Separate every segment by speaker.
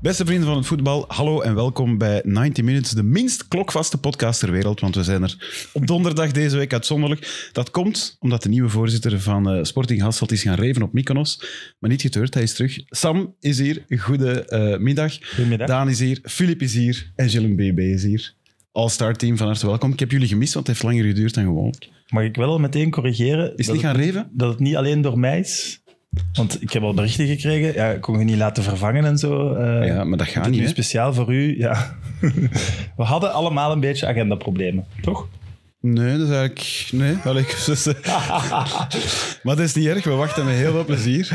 Speaker 1: Beste vrienden van het voetbal, hallo en welkom bij 90 Minutes, de minst klokvaste podcast ter wereld, want we zijn er op donderdag deze week uitzonderlijk. Dat komt omdat de nieuwe voorzitter van eh, Sporting Hasselt is gaan reven op Mykonos, maar niet geteurd, hij is terug. Sam is hier, goedemiddag.
Speaker 2: Goedemiddag.
Speaker 1: Daan is hier, Filip is hier en Gilles BB is hier. All-star team, van harte welkom. Ik heb jullie gemist, want het heeft langer geduurd dan gewoonlijk.
Speaker 2: Mag ik wel al meteen corrigeren
Speaker 1: Is
Speaker 2: dat,
Speaker 1: het niet
Speaker 2: het,
Speaker 1: gaan reven?
Speaker 2: dat het niet alleen door mij is? Want ik heb al berichten gekregen. Ja, ik kon je niet laten vervangen en zo. eh,
Speaker 1: Ah Ja, maar dat
Speaker 2: dat
Speaker 1: gaat
Speaker 2: nu
Speaker 1: niet. hè?
Speaker 2: speciaal voor u. Ja. We hadden allemaal een beetje agendaproblemen, toch?
Speaker 1: Nee, dat is eigenlijk. Nee, wel, ik- dus, eh, maar dat is niet erg, we wachten met heel veel plezier.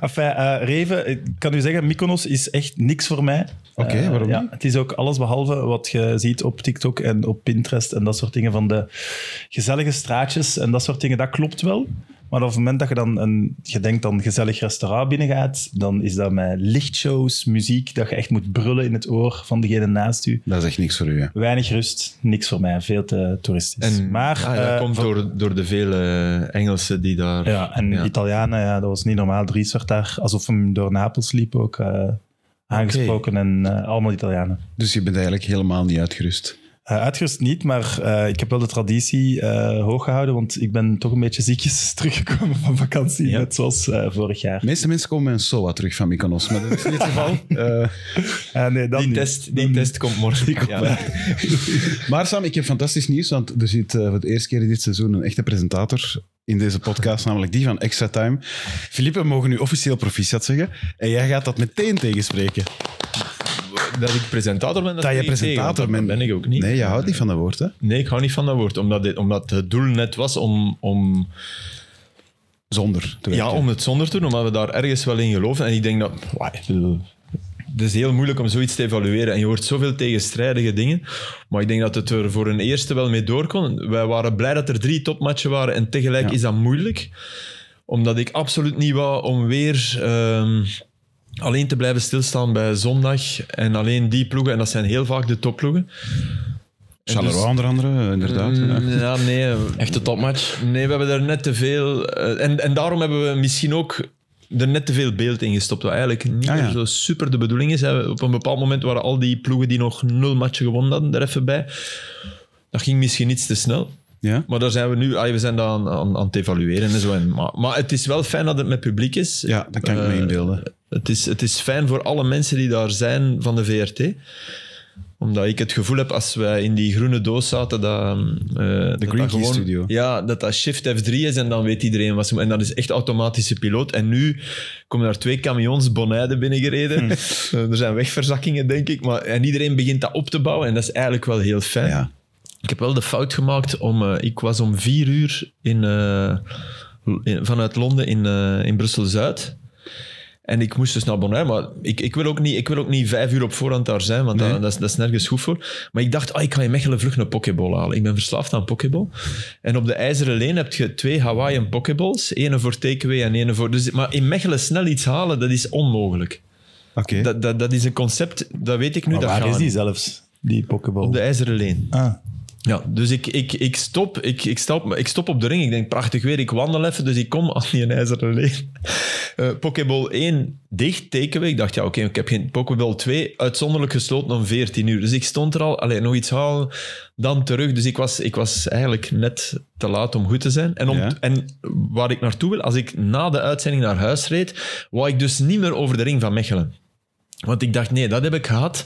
Speaker 2: Enfin, eh, Reven, ik kan u zeggen, Mykonos is echt niks voor mij.
Speaker 1: Oké,
Speaker 2: Eh,
Speaker 1: waarom
Speaker 2: ja,
Speaker 1: niet?
Speaker 2: Het is ook alles behalve wat je ziet op TikTok en op Pinterest en dat soort dingen van de gezellige straatjes en dat soort dingen. Dat klopt wel. Maar op het moment dat je dan een, je denkt aan een gezellig restaurant binnengaat, dan is dat met lichtshows, muziek, dat je echt moet brullen in het oor van degene naast u.
Speaker 1: Dat is echt niks voor u. hè.
Speaker 2: Weinig rust, niks voor mij, veel te toeristisch.
Speaker 3: En-
Speaker 2: maar
Speaker 3: ah, ja, dat
Speaker 2: eh,
Speaker 3: komt door, door de vele eh, Engelsen die daar...
Speaker 2: ja, en
Speaker 3: Ja.
Speaker 2: Italianen, ja, dat was niet normaal. Dries werd daar, alsof hem door Napels liep ook, eh, aangesproken. En eh, allemaal Italianen.
Speaker 1: Dus je bent eigenlijk helemaal niet uitgerust.
Speaker 2: Eh, uitgerust niet, maar eh, ik heb wel de traditie eh, hoog gehouden. Want ik ben toch een beetje ziekjes teruggekomen van vakantie.
Speaker 1: Ja.
Speaker 2: Net zoals eh, vorig jaar.
Speaker 1: De meeste mensen komen met een SOA terug van Mykonos, maar dat is niet het geval. Eh,
Speaker 2: Ah, nee, dan
Speaker 3: Die,
Speaker 2: niet.
Speaker 3: test, die test komt morgen. Ja.
Speaker 1: maar Sam, ik heb fantastisch nieuws, want er zit eh, voor het eerste keer in dit seizoen een echte presentator in deze podcast, namelijk die van Extra Time. Philippe, we mogen nu officieel proficiat zeggen. En jij gaat dat meteen tegenspreken.
Speaker 3: Dat ik presentator ben, dat,
Speaker 1: Dat je
Speaker 3: ben ik
Speaker 1: presentator
Speaker 3: tegen, want
Speaker 1: bent.
Speaker 3: dat ben ik ook niet.
Speaker 1: Nee, je houdt niet van dat woord, hè?
Speaker 3: Nee, ik hou niet van dat woord. Omdat, dit, omdat het doel net was om, om,
Speaker 1: Zonder. te
Speaker 3: ja,
Speaker 1: werken.
Speaker 3: om het zonder te doen, omdat we daar ergens wel in geloven. En ik denk dat... wauw, ik bedoel, het is heel moeilijk om zoiets te evalueren. En je hoort zoveel tegenstrijdige dingen. Maar ik denk dat het er voor een eerste wel mee door kon. Wij waren blij dat er drie topmatchen waren. En tegelijk
Speaker 1: Ja.
Speaker 3: is dat moeilijk. Omdat ik absoluut niet wou om weer... ehm, alleen te blijven stilstaan bij zondag en alleen die ploegen, en dat zijn heel vaak de topploegen. En
Speaker 1: Charleroi onder andere, eh, inderdaad.
Speaker 3: dus- Mm,
Speaker 1: ja.
Speaker 3: Ja, nee.
Speaker 4: Echte topmatch.
Speaker 3: Nee, we hebben daar net te veel. eh, en, en daarom hebben we misschien ook er net te veel beeld in gestopt. Wat eigenlijk niet
Speaker 1: Ah, ja.
Speaker 3: meer zo super de bedoeling is. hè. Op een bepaald moment waren al die ploegen die nog nul matchen gewonnen hadden er even bij. Dat ging misschien iets te snel.
Speaker 1: Ja?
Speaker 3: Maar daar zijn we nu allee, we zijn dat aan, aan, aan het evalueren. En zo. En, maar, maar het is wel fijn dat het met publiek is.
Speaker 1: ja, dat kan ik me
Speaker 3: Eh,
Speaker 1: inbeelden.
Speaker 3: het is, het is fijn voor alle mensen die daar zijn van de VRT. Omdat ik het gevoel heb, als wij in die groene doos zaten, dat... de
Speaker 1: Green Key Studio.
Speaker 3: Ja, dat dat Shift F3 is en dan weet iedereen wat ze moeten. En dat is echt automatische piloot. En nu komen daar twee camions Bonaide binnengereden.
Speaker 1: Hm.
Speaker 3: Eh, Er zijn wegverzakkingen, denk ik. Maar, en iedereen begint dat op te bouwen. En dat is eigenlijk wel heel fijn.
Speaker 1: Ja.
Speaker 3: Ik heb wel de fout gemaakt om. eh, ik was om vier uur in, eh, in- vanuit Londen in, eh, in Brussel-Zuid. En ik moest dus naar Bonaire, maar ik, ik, wil ook niet, ik wil ook niet vijf uur op voorhand daar zijn, want
Speaker 1: Nee.
Speaker 3: dat, dat, is, dat is nergens goed voor. Maar ik dacht, ah, ik ga in Mechelen vlug een pokeball halen. Ik ben verslaafd aan pokeball. En op de IJzeren Leen heb je twee Hawaiian pokeballs. Ene voor takeaway en ene voor... Dus, maar in Mechelen snel iets halen, dat is onmogelijk.
Speaker 1: Oké.
Speaker 3: Dat, dat, dat is een concept, dat weet ik nu.
Speaker 2: Maar
Speaker 3: dat
Speaker 2: waar
Speaker 3: gaat
Speaker 2: is die
Speaker 3: niet.
Speaker 2: zelfs, die pokeball?
Speaker 3: Op de IJzeren Leen.
Speaker 2: Ah,
Speaker 3: Ja, dus ik, ik, ik, stop, ik, ik, stop, ik stop op de ring. Ik denk, prachtig weer, ik wandel even. Dus ik kom aan die ijzeren leen. Eh Pokéball 1 dicht, tekenen. Ik dacht, ja, oké, ik heb geen Pokéball 2. Uitzonderlijk gesloten om 14 uur. Dus ik stond er al, alleen nog iets halen, dan terug. Dus ik was, ik was eigenlijk net te laat om goed te zijn. En, om,
Speaker 1: Ja.
Speaker 3: en waar ik naartoe wil, als ik na de uitzending naar huis reed, wou ik dus niet meer over de ring van Mechelen. Want ik dacht, nee, dat heb ik gehad.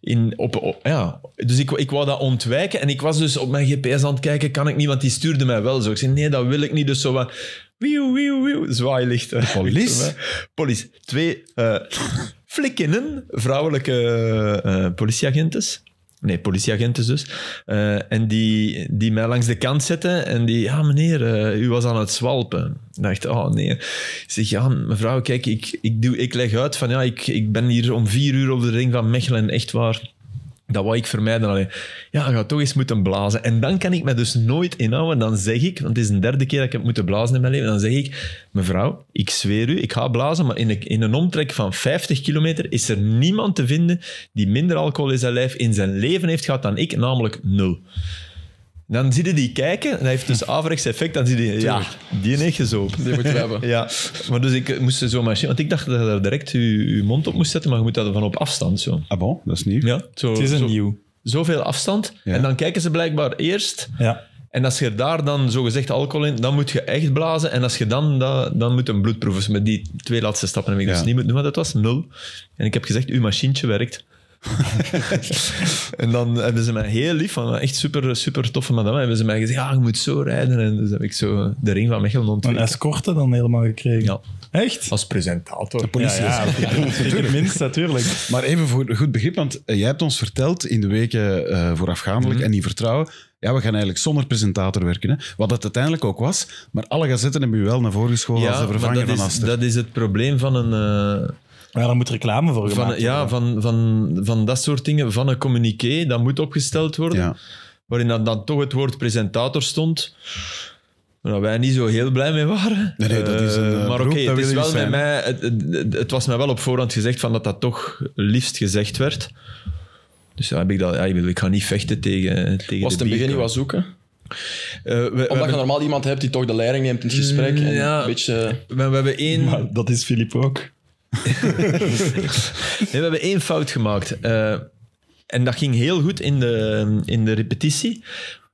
Speaker 3: In, op, op- ja. Dus ik, ik wou dat ontwijken. En ik was dus op mijn GPS aan het kijken, kan ik niet, want die stuurde mij wel zo. Ik zei, nee, dat wil ik niet. Dus zo wat... Wieuw, wieuw, wieuw, zwaailichten.
Speaker 1: Police?
Speaker 3: Police. Twee eh flikkinnen, vrouwelijke eh politieagentes. Nee, politieagentes dus. Eh, en die, die mij langs de kant zetten en die... Ja, meneer, eh, u was aan het zwalpen. Ik dacht, oh nee. Ik zeg, ja, mevrouw, kijk, ik, ik, doe, ik leg uit van... Ja, ik, ik ben hier om vier uur op de ring van Mechelen, echt waar. Dat wou ik vermijden. Allee, ja, je gaat toch eens moeten blazen. En dan kan ik me dus nooit inhouden. Dan zeg ik, want het is de derde keer dat ik heb moeten blazen in mijn leven. Dan zeg ik, mevrouw, ik zweer u, ik ga blazen. Maar in een, in een omtrek van 50 kilometer is er niemand te vinden die minder alcohol in zijn lijf in zijn leven heeft gehad dan ik, namelijk nul. Dan zie je die kijken, en dat heeft dus averechts effect. Dan zie je, ja, die heeft gezopen.
Speaker 4: Die moeten we hebben.
Speaker 3: Ja, maar dus ik moest zo machine, want ik dacht dat je daar direct je, je mond op moest zetten, maar je moet dat van op afstand zo.
Speaker 1: Ah bon, dat is nieuw.
Speaker 3: Ja, zo,
Speaker 2: Het is een
Speaker 3: zo-
Speaker 2: nieuw.
Speaker 3: Zoveel afstand.
Speaker 1: Ja.
Speaker 3: En dan kijken ze blijkbaar eerst.
Speaker 2: Ja.
Speaker 3: En als je daar dan zogezegd alcohol in, dan moet je echt blazen. En als je dan, dat, dan moet een bloedproef. Dus met die twee laatste stappen heb ik
Speaker 1: Ja.
Speaker 3: dus niet moeten doen, want dat was nul. En ik heb gezegd, uw machientje werkt. en dan hebben ze mij heel lief, van, echt super, super toffe madame, hebben ze mij gezegd, ja, je moet zo rijden. En dus heb ik zo de ring van Mechelen
Speaker 2: Een
Speaker 3: ontwikkeld.
Speaker 2: escorte dan helemaal gekregen.
Speaker 3: Ja.
Speaker 2: Echt?
Speaker 3: Als presentator.
Speaker 1: Politie.
Speaker 2: Ja, ja, natuurlijk. Minst, natuurlijk.
Speaker 1: Maar even voor goed begrip, want eh, jij hebt ons verteld in de weken eh voorafgaandelijk
Speaker 3: Mhm.
Speaker 1: en die vertrouwen. Ja, we gaan eigenlijk zonder presentator werken. Hè? Wat dat uiteindelijk ook was. Maar alle gazetten hebben je wel naar voren geschoven als de
Speaker 3: maar
Speaker 1: vervanger
Speaker 3: dat
Speaker 1: van
Speaker 3: is,
Speaker 1: Aster.
Speaker 3: dat is het probleem van een, eh,
Speaker 2: Maar daar moet reclame voor gemaakt
Speaker 3: van, ja,
Speaker 2: worden.
Speaker 3: van, van, van dat soort dingen, van een communiqué, dat moet opgesteld worden.
Speaker 1: Ja.
Speaker 3: waarin dan, dan toch het woord presentator stond. Waar wij niet zo heel blij mee waren.
Speaker 1: Nee, nee, dat is een,
Speaker 3: Eh,
Speaker 1: eh,
Speaker 3: maar oké,
Speaker 1: beroep, dat
Speaker 3: het,
Speaker 1: wil
Speaker 3: is
Speaker 1: je
Speaker 3: wel
Speaker 1: niet
Speaker 3: met
Speaker 1: zijn.
Speaker 3: mij, het, het- het was mij wel op voorhand gezegd van dat dat toch liefst gezegd werd. Dus ja, heb ik, dat, ja, ik, bedoel, ik ga niet vechten tegen, tegen
Speaker 4: Was het
Speaker 3: de
Speaker 4: een begin niet
Speaker 3: bierkant.
Speaker 4: wat zoeken?
Speaker 3: Eh, we- we,
Speaker 4: Omdat je
Speaker 3: hebben,
Speaker 4: normaal iemand hebt die toch de leiding neemt in het gesprek. En
Speaker 3: Ja.
Speaker 4: een beetje...
Speaker 3: we, we hebben één,
Speaker 2: Maar dat is Filip ook.
Speaker 3: nee, we hebben één fout gemaakt. Eh, en dat ging heel goed in de, in de repetitie.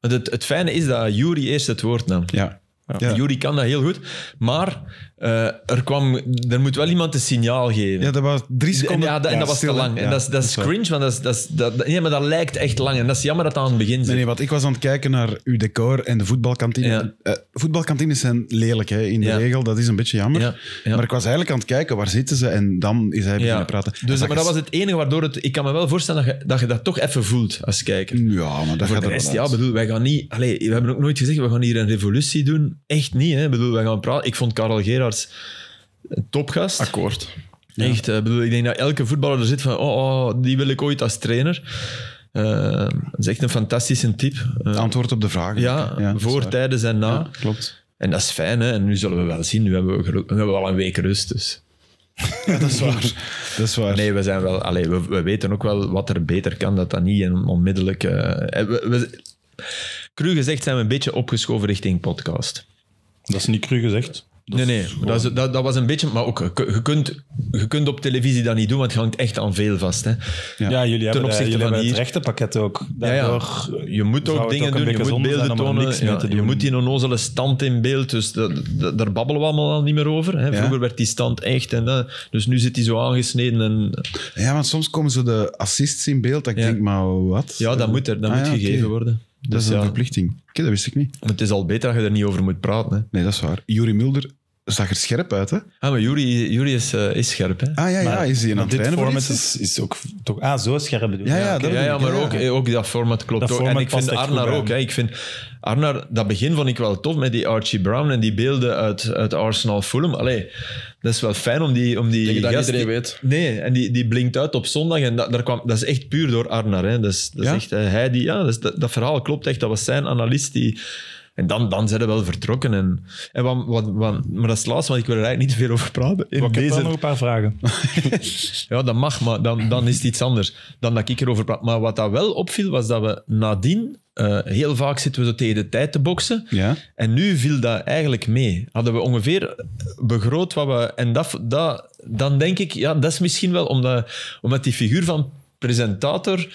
Speaker 3: Want het, het fijne is dat Jury eerst het woord nam.
Speaker 1: Ja.
Speaker 3: Ja.
Speaker 1: Ja.
Speaker 3: Jury kan dat heel goed. Maar eh, er, kwam, er moet wel iemand een signaal geven.
Speaker 1: ja, dat was drie seconden.
Speaker 3: en, ja, dat, en dat was
Speaker 1: stil,
Speaker 3: te
Speaker 1: hè.
Speaker 3: lang.
Speaker 1: Ja,
Speaker 3: en dat is, dat is
Speaker 1: waar.
Speaker 3: cringe, want dat, is, dat, is, dat, nee, maar dat lijkt echt lang. En dat is jammer dat dat aan het begin
Speaker 1: Nee,
Speaker 3: zit.
Speaker 1: nee, want ik was aan het kijken naar uw decor en de voetbalkantine.
Speaker 3: Ja.
Speaker 1: Eh, voetbalkantines zijn lelijk hè, in de
Speaker 3: Ja.
Speaker 1: regel, dat is een beetje jammer.
Speaker 3: Ja, ja.
Speaker 1: Maar ik was eigenlijk aan het kijken, waar zitten ze? En dan is hij beginnen praten. En
Speaker 3: Dus, maar dat
Speaker 1: is-
Speaker 3: was het enige waardoor het... Ik kan me wel voorstellen dat je dat, je dat toch even voelt als kijker.
Speaker 1: Ja, maar dat
Speaker 3: Voor
Speaker 1: gaat
Speaker 3: de
Speaker 1: er
Speaker 3: rest,
Speaker 1: wel
Speaker 3: ja,
Speaker 1: uit.
Speaker 3: bedoel, wij gaan niet... Allee, we hebben ook nooit gezegd, we gaan hier een revolutie doen. Echt niet, hè. Bedoel, wij gaan praten. Ik vond Karel Gerards een topgast.
Speaker 4: Akkoord.
Speaker 3: Echt, eh, bedoel, ik denk dat elke voetballer er zit van, oh, oh, die wil ik ooit als trainer. Eh, dat is echt een fantastische type. Eh,
Speaker 1: Antwoord op de vraag.
Speaker 3: ja,
Speaker 1: dat is
Speaker 3: voor,
Speaker 1: waar.
Speaker 3: tijdens en na.
Speaker 1: Ja, klopt.
Speaker 3: En dat is fijn, hè. En nu zullen we wel zien. Nu hebben we, gero- we hebben al een week rust, dus...
Speaker 1: dat is waar. Dat is waar.
Speaker 3: Nee, we, zijn wel, allee, we, we weten ook wel wat er beter kan, dat dat niet een onmiddellijk... eh, we, we- cru gezegd zijn we een beetje opgeschoven richting podcast.
Speaker 2: Dat is niet cru gezegd.
Speaker 3: nee, nee, dat, is- dat, dat was een beetje... Maar ook, je, je kunt, je kunt op televisie dat niet doen, want het hangt echt aan veel vast, hè.
Speaker 1: Ja.
Speaker 2: Ja, jullie hebben,
Speaker 3: opzichte
Speaker 2: jullie
Speaker 3: van
Speaker 2: hebben het
Speaker 3: hier.
Speaker 2: rechtenpakket ook.
Speaker 3: Ja, ja.
Speaker 2: Daardoor
Speaker 3: Je moet
Speaker 2: zou
Speaker 3: ook
Speaker 2: het
Speaker 3: dingen
Speaker 2: ook een
Speaker 3: doen, je
Speaker 2: beetje
Speaker 3: moet
Speaker 2: zonde zijn
Speaker 3: beelden
Speaker 2: om er
Speaker 3: tonen.
Speaker 2: niks mee
Speaker 3: ja,
Speaker 2: te
Speaker 3: Je
Speaker 2: doen.
Speaker 3: moet die onnozele stand in beeld, dus dat, dat- daar babbelen we allemaal al niet meer over. Hè. Vroeger werd die stand echt, en, dat- dus nu zit die zo aangesneden. En,
Speaker 1: Ja, want soms komen zo de assists in beeld. Dat ik
Speaker 3: Ja.
Speaker 1: denk, maar wat?
Speaker 3: ja, dat moet, er, dat
Speaker 1: Ah,
Speaker 3: moet
Speaker 1: ja, oké.
Speaker 3: gegeven worden.
Speaker 1: Dat
Speaker 3: Dus
Speaker 1: is een
Speaker 3: ja,
Speaker 1: verplichting. Oké, dat wist ik niet.
Speaker 3: het is al beter dat je er niet over moet praten. Hè.
Speaker 1: Nee, dat is waar. Jurie Mulder zag er scherp uit, hè?
Speaker 3: Ah, maar Juri, Juri is, eh, is scherp. Hè.
Speaker 1: Ah ja, ja. Is hij aan
Speaker 2: Maar
Speaker 1: het
Speaker 2: dit
Speaker 1: trainen voor
Speaker 2: format
Speaker 1: iets?
Speaker 2: is, is ook toch... Ah, zo scherp bedoel
Speaker 1: Ja, ja,
Speaker 2: oké.
Speaker 1: dat
Speaker 3: ja, ja,
Speaker 1: bedoel ik,
Speaker 3: maar
Speaker 1: ja,
Speaker 3: Ook,
Speaker 1: ja.
Speaker 3: eh, ook dat format klopt
Speaker 2: Dat
Speaker 3: ook.
Speaker 2: format
Speaker 3: en ik
Speaker 2: past
Speaker 3: vind
Speaker 2: echt goed
Speaker 3: Arnar
Speaker 2: bij
Speaker 3: ook.
Speaker 2: hem.
Speaker 3: Hè. Ik vind Arnar, dat begin vond ik wel tof met die Archie Brown en die beelden uit, uit Arsenal Fulham. Allee, dat is wel fijn om die, om die
Speaker 4: Denk je dat
Speaker 3: gast-
Speaker 4: iedereen
Speaker 3: die-
Speaker 4: weet?
Speaker 3: Nee, en die, die blinkt uit op zondag en dat, daar kwam, dat is echt puur door Arnar. Hè. Dat is, dat is
Speaker 1: Ja?
Speaker 3: echt eh, hij die... Ja, dat, is- dat, dat verhaal klopt echt. Dat was zijn analist die... En dan, dan zijn we wel vertrokken. En, en wat, wat, wat- maar dat is het laatste, want ik wil er eigenlijk niet te veel over praten. In
Speaker 2: Ik heb wel
Speaker 3: deze
Speaker 2: nog een paar vragen.
Speaker 3: ja, dat mag, maar dan, dan is het iets anders dan dat ik erover praat. Maar wat dat wel opviel, was dat we nadien... eh, heel vaak zitten we zo tegen de tijd te boksen.
Speaker 1: Ja.
Speaker 3: En nu viel dat eigenlijk mee. Hadden we ongeveer begroot wat we... En dat, dat, dan denk ik, ja, dat is misschien wel omdat, omdat die figuur van presentator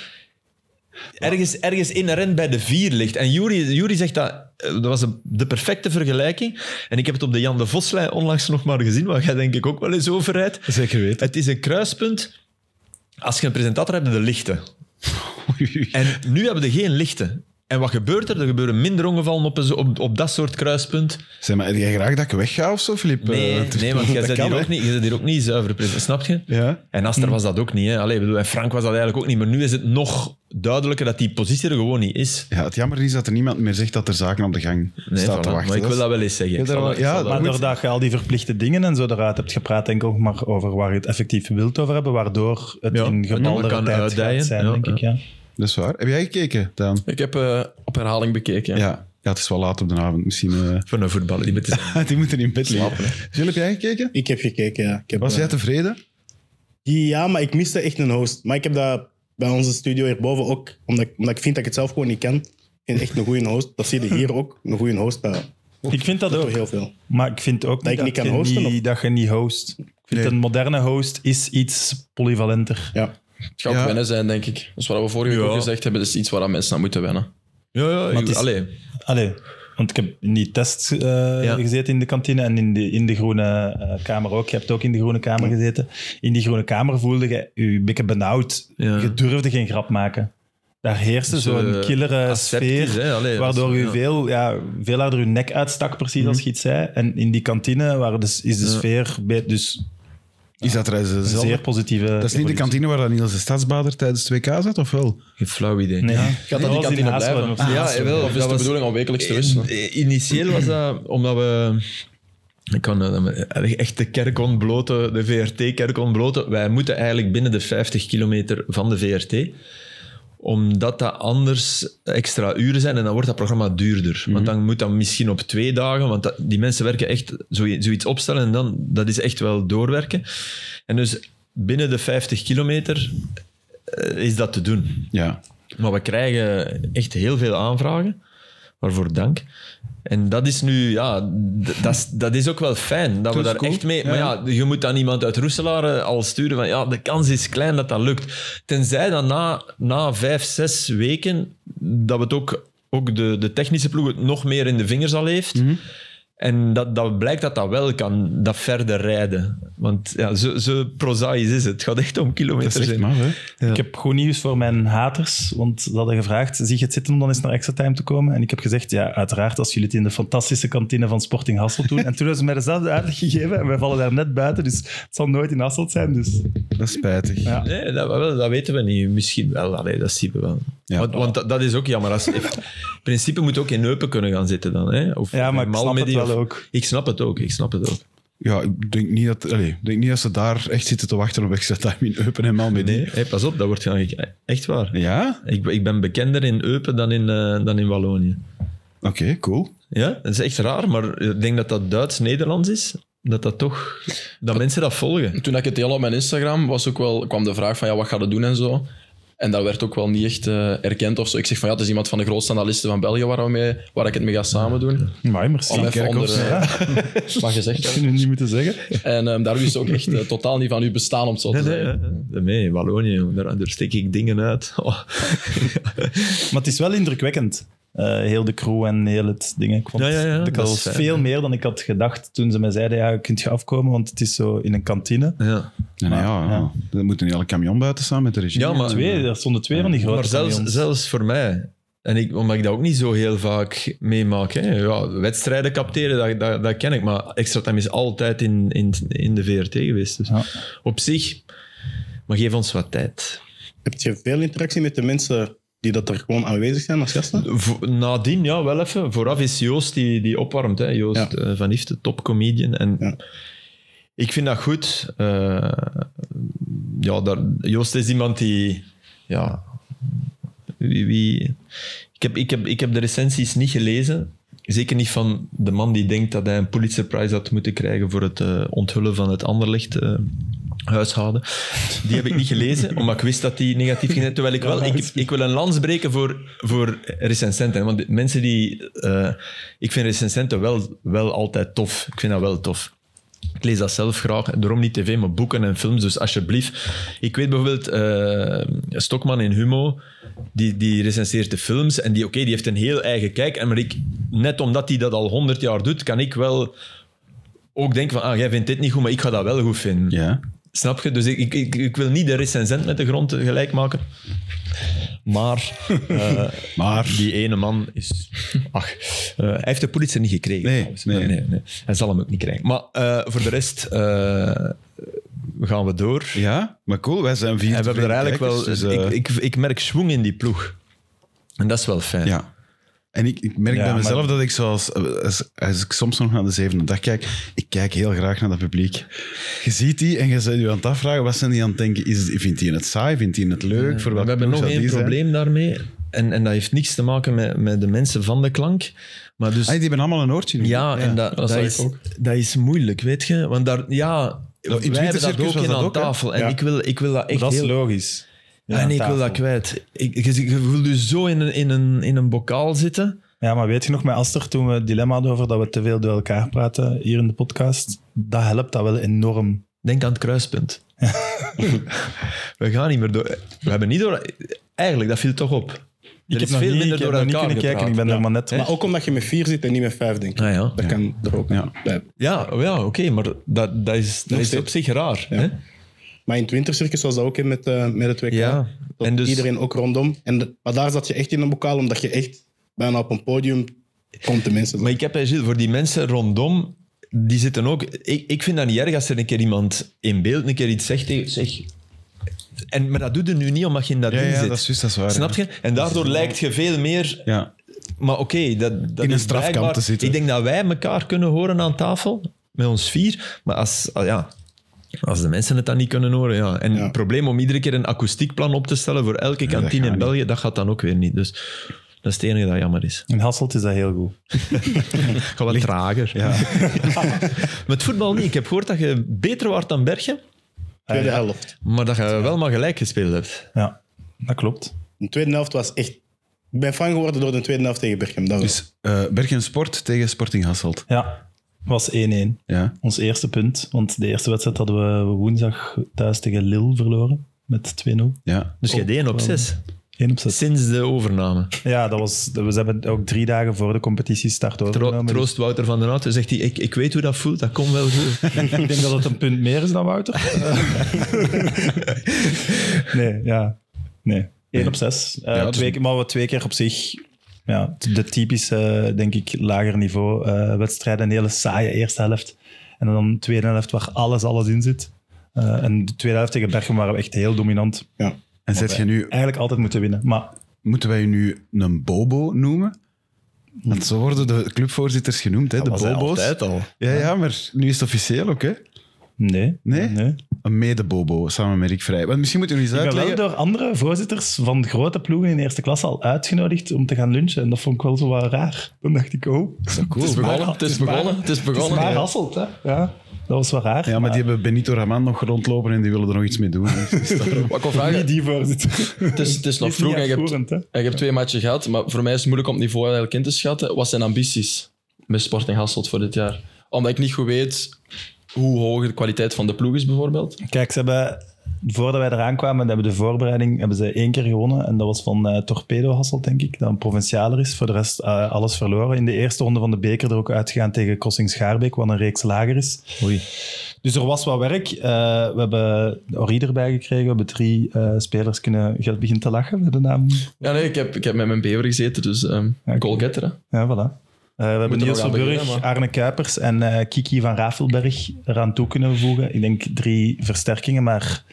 Speaker 3: ergens, ergens inherent bij de vier ligt. En Juri, Juri zegt dat... eh, Dat was een- de perfecte vergelijking. En ik heb het op de Jan de Voslijn onlangs nog maar gezien, waar jij denk ik ook wel eens over rijdt.
Speaker 1: Zeker weten.
Speaker 3: Het is een kruispunt. Als je een presentator hebt, heb je de lichten. En nu hebben we geen lichten. En wat gebeurt er? Er gebeuren minder ongevallen op, een zo- op, op dat soort kruispunt.
Speaker 1: Zeg maar, heb jij graag dat ik wegga of zo, Filip?
Speaker 3: Nee,
Speaker 1: Eh,
Speaker 3: nee want jij
Speaker 1: dat
Speaker 3: zit
Speaker 1: kan,
Speaker 3: hier,
Speaker 1: hè.
Speaker 3: ook niet- jij bent hier ook niet zuiver present, snap je?
Speaker 1: Ja. Hm.
Speaker 3: En Aster was dat ook niet. Hè? Allee, ik bedoel, en Frank was dat eigenlijk ook niet. Maar nu is het nog duidelijker dat die positie er gewoon niet is.
Speaker 1: ja, het jammer is dat er niemand meer zegt dat er zaken op de gang
Speaker 3: Nee,
Speaker 1: staat
Speaker 3: voilà.
Speaker 1: te wachten.
Speaker 3: maar ik wil
Speaker 1: is-
Speaker 3: dat wel eens zeggen.
Speaker 1: Ja,
Speaker 3: Ik
Speaker 1: daar-
Speaker 3: zal dat- ik
Speaker 1: ja,
Speaker 3: zal dat-
Speaker 1: maar
Speaker 2: Maar
Speaker 1: goed.
Speaker 2: doordat je al die verplichte dingen en zo eruit hebt gepraat, denk ik ook maar over waar je het effectief wilt over hebben, waardoor het
Speaker 3: Ja,
Speaker 2: in
Speaker 3: ja,
Speaker 2: gebaldere
Speaker 3: kan
Speaker 2: tijd
Speaker 3: uitdijen.
Speaker 2: gaat zijn,
Speaker 3: Ja,
Speaker 2: denk ik. Ja.
Speaker 1: Dat is waar. Heb jij gekeken, Daan?
Speaker 4: Ik heb eh, op herhaling bekeken.
Speaker 1: Ja. ja. het is wel laat op de avond. Misschien...
Speaker 3: Voor een voetballer. Die met de-
Speaker 1: eh, die moeten in bed liggen. Jill, heb jij gekeken?
Speaker 5: Ik heb gekeken, ja. Ik heb,
Speaker 1: Was
Speaker 5: eh,
Speaker 1: jij tevreden?
Speaker 5: Ja, maar ik miste echt een host. Maar ik heb dat bij onze studio hierboven ook, omdat, ik- omdat ik vind dat ik het zelf gewoon niet kan, vind echt een goede host. Dat zie je hier ook. Een goede host. Dat
Speaker 2: Ik vind dat
Speaker 5: dat doet
Speaker 2: ook.
Speaker 5: heel veel.
Speaker 2: Maar ik vind ook
Speaker 5: Dat ik
Speaker 2: niet
Speaker 5: niet
Speaker 2: dat,
Speaker 5: kan
Speaker 2: je
Speaker 5: hosten,
Speaker 2: niet, dat je niet host. Ik vind
Speaker 1: Nee.
Speaker 2: een moderne host is iets polyvalenter.
Speaker 5: Ja.
Speaker 4: Het gaat ook
Speaker 1: Ja.
Speaker 4: wennen zijn, denk ik. Dat is wat we vorige week
Speaker 3: Ja.
Speaker 4: ook gezegd hebben. Dat is iets waar dat mensen aan moeten wennen.
Speaker 3: Ja, ja. ik-
Speaker 2: het is-
Speaker 3: allee.
Speaker 2: Allee, want ik heb in die test eh, gezeten in de kantine en in de, in de groene eh, kamer ook. Je hebt ook in de groene kamer gezeten. In die groene kamer voelde je je een beetje benauwd.
Speaker 3: Ja.
Speaker 2: Je durfde geen grap maken. Daar heerste
Speaker 3: Zo,
Speaker 2: zo'n
Speaker 3: eh,
Speaker 2: killere
Speaker 3: aseptisch,
Speaker 2: sfeer,
Speaker 3: hè, allee, dat is-
Speaker 2: waardoor je
Speaker 3: ja. Mhm.
Speaker 2: veel, ja, veel harder je nek uitstak, precies als je iets zei. En in die kantine waar dus, is de
Speaker 3: Ja.
Speaker 2: sfeer bij, dus
Speaker 1: Is dat er
Speaker 2: een
Speaker 1: dezelfde-
Speaker 2: zeer positieve...
Speaker 1: Dat is niet de kantine waar dan Niels de Stadsbader tijdens het 2K zat, of wel?
Speaker 3: Geen flauw idee.
Speaker 2: Nee,
Speaker 4: Gaat dat
Speaker 2: was
Speaker 4: die
Speaker 2: in
Speaker 4: kantine
Speaker 2: Haaslo-
Speaker 4: blijven?
Speaker 2: Ah,
Speaker 3: Ja,
Speaker 2: Haaslo.
Speaker 3: jawel,
Speaker 4: Of is
Speaker 3: dat
Speaker 4: het de
Speaker 3: was-
Speaker 4: bedoeling om wekelijks te wisselen?
Speaker 3: Eh, Initieel was dat omdat we. Ik kan eh, eh, echt de kerk ontbloten, de VRT-kerk ontbloten. Wij moeten eigenlijk binnen de 50 kilometer van de VRT omdat dat anders extra uren zijn en dan wordt dat programma duurder. Want dan moet dat misschien op twee dagen, want dat- die mensen werken echt zoiets, zoiets opstellen en dan, dat is echt wel doorwerken. En dus binnen de 50 kilometer eh, is dat te doen.
Speaker 1: Ja.
Speaker 3: Maar we krijgen echt heel veel aanvragen. Waarvoor dank. En dat is nu, ja, d- dat is, dat is ook wel fijn. Dat we
Speaker 1: is
Speaker 3: daar
Speaker 1: cool.
Speaker 3: echt mee.
Speaker 1: Ja.
Speaker 3: Maar ja, je moet dan iemand uit Roeselaar eh, al sturen van ja, de kans is klein dat dat lukt. Tenzij dan na, na vijf, zes weken dat we het ook, ook de, de technische ploeg het nog meer in de vingers al heeft.
Speaker 1: Mhm.
Speaker 3: En dat, dat blijkt dat dat wel kan, dat verder rijden. Want ja, zo, zo prozaïs is het. Het gaat echt om
Speaker 1: Dat
Speaker 3: kilometers.
Speaker 1: is echt
Speaker 3: hè.
Speaker 1: maf, hè?
Speaker 2: Ik heb goed nieuws voor mijn haters, want ze hadden gevraagd, zie je het zitten om dan eens naar extra time te komen? En ik heb gezegd, ja, uiteraard als jullie het in de fantastische kantine van Sporting Hasselt doen. En toen hebben ze mij dezelfde uitleg gegeven en wij vallen daar net buiten, dus het zal nooit in Hasselt zijn. Dus
Speaker 1: Dat is spijtig.
Speaker 2: Ja.
Speaker 3: Nee, dat, wel, dat weten we niet. Misschien wel, Allee, dat zien we wel.
Speaker 1: Ja.
Speaker 3: want want dat, dat is ook jammer. Als, in principe moet ook in Eupen kunnen gaan zitten dan. Hè? Of
Speaker 2: ja, maar
Speaker 3: in
Speaker 2: ik snap het
Speaker 3: Malmedy
Speaker 2: wel
Speaker 3: of-
Speaker 2: ook.
Speaker 3: Ik snap het ook, ik snap het ook.
Speaker 1: Ja, ik denk niet dat, allee, ik denk niet dat ze daar echt zitten te wachten op extra time in Eupen en Malmedy.
Speaker 3: Nee, hey, pas op, dat wordt gaan- echt waar.
Speaker 1: Ja?
Speaker 3: Ik, ik ben bekender in Eupen dan in, eh, dan in Wallonië.
Speaker 1: Oké, cool.
Speaker 3: Ja, dat is echt raar, maar ik denk dat dat Duits-Nederlands is. Dat dat toch... Dat mensen dat volgen.
Speaker 4: Toen ik het deel op mijn Instagram, was ook wel, kwam de vraag van ja, wat ga je doen en zo. En dat werd ook wel niet echt eh, erkend of zo. Ik zeg van ja, het is iemand van de grootste analisten van België waar, we mee, waar ik het mee ga samen doen.
Speaker 2: Maar
Speaker 4: Om even onder
Speaker 1: Kerkhoffs,
Speaker 4: eh, wat gezegd te
Speaker 2: Dat
Speaker 4: hebben.
Speaker 2: kunnen we niet moeten zeggen.
Speaker 4: En ehm, daar wist ze ook echt eh, totaal niet van u bestaan, om het zo te
Speaker 3: Nee, nee,
Speaker 4: zeggen.
Speaker 3: hè. nee, in Wallonië, daar, daar steek ik dingen uit. Oh.
Speaker 2: Maar het is wel indrukwekkend. eh, heel de crew en heel het ding. Ik vond
Speaker 3: Ja, ja, ja,
Speaker 2: het- ik
Speaker 3: dat
Speaker 2: was
Speaker 3: is fijn,
Speaker 2: veel meer dan ik had gedacht toen ze mij zeiden, ja, je kunt je afkomen, want het is zo in een kantine.
Speaker 3: Ja.
Speaker 1: Nee, nee, ja,
Speaker 2: Ja.
Speaker 1: ja. Dan moet een hele camion buiten staan met de regie. eh,
Speaker 3: Ja, maar-
Speaker 2: Twee, er stonden twee van die grote
Speaker 3: Maar zelfs,
Speaker 2: camions.
Speaker 3: zelfs voor mij, en ik, omdat ik dat ook niet zo heel vaak meemaak, hè. Ja, wedstrijden capteren, dat, dat, dat ken ik, maar extra time is altijd in, in, in de VRT geweest. Dus
Speaker 2: Ja.
Speaker 3: op zich, maar geef ons wat tijd.
Speaker 5: Heb je veel interactie met de mensen die dat er gewoon aanwezig zijn als gasten?
Speaker 3: Vo- Nadien, ja, wel even. Vooraf is Joost die, die opwarmt. Hè. Joost
Speaker 5: Ja.
Speaker 3: eh, van Ifte, topcomedian. En
Speaker 5: Ja.
Speaker 3: ik vind dat goed. Eh, ja, daar, Joost is iemand die... Ja, wie, wie- ik, heb, ik, heb, ik heb de recensies niet gelezen. Zeker niet van de man die denkt dat hij een Pulitzer Prize had moeten krijgen voor het eh, onthullen van het Anderlecht eh, huishouden. Die heb ik niet gelezen, omdat ik wist dat die negatief ging zijn. Terwijl ik wel, ik, ik wil een lans breken voor, voor recensenten. hè. Want die- mensen die, eh, ik vind recensenten wel, wel altijd tof. Ik vind dat wel tof. Ik lees dat zelf graag, daarom niet tv, maar boeken en films, dus alsjeblieft. Ik weet bijvoorbeeld eh, Stokman in Humo, die, die recenseert de films en die, oké, die heeft een heel eigen kijk. En maar ik, net omdat hij dat al honderd jaar doet, kan ik wel ook denken van, ah, jij vindt dit niet goed, maar ik ga dat wel goed vinden.
Speaker 1: Ja.
Speaker 3: Snap je? Dus ik, ik, ik, ik wil niet de recensent met de grond gelijk maken. Maar eh,
Speaker 1: Maar...
Speaker 3: die ene man is... Ach, eh, hij heeft de politie niet gekregen.
Speaker 1: Nee,
Speaker 3: trouwens.
Speaker 1: nee.
Speaker 3: Hij zal hem ook niet krijgen. Maar eh, voor de rest eh, gaan we door.
Speaker 1: Ja, maar cool. Wij zijn vier
Speaker 3: en we hebben er
Speaker 1: tevreden
Speaker 3: eigenlijk wel...
Speaker 1: kijkers, dus, eh,
Speaker 3: ik, ik, ik merk schwung in die ploeg. En dat is wel fijn.
Speaker 1: Ja. En ik, ik merk
Speaker 2: Ja,
Speaker 1: bij
Speaker 2: maar-
Speaker 1: mezelf dat ik zoals... Als, als ik soms nog naar de zevende dag kijk, ik kijk heel graag naar dat publiek. Je ziet die en je bent je aan het afvragen, wat zijn die aan het denken? Is, vindt die het saai? Vindt die het leuk? Voor
Speaker 3: Eh, we
Speaker 1: wat
Speaker 3: hebben nog
Speaker 1: zou
Speaker 3: één
Speaker 1: die zijn?
Speaker 3: probleem daarmee. En, en dat heeft niks te maken met, met de mensen van de klank. Maar dus...
Speaker 1: Ah, die hebben allemaal een oortje nu.
Speaker 3: Ja, en dat, dat,
Speaker 4: zag ik
Speaker 3: is,
Speaker 4: ook.
Speaker 3: dat is moeilijk, weet je. Want daar, ja,
Speaker 1: het
Speaker 3: wij hebben dat
Speaker 1: wintercircus
Speaker 3: ook
Speaker 1: was
Speaker 3: in
Speaker 1: dat
Speaker 3: aan
Speaker 1: ook, hè?
Speaker 3: tafel. En
Speaker 5: Ja.
Speaker 3: ik, wil, ik wil dat echt
Speaker 2: dat is
Speaker 3: heel...
Speaker 2: logisch. Ja,
Speaker 3: en
Speaker 2: aan
Speaker 3: ik wil
Speaker 2: tafel.
Speaker 3: dat kwijt. Ik, je, je voelt je zo in een, in, een, in een bokaal zitten.
Speaker 2: Ja, maar weet je nog, met Aster, toen we het dilemma hadden over dat we te veel door elkaar praten hier in de podcast, dat helpt dat wel enorm.
Speaker 3: Denk aan het kruispunt. we gaan niet meer door. We hebben niet door. Eigenlijk, dat viel toch op. Er is
Speaker 2: nog niet-
Speaker 3: veel minder
Speaker 2: ik heb
Speaker 3: door
Speaker 2: nog niet
Speaker 3: elkaar
Speaker 2: kunnen kijken, ik ben er maar net...
Speaker 5: Maar ook omdat je met vier zit en niet met vijf, denk ik.
Speaker 3: Ah, ja,
Speaker 5: Dat kan er ook
Speaker 1: Ja.
Speaker 5: bij.
Speaker 3: ja, ja oké, maar dat, dat is, dat is op
Speaker 5: steeds.
Speaker 3: zich raar.
Speaker 5: Ja.
Speaker 3: Hè?
Speaker 5: Maar in het wintercircus was dat ook hè, met, eh, met het WK.
Speaker 3: Ja,
Speaker 5: Dat
Speaker 3: en dus-
Speaker 5: iedereen ook rondom. En de- maar daar zat je echt in een bokaal, omdat je echt bijna op een podium komt de mensen.
Speaker 3: Maar ik heb bij Gilles, voor die mensen rondom, die zitten ook... Ik, ik vind dat niet erg als er een keer iemand in beeld een keer iets zegt. tegen- Zeg, en, maar dat doet er nu niet, omdat je in dat
Speaker 1: Ja,
Speaker 3: ding
Speaker 1: ja,
Speaker 3: zit.
Speaker 1: dat is juist, dat is waar,
Speaker 3: Snap
Speaker 1: ja.
Speaker 3: je? En daardoor lijkt je veel meer...
Speaker 1: Ja.
Speaker 3: Maar oké, dat, dat
Speaker 1: In een
Speaker 3: is
Speaker 1: strafkamp
Speaker 3: blijkbaar-
Speaker 1: te zitten.
Speaker 3: Ik denk dat wij elkaar kunnen horen aan tafel, met ons vier. Maar als, ah ja, als de mensen het dan niet kunnen horen, ja. En
Speaker 5: Ja.
Speaker 3: het probleem om iedere keer een akoestiekplan op te stellen voor elke
Speaker 1: dat
Speaker 3: kantine
Speaker 1: gaat
Speaker 3: in
Speaker 1: niet.
Speaker 3: België, dat gaat dan ook weer niet. Dus dat is het enige dat jammer is.
Speaker 2: In Hasselt is dat heel goed.
Speaker 3: Ga wat trager. Met voetbal niet. Ik heb gehoord dat je beter wordt dan Bergen,
Speaker 5: tweede
Speaker 2: Ah, ja.
Speaker 5: helft.
Speaker 3: maar dat je wel maar gelijk gespeeld hebt.
Speaker 2: Ja, dat klopt.
Speaker 5: De tweede helft was echt... Ik ben fan geworden door de tweede helft tegen Berchem. Dat wel.
Speaker 1: Dus eh Bergen Sport tegen Sporting Hasselt.
Speaker 2: Ja, was 1-1.
Speaker 1: Ja.
Speaker 2: Ons eerste punt, want de eerste wedstrijd hadden we woensdag thuis tegen Lille verloren met 2-0. 1
Speaker 1: ja.
Speaker 3: Dus je hebt één op zes.
Speaker 2: op 6.
Speaker 3: Sinds de overname.
Speaker 2: Ja, dat was, we hebben ook drie dagen voor de competitiestart
Speaker 3: Tro-
Speaker 2: overgenomen. Dus
Speaker 3: troost Wouter van den Houten. Zegt hij, ik, ik weet hoe dat voelt, dat komt wel goed.
Speaker 2: ik denk dat het een punt meer is dan Wouter. nee, ja. Nee. Eén
Speaker 1: Nee.
Speaker 2: op zes. Eh,
Speaker 1: Ja, dat is
Speaker 2: twee,
Speaker 1: een-
Speaker 2: keer- maar we twee keer op zich. Ja, de typische, denk ik, lager niveau eh, wedstrijden. Een hele saaie eerste helft. En dan een tweede helft waar alles, alles in zit. Eh, en de tweede helft tegen Bergen waren we echt heel dominant.
Speaker 5: Ja.
Speaker 1: En zet je nu,
Speaker 2: Eigenlijk altijd moeten winnen. Maar
Speaker 1: moeten wij je nu een Bobo noemen? Want zo worden de clubvoorzitters genoemd, hè, de
Speaker 2: was hij
Speaker 1: Bobo's.
Speaker 3: Tijd al.
Speaker 1: Ja, ja, maar nu is het officieel ook, hè?
Speaker 2: nee.
Speaker 1: Nee?
Speaker 2: nee.
Speaker 1: Een mede-Bobo samen met Rick Vrij. Want misschien moeten jullie eens
Speaker 2: Ik ben wel
Speaker 1: uitleggen.
Speaker 2: door andere voorzitters van grote ploegen in de eerste klasse al uitgenodigd om te gaan lunchen. En dat vond ik wel zo wat raar. Dan dacht ik, oh, het
Speaker 1: Cool.
Speaker 4: Het is begonnen, het is begonnen, het is
Speaker 2: is maar
Speaker 4: begonnen.
Speaker 2: Hasselt, hè? Ja, dat was wel raar.
Speaker 1: Ja, maar die hebben Benito Raman nog rondlopen en die willen er nog iets mee doen. Dus daarom-
Speaker 4: Wat ik wil vragen,
Speaker 2: Niet die voorzitter.
Speaker 4: het is, het is nog
Speaker 2: Is niet
Speaker 4: vroeg en je hebt,
Speaker 2: uitvoerend, hè?
Speaker 4: en je hebt twee matchen gehad, maar voor mij is het moeilijk om het niveau eigenlijk in te schatten. Wat zijn ambities met Sporting Hasselt voor dit jaar? Omdat ik niet goed weet hoe hoog de kwaliteit van de ploeg is bijvoorbeeld.
Speaker 2: Kijk, ze hebben, voordat wij eraan kwamen, hebben de voorbereiding hebben ze één keer gewonnen. En dat was van eh, Torpedo Hasselt, denk ik, dat een provincialer is. Voor de rest eh, alles verloren. In de eerste ronde van de beker er ook uitgegaan tegen Crossing Schaarbeek, wat een reeks lager is.
Speaker 3: Oei.
Speaker 2: Dus er was wat werk. Eh, we hebben Ori erbij gekregen. We hebben drie eh, spelers kunnen... Je begint te lachen met de naam.
Speaker 4: Ja, nee, ik heb, ik heb met mijn bever gezeten, dus ehm
Speaker 2: oké.
Speaker 4: goalgetter. hè.
Speaker 2: Ja, voilà. Eh, we hebben
Speaker 4: er
Speaker 2: Niels
Speaker 4: nog aan
Speaker 2: Verburg,
Speaker 4: beginnen, maar-
Speaker 2: Arne Kuipers en eh, Kiki van Rafelberg eraan toe kunnen voegen. Ik denk drie versterkingen, maar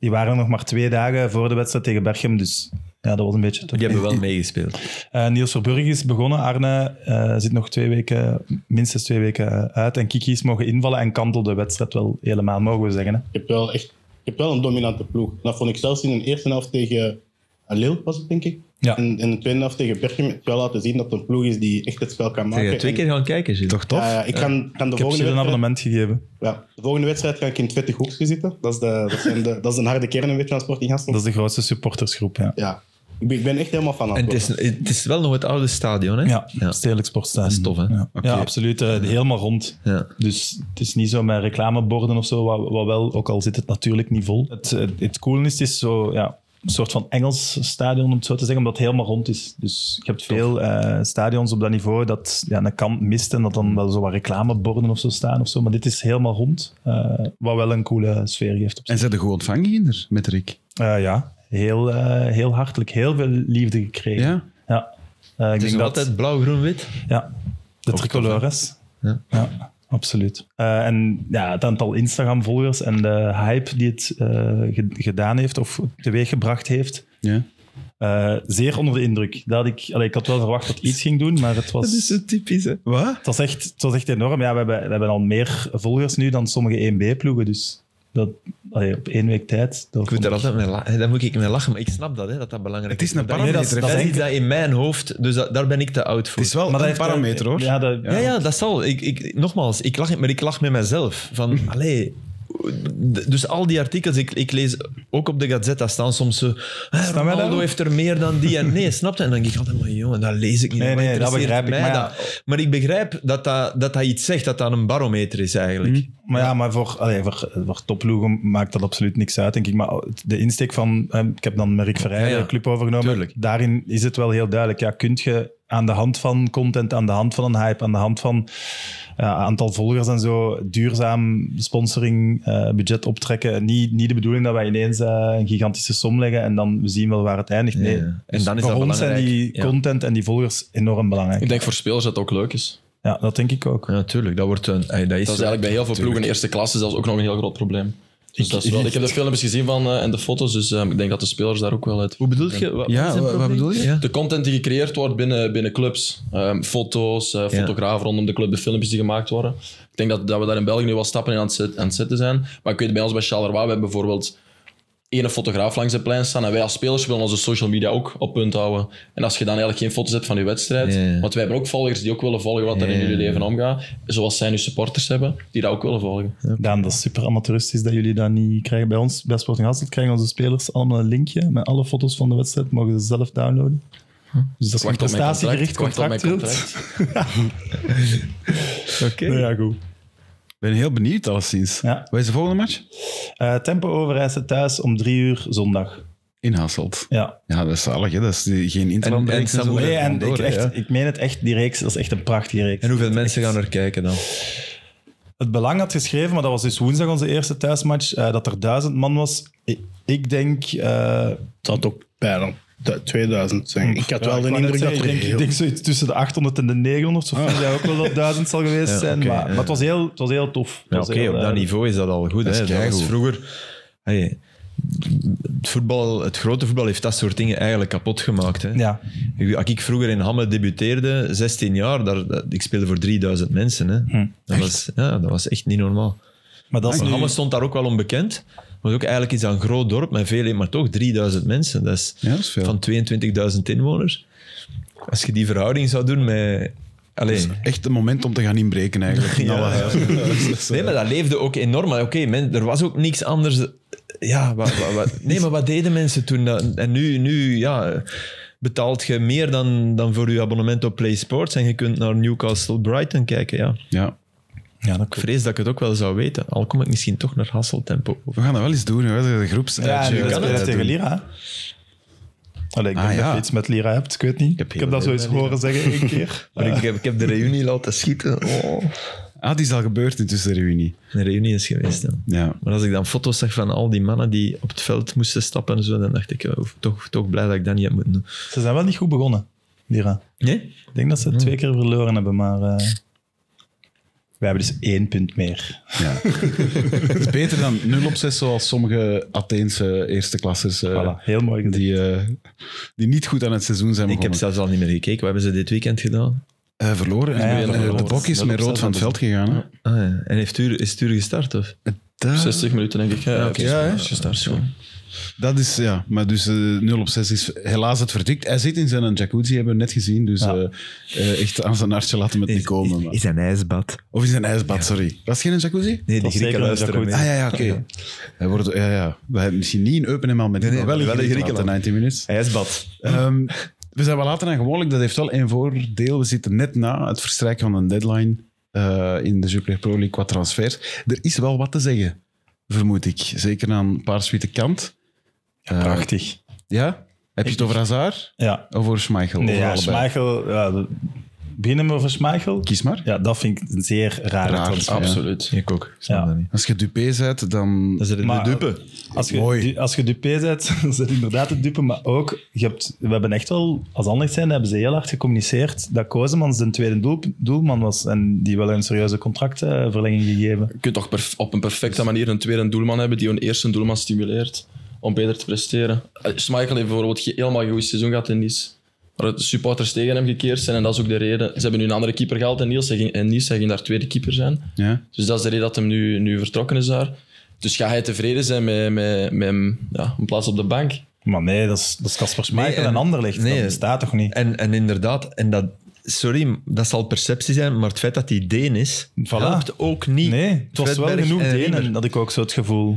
Speaker 2: die waren nog maar twee dagen voor de wedstrijd tegen Berchem. Dus ja, dat was een beetje... te-
Speaker 3: Die hebben wel meegespeeld.
Speaker 2: Eh, Niels Verburg is begonnen. Arne eh, zit nog twee weken, minstens twee weken uit. En Kiki is mogen invallen en kantelde de wedstrijd wel helemaal, mogen we zeggen. Hè?
Speaker 5: Je hebt wel echt je hebt wel een dominante ploeg. En dat vond ik zelfs in de eerste helft tegen eh, Lille, was het denk ik.
Speaker 2: Ja.
Speaker 5: En in de tweede helft tegen Berchem heb je wel laten zien dat het een ploeg is die echt het spel kan
Speaker 3: Zeg,
Speaker 5: maken.
Speaker 3: je twee
Speaker 5: En-
Speaker 3: keer gaan kijken, Gilles.
Speaker 1: Toch tof?
Speaker 5: Ja, ja, ik kan, kan de
Speaker 2: Ik heb ze
Speaker 5: volgende
Speaker 2: een
Speaker 5: wedstrijd...
Speaker 2: abonnement gegeven.
Speaker 5: Ja, de volgende wedstrijd ga ik in het vettig hoekje zitten. Dat is de, dat zijn de, dat is een harde kern een beetje van Sporting
Speaker 2: Dat
Speaker 5: Hasselt.
Speaker 2: is de grootste supportersgroep, ja.
Speaker 5: Ja, ik ben, ik ben echt helemaal fan aan
Speaker 3: En
Speaker 5: het
Speaker 3: het is,
Speaker 5: worden.
Speaker 3: het is wel nog het oude stadion, hè?
Speaker 2: Ja,
Speaker 3: ja.
Speaker 1: Dus
Speaker 2: stedelijk sportstadion.
Speaker 3: Dat is tof, hè?
Speaker 2: Ja,
Speaker 1: Oké.
Speaker 2: Ja, absoluut. eh, helemaal rond.
Speaker 3: Ja.
Speaker 2: Dus het is niet zo met reclameborden of zo, wat, wat wel, ook al zit het natuurlijk niet vol. Het, het, het coole is, het is zo, ja, een soort van Engels stadion, om het zo te zeggen, omdat het helemaal rond is. Dus je hebt veel eh, stadions op dat niveau dat ja, een kant mist en dat dan wel zo wat reclameborden of zo staan of zo. Maar dit is helemaal rond, eh, wat wel een coole sfeer geeft. Op zich.
Speaker 1: En ze de goed ontvangen hier met Rick.
Speaker 2: Eh, ja, heel, eh, heel hartelijk, heel veel liefde gekregen.
Speaker 1: Ja?
Speaker 2: Ja. Eh, ik
Speaker 3: Het is
Speaker 2: denk
Speaker 3: nog
Speaker 2: dat,
Speaker 3: altijd blauw, groen, wit.
Speaker 2: ja, de
Speaker 3: Ook
Speaker 2: tricolores.
Speaker 3: Ja.
Speaker 2: Ja. absoluut. Eh, en ja, het aantal Instagram-volgers en de hype die het eh, ge- gedaan heeft of teweeggebracht heeft,
Speaker 1: Ja.
Speaker 2: eh, zeer onder de indruk. Dat ik, allee, ik had wel verwacht dat iets ging doen, maar het was,
Speaker 3: zo typisch, hè?
Speaker 1: Wat?
Speaker 2: het was, echt, het was echt enorm. Ja, we, hebben, we hebben al meer volgers nu dan sommige 1B-ploegen, dus dat, allee, op één week tijd. Dat
Speaker 3: Ik moet daar altijd mee lachen. Daar moet ik mee lachen, maar ik snap dat, hè, dat dat belangrijk
Speaker 1: Het
Speaker 3: is.
Speaker 1: is een
Speaker 3: Maar dat-
Speaker 1: parameter,
Speaker 3: nee, dat,
Speaker 1: hè.
Speaker 3: dat is iets dat in mijn hoofd, dus dat- daar ben ik te oud voor.
Speaker 1: Het is wel
Speaker 2: Maar dat
Speaker 1: een
Speaker 2: heeft-
Speaker 1: parameter, hoor.
Speaker 2: Ja, dat, Mhm.
Speaker 3: Ja, ja, dat zal. Ik, ik, nogmaals, ik lach, maar ik lach met mezelf. Van, allee, d- dus al die artikels, ik, ik lees ook op de Gazette, daar staan soms zo... "Hè,
Speaker 2: wij
Speaker 3: Ronaldo
Speaker 2: daarop?
Speaker 3: heeft er meer dan die en nee, snap je? En dan denk ik altijd, maar jongen, dat lees ik niet.
Speaker 2: Nee,
Speaker 3: Wat
Speaker 2: nee, dat
Speaker 3: interesseert
Speaker 2: begrijp ik,
Speaker 3: mij
Speaker 2: maar ja.
Speaker 3: dat? Maar ik begrijp dat dat, dat dat iets zegt, dat dat een barometer is eigenlijk.
Speaker 2: Maar ja, maar voor, allee, voor, voor topploegen maakt dat absoluut niks uit, denk ik. Maar de insteek van, eh, ik heb dan Merk Verheij
Speaker 3: Ja, ja.
Speaker 2: de club overgenomen.
Speaker 3: Tuurlijk.
Speaker 2: Daarin is het wel heel duidelijk. Ja, kunt je aan de hand van content, aan de hand van een hype, aan de hand van eh, aantal volgers en zo, duurzaam sponsoring, eh, budget optrekken. Niet, niet de bedoeling dat wij ineens eh, een gigantische som leggen en dan we zien wel waar het eindigt. Nee.
Speaker 3: Ja, ja. En
Speaker 2: Dus
Speaker 3: dan is
Speaker 2: voor
Speaker 3: dat
Speaker 2: ons zijn
Speaker 3: belangrijk.
Speaker 2: die
Speaker 3: Ja.
Speaker 2: content en die volgers enorm
Speaker 4: Ik
Speaker 2: belangrijk.
Speaker 4: denk voor spelers dat het ook leuk is.
Speaker 2: Ja, dat denk ik ook.
Speaker 3: Ja, tuurlijk, dat wordt een... ey, dat is
Speaker 4: Dat is eigenlijk bij heel veel ploegen in eerste klasse zelfs ook nog een heel groot probleem. Dus dat is wel, ik heb de filmpjes gezien van, eh, en de foto's, dus eh, ik denk dat de spelers daar ook wel uit.
Speaker 3: Hoe bedoel je? Wat, wat is een
Speaker 1: wa- wat
Speaker 3: probleem?
Speaker 1: bedoel je?
Speaker 3: Ja.
Speaker 4: De content die gecreëerd wordt binnen, binnen clubs. Ehm, foto's, eh, fotografen rondom de club, de filmpjes die gemaakt worden. Ik denk dat, dat we daar in België nu wel stappen in aan het, zet- aan het zetten zijn. Maar ik weet bij ons bij Charleroi, we hebben bijvoorbeeld één fotograaf langs het plein staan. En wij als spelers willen onze social media ook op punt houden. En als je dan eigenlijk geen foto's hebt van je wedstrijd.
Speaker 3: Ja, ja.
Speaker 4: Want wij hebben ook volgers die ook willen volgen wat er in
Speaker 3: Ja, ja,
Speaker 4: jullie
Speaker 3: ja.
Speaker 4: leven omgaat. Zoals zij nu supporters hebben, die dat ook willen volgen.
Speaker 2: Daan, dat is super amateuristisch dat jullie dat niet krijgen. Bij ons, bij Sporting Hasselt, krijgen onze spelers allemaal een linkje met alle foto's van de wedstrijd. Mogen ze zelf downloaden. Dus dat is een
Speaker 4: op mijn
Speaker 2: prestatiegericht
Speaker 4: contract,
Speaker 2: contract.
Speaker 4: wacht op mijn contract.
Speaker 3: Oké.
Speaker 2: Wilt. Ja, goed.
Speaker 1: ben heel benieuwd, alleszins.
Speaker 2: Ja.
Speaker 1: Wat is de volgende match?
Speaker 2: Eh, tempo overreizen thuis om drie uur zondag.
Speaker 1: In Hasselt.
Speaker 2: Ja.
Speaker 1: Ja, dat is zalig, hè? Dat is die- geen interland.
Speaker 3: en Samoei-
Speaker 2: Nee, en
Speaker 3: Andorra,
Speaker 2: ik, echt,
Speaker 3: ja.
Speaker 2: ik meen het echt, die reeks, dat is echt een prachtige reeks.
Speaker 3: En hoeveel mensen gaan er kijken dan?
Speaker 2: het belang had geschreven, maar dat was dus woensdag onze eerste thuismatch, eh, dat er duizend man was. Ik, ik denk... eh,
Speaker 5: Het had ook bijna du- 2000 zijn. Ik had
Speaker 2: Ja,
Speaker 5: wel
Speaker 2: ik
Speaker 5: de
Speaker 2: wou net
Speaker 5: indruk dat
Speaker 2: zeggen,
Speaker 5: er
Speaker 2: ik denk, ik
Speaker 5: heel...
Speaker 2: denk zoiets tussen de 800 en de 900, zo vind jij ook wel dat 1000 zal geweest zijn.
Speaker 3: oké,
Speaker 2: maar,
Speaker 3: ja.
Speaker 2: maar het was heel, het was heel tof. Het
Speaker 3: Ja,
Speaker 2: was
Speaker 3: Oké,
Speaker 2: heel,
Speaker 3: op dat
Speaker 2: eh,
Speaker 3: niveau is dat al goed.
Speaker 1: is
Speaker 3: hè. Dat was
Speaker 1: keigoed.
Speaker 3: vroeger... hey, het, voetbal, het grote voetbal heeft dat soort dingen eigenlijk kapot gemaakt. Hè.
Speaker 2: Ja,
Speaker 3: Ik- Als ik vroeger in Hamme debuteerde, 16 jaar, daar, dat- ik speelde voor 3000 mensen. Hè. Dat, was, ja, dat was echt niet normaal.
Speaker 2: maar dat is
Speaker 3: Maar
Speaker 2: nu-
Speaker 3: Hamme stond daar ook wel onbekend. Maar ook eigenlijk is dat een groot dorp met veel, maar toch 3000 mensen. Dat is,
Speaker 1: Ja, dat is veel.
Speaker 3: van 22.000 inwoners. Als je die verhouding zou doen met. Allee,
Speaker 1: Echt een moment om te gaan inbreken, eigenlijk. In alle huizen.
Speaker 3: nee, maar dat leefde ook enorm. Maar oké, men- er was ook niks anders. Ja, wat, wat, wat- nee, maar wat deden mensen toen? Dat- En nu, nu ja, betaalt je meer dan, dan voor je abonnement op Play Sports en je kunt naar Newcastle Brighton kijken. Ja.
Speaker 1: Ja.
Speaker 2: ja, dat
Speaker 3: Ik
Speaker 2: klopt.
Speaker 3: vrees dat ik het ook wel zou weten. Al kom ik misschien toch naar Hasseltempo.
Speaker 1: We gaan dat wel eens doen, hè? De
Speaker 2: Ja, en
Speaker 1: groepstijdje.
Speaker 2: we
Speaker 3: kan
Speaker 2: spelen
Speaker 3: het
Speaker 2: tegen
Speaker 3: doen.
Speaker 2: Lira. hè. Allee, ik
Speaker 1: Ah,
Speaker 2: denk dat
Speaker 1: ja.
Speaker 2: je iets met Lira hebt, ik weet niet. Ik heb,
Speaker 3: heel
Speaker 2: dat zo
Speaker 3: veel
Speaker 2: eens
Speaker 3: met Lira.
Speaker 2: horen zeggen één keer.
Speaker 3: Maar ik, heb, ik heb de reunie laten schieten. Oh.
Speaker 1: Ah, die is al gebeurd intussen de reunie.
Speaker 3: De reunie is geweest. Ja.
Speaker 1: Ja.
Speaker 3: Maar als ik dan foto's zag van al die mannen die op het veld moesten stappen en zo, dan dacht ik, ja, toch, toch blij dat ik dat niet heb moeten doen.
Speaker 2: Ze zijn wel niet goed begonnen, Lira.
Speaker 3: Nee?
Speaker 2: Ik denk dat ze twee keer verloren hebben, maar... eh, wij hebben dus één punt meer.
Speaker 1: ja. Het is beter dan 0 op 6, zoals sommige Atheense eerste klassers. eh,
Speaker 2: Voilà, heel mooi gezien.
Speaker 1: die, eh, die niet goed aan het seizoen zijn
Speaker 3: Ik heb
Speaker 1: begonnen.
Speaker 3: zelfs al niet meer gekeken. Wat hebben ze dit weekend gedaan?
Speaker 1: Eh, verloren. En
Speaker 2: Ja, ja,
Speaker 1: eh,
Speaker 2: verloren.
Speaker 1: de bok is
Speaker 2: Nul
Speaker 1: met
Speaker 2: op
Speaker 1: rood
Speaker 2: zes
Speaker 1: van het veld gegaan. Hè?
Speaker 3: Ah, ja. En heeft u, is het uur gestart? Of?
Speaker 1: Daar-
Speaker 4: 60 minuten denk ik. Ja,
Speaker 3: oké. Ja, hè?
Speaker 4: Gestart, ja.
Speaker 1: Dat is, ja. Maar dus eh, 0 op 6 is helaas het verdikt. Hij zit in zijn jacuzzi, hebben we net gezien. Dus
Speaker 2: Ja.
Speaker 1: eh, eh, echt aan zijn hartje laten met niet komen. maar-
Speaker 3: een ijsbad.
Speaker 1: Of in zijn ijsbad, sorry. Was het geen jacuzzi?
Speaker 3: Nee, de
Speaker 2: Dat is zeker
Speaker 3: Grieken
Speaker 2: een
Speaker 3: luisteren
Speaker 2: jacuzzi.
Speaker 3: mee.
Speaker 1: Ah ja, ja, oké. Hij wordt, ja, ja. We hebben misschien niet in Eupen en al met
Speaker 3: Nee, nee,
Speaker 1: maar wel in
Speaker 3: wel in
Speaker 1: Griekenland,
Speaker 3: Griekenland.
Speaker 1: de 90 minutes.
Speaker 3: Ijsbad.
Speaker 1: Ehm, we zijn wel later dan gewoonlijk. Dat heeft wel een voordeel. We zitten net na het verstrijken van een deadline eh, in de Jupiler Pro League qua transfers. Er is wel wat te zeggen, vermoed ik. Zeker aan paarswitte kant. Eh,
Speaker 2: Prachtig.
Speaker 1: ja? Heb je het over Hazard
Speaker 2: Ja,
Speaker 1: of over Schmeichel?
Speaker 2: Nee,
Speaker 1: Of
Speaker 2: ja,
Speaker 1: allebei?
Speaker 2: Schmeichel... Ja, de- beginnen we over Schmeichel?
Speaker 1: Kies maar.
Speaker 2: Ja, dat vind ik een zeer rare
Speaker 1: Raar,
Speaker 2: transfer.
Speaker 4: Absoluut.
Speaker 3: Ik ook. Ik snap
Speaker 2: Ja.
Speaker 3: dat niet.
Speaker 1: Als je Dupé zet, dan...
Speaker 3: Dat is de,
Speaker 2: Maar-
Speaker 3: de dupe.
Speaker 2: Als je,
Speaker 1: Mooi.
Speaker 2: du- als je Dupé zet, dan zit inderdaad het dupe. Maar ook, je hebt, we hebben echt wel, als anders zijn, hebben ze heel hard gecommuniceerd dat Kozemans de tweede doel- doelman was en die wel een serieuze contractverlenging gegeven.
Speaker 4: Je kunt toch perf- op een perfecte manier een tweede doelman hebben die een eerste doelman stimuleert om beter te presteren. Eh, Schmeichel heeft bijvoorbeeld ge- helemaal een goed seizoen gehad in Nice. Maar de supporters tegen hem gekeerd zijn en dat is ook de reden. Ze hebben nu een andere keeper gehaald in Niels hij ging- en Nice. Hij ging daar tweede keeper zijn.
Speaker 1: Ja.
Speaker 4: Dus dat is de reden dat hem nu, nu vertrokken is daar. Dus gaat hij tevreden zijn met, met, met hem, ja, een plaats op de bank?
Speaker 2: Maar nee, dat is dat is Casper Schmeichel
Speaker 3: Nee, en-
Speaker 2: en, Anderlecht.
Speaker 3: nee,
Speaker 2: dat bestaat toch niet?
Speaker 3: En, en inderdaad, en dat, sorry, dat zal perceptie zijn, maar het feit dat hij Deen is,
Speaker 2: Voilà.
Speaker 3: helpt ook niet.
Speaker 2: Nee, het was wel
Speaker 3: Fredberg
Speaker 2: genoeg
Speaker 3: en
Speaker 2: Denen,
Speaker 3: Riemer.
Speaker 2: dat ik ook zo het gevoel.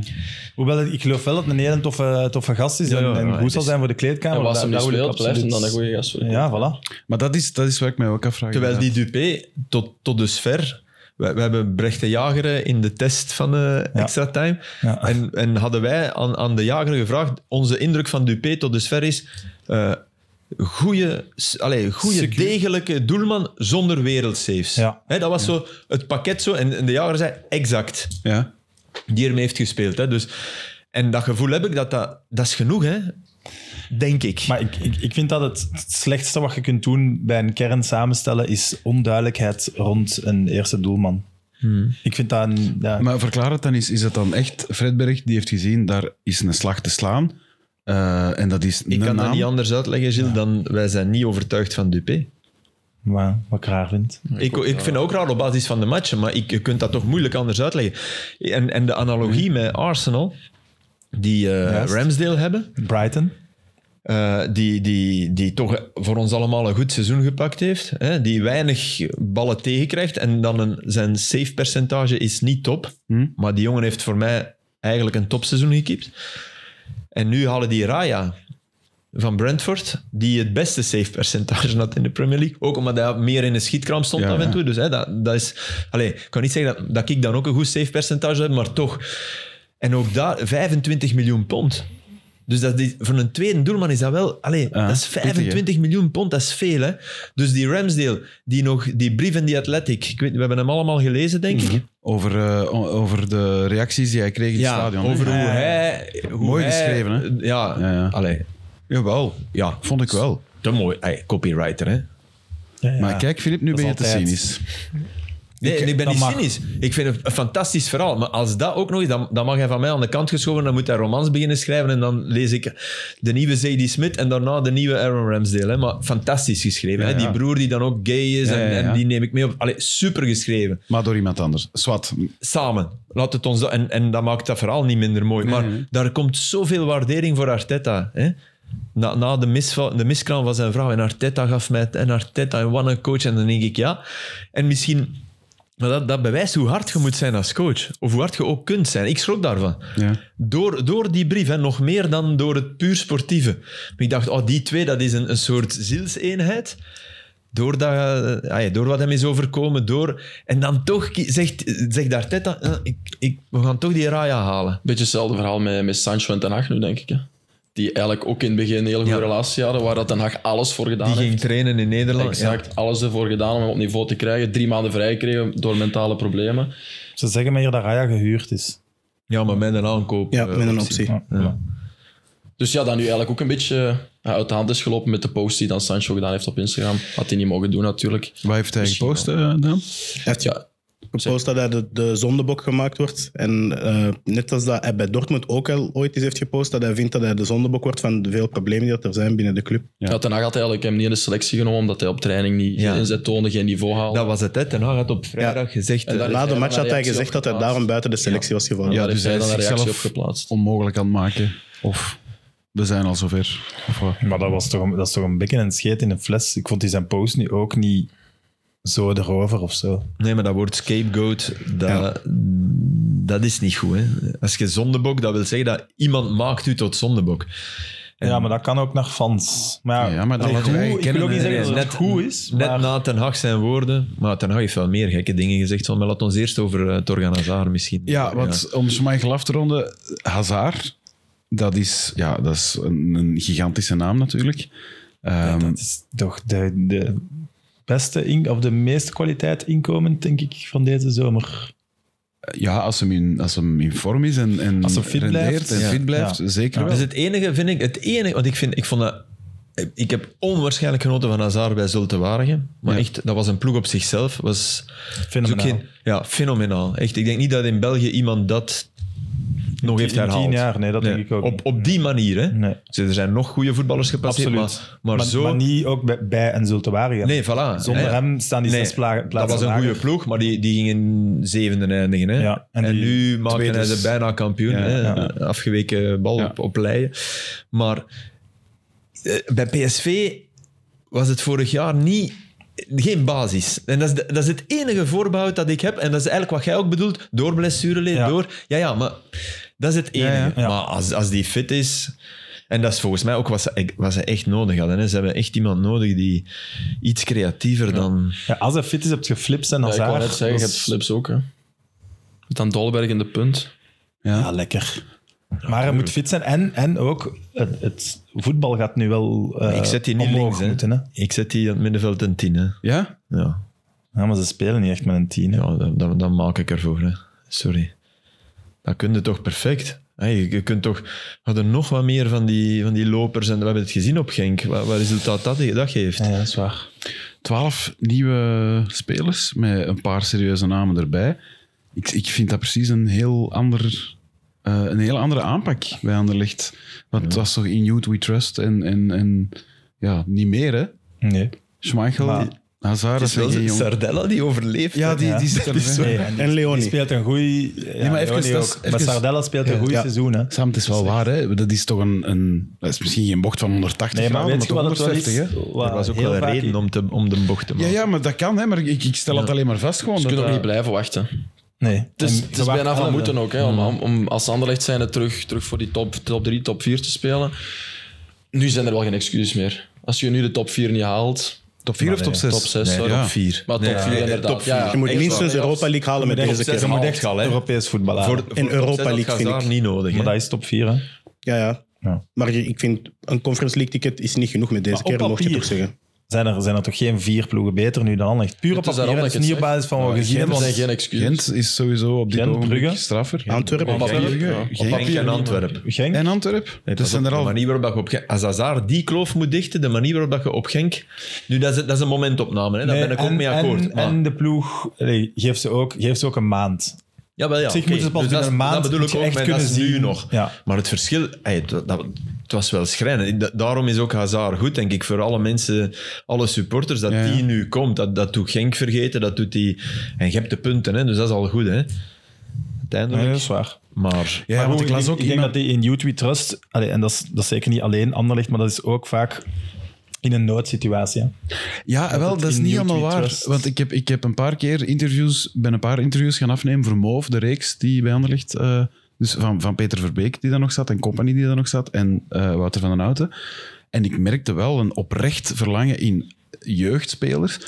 Speaker 2: Hoewel, ik geloof wel dat meneer een toffe, toffe gast is
Speaker 3: Ja,
Speaker 2: en,
Speaker 3: ja,
Speaker 2: en
Speaker 3: ja,
Speaker 2: goed
Speaker 3: het
Speaker 2: zal
Speaker 3: is-
Speaker 2: zijn voor de kleedkamer.
Speaker 4: En was
Speaker 2: Daar-
Speaker 4: hem niet
Speaker 2: daar wil ik
Speaker 4: speelt, blijft hem dan een
Speaker 2: absoluut-
Speaker 4: goede gast voor.
Speaker 2: Ja, voilà.
Speaker 1: Maar dat is, dat is waar ik mij ook afvraag.
Speaker 3: Terwijl die
Speaker 1: inderdaad.
Speaker 3: Dupé tot, tot dusver. We, we hebben Brecht de Jager in de test van eh, Extra Time.
Speaker 2: Ja.
Speaker 3: En, en hadden wij aan, aan de Jager gevraagd. Onze indruk van Dupé tot dusver is. eh goede, allez, goede
Speaker 2: Secuur.
Speaker 3: degelijke doelman zonder wereldsaves.
Speaker 2: Ja.
Speaker 3: Hè, dat was zo het pakket zo. En, en de Jager zei exact
Speaker 1: Ja.
Speaker 3: die ermee heeft gespeeld. Hè. Dus, en dat gevoel heb ik dat dat, dat is genoeg, hè? denk ik.
Speaker 2: Maar ik, ik, ik vind dat het het slechtste wat je kunt doen bij een kern samenstellen is onduidelijkheid rond een eerste doelman. Ik vind dat een... Ja,
Speaker 1: Maar verklaar het dan eens. Is dat dan echt Fredberg die heeft gezien, daar is een slag te slaan. eh, en dat is
Speaker 3: ik
Speaker 1: een
Speaker 3: kan dat
Speaker 1: naam.
Speaker 3: niet anders uitleggen, Gilles, dan wij zijn niet overtuigd van Dupé.
Speaker 2: maar, wat ik raar vind.
Speaker 3: Ik, ik vind het ook raar op basis van de matchen, maar ik, je kunt dat toch moeilijk anders uitleggen. En, en de analogie met Arsenal, die eh,
Speaker 2: Juist.
Speaker 3: Ramsdale hebben,
Speaker 2: Brighton?
Speaker 3: eh, die, die, die toch voor ons allemaal een goed seizoen gepakt heeft, hè, die weinig ballen tegenkrijgt en dan een, zijn save percentage is niet top,
Speaker 1: Hmm.
Speaker 3: maar die jongen heeft voor mij eigenlijk een topseizoen gekiept. En nu halen die Raya van Brentford, die het beste save percentage had in de Premier League. Ook omdat hij meer in een schietkramp stond
Speaker 1: Ja,
Speaker 3: af en
Speaker 1: ja.
Speaker 3: toe. Dus hè, dat, dat is... Allee, ik kan niet zeggen dat, dat ik dan ook een goed save percentage heb, maar toch. En ook daar 25 miljoen pond. Dus dat is, voor een tweede doelman is dat wel... Allee,
Speaker 1: Ja,
Speaker 3: dat is
Speaker 1: pittig, hè?
Speaker 3: 25 miljoen pond, dat is veel. Hè? Dus die Ramsdale, die, nog, die brief in die Athletic, ik weet, we hebben hem allemaal gelezen, denk ik.
Speaker 1: Over, eh, o- over de reacties die hij kreeg in het stadion. hè?
Speaker 3: over hoe
Speaker 2: Ja, ja, ja.
Speaker 3: hij... Hoe
Speaker 1: Mooi
Speaker 3: hij-
Speaker 1: geschreven, hè?
Speaker 3: Ja,
Speaker 1: Ja, ja.
Speaker 3: Allee,
Speaker 1: Jawel,
Speaker 3: ja.
Speaker 1: vond ik wel.
Speaker 3: Te mooi. Hey, copywriter, hè?
Speaker 2: Ja, ja.
Speaker 1: Maar kijk, Filip, nu
Speaker 2: Dat
Speaker 1: ben je
Speaker 2: is altijd.
Speaker 1: te cynisch.
Speaker 3: Nee,
Speaker 2: Ik-
Speaker 3: ik, ben
Speaker 2: dat
Speaker 3: niet
Speaker 2: mag.
Speaker 3: cynisch. Ik vind het een fantastisch verhaal. Maar als dat ook nog is, dan, dan mag hij van mij aan de kant geschoven. Dan moet hij romans beginnen schrijven. En dan lees ik de nieuwe Zadie Smith en daarna de nieuwe Aaron Ramsdale. Hè. Maar fantastisch geschreven.
Speaker 1: Ja,
Speaker 3: hè. Die
Speaker 1: ja.
Speaker 3: broer die dan ook gay is.
Speaker 1: Ja,
Speaker 3: en,
Speaker 1: ja, ja.
Speaker 3: en die neem ik mee op. Allee, super geschreven.
Speaker 1: Maar door iemand anders. Swat.
Speaker 3: Samen. Laat het ons dat, en, en dat maakt dat verhaal niet minder mooi. maar
Speaker 1: nee.
Speaker 3: daar komt zoveel waardering voor Arteta. Hè. Na, na de, misva- de miskraam van zijn vrouw. En Arteta gaf mij... het, En Arteta, en wat een coach. En dan denk ik, ja... En misschien... Maar dat, dat bewijst hoe hard je moet zijn als coach. Of hoe hard je ook kunt zijn. Ik schrok daarvan.
Speaker 1: Ja.
Speaker 3: Door, door die brief, hè, nog meer dan door het puur sportieve. Maar ik dacht, oh, die twee, dat is een, een soort zielseenheid. Door, dat, eh, ah ja, door wat hem is overkomen. Door, en dan toch ki- zegt, zegt Arteta, eh, ik, ik, we gaan toch die Raya halen.
Speaker 4: Beetje hetzelfde verhaal met, met Sancho en Ten Hag nu, denk ik. Hè. Die eigenlijk ook in het begin een hele goede
Speaker 3: Ja.
Speaker 4: relatie hadden, waar dat Ten Hag alles voor gedaan
Speaker 3: Die
Speaker 4: heeft.
Speaker 3: ging trainen in Nederland.
Speaker 4: Exact, alles ervoor gedaan om hem op niveau te krijgen. Drie maanden vrij gekregen door mentale problemen.
Speaker 2: Ze zeggen mij hier dat Raya gehuurd is.
Speaker 3: Ja, ja maar met een aankoop.
Speaker 5: Ja,
Speaker 3: eh,
Speaker 5: met een optie.
Speaker 2: Ja.
Speaker 4: Dus ja, dat nu eigenlijk ook een beetje eh, uit de hand is gelopen met de post die dan Sancho gedaan heeft op Instagram. Had hij niet mogen doen natuurlijk.
Speaker 1: Wat heeft hij
Speaker 4: Misschien
Speaker 1: gepost eh, dan?
Speaker 5: Hij heeft
Speaker 4: Ja,
Speaker 5: gepost dat hij de, de zondebok gemaakt wordt. En eh, net als dat hij bij Dortmund ook al ooit eens heeft gepost, dat hij vindt dat hij de zondebok wordt van de veel problemen die dat er zijn binnen de club.
Speaker 1: Ja.
Speaker 4: Ja. ten Hag had eigenlijk hem niet in de selectie genomen omdat hij op training niet
Speaker 3: Ja.
Speaker 4: inzet toonde, geen niveau haalde.
Speaker 3: Dat was het, hè. Ten Hag had op vrijdag gezegd...
Speaker 4: En
Speaker 3: eh,
Speaker 4: daar-
Speaker 5: Na de
Speaker 4: hij
Speaker 5: match
Speaker 4: dan
Speaker 5: had
Speaker 4: een
Speaker 5: hij
Speaker 4: reactie
Speaker 5: gezegd dat hij
Speaker 4: opgeplaatst.
Speaker 5: daarom buiten de selectie was gevallen.
Speaker 1: Ja,
Speaker 4: Daar
Speaker 1: dus
Speaker 4: heeft hij
Speaker 1: hij is
Speaker 4: dan een reactie op
Speaker 1: zichzelf
Speaker 4: geplaatst.
Speaker 1: onmogelijk aan het maken. Of we zijn al zover. Of wat?
Speaker 2: Maar dat, was toch, een- dat is toch een bekken en scheet in een fles. Ik vond die zijn post nu ook niet zo erover of zo.
Speaker 3: Nee, maar dat woord scapegoat, dat, dat is niet goed. Hè? Als je zondebok, dat wil zeggen dat iemand maakt u tot zondebok.
Speaker 2: Ja, maar dat kan ook naar fans. Maar ja,
Speaker 1: Ja, maar dat
Speaker 2: allee,
Speaker 1: laten wij
Speaker 2: goed, ik
Speaker 1: kennen,
Speaker 2: wil ook niet
Speaker 1: hè.
Speaker 2: zeggen dat het
Speaker 3: Net-
Speaker 2: goed is.
Speaker 3: Net
Speaker 2: maar-
Speaker 3: na Ten Hag zijn woorden, maar Ten Hag heeft wel meer gekke dingen gezegd. Maar laat ons eerst over het Torgan Hazard misschien.
Speaker 1: Ja, want om Schmeichel af te ronden, Hazard, dat is, ja, dat is een, een gigantische naam natuurlijk. Ehm,
Speaker 2: dat is toch de, de beste in, of de meeste kwaliteit inkomen, denk ik, van deze zomer.
Speaker 1: ja, als hem, in, als hem in vorm is en, en
Speaker 2: Als hem fit
Speaker 1: rendeert
Speaker 2: blijft.
Speaker 1: en
Speaker 2: Ja.
Speaker 1: fit blijft,
Speaker 2: Ja.
Speaker 1: zeker
Speaker 3: Dus
Speaker 1: wel.
Speaker 3: het enige vind ik, het enige, want ik vind, ik vond dat, ik heb onwaarschijnlijk genoten van Hazard bij Zulte Waregem. Maar
Speaker 1: Ja.
Speaker 3: echt, dat was een ploeg op zichzelf. Was, was ook
Speaker 2: Fenomenaal.
Speaker 3: geen, ja, fenomenaal. Echt, ik denk niet dat in België iemand dat nog heeft
Speaker 2: In
Speaker 3: herhaald.
Speaker 2: tien jaar, nee, dat
Speaker 3: Nee,
Speaker 2: denk ik ook
Speaker 3: Op,
Speaker 2: niet.
Speaker 3: op die manier, hè?
Speaker 2: Nee.
Speaker 3: Dus er zijn nog goede voetballers gepasseerd, maar,
Speaker 2: Absoluut.
Speaker 3: maar, zo...
Speaker 2: niet ook bij, bij een Zulte Waregem.
Speaker 3: nee, voilà.
Speaker 2: Zonder
Speaker 3: Ja, ja.
Speaker 2: hem staan die
Speaker 3: Nee,
Speaker 2: zes pla- plaatsen
Speaker 3: dat was een
Speaker 2: lager.
Speaker 3: goede ploeg, maar die, die gingen zevende eindigen. Hè?
Speaker 2: Ja,
Speaker 3: en
Speaker 2: en die
Speaker 3: nu maakte hij
Speaker 1: tweede
Speaker 3: ze
Speaker 1: is-
Speaker 3: bijna kampioen.
Speaker 1: Ja,
Speaker 3: hè?
Speaker 1: ja.
Speaker 3: Afgeweken bal
Speaker 1: Ja.
Speaker 3: op, op leien. Maar eh, bij PSV was het vorig jaar niet geen basis. En dat is, de- dat is het enige voorbehoud dat ik heb. En dat is eigenlijk wat jij ook bedoelt. Door blessureleed,
Speaker 2: Ja.
Speaker 3: door... Ja, ja, maar dat is het enige.
Speaker 2: ja, ja.
Speaker 3: Maar als, als die fit is... En dat is volgens mij ook wat ze, wat ze echt nodig hadden. Hè. Ze hebben echt iemand nodig die iets creatiever dan...
Speaker 2: Ja, als hij fit is, heb je flips en
Speaker 4: Ja, ik
Speaker 2: Hazard.
Speaker 4: wou net zeggen, je
Speaker 2: Dat
Speaker 4: hebt
Speaker 2: is-
Speaker 4: Flips ook. Hè. Met Dan Dolberg in de punt.
Speaker 2: Ja, lekker. Maar hij moet fit zijn en, en ook het, het voetbal gaat nu wel eh
Speaker 3: ik zet die niet
Speaker 2: omhoog
Speaker 3: links, hè.
Speaker 2: moeten. Hè?
Speaker 3: Ik zet die aan het middenveld een tien. Hè.
Speaker 1: Ja?
Speaker 3: Ja,
Speaker 2: Ja, maar ze spelen niet echt met een tien. hè.
Speaker 3: ja dan, dan, dan maak ik ervoor. Hè. Sorry. Dat kun je toch perfect. Hey, je je kunt toch... We hadden nog wat meer van die, van die lopers. En we hebben het gezien op Genk. Wat, wat resultaat dat, dat geeft.
Speaker 2: Ja, dat is waar.
Speaker 1: Twaalf nieuwe spelers met een paar serieuze namen erbij. Ik, ik vind dat precies een heel, ander, eh, een heel andere aanpak bij Anderlecht. Want het was toch in Youth We Trust en, en, en ja, niet meer, hè?
Speaker 2: Nee.
Speaker 1: Schmeichel,
Speaker 2: Maar-
Speaker 1: Hazard, dat zijn geen jongen.
Speaker 3: Sardella die overleeft.
Speaker 1: Ja, die, die zit er nog, hè.
Speaker 2: Nee, en, die-
Speaker 5: En Leoni.
Speaker 2: die speelt een goeie... Ja,
Speaker 1: maar even,
Speaker 2: Leoni
Speaker 1: dat
Speaker 2: ook.
Speaker 1: is-
Speaker 2: Maar
Speaker 1: even-
Speaker 2: Sardella speelt een goed
Speaker 5: Ja.
Speaker 2: seizoen, hè.
Speaker 1: Sam, het is wel waar, hè? Dat is toch een, een. Dat is misschien geen bocht van 180
Speaker 2: Nee, maar
Speaker 1: graden,
Speaker 2: weet je
Speaker 1: maar
Speaker 2: wat het
Speaker 1: toch
Speaker 2: wel
Speaker 1: 150,
Speaker 2: is?
Speaker 1: hè?
Speaker 3: Er was ook
Speaker 2: Heel
Speaker 3: wel een
Speaker 2: vaak-
Speaker 3: reden om, te, om de bocht te
Speaker 1: Ja,
Speaker 3: maken.
Speaker 1: ja, maar dat kan, hè? Maar ik, ik stel het alleen maar vast gewoon.
Speaker 4: Ze kunnen
Speaker 1: dat
Speaker 4: ook niet
Speaker 1: dat-
Speaker 4: blijven wachten.
Speaker 2: Nee.
Speaker 4: Het is,
Speaker 2: En
Speaker 4: Dus het
Speaker 2: ze
Speaker 4: is
Speaker 2: waren
Speaker 4: bijna van
Speaker 2: elfde.
Speaker 4: moeten ook, hè, om, om als Anderlecht zijn het terug, terug voor die top, top 3, top 4 te spelen. Nu zijn er wel geen excuses meer. Als je nu de top 4 niet haalt,
Speaker 1: Top 4 of top 6?
Speaker 4: top 6, sorry.
Speaker 1: Dus- ja.
Speaker 3: Op vier.
Speaker 4: maar top 4 inderdaad.
Speaker 3: top
Speaker 4: Ja, ja,
Speaker 5: Je moet
Speaker 4: echt
Speaker 5: minstens
Speaker 4: waar.
Speaker 5: Europa League halen met
Speaker 2: Top
Speaker 5: deze
Speaker 2: zes
Speaker 5: keer.
Speaker 2: moet echt Europees voetbal halen.
Speaker 5: In Europa League, vind
Speaker 3: daar
Speaker 5: ik.
Speaker 3: niet nodig.
Speaker 2: Maar
Speaker 3: hè.
Speaker 2: dat is top 4, hè.
Speaker 5: Ja, ja.
Speaker 2: Ja.
Speaker 5: Maar je- ik vind een Conference League ticket is niet genoeg met deze
Speaker 2: Maar op
Speaker 5: keer, mocht je
Speaker 2: papier.
Speaker 5: toch zeggen.
Speaker 2: Zijn er, zijn er toch geen vier ploegen beter nu dan Anderlecht? Puur op
Speaker 4: Het is
Speaker 2: papier,
Speaker 4: daarom
Speaker 2: hè.
Speaker 4: dat
Speaker 2: het
Speaker 4: ik
Speaker 2: is niet op
Speaker 4: het
Speaker 2: basis
Speaker 4: zeg.
Speaker 2: van wat
Speaker 4: Ja,
Speaker 2: we gezien
Speaker 4: Er
Speaker 2: hebben.
Speaker 4: zijn
Speaker 2: want-
Speaker 4: geen excuses.
Speaker 1: Gent is sowieso op dit
Speaker 2: Gent,
Speaker 1: ogenblik
Speaker 2: Brugge.
Speaker 1: straffer.
Speaker 5: Antwerpen.
Speaker 4: Maar
Speaker 1: Brugge,
Speaker 4: papier,
Speaker 1: Brugge,
Speaker 4: ja.
Speaker 1: Genk.
Speaker 3: Genk en Antwerpen.
Speaker 2: Genk?
Speaker 1: En Antwerp.
Speaker 3: Nee,
Speaker 1: dat
Speaker 3: pas
Speaker 1: zijn
Speaker 3: op,
Speaker 1: er
Speaker 3: de
Speaker 1: al.
Speaker 3: manier waarop dat je op Genk- als Hazard die kloof moet dichten, de manier waarop dat je op Genk... Nu, dat is, dat is een momentopname, hè. daar
Speaker 2: Nee,
Speaker 3: ben ik ook
Speaker 2: en-
Speaker 3: mee akkoord.
Speaker 2: En,
Speaker 3: maar,
Speaker 2: en de ploeg allee, geeft ze, ook, geeft ze ook een maand.
Speaker 3: jawel, ja,
Speaker 2: zich
Speaker 3: oké.
Speaker 2: moeten ze pas
Speaker 3: Dus
Speaker 2: binnen
Speaker 3: dat is-
Speaker 2: een maand
Speaker 3: Dat bedoel
Speaker 2: moet
Speaker 3: ik
Speaker 2: je
Speaker 3: ook,
Speaker 2: echt
Speaker 3: maar dat
Speaker 2: kunnen
Speaker 3: is nu
Speaker 2: zien.
Speaker 3: nog.
Speaker 2: Ja.
Speaker 3: Maar het verschil, ey, dat, dat- het was wel schrijnend. Da- Daarom is ook Hazard goed, denk ik, voor alle mensen, alle supporters, dat
Speaker 1: Ja, ja.
Speaker 3: die nu komt. Dat, dat doet Genk vergeten, dat doet die... En je hebt de punten, hè, dus dat is al goed. Hè.
Speaker 2: Nee,
Speaker 3: Uiteindelijk.
Speaker 2: dat is waar.
Speaker 3: Maar
Speaker 1: Ja, want ik
Speaker 2: goed,
Speaker 1: las
Speaker 2: denk-
Speaker 1: ook
Speaker 2: denk
Speaker 1: iemand...
Speaker 2: dat die in Youth We Trust, allee, en dat is, dat is zeker niet alleen Anderlecht, maar dat is ook vaak in een noodsituatie. hè.
Speaker 1: Ja, wel,
Speaker 2: het
Speaker 1: dat is
Speaker 2: in
Speaker 1: niet
Speaker 2: New
Speaker 1: allemaal
Speaker 2: Tweet
Speaker 1: waar.
Speaker 2: was.
Speaker 1: Want ik heb, ik heb een paar keer interviews, ben een paar interviews gaan afnemen voor Moof, de reeks die bij Anderlecht... eh, dus van, van Peter Verbeek, die daar nog zat, en Company, die daar nog zat, en eh, Wouter van den Houten. En ik merkte wel een oprecht verlangen in jeugdspelers.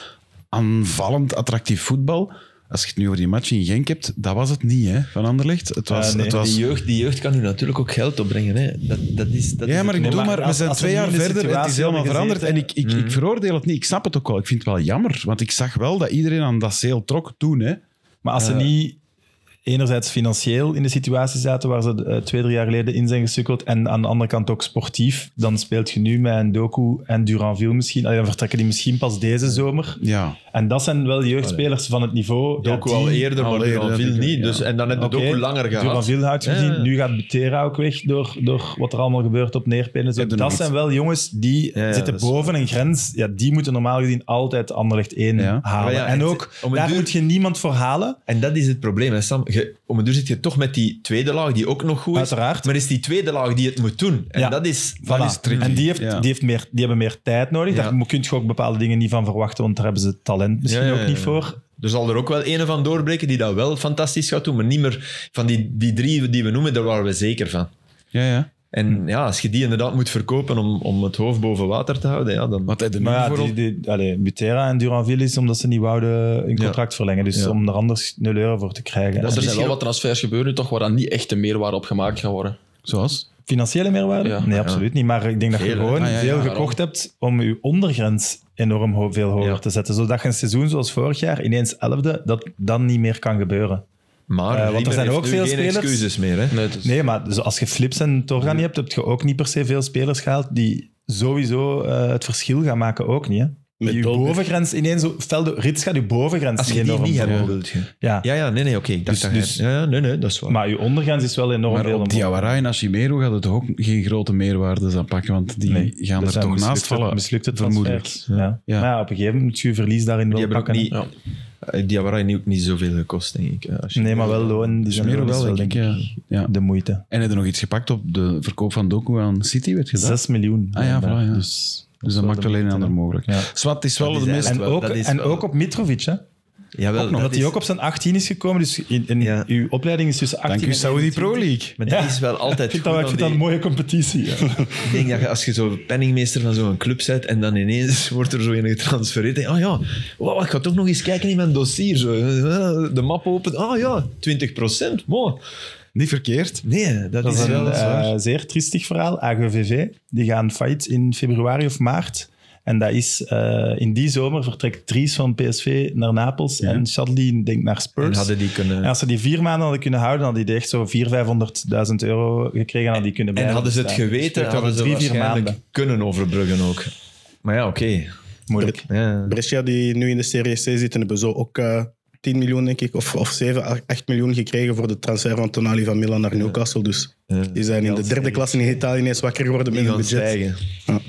Speaker 1: Aanvallend attractief voetbal. Als je het nu over die match in Genk hebt, dat was het niet, hè, van Anderlecht. Het was...
Speaker 2: Eh, nee,
Speaker 1: het was
Speaker 3: die, jeugd, die jeugd kan nu natuurlijk ook geld opbrengen. Hè. Dat, dat is, dat
Speaker 1: Ja,
Speaker 3: is
Speaker 1: maar ik
Speaker 2: Nee,
Speaker 1: bedoel
Speaker 2: maar
Speaker 1: maar, we
Speaker 2: als-
Speaker 1: zijn
Speaker 2: als
Speaker 1: twee
Speaker 2: er
Speaker 1: jaar
Speaker 2: niet in de
Speaker 1: verder en het is
Speaker 2: situatie Mm.
Speaker 1: helemaal
Speaker 2: hadden
Speaker 1: veranderd. En ik, ik, ik veroordeel het niet, ik snap het ook wel. Ik vind het wel jammer, want ik zag wel dat iedereen aan dat zeel trok toen. Hè.
Speaker 2: Maar
Speaker 1: Eh.
Speaker 2: als ze niet enerzijds financieel in de situatie zaten waar ze eh, twee, drie jaar geleden in zijn gesukkeld en aan de andere kant ook sportief, dan speelt je nu met een Doku en Duranville misschien. Allee, dan vertrekken die misschien pas deze zomer.
Speaker 1: Ja.
Speaker 2: En dat zijn wel jeugdspelers van het niveau.
Speaker 3: Doku al eerder,
Speaker 1: al
Speaker 3: maar
Speaker 1: eerder,
Speaker 3: Duran viel
Speaker 1: natuurlijk,
Speaker 3: niet.
Speaker 1: ja.
Speaker 3: Dus, en dan heb je het ook langer gehad.
Speaker 2: Duranville houdt
Speaker 3: Ja,
Speaker 2: gezien.
Speaker 3: ja.
Speaker 2: Nu gaat Butera ook weg door, door wat er allemaal gebeurt op Neerpelen. Zo,
Speaker 1: Heb je nog
Speaker 2: dat
Speaker 1: iets?
Speaker 2: zijn wel jongens die
Speaker 3: Ja, ja,
Speaker 2: zitten
Speaker 3: dat is
Speaker 2: boven een grens. Ja, die moeten normaal gezien altijd Anderlecht 1
Speaker 1: Ja.
Speaker 2: halen.
Speaker 3: Maar ja,
Speaker 2: en
Speaker 3: het-
Speaker 2: ook,
Speaker 3: om het
Speaker 2: daar
Speaker 3: duur-
Speaker 2: moet je niemand voor halen.
Speaker 3: En dat is het probleem. Hè, Sam, je, om het duur zit je toch met die tweede laag die ook nog goed is.
Speaker 2: Uiteraard.
Speaker 3: Maar is die tweede laag die het moet doen. En
Speaker 2: Ja.
Speaker 3: dat is...
Speaker 2: Voilà.
Speaker 1: is tricky,
Speaker 2: En die, heeft,
Speaker 1: ja.
Speaker 2: die, heeft meer, die hebben meer tijd nodig.
Speaker 3: Ja.
Speaker 2: Daar mo- kun je ook bepaalde dingen niet van verwachten, want daar hebben ze talent misschien
Speaker 3: Ja, ja, ja,
Speaker 2: ook niet
Speaker 3: ja.
Speaker 2: voor.
Speaker 3: Er zal er ook wel een van doorbreken die dat wel fantastisch gaat doen, maar niet meer van die, die drie die we noemen, daar waren we zeker van.
Speaker 1: Ja, ja.
Speaker 2: Hmm.
Speaker 3: En ja, als je die inderdaad moet verkopen om, om het hoofd boven water te houden, ja, dan...
Speaker 1: Wat hij er nu
Speaker 2: Maar ja,
Speaker 1: vooral...
Speaker 2: die, die, allee, Butera en Duranville is omdat ze niet wouden een contract verlengen. Dus om er anders 0 euro voor te krijgen.
Speaker 4: Want
Speaker 2: En
Speaker 4: er zijn
Speaker 3: misschien
Speaker 4: wel wat transfers gebeuren nu toch waar dan niet echt de meerwaarde op gemaakt gaat worden.
Speaker 1: Zoals?
Speaker 2: Financiële meerwaarde?
Speaker 4: Ja.
Speaker 2: nee, absoluut niet. Maar ik denk dat
Speaker 3: Veel,
Speaker 2: je
Speaker 3: hè?
Speaker 2: gewoon
Speaker 1: Ah, ja, ja,
Speaker 2: veel
Speaker 1: daarom.
Speaker 2: gekocht hebt om je ondergrens enorm ho- veel hoger
Speaker 3: Ja.
Speaker 2: te zetten. Zodat je een seizoen zoals vorig jaar, ineens elfde, dat dan niet meer kan gebeuren. Eh,
Speaker 3: Maar
Speaker 2: want er
Speaker 3: Riemer
Speaker 2: zijn
Speaker 3: heeft
Speaker 2: ook
Speaker 3: nu
Speaker 2: veel
Speaker 3: geen
Speaker 2: spelers-
Speaker 3: excuses meer. Hè.
Speaker 4: Nee, het is-
Speaker 2: Nee, maar dus als je Flips en Torgan niet hebt, heb je ook niet per se veel spelers gehaald die sowieso eh, het verschil gaan maken, ook niet. Hè?
Speaker 5: Met
Speaker 2: Die je
Speaker 5: Dolberg.
Speaker 2: bovengrens ineens... zo- Stel, de Rits gaat je bovengrens
Speaker 3: Als je die
Speaker 2: enorm
Speaker 3: niet hebt,
Speaker 2: verhogen.
Speaker 3: wilt je.
Speaker 2: Ja.
Speaker 3: Ja, ja, nee, nee, oké. ik dacht
Speaker 2: Dus-
Speaker 3: dat jij-
Speaker 2: dus-
Speaker 3: ja, ja, nee, nee, dat is waar.
Speaker 2: maar je ondergrens is wel enorm
Speaker 1: Maar
Speaker 2: veel
Speaker 1: op
Speaker 2: omhoog.
Speaker 1: Diawara en Ashimero gaat het toch ook geen grote meerwaardes aan pakken, want die
Speaker 2: Nee, Dus
Speaker 1: gaan
Speaker 2: dat
Speaker 1: er
Speaker 2: zijn
Speaker 1: toch naast
Speaker 2: mislukte-
Speaker 1: vallen,
Speaker 2: mislukte
Speaker 1: vermoedelijk.
Speaker 2: transfers. Ja.
Speaker 1: Ja.
Speaker 2: Maar ja, op een gegeven moment moet je je verlies daarin
Speaker 3: die
Speaker 2: wel
Speaker 3: hebben ook
Speaker 2: pakken. hè.
Speaker 3: niet... eh, Die hebben eigenlijk ook niet zoveel gekost, denk ik. eh, als je-
Speaker 2: Nee, maar wel dus loon. Die zijn
Speaker 1: Ashimero
Speaker 2: loon is
Speaker 1: wel, denk ik. Ja. Ja.
Speaker 2: De moeite.
Speaker 1: En hebben er nog iets gepakt op de verkoop van Doku aan City, werd gedaan?
Speaker 2: 6 miljoen.
Speaker 1: Ah ja, voilà, ja.
Speaker 2: Dus
Speaker 1: Dus dat maakt alleen een ander mogelijk.
Speaker 2: Ja.
Speaker 1: Swat, het is wel
Speaker 3: Dat
Speaker 1: de
Speaker 3: is
Speaker 1: meest...
Speaker 3: eigenlijk-
Speaker 2: En,
Speaker 3: wel-
Speaker 2: ook,
Speaker 3: dat is
Speaker 2: en
Speaker 3: wel-
Speaker 2: ook op Mitrovic, hè?
Speaker 3: Jawel, dat
Speaker 2: Omdat hij
Speaker 3: is-
Speaker 2: ook op zijn 18 is gekomen. Dus in, in
Speaker 3: Ja.
Speaker 2: uw opleiding is tussen 18
Speaker 1: Dank u,
Speaker 2: en
Speaker 1: Saudi
Speaker 2: 21.
Speaker 1: Pro League.
Speaker 3: Maar dat
Speaker 2: Ja.
Speaker 3: is wel altijd
Speaker 2: Ik vind
Speaker 3: goed
Speaker 2: dat, wel- ik
Speaker 3: aan
Speaker 2: vind dat
Speaker 3: die-
Speaker 2: een mooie competitie. ja.
Speaker 3: Ik denk dat je, als je zo penningmeester van zo'n club bent en dan ineens wordt er zo een getransfereerd. denk je, Ah ja, wow, ik ga toch nog eens kijken in mijn dossier. Zo. eh, De map open. Ah ja, 20 procent.
Speaker 1: Niet verkeerd.
Speaker 3: Nee, dat,
Speaker 2: Dat
Speaker 3: is,
Speaker 2: is een
Speaker 3: wel zwaar.
Speaker 2: eh, zeer triestig verhaal. AGVV, die gaan failliet in februari of maart. En dat is eh, in die zomer vertrekt Dries van PSV naar Napels en Chadli denkt naar
Speaker 3: En
Speaker 2: Spurs.
Speaker 3: hadden die kunnen...
Speaker 2: En als ze die vier maanden hadden kunnen houden, hadden die echt zo 400.000, 500.000 euro gekregen. Hadden die kunnen
Speaker 3: En
Speaker 2: blijven
Speaker 3: hadden ze het
Speaker 2: bestaan.
Speaker 3: geweten,
Speaker 2: Spreekt over
Speaker 3: hadden ze
Speaker 2: drie, vier
Speaker 3: waarschijnlijk
Speaker 2: maanden.
Speaker 3: kunnen overbruggen ook. Maar ja, oké.
Speaker 2: Moeilijk.
Speaker 3: Ja.
Speaker 5: Brescia, die nu in de Serie C zitten, hebben zo ook eh 10 miljoen, denk ik, of, of 7, 8, miljoen gekregen voor de transfer van Tonali van Milan naar Newcastle. Dus
Speaker 3: Ja.
Speaker 5: die zijn in de derde klas in Italië ineens wakker geworden met
Speaker 3: Die
Speaker 5: hun
Speaker 3: gaan
Speaker 5: budget.
Speaker 3: stijgen.
Speaker 5: Ja.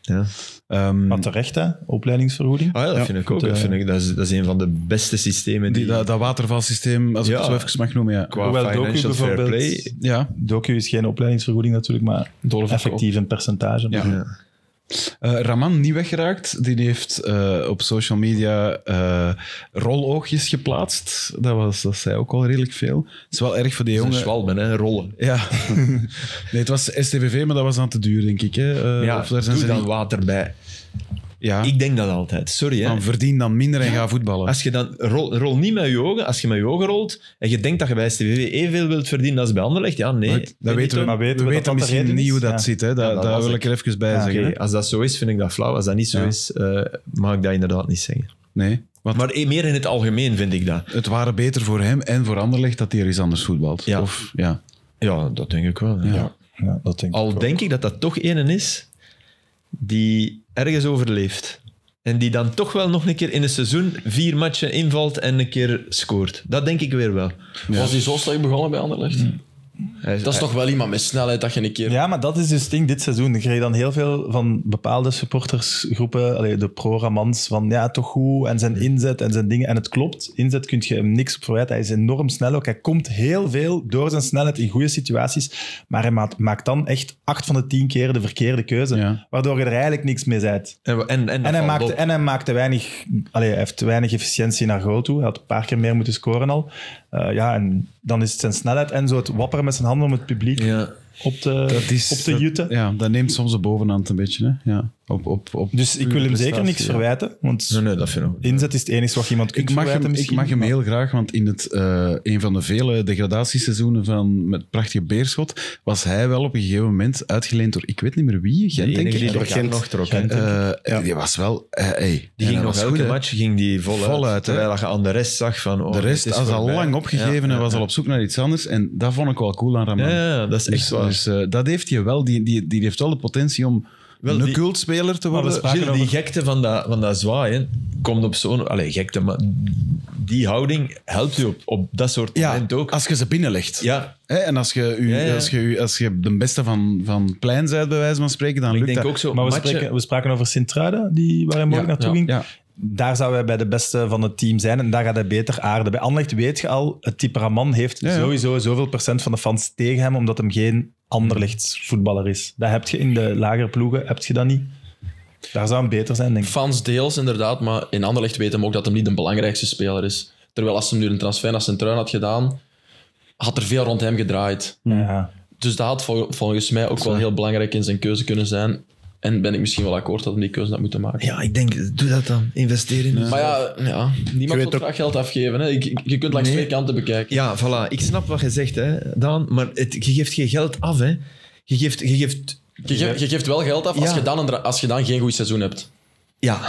Speaker 3: Ja.
Speaker 1: Ehm,
Speaker 2: Maar terecht, hè? Opleidingsvergoeding.
Speaker 3: Hmm. Ah ja, dat
Speaker 5: Ja,
Speaker 3: vind ik
Speaker 2: goed,
Speaker 3: ook. Dat,
Speaker 2: eh.
Speaker 3: vind ik, dat, is, dat is een van de beste systemen die,
Speaker 1: die, dat, dat watervalsysteem, als ik
Speaker 3: Ja.
Speaker 1: het zo even mag noemen, ja.
Speaker 3: qua
Speaker 2: Hoewel Doku
Speaker 3: financial fair
Speaker 2: bijvoorbeeld-
Speaker 3: play...
Speaker 1: Ja,
Speaker 2: Docu is geen opleidingsvergoeding natuurlijk, maar
Speaker 4: Doorverkoop.
Speaker 2: effectief een percentage.
Speaker 1: Ja.
Speaker 2: Maar-
Speaker 3: Ja.
Speaker 1: Eh, Raman niet weggeraakt. Die heeft eh, op social media eh, roloogjes geplaatst. Dat, was, dat zei ook al redelijk veel. Het is wel erg voor die
Speaker 3: Jongen,
Speaker 1: jongen.
Speaker 3: Zwalben, hè, rollen.
Speaker 1: Ja. nee, het was STVV, maar dat was dan te duur, denk ik. Hè. Eh,
Speaker 3: Ja,
Speaker 1: of daar zijn
Speaker 3: doe
Speaker 1: ze
Speaker 3: dan
Speaker 1: niet-
Speaker 3: water bij.
Speaker 1: ja.
Speaker 3: Ik denk dat altijd. Sorry, hè.
Speaker 1: Dan verdien dan minder en ga voetballen.
Speaker 3: Als je dan... Rol, rol niet met je ogen. Als je met je ogen rolt en je denkt dat je bij STVV evenveel wilt verdienen als bij Anderlecht, ja, nee.
Speaker 1: Maar het- dat
Speaker 3: Nee,
Speaker 1: weten we,
Speaker 2: maar
Speaker 1: we
Speaker 2: weten we
Speaker 1: weten
Speaker 2: dat dat de
Speaker 1: misschien
Speaker 2: reden is?
Speaker 1: niet hoe dat
Speaker 2: Ja.
Speaker 1: zit. Hè. Dat,
Speaker 3: Ja, dat
Speaker 1: dat
Speaker 3: was
Speaker 1: wil
Speaker 3: ik.
Speaker 1: ik er even bij
Speaker 2: Ja,
Speaker 1: zeggen.
Speaker 3: Oké,
Speaker 1: hè.
Speaker 3: als dat zo is, vind ik dat flauw. Als dat niet zo
Speaker 1: Ja.
Speaker 3: is, eh, mag ik dat inderdaad niet zeggen.
Speaker 1: Nee. Want
Speaker 3: Maar eh, meer in het algemeen vind ik dat.
Speaker 1: het waren beter voor hem en voor Anderlecht dat hij er eens anders voetbalt.
Speaker 3: Ja.
Speaker 1: Of, ja.
Speaker 3: Ja, dat denk ik wel. hè.
Speaker 1: Ja.
Speaker 2: Ja, dat denk ik.
Speaker 3: Al denk ik dat dat toch ene is die ergens overleeft. En die dan toch wel nog een keer in een seizoen vier matchen invalt en een keer scoort. Dat denk ik weer wel.
Speaker 4: Was hij zo slecht begonnen bij Anderlecht?
Speaker 3: Hij
Speaker 4: Dat is toch wel iemand met snelheid dat je een keer...
Speaker 2: Ja, maar dat is dus het ding dit seizoen. Ik kreeg dan heel veel van bepaalde supportersgroepen, allee, de pro-Ramans, van ja, toch goed, en zijn inzet en zijn dingen. En het klopt, inzet kun je hem niks op verwijten. Hij is enorm snel ook. Hij komt heel veel door zijn snelheid in goede situaties, maar hij maakt, maakt dan echt acht van de tien keer de verkeerde keuze,
Speaker 1: Ja.
Speaker 2: waardoor je er eigenlijk niks mee bent.
Speaker 3: En, en, en,
Speaker 2: En hij,
Speaker 3: valt
Speaker 2: maakte,
Speaker 3: op.
Speaker 2: en hij maakte weinig, allee, hij heeft weinig efficiëntie naar goal toe. Hij had een paar keer meer moeten scoren al. Eh, ja, en dan is het zijn snelheid en zo het wapperen met zijn handen om het publiek
Speaker 3: Ja.
Speaker 2: op te,
Speaker 1: Dat is,
Speaker 2: op te
Speaker 1: dat-
Speaker 2: jutten.
Speaker 1: Ja, dat neemt soms de bovenhand een beetje. Hè? Ja. Op, op, op
Speaker 2: Dus ik wil hem zeker niks
Speaker 1: prestatie, ja.
Speaker 2: verwijten, want
Speaker 3: Nee, nee, dat vind ik ook.
Speaker 2: inzet is het enige wat iemand kunt
Speaker 1: Ik mag,
Speaker 2: verwijten
Speaker 1: hem, ik
Speaker 2: misschien.
Speaker 1: mag hem
Speaker 2: Maar
Speaker 1: heel graag, want in het, eh, een van de vele degradatieseizoenen van met prachtige Beerschot was hij wel op een gegeven moment uitgeleend door ik weet niet meer wie, Gent denk
Speaker 3: enige
Speaker 1: ik.
Speaker 3: die door
Speaker 5: Ja,
Speaker 3: Gent
Speaker 5: Gent.
Speaker 3: nog trok. hè.
Speaker 2: Gent.
Speaker 1: Eh,
Speaker 5: Ja.
Speaker 1: Die was wel... eh, hey,
Speaker 3: Die
Speaker 1: en
Speaker 3: ging
Speaker 1: dat
Speaker 3: nog
Speaker 1: was
Speaker 3: elke
Speaker 1: goed, hè.
Speaker 3: match ging die voluit.
Speaker 1: Voluit, hè.
Speaker 3: terwijl je aan de rest zag van... Oh,
Speaker 1: De rest
Speaker 3: dit is
Speaker 1: was al
Speaker 3: voorbij.
Speaker 1: lang
Speaker 3: Ja,
Speaker 1: opgegeven
Speaker 3: ja,
Speaker 1: en was
Speaker 3: ja.
Speaker 1: al op zoek naar iets anders. En dat vond ik wel cool aan Raman.
Speaker 3: Ja, ja, dat is
Speaker 1: Dus-
Speaker 3: echt waar.
Speaker 1: Dus eh, dat heeft hij wel. Die, die, die heeft wel de potentie om
Speaker 3: Wel,
Speaker 1: een
Speaker 3: die-
Speaker 1: cultspeler te worden.
Speaker 2: we spraken
Speaker 3: Gilles, die gekte van dat, van dat zwaaien komt op zo'n... Allee, gekte, maar die houding helpt u op, op dat soort
Speaker 1: Ja,
Speaker 3: moment ook.
Speaker 1: als je ze binnenlegt.
Speaker 3: Ja,
Speaker 1: Hè, en als je, u,
Speaker 3: Ja, ja.
Speaker 1: Als, je, u- als je de beste van, van plein bent, bij wijze van spreken, dan
Speaker 3: ik
Speaker 1: lukt
Speaker 3: denk
Speaker 1: dat.
Speaker 3: ook zo.
Speaker 2: Maar we,
Speaker 3: matchen-
Speaker 2: spreken, we spraken over Sint-Truiden, die, waar hij morgen
Speaker 1: Ja,
Speaker 2: naartoe
Speaker 4: ja,
Speaker 2: ging.
Speaker 1: ja.
Speaker 2: Daar zou hij bij de beste van het team zijn en daar gaat hij beter aarden. Bij Anderlecht weet je al, het type Raman heeft
Speaker 1: ja.
Speaker 2: sowieso zoveel procent van de fans tegen hem, omdat hem geen Anderlechts voetballer is. Dat heb je in de lagere ploegen, heb je dat niet. Daar zou hem beter zijn, denk ik.
Speaker 4: Fans deels inderdaad, maar in Anderlecht weten we ook dat hem niet de belangrijkste speler is. Terwijl als hem nu een transfer naar Centruin had gedaan, had er veel rond hem gedraaid.
Speaker 2: Ja.
Speaker 4: Dus dat had vol- volgens mij ook wel heel belangrijk in zijn keuze kunnen zijn. En ben ik misschien wel akkoord dat hij die keuze had moeten maken.
Speaker 3: Ja, ik denk, doe dat dan. Investeer in
Speaker 4: Maar ja, ja niemand
Speaker 5: weet
Speaker 4: wil
Speaker 5: ook-
Speaker 4: graag geld afgeven. Hè. Je, je- je kunt langs
Speaker 3: Nee.
Speaker 4: twee kanten bekijken.
Speaker 3: Ja, voilà. Ik snap wat je zegt, hè, Daan. Maar het, je geeft geen geld af, hè. Je geeft... Je geeft
Speaker 4: Je, geeft- je geeft wel geld af als,
Speaker 3: Ja.
Speaker 4: je dan een dra- als je dan geen goed seizoen hebt.
Speaker 3: ja,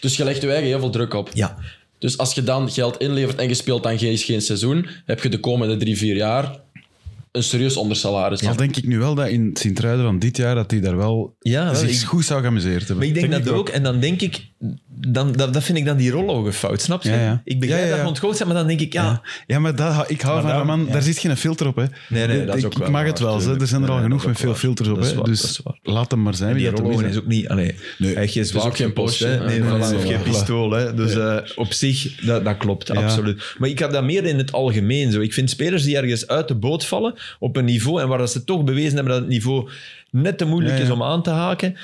Speaker 4: Dus je legt je eigen heel veel druk op.
Speaker 3: ja.
Speaker 4: Dus als je dan geld inlevert en je speelt dan geen, geen seizoen, heb je de komende drie, vier jaar een serieus ondersalaris.
Speaker 1: Al denk ik nu wel dat in Sint-Truiden van dit jaar, dat hij daar wel
Speaker 3: Ja, wel,
Speaker 1: zich
Speaker 3: ik-
Speaker 1: goed zou geamuseerd hebben.
Speaker 3: Maar ik denk,
Speaker 2: Denk ik
Speaker 3: dat ook.
Speaker 2: ook.
Speaker 3: En dan denk ik... Dan, dat, dat vind ik dan die rollogen fout, snap je?
Speaker 1: Ja, ja.
Speaker 3: Ik begrijp
Speaker 1: Ja, ja,
Speaker 3: dat
Speaker 1: ja.
Speaker 3: je ontgoocheld bent, maar dan denk ik, ja...
Speaker 1: Ja, maar dat, hou- ik hou van
Speaker 2: daarom-
Speaker 1: Raman.
Speaker 2: ja.
Speaker 1: Daar zit geen filter op, hè.
Speaker 3: Nee, nee, dat is
Speaker 1: ik,
Speaker 3: ook wel
Speaker 1: ik mag
Speaker 3: waar,
Speaker 1: het wel, hè.
Speaker 3: tuurlijk.
Speaker 1: Er zijn er al
Speaker 3: Nee,
Speaker 1: genoeg
Speaker 3: dat
Speaker 1: met
Speaker 3: is
Speaker 1: veel
Speaker 3: waar.
Speaker 1: filters op,
Speaker 3: Dat is
Speaker 1: hè.
Speaker 3: waar, dat
Speaker 1: Dus
Speaker 3: is waar.
Speaker 1: laat hem maar zijn. wie
Speaker 3: Die
Speaker 1: dat hem
Speaker 3: rollogen is ook niet... Allee,
Speaker 1: Nee.
Speaker 3: Hij heeft geen
Speaker 4: ook
Speaker 3: zwaard
Speaker 4: geen
Speaker 3: geen post,
Speaker 4: poosje,
Speaker 3: hè.
Speaker 4: hè.
Speaker 3: Nee,
Speaker 4: Nee,
Speaker 3: voilà,
Speaker 4: nee,
Speaker 3: hij heeft
Speaker 1: nee,
Speaker 3: geen
Speaker 1: voilà.
Speaker 3: pistool. Hè. Dus eh, op zich, dat, dat klopt, absoluut. Maar ik had dat meer in het algemeen zo. Ik vind spelers die ergens uit de boot vallen op een niveau en waar dat ze toch bewezen hebben dat het niveau net te moeilijk
Speaker 1: Ja, ja.
Speaker 3: is om aan te haken.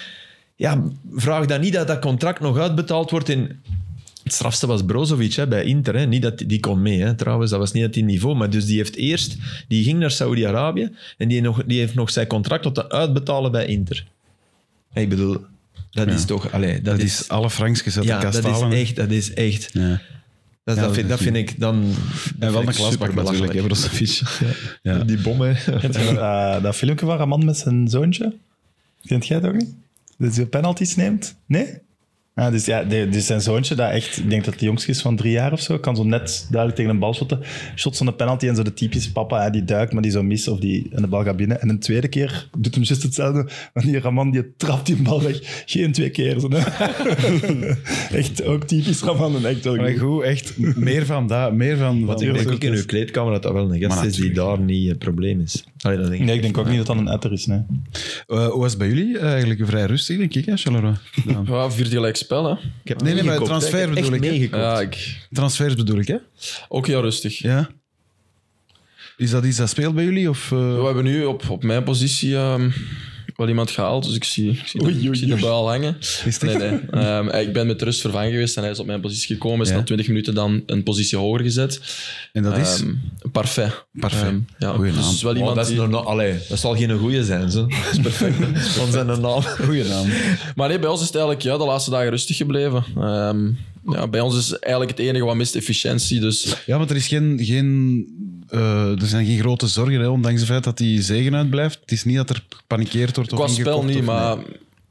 Speaker 3: Ja, vraag dan niet dat dat contract nog uitbetaald wordt in... Het strafste was Brozovic hè, bij Inter. Hè. Niet dat, die- die kon mee, hè, trouwens. Dat was niet dat die niveau. Maar dus die heeft eerst... Die ging naar Saudi-Arabië en die, nog, die heeft nog zijn contract tot te uitbetalen bij Inter. Ik bedoel, dat is toch... Allee, dat,
Speaker 1: Dat
Speaker 3: is...
Speaker 1: is alle Frankjes uit
Speaker 3: ja,
Speaker 1: de kast
Speaker 3: dat is
Speaker 1: halen.
Speaker 3: echt... Dat is echt...
Speaker 1: Ja.
Speaker 3: Dat,
Speaker 1: Ja,
Speaker 3: dat, vind,
Speaker 1: dat
Speaker 3: dat
Speaker 1: is-
Speaker 3: vind ik dan...
Speaker 1: En wel een klasbak
Speaker 3: klasbak
Speaker 1: natuurlijk, hè, Brozovic. Ja.
Speaker 3: Die bommen.
Speaker 2: Kent je dat, eh, dat filmpje waar een man met zijn zoontje? Kent jij dat ook niet? Dat hij penalties neemt? Nee? Ah, dus ja, de- dus zijn zoontje, dat echt, ik denk dat hij jongst is van drie jaar of zo, kan zo net duidelijk tegen een bal shotten. Shots van de penalty en zo de typische papa, hè, die duikt, maar die zo mis of die, en de bal gaat binnen. En een tweede keer doet hem juist hetzelfde, want die Raman die trapt die bal weg. Geen twee keer. Zo, hè. echt ook typisch Raman en echt wel
Speaker 1: Maar
Speaker 2: goed.
Speaker 1: goed, echt meer van dat, meer van... dus-
Speaker 3: Want
Speaker 1: van-
Speaker 3: ik denk ook in uw kleedkamer dat dat wel een gast
Speaker 1: Maar
Speaker 3: is die
Speaker 1: natuurlijk.
Speaker 3: daar niet het probleem is. Allee, dat denk ik.
Speaker 2: Nee, ik denk ook niet dat dat een etter is, nee.
Speaker 1: Eh, hoe was het bij jullie? Eigenlijk vrij rustig, denk ik, hè, Charleroi? Ja.
Speaker 4: Ja, vierde gelijk spel, hè.
Speaker 3: Ik heb
Speaker 1: Nee, nee, maar
Speaker 3: meegekocht,
Speaker 1: transfer
Speaker 3: hè. heb
Speaker 1: bedoel
Speaker 3: echt
Speaker 1: ik, hè.
Speaker 3: meegekocht.
Speaker 4: Ja, ik,
Speaker 1: Transfers bedoel ik, hè?
Speaker 4: ook heel rustig.
Speaker 1: Ja. Is dat iets dat speelt bij jullie? Of, eh,
Speaker 4: We hebben nu op, op mijn positie ehm, wel iemand gehaald, dus ik zie, ik zie, de- ik zie de buil hangen.
Speaker 1: het
Speaker 4: Nee, nee. Ehm, ik ben met rust vervangen geweest en hij is op mijn positie gekomen. Is
Speaker 1: Ja.
Speaker 4: na 20 minuten dan een positie hoger gezet.
Speaker 1: En dat is?
Speaker 4: Ehm, parfait.
Speaker 1: Parfait.
Speaker 4: Ehm, ja,
Speaker 1: Goeie
Speaker 4: Dus
Speaker 1: naam.
Speaker 4: is wel iemand
Speaker 3: Oh, dat, is
Speaker 4: die-
Speaker 3: nog- nog- allee, dat zal geen goeie zijn, zo. Dat is perfect. Van zijn naam.
Speaker 1: Goeie naam.
Speaker 4: Maar nee, bij ons is het eigenlijk ja, de laatste dagen rustig gebleven. Ehm, ja, bij ons is eigenlijk het enige wat mist efficiëntie. Dus
Speaker 1: Ja, want er, is geen, geen, eh, er zijn geen grote zorgen, hè, ondanks het feit dat die zegen uitblijft. Het is niet dat er gepanikeerd wordt of
Speaker 4: qua spel
Speaker 1: ingekocht
Speaker 4: niet,
Speaker 1: of-
Speaker 4: maar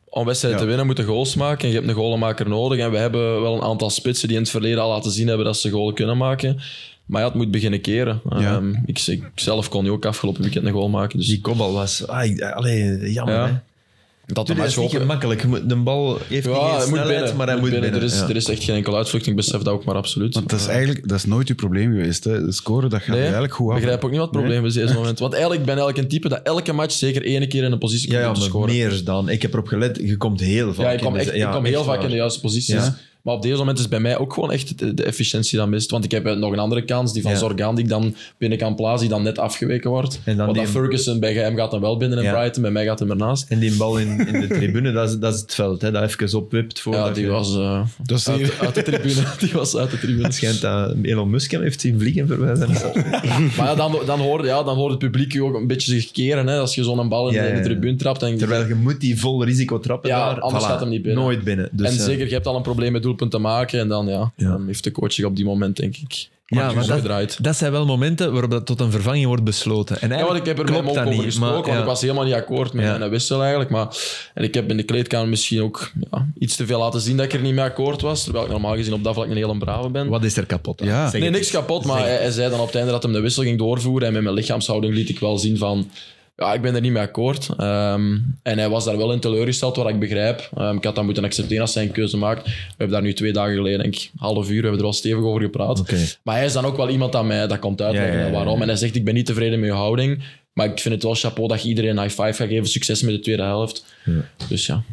Speaker 4: om wedstrijden
Speaker 1: Ja.
Speaker 4: te winnen moeten goals maken. En je hebt een goalmaker nodig. En we hebben wel een aantal spitsen die in het verleden al laten zien hebben dat ze goal kunnen maken. Maar ja, het moet beginnen keren.
Speaker 1: Ja.
Speaker 4: Ehm, ik, ik zelf kon nu ook afgelopen weekend een goal maken. Dus
Speaker 3: Die kopbal was... Ah, ik- allee, jammer,
Speaker 4: Ja.
Speaker 3: hè.
Speaker 4: dat de
Speaker 3: Tuurlijk, Dat is
Speaker 4: match
Speaker 3: niet
Speaker 4: open-
Speaker 3: gemakkelijk. Je moet- De bal heeft
Speaker 4: Ja,
Speaker 3: niet
Speaker 4: hij
Speaker 3: geen
Speaker 4: moet
Speaker 3: snelheid,
Speaker 4: binnen.
Speaker 3: maar hij moet binnen.
Speaker 4: Er, is,
Speaker 3: ja.
Speaker 4: er is echt geen enkele uitvlucht. Ik besef dat ook maar absoluut.
Speaker 1: Want dat is eigenlijk dat is nooit uw probleem geweest. Hè. Scoren, dat gaat
Speaker 4: Nee,
Speaker 1: eigenlijk goed af.
Speaker 4: begrijp ook niet wat het probleem is in deze moment. Want eigenlijk ben ik elk een type dat elke match zeker één keer in een positie
Speaker 3: ja, ja,
Speaker 4: komt om te
Speaker 3: maar
Speaker 4: scoren.
Speaker 3: meer dan. Ik heb erop gelet, je komt heel vaak
Speaker 4: ja, ik kwam,
Speaker 3: in de-
Speaker 4: echt,
Speaker 3: ja,
Speaker 4: ik kwam heel
Speaker 3: echt
Speaker 4: vaak
Speaker 3: waar.
Speaker 4: in de juiste posities.
Speaker 3: Ja.
Speaker 4: Maar op deze moment is bij mij ook gewoon echt de, de efficiëntie dan mist. Want ik heb eh, nog een andere kans, die van
Speaker 3: Ja.
Speaker 4: Zorgaan, die ik dan binnen kan plaatsen, die dan net afgeweken wordt.
Speaker 3: En dan
Speaker 4: Want dat
Speaker 3: die-
Speaker 4: Ferguson bij hem gaat dan wel binnen en
Speaker 3: Ja.
Speaker 4: Brighton, bij mij gaat hem ernaast.
Speaker 3: En die bal in, in de tribune, dat is, dat is het veld. Hè, dat even opwipt voor.
Speaker 4: Ja, die was eh,
Speaker 1: Dat is
Speaker 4: uit, uit de tribune. Die was uit de tribune.
Speaker 3: Het schijnt dat Elon Musk hem heeft zien vliegen verwijzen.
Speaker 4: Maar ja, dan, dan, hoort, ja, dan hoort het publiek je ook een beetje zich keren. Hè, als je zo'n bal in,
Speaker 3: Ja,
Speaker 4: in de
Speaker 3: ja, ja.
Speaker 4: tribune trapt. En,
Speaker 3: Terwijl je moet die vol risico trappen
Speaker 4: Ja,
Speaker 3: daar.
Speaker 4: anders gaat hem niet binnen.
Speaker 3: Nooit binnen. Dus,
Speaker 4: en
Speaker 3: eh,
Speaker 4: zeker, je hebt al een probleem met doelpunt te maken. En dan, ja,
Speaker 3: Ja.
Speaker 4: dan heeft de coach zich op die moment, denk ik,
Speaker 3: Ja, maar
Speaker 4: omgedraaid.
Speaker 3: dat, dat zijn wel momenten waarop dat tot een vervanging wordt besloten. En
Speaker 4: Ja, want
Speaker 3: eigenlijk
Speaker 4: ik heb er met
Speaker 3: klopt
Speaker 4: hem ook
Speaker 3: dat
Speaker 4: over
Speaker 3: niet,
Speaker 4: gesproken,
Speaker 3: maar,
Speaker 4: want
Speaker 3: ja.
Speaker 4: ik was helemaal niet akkoord met
Speaker 3: Ja.
Speaker 4: mijn wissel eigenlijk. Maar, en ik heb in de kleedkamer misschien ook ja, iets te veel laten zien dat ik er niet mee akkoord was. Terwijl ik normaal gezien op dat vlak een hele brave ben.
Speaker 3: Wat is er kapot? aan?
Speaker 1: Ja.
Speaker 3: Zeg
Speaker 4: nee,
Speaker 3: het
Speaker 4: niks
Speaker 3: eens.
Speaker 4: kapot, maar hij, hij zei dan op het einde dat hem de wissel ging doorvoeren. En met mijn lichaamshouding liet ik wel zien van... Ja, ik ben er niet mee akkoord. Ehm, en hij was daar wel in teleurgesteld, wat ik begrijp. Ehm, ik had dat moeten accepteren als hij een keuze maakt. We hebben daar nu twee dagen geleden, denk ik, half uur, we hebben er al stevig over gepraat.
Speaker 3: Oké.
Speaker 4: Maar hij is dan ook wel iemand aan mij dat komt uitleggen
Speaker 3: Ja, ja, ja.
Speaker 4: waarom. En hij zegt, ik ben niet tevreden met je houding. Maar ik vind het wel chapeau dat je iedereen een high five gaat geven. Succes met de tweede helft. Dus ja.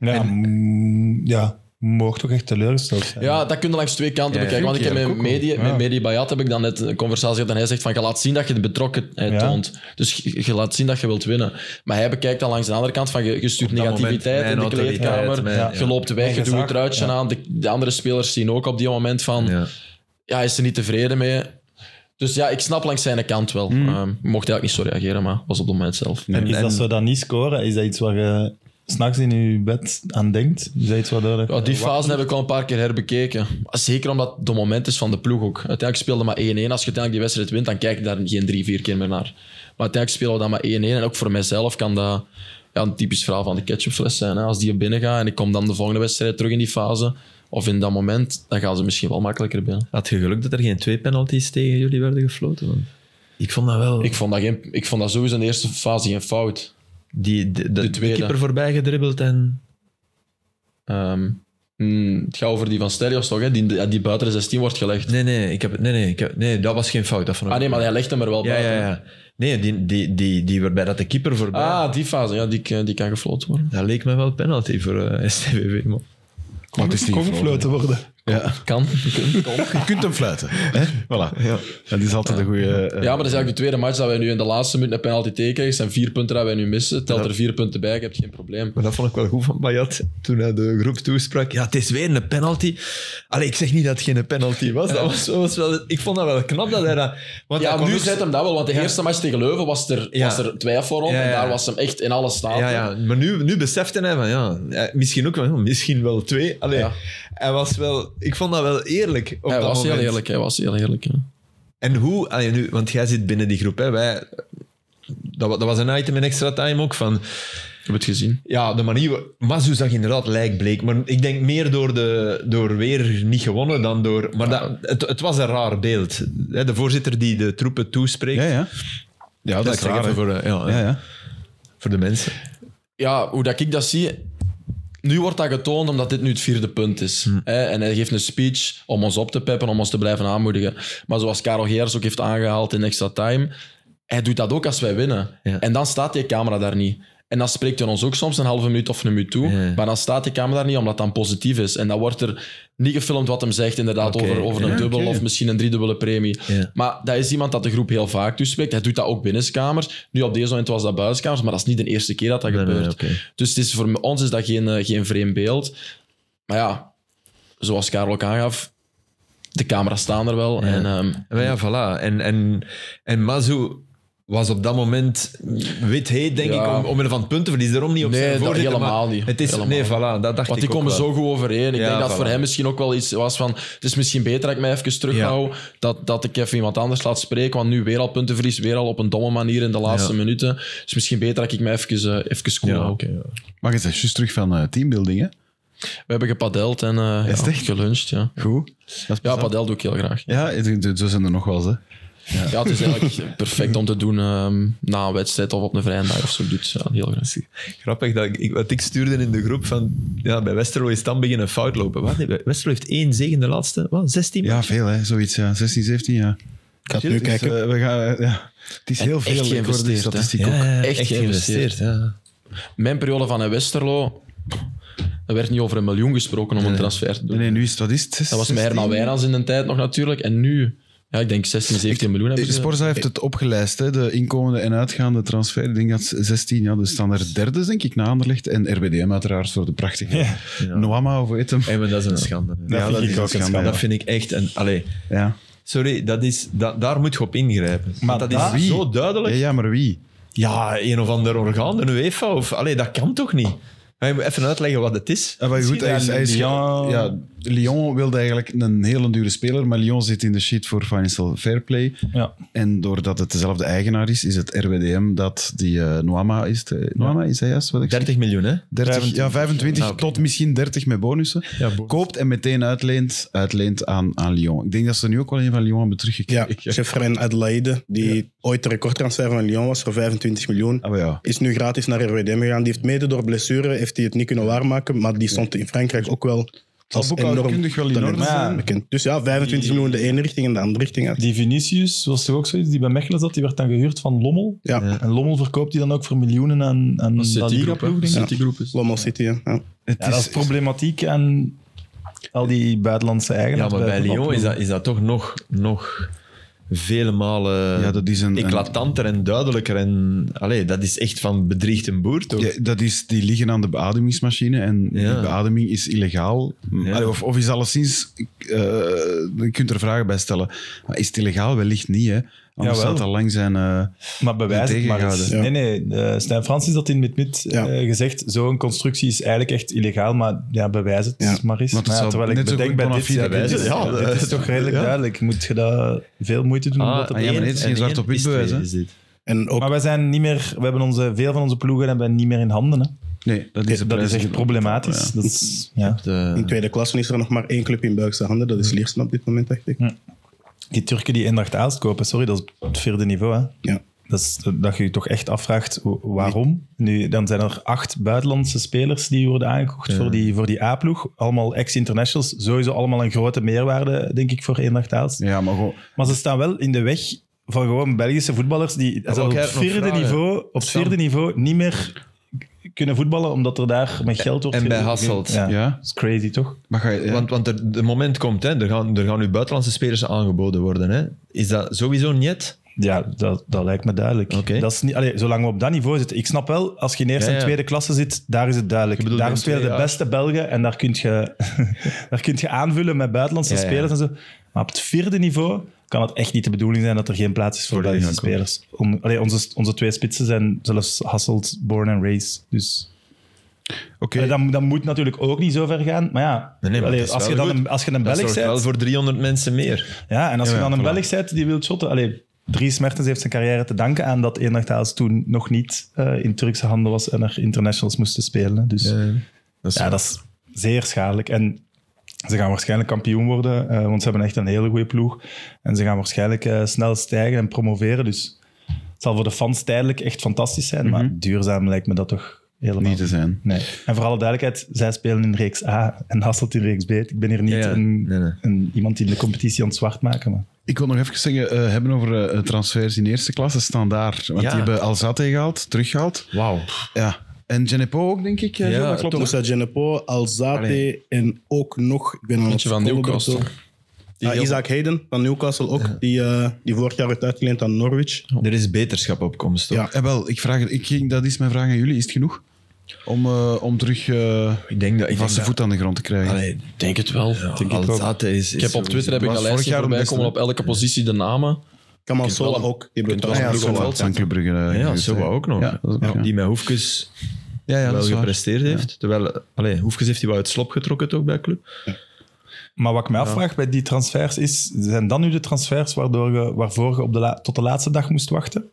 Speaker 2: Ja, mm, ja mocht toch echt teleurgesteld zijn.
Speaker 4: Ja, dat kun je langs twee kanten
Speaker 3: Ja,
Speaker 4: bekijken. Want ik heb met Medi, met Medi Bayat heb ik dan net een conversatie gehad en hij zegt van je laat zien dat je de betrokkenheid
Speaker 2: Ja.
Speaker 4: toont. Dus je, je laat zien dat je wilt winnen. Maar hij bekijkt dan langs de andere kant van je, je stuurt
Speaker 3: Op dat
Speaker 4: negativiteit
Speaker 3: moment,
Speaker 4: in
Speaker 3: mijn
Speaker 4: de
Speaker 3: autoriteit,
Speaker 4: kleedkamer,
Speaker 3: mijn- ja.
Speaker 4: je loopt weg,
Speaker 2: En
Speaker 4: je doet
Speaker 2: gezag,
Speaker 4: het ruitje
Speaker 2: ja.
Speaker 4: aan. De, de andere spelers zien ook op die moment van ja.
Speaker 3: Ja.
Speaker 4: hij is er niet tevreden mee. Dus ja, ik snap langs zijn kant wel. Ehm, mocht hij ook niet zo reageren, maar was op dat moment zelf.
Speaker 2: En is dat zo dan niet scoren? Is dat iets waar je s'nachts in je bed aan denkt? Is dat iets waardoor dat-
Speaker 3: Eh,
Speaker 4: Ja, die fase heb ik al een paar keer herbekeken. Zeker omdat het de moment is van de ploeg ook. Uiteindelijk speelde maar 1-1. Als je uiteindelijk die wedstrijd wint, dan kijk je daar geen drie, vier keer meer naar. Maar uiteindelijk spelen we dan maar 1-1. En ook voor mijzelf kan dat ja, een typisch verhaal van de ketchupfles zijn. Hè. Als die er binnen gaat en ik kom dan de volgende wedstrijd terug in die fase, of in dat moment, dan gaan ze misschien wel makkelijker binnen.
Speaker 3: Had je geluk dat er geen twee penalties tegen jullie werden gefloten? Want ik vond dat wel...
Speaker 4: Ik vond dat, geen, ik vond dat sowieso in de eerste fase geen fout.
Speaker 3: die, de, de,
Speaker 4: tweede.
Speaker 3: keeper voorbij gedribbeld en...
Speaker 4: Ehm, mm, het gaat over die van Stelios toch, hè? Die, die buiten de 16 wordt gelegd.
Speaker 3: Nee, nee, ik heb, nee, nee, ik heb, nee, dat was geen fout. Dat vond ik-
Speaker 4: Ah nee, maar hij legt hem er wel
Speaker 3: ja,
Speaker 4: buiten.
Speaker 3: ja, ja. Nee, die, die, die, die waarbij dat de keeper voorbij...
Speaker 4: Ah, die fase, ja, die, kan- die kan gefloten worden.
Speaker 3: Dat leek me wel penalty voor eh STVV, man.
Speaker 1: Maar het is niet
Speaker 2: Kon gefloten worden.
Speaker 1: Ja.
Speaker 4: Kan. Kun, kon.
Speaker 1: Je kunt hem fluiten. Hè? Voilà. Dat is altijd een eh, goede.
Speaker 4: Ja, maar dat is eigenlijk de tweede match dat wij nu in de laatste minuut een penalty tekenen. Het zijn vier punten dat wij nu missen. Telt er vier punten bij, je hebt geen probleem.
Speaker 3: Maar dat vond ik wel goed van Bayat toen hij de groep toesprak. Ja, het is weer een penalty. Allee, ik zeg niet dat het geen penalty was. Dat was, was wel, ik vond dat wel knap dat hij dat... Want hij
Speaker 4: Ja,
Speaker 3: kon dus-
Speaker 4: nu
Speaker 3: ook-
Speaker 4: zet hem dat wel, want de eerste match tegen Leuven was er,
Speaker 3: Ja.
Speaker 4: was er twijfel rond.
Speaker 3: Ja,
Speaker 4: En
Speaker 3: ja.
Speaker 4: daar was hem echt in alle staten.
Speaker 3: Ja, ja, maar nu, nu besefte hij van ja, eh, misschien ook wel, misschien wel twee. Allee,
Speaker 4: Ja.
Speaker 3: hij was wel, ik vond dat wel eerlijk. Op
Speaker 4: Hij
Speaker 3: dat
Speaker 4: was heel
Speaker 3: moment.
Speaker 4: eerlijk, hij was heel eerlijk. ja.
Speaker 3: En hoe, allee, nu, want jij zit binnen die groep, hè, wij, dat, wa- dat was een item in extra time ook van
Speaker 4: Ik heb het gezien.
Speaker 3: ja, de manier. wa- Mazu zag inderdaad lijkbleek. Maar ik denk meer door, de, door weer niet gewonnen dan door. Maar dat, het, het was een raar beeld. Hè, De voorzitter die de troepen toespreekt.
Speaker 1: Ja, ja. Ja, dat,
Speaker 3: dat
Speaker 1: is
Speaker 3: zeg
Speaker 1: raar.
Speaker 3: even
Speaker 1: hè.
Speaker 3: voor, de, ja,
Speaker 4: eh,
Speaker 1: Ja, ja.
Speaker 3: voor de mensen.
Speaker 4: Ja, hoe dat ik dat zie... Nu wordt dat getoond omdat dit nu het vierde punt is.
Speaker 3: Hm.
Speaker 4: Hè? En hij geeft een speech om ons op te peppen, om ons te blijven aanmoedigen. Maar zoals Karel Geers ook heeft aangehaald in extra time, hij doet dat ook als wij winnen.
Speaker 3: Ja.
Speaker 4: En dan staat die camera daar niet. En dan spreekt hij ons ook soms een halve minuut of een minuut toe.
Speaker 3: Ja.
Speaker 4: Maar dan staat die camera daar niet, omdat dat dan positief is. En dan wordt er niet gefilmd wat hem zegt, inderdaad,
Speaker 3: Oké.
Speaker 4: over, over een
Speaker 1: Ja,
Speaker 4: dubbel
Speaker 1: oké.
Speaker 4: of misschien een driedubbele premie.
Speaker 3: Ja.
Speaker 4: Maar dat is iemand dat de groep heel vaak toespreekt. Hij doet dat ook binnenskamers. Nu op deze moment was dat buitenskamers, maar dat is niet de eerste keer dat dat
Speaker 3: Nee, nee,
Speaker 4: gebeurt.
Speaker 3: oké.
Speaker 4: Dus het is, voor ons is dat geen, eh, geen vreemd beeld. Maar ja, zoals Karel ook aangaf, de camera's staan er wel. En, ehm,
Speaker 3: Maar ja, voilà. En, en, en Mazu was op dat moment wit heet, denk
Speaker 4: Ja.
Speaker 3: ik, om, omwille van het puntenverlies. Daarom niet op
Speaker 4: Nee,
Speaker 3: zijn
Speaker 4: dat
Speaker 3: voorzitter,
Speaker 4: helemaal
Speaker 3: maar
Speaker 4: niet.
Speaker 3: Het is,
Speaker 4: Helemaal
Speaker 3: nee,
Speaker 4: niet.
Speaker 3: voilà, dat dacht
Speaker 4: want
Speaker 3: ik
Speaker 4: die
Speaker 3: ook
Speaker 4: komen
Speaker 3: wel.
Speaker 4: zo goed overeen. Ik
Speaker 3: Ja,
Speaker 4: denk dat
Speaker 3: voilà.
Speaker 4: het voor hem misschien ook wel iets was van... Het is misschien beter dat ik mij even terughoud. Dat, dat ik even iemand anders laat spreken. Want nu weer al puntenverlies. Weer al op een domme manier in de laatste
Speaker 3: Ja.
Speaker 4: minuten. Dus misschien beter dat ik mij even, eh, even cool
Speaker 3: Ja,
Speaker 4: hou.
Speaker 3: oké, ja.
Speaker 1: Maar je bent juist terug van eh, teambuilding, hè?
Speaker 4: We hebben gepadeld en eh
Speaker 1: Is het
Speaker 4: ja,
Speaker 1: echt?
Speaker 4: geluncht. Ja.
Speaker 1: Goed. Dat is
Speaker 4: ja,
Speaker 1: plezant.
Speaker 4: padel doe ik heel graag.
Speaker 1: Ja, het- het- zo zijn er nog wel eens, hè?
Speaker 4: Ja, het is eigenlijk perfect om te doen ehm, na een wedstrijd of op een vrije dag of zo. Doet ja, heel graag.
Speaker 3: Grappig, dat ik- ik, wat ik stuurde in de groep van... Ja, bij Westerlo is dan beginnen fout lopen. Wat? Nee, bij Westerlo heeft één zege in de laatste, wat, 16?
Speaker 1: Ja, veel, hè? Zoiets, ja. 16, 17, ja.
Speaker 5: Ik ga het nu
Speaker 1: Dus,
Speaker 5: kijken.
Speaker 1: eh, we gaan, eh, ja. Het is
Speaker 4: En
Speaker 1: heel
Speaker 4: echt
Speaker 1: veel. ik hoorde die
Speaker 4: geïnvesteerd, hè?
Speaker 1: statistiek
Speaker 3: Ja,
Speaker 1: ook.
Speaker 3: ja, ja,
Speaker 4: Echt geïnvesteerd.
Speaker 3: ja.
Speaker 4: Mijn periode van in Westerlo, er werd niet over een miljoen gesproken om een transfer te doen.
Speaker 1: Nee, nee, nu is het, wat is het?
Speaker 4: Dat was
Speaker 1: 16?
Speaker 4: met Herman Wijnands in de tijd nog natuurlijk. En nu, ja, ik denk 16, 17 miljoen hebben
Speaker 1: De
Speaker 4: ze.
Speaker 1: Sporza heeft het opgelijst, hè? de inkomende en uitgaande transfer. Ik denk dat ze 16, ja, dus staan er derde, denk ik, na Anderlecht. En RBDM uiteraard voor de prachtige
Speaker 2: Ja.
Speaker 1: Noama, of hoe heet hem?
Speaker 3: Hey, maar dat is een schande. hè.
Speaker 2: Ja, vind ik
Speaker 1: is
Speaker 2: ook een
Speaker 1: schande,
Speaker 2: schande.
Speaker 1: ja.
Speaker 3: Dat vind ik echt een... Allee,
Speaker 1: Ja.
Speaker 3: sorry, dat is, dat, daar moet je op ingrijpen.
Speaker 2: Maar
Speaker 3: Want
Speaker 2: daar-
Speaker 4: Ah,
Speaker 3: dat is zo duidelijk.
Speaker 1: Ja, ja, maar wie?
Speaker 3: Ja, een of ander orgaan, een UEFA. Of, allee, dat kan toch niet? Hij moet even uitleggen wat het is.
Speaker 1: Ja, maar goed, hij is, hij is-
Speaker 2: Lyon.
Speaker 1: Ja, Lyon wilde eigenlijk een hele dure speler, maar Lyon zit in de sheet voor Financial Fair Play.
Speaker 2: Ja.
Speaker 1: En doordat het dezelfde eigenaar is, is het RWDM dat die eh Noama is. De, Noama is hij juist wat ik zeg?
Speaker 3: 30 miljoen, hè?
Speaker 1: 30,
Speaker 2: 25.
Speaker 1: ja, 25
Speaker 3: Ah, oké.
Speaker 1: tot misschien 30 met bonussen. Koopt en meteen uitleent, uitleent aan, aan Lyon. Ik denk dat ze er nu ook wel een van Lyon hebben
Speaker 5: Ja,
Speaker 1: teruggekregen.
Speaker 5: Jeffrey Adelaide, die ooit de recordtransfer van Lyon was voor 25 miljoen.
Speaker 1: Ah, maar ja.
Speaker 5: Is nu gratis naar RWDM gegaan. Die heeft mede door blessure heeft hij het niet kunnen waarmaken. Maar die stond in Frankrijk ook wel
Speaker 1: Zal
Speaker 5: als enorm
Speaker 1: boekhoudkundig wel in
Speaker 5: talent
Speaker 1: orde
Speaker 2: Ja.
Speaker 1: zijn.
Speaker 5: bekend. Dus ja, 25 miljoen de ene richting en de andere richting. uit.
Speaker 2: Die Vinicius was toch ook zoiets die bij Mechelen zat, die werd dan gehuurd van Lommel.
Speaker 5: Ja,
Speaker 3: Ja.
Speaker 2: En Lommel verkoopt die dan ook voor miljoenen aan, aan La Liga ploeg, denk ik.
Speaker 5: Ja.
Speaker 4: Citigroep is.
Speaker 5: Lommel City. hè. Ja.
Speaker 1: Het
Speaker 2: Ja, dat is problematiek aan al die buitenlandse
Speaker 3: Ja,
Speaker 2: eigenaren.
Speaker 3: maar bij Lyon is
Speaker 2: voetbalploegen.
Speaker 3: dat, is dat toch nog, nog vele malen
Speaker 1: ja, dat is een, een-
Speaker 3: eclatanter en duidelijker. En, allee, dat is echt van bedriegt een boer, toch?
Speaker 1: Ja, dat is, die liggen aan de beademingsmachine en
Speaker 3: Ja.
Speaker 1: die beademing is illegaal.
Speaker 3: Ja.
Speaker 1: Allee, Of, of is alleszins... eh, je kunt er vragen bij stellen. Maar is het illegaal? Wellicht niet, hè. Anders
Speaker 2: Jawel.
Speaker 1: zou het al lang zijn... eh,
Speaker 2: Maar bewijs het maar eens.
Speaker 5: Ja.
Speaker 2: Nee, nee. eh, Stijn Francis had in met mid
Speaker 5: Ja.
Speaker 2: eh, gezegd, zo'n constructie is eigenlijk echt illegaal, maar ja, bewijs het
Speaker 5: Ja.
Speaker 2: maar eens.
Speaker 1: Want het
Speaker 2: Maar
Speaker 1: zou
Speaker 2: ja, terwijl ik
Speaker 1: net zo
Speaker 2: bedenk
Speaker 1: goed
Speaker 2: bij
Speaker 1: bona
Speaker 2: dit,
Speaker 1: fide
Speaker 2: ja,
Speaker 1: bewijs
Speaker 2: dit is,
Speaker 3: zijn. Ja,
Speaker 2: dit is toch redelijk
Speaker 3: ja.
Speaker 2: duidelijk. Moet je daar veel moeite doen om dat te
Speaker 1: ja, maar nee,
Speaker 2: bewijzen?
Speaker 1: het is geen
Speaker 3: en
Speaker 1: zwart op wit
Speaker 3: is
Speaker 1: bewijs, hè.
Speaker 3: twee, is dit.
Speaker 5: En ook
Speaker 2: Maar wij zijn niet meer, we hebben onze, veel van onze ploegen hebben we niet meer in handen. Hè.
Speaker 1: nee, dat is, de
Speaker 2: dat is
Speaker 1: prijs.
Speaker 2: echt problematisch.
Speaker 1: Ja.
Speaker 2: Dat is, ja.
Speaker 3: eh,
Speaker 5: in tweede klasse is er nog maar één club in Belgische handen. Dat is Liersen op dit moment, dacht ik.
Speaker 2: Die Turken die Eendracht Aalst kopen, sorry, dat is het vierde niveau. Hè.
Speaker 5: Ja.
Speaker 2: Dat, is, dat je je toch echt afvraagt wa- waarom. Nu, dan zijn er acht buitenlandse spelers die worden aangekocht voor die, voor die A-ploeg. Allemaal ex-internationals. Sowieso allemaal een grote meerwaarde, denk ik, voor Eendracht Aalst.
Speaker 1: Ja, maar gewoon...
Speaker 2: Maar ze staan wel in de weg van gewoon Belgische voetballers die zelfs
Speaker 3: wou
Speaker 2: op
Speaker 3: ik
Speaker 2: het
Speaker 3: eigenlijk nog
Speaker 2: vierde,
Speaker 3: vragen.
Speaker 2: niveau, op het
Speaker 3: Sam.
Speaker 2: vierde niveau niet meer kunnen voetballen omdat er daar met geld wordt
Speaker 3: En bij
Speaker 2: geregeerd.
Speaker 3: Hasselt.
Speaker 2: Ja.
Speaker 1: Ja.
Speaker 2: Dat is crazy, toch?
Speaker 1: Maar ga je, ja.
Speaker 3: Want, want er, de moment komt, hè, er, gaan, er gaan nu buitenlandse spelers aangeboden worden. Hè. Is dat sowieso niet?
Speaker 2: Ja, dat, dat lijkt me duidelijk.
Speaker 3: Oké.
Speaker 2: Dat is niet, allee, zolang we op dat niveau zitten. Ik snap wel, als je in eerste
Speaker 3: Ja,
Speaker 2: en
Speaker 3: ja.
Speaker 2: tweede klasse zit, daar is het duidelijk.
Speaker 3: Je bedoelt
Speaker 2: daar
Speaker 3: in
Speaker 2: spelen de
Speaker 3: twee jaar.
Speaker 2: beste Belgen en daar kun je, daar kun je aanvullen met buitenlandse
Speaker 3: Ja, ja.
Speaker 2: spelers en zo. Maar op het vierde niveau kan het echt niet de bedoeling zijn dat er geen plaats is voor,
Speaker 3: Voor de
Speaker 2: Belgische
Speaker 3: inkomst.
Speaker 2: spelers. Om, allee, onze, onze twee spitsen zijn zelfs Hasselt, born and raised. Dus
Speaker 1: Oké.
Speaker 2: allee, dat, dat moet natuurlijk ook niet zo ver gaan. Maar ja,
Speaker 3: Nee, nee, maar
Speaker 2: allee,
Speaker 3: dat is
Speaker 2: als, je
Speaker 3: wel
Speaker 2: dan
Speaker 3: goed.
Speaker 2: een, als je een
Speaker 3: Dat
Speaker 2: Belg
Speaker 3: zorgt
Speaker 2: bent...
Speaker 3: wel voor 300 mensen meer.
Speaker 2: Ja, en als je
Speaker 1: Ja,
Speaker 2: dan een
Speaker 1: voilà.
Speaker 2: Belg bent die wil shotten... Allee, Dries Mertens heeft zijn carrière te danken aan dat Eendracht Haas toen nog niet eh, in Turkse handen was en er internationals moesten spelen. hè. Dus ja,
Speaker 3: Dat is
Speaker 2: dat is zeer schadelijk. En ze gaan waarschijnlijk kampioen worden, eh, want ze hebben echt een hele goede ploeg. En ze gaan waarschijnlijk eh, snel stijgen en promoveren. Dus het zal voor de fans tijdelijk echt fantastisch zijn, maar duurzaam lijkt me dat toch helemaal
Speaker 1: Mhm. niet te zijn.
Speaker 2: Nee. En voor alle duidelijkheid, zij spelen in reeks A en Hasselt in reeks B. Ik ben hier niet
Speaker 3: Ja, ja.
Speaker 2: Een,
Speaker 3: Nee, nee.
Speaker 2: een- iemand die de competitie aan het zwart maken. Maar.
Speaker 1: Ik wil nog even zeggen, eh, hebben over eh, transfers in eerste klasse staan daar. Want
Speaker 3: Ja.
Speaker 1: die hebben Alzate gehaald, teruggehaald.
Speaker 3: Wauw.
Speaker 1: Ja. En Genepo ook, denk ik. eh,
Speaker 3: Ja,
Speaker 1: Gilles, dat klopt.
Speaker 3: toch.
Speaker 1: hè?
Speaker 5: Moussa Genepo, Alzate
Speaker 3: Allee.
Speaker 5: en ook nog... Ik ben aan
Speaker 4: Eentje
Speaker 5: het
Speaker 4: van
Speaker 5: scrollen
Speaker 4: Newcastle.
Speaker 5: door het door. Ah,
Speaker 3: heel-
Speaker 5: Isaac Hayden van Newcastle ook, die, eh, die vorig jaar werd uitgeleend aan Norwich.
Speaker 3: Er is beterschap op komst. toch?
Speaker 5: Ja.
Speaker 1: Eh, wel, ik vraag, ik, ging- dat is mijn vraag aan jullie. Is het genoeg om, eh, om terug eh
Speaker 3: Ik denk dat... Ik
Speaker 1: vaste
Speaker 3: denk dat-
Speaker 1: voet aan de grond te krijgen?
Speaker 3: Allee,
Speaker 4: Ik denk het wel.
Speaker 3: denk
Speaker 2: het ook.
Speaker 3: is,
Speaker 4: Ik heb op Twitter heb ik
Speaker 1: was
Speaker 4: een
Speaker 1: vorig
Speaker 4: lijstje
Speaker 1: jaar de
Speaker 4: voorbij
Speaker 1: beste,
Speaker 4: komen
Speaker 1: hè?
Speaker 4: op elke positie de namen.
Speaker 5: Kamal
Speaker 4: kunt wel
Speaker 5: Sola
Speaker 4: een-
Speaker 5: ook, die
Speaker 4: kunt
Speaker 5: hebben
Speaker 4: wel
Speaker 5: het
Speaker 4: een
Speaker 1: ja,
Speaker 5: ook
Speaker 4: ploeg
Speaker 1: zo
Speaker 5: uitgeleend.
Speaker 4: op
Speaker 1: wel. Van
Speaker 4: veld zetten.
Speaker 1: Club Brugge, eh,
Speaker 3: Ja,
Speaker 1: geweest,
Speaker 3: zo
Speaker 1: hè.
Speaker 3: ook nog.
Speaker 1: Ja, dat is ook, ja.
Speaker 3: Die met Hoefkes
Speaker 1: Ja, ja, dat
Speaker 3: wel
Speaker 1: is waar.
Speaker 3: gepresteerd heeft. Terwijl, allee, Hoefkes heeft hij wel uit slop getrokken toch bij club.
Speaker 2: Maar wat ik me afvraag bij die transfers is, zijn dan nu de transfers waardoor je, waarvoor je op de la- tot de laatste dag moest wachten?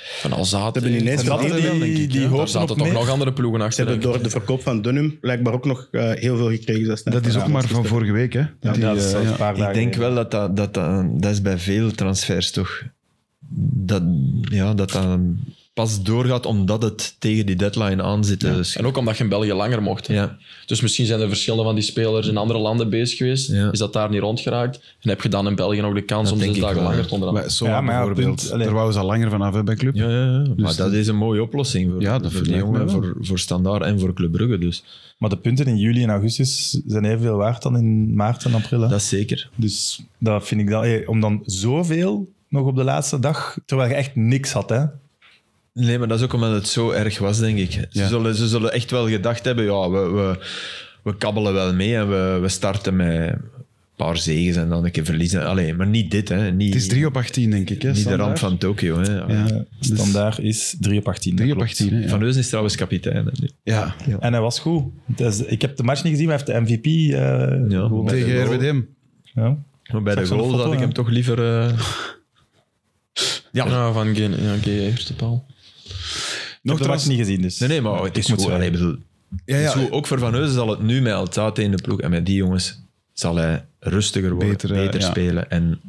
Speaker 4: Van Alzate.
Speaker 5: Ze hebben ineens
Speaker 2: En dat
Speaker 5: verdiend,
Speaker 2: die,
Speaker 5: hè.
Speaker 2: die,
Speaker 1: ja.
Speaker 4: Daar
Speaker 2: hoopten
Speaker 4: zaten
Speaker 2: op
Speaker 4: toch
Speaker 2: meer.
Speaker 4: nog andere ploegen
Speaker 5: Ze
Speaker 4: achter.
Speaker 5: hebben
Speaker 4: denk ik.
Speaker 5: door de verkoop van Dunham blijkbaar ook nog eh, heel veel gekregen. Dat is, net-
Speaker 1: Dat is ook
Speaker 5: Ja,
Speaker 1: maar van vorige week, hè?
Speaker 2: Ja,
Speaker 1: Die,
Speaker 2: dat is
Speaker 1: eh,
Speaker 2: zelfs
Speaker 1: ja.
Speaker 2: een paar dagen
Speaker 3: ik denk
Speaker 2: geleden.
Speaker 3: wel dat dat, dat dat... dat is bij veel transfers toch. Dat ja, dat, dat pas doorgaat omdat het tegen die deadline aan zit. Ja. Dus,
Speaker 4: En ook omdat je in België langer mocht. hè.
Speaker 3: ja.
Speaker 4: Dus misschien zijn er verschillen van die spelers in andere landen bezig geweest.
Speaker 3: Ja.
Speaker 4: Is dat daar niet rondgeraakt? En heb je dan in België nog de kans
Speaker 3: Dat
Speaker 4: om
Speaker 3: denk
Speaker 4: zes
Speaker 3: ik
Speaker 4: dagen
Speaker 3: wel,
Speaker 4: langer
Speaker 3: ja.
Speaker 4: te
Speaker 1: Bij
Speaker 4: onderhandelen?
Speaker 1: Soa
Speaker 2: Ja, maar ja,
Speaker 1: bijvoorbeeld.
Speaker 2: punt. Allee.
Speaker 1: Daar wouden ze al langer vanaf hè, bij Club.
Speaker 3: Ja, ja, ja. maar
Speaker 1: Dus
Speaker 3: dat
Speaker 1: dat-
Speaker 3: is een mooie oplossing voor,
Speaker 1: Ja, dat
Speaker 3: voor die
Speaker 1: lijkt me
Speaker 3: jongen,
Speaker 1: wel.
Speaker 3: voor, voor Standaard en voor Club Brugge. Dus.
Speaker 2: Maar de punten in juli en augustus zijn evenveel waard dan in maart en april. hè?
Speaker 3: Dat is zeker.
Speaker 2: Dus dat vind ik dan... hé, om dan zoveel nog op de laatste dag, terwijl je echt niks had, hè?
Speaker 3: Nee, maar dat is ook omdat het zo erg was, denk ik. Ze,
Speaker 1: Ja.
Speaker 3: zullen, ze zullen echt wel gedacht hebben, ja, we, we, we kabbelen wel mee en we, we starten met een paar zegens en dan een keer verliezen. Allee, maar niet dit, hè. Niet,
Speaker 1: Het is 3 op 18, denk ik. Hè,
Speaker 3: niet de
Speaker 1: standaard.
Speaker 3: rand van Tokio, hè.
Speaker 1: Ja,
Speaker 3: Dus-
Speaker 2: Standaard is 3 op 18. dat
Speaker 1: 3 op
Speaker 2: klopt.
Speaker 1: 18, hè, ja.
Speaker 3: Van Heusden is trouwens kapitein. hè, nu.
Speaker 1: Ja,
Speaker 2: En hij was goed. Dus, ik heb de match niet gezien, maar hij heeft de MVP eh
Speaker 3: Ja,
Speaker 2: gewonnen.
Speaker 3: met-
Speaker 1: tegen
Speaker 3: de goal.
Speaker 1: RWDM.
Speaker 2: Ja.
Speaker 3: Maar bij
Speaker 2: Zag
Speaker 3: de
Speaker 2: zo'n
Speaker 3: goal
Speaker 2: foto,
Speaker 3: had ik
Speaker 2: hè?
Speaker 3: hem toch liever... eh,
Speaker 4: Ja, van geen, ja, geen eerste paal.
Speaker 2: Nog
Speaker 1: Nog
Speaker 2: de match
Speaker 1: trouwens-
Speaker 2: niet gezien, dus.
Speaker 3: Nee, nee, maar het
Speaker 2: Ik
Speaker 3: is
Speaker 2: moet
Speaker 3: goed.
Speaker 2: zeggen.
Speaker 3: Allee, ik bedoel,
Speaker 1: Ja,
Speaker 3: het is
Speaker 1: ja,
Speaker 3: goed. Ook voor Van Heusden zal het nu met Altate in de ploeg en met die jongens zal hij rustiger worden,
Speaker 1: Beter,
Speaker 3: beter,
Speaker 1: eh, ja.
Speaker 3: spelen. En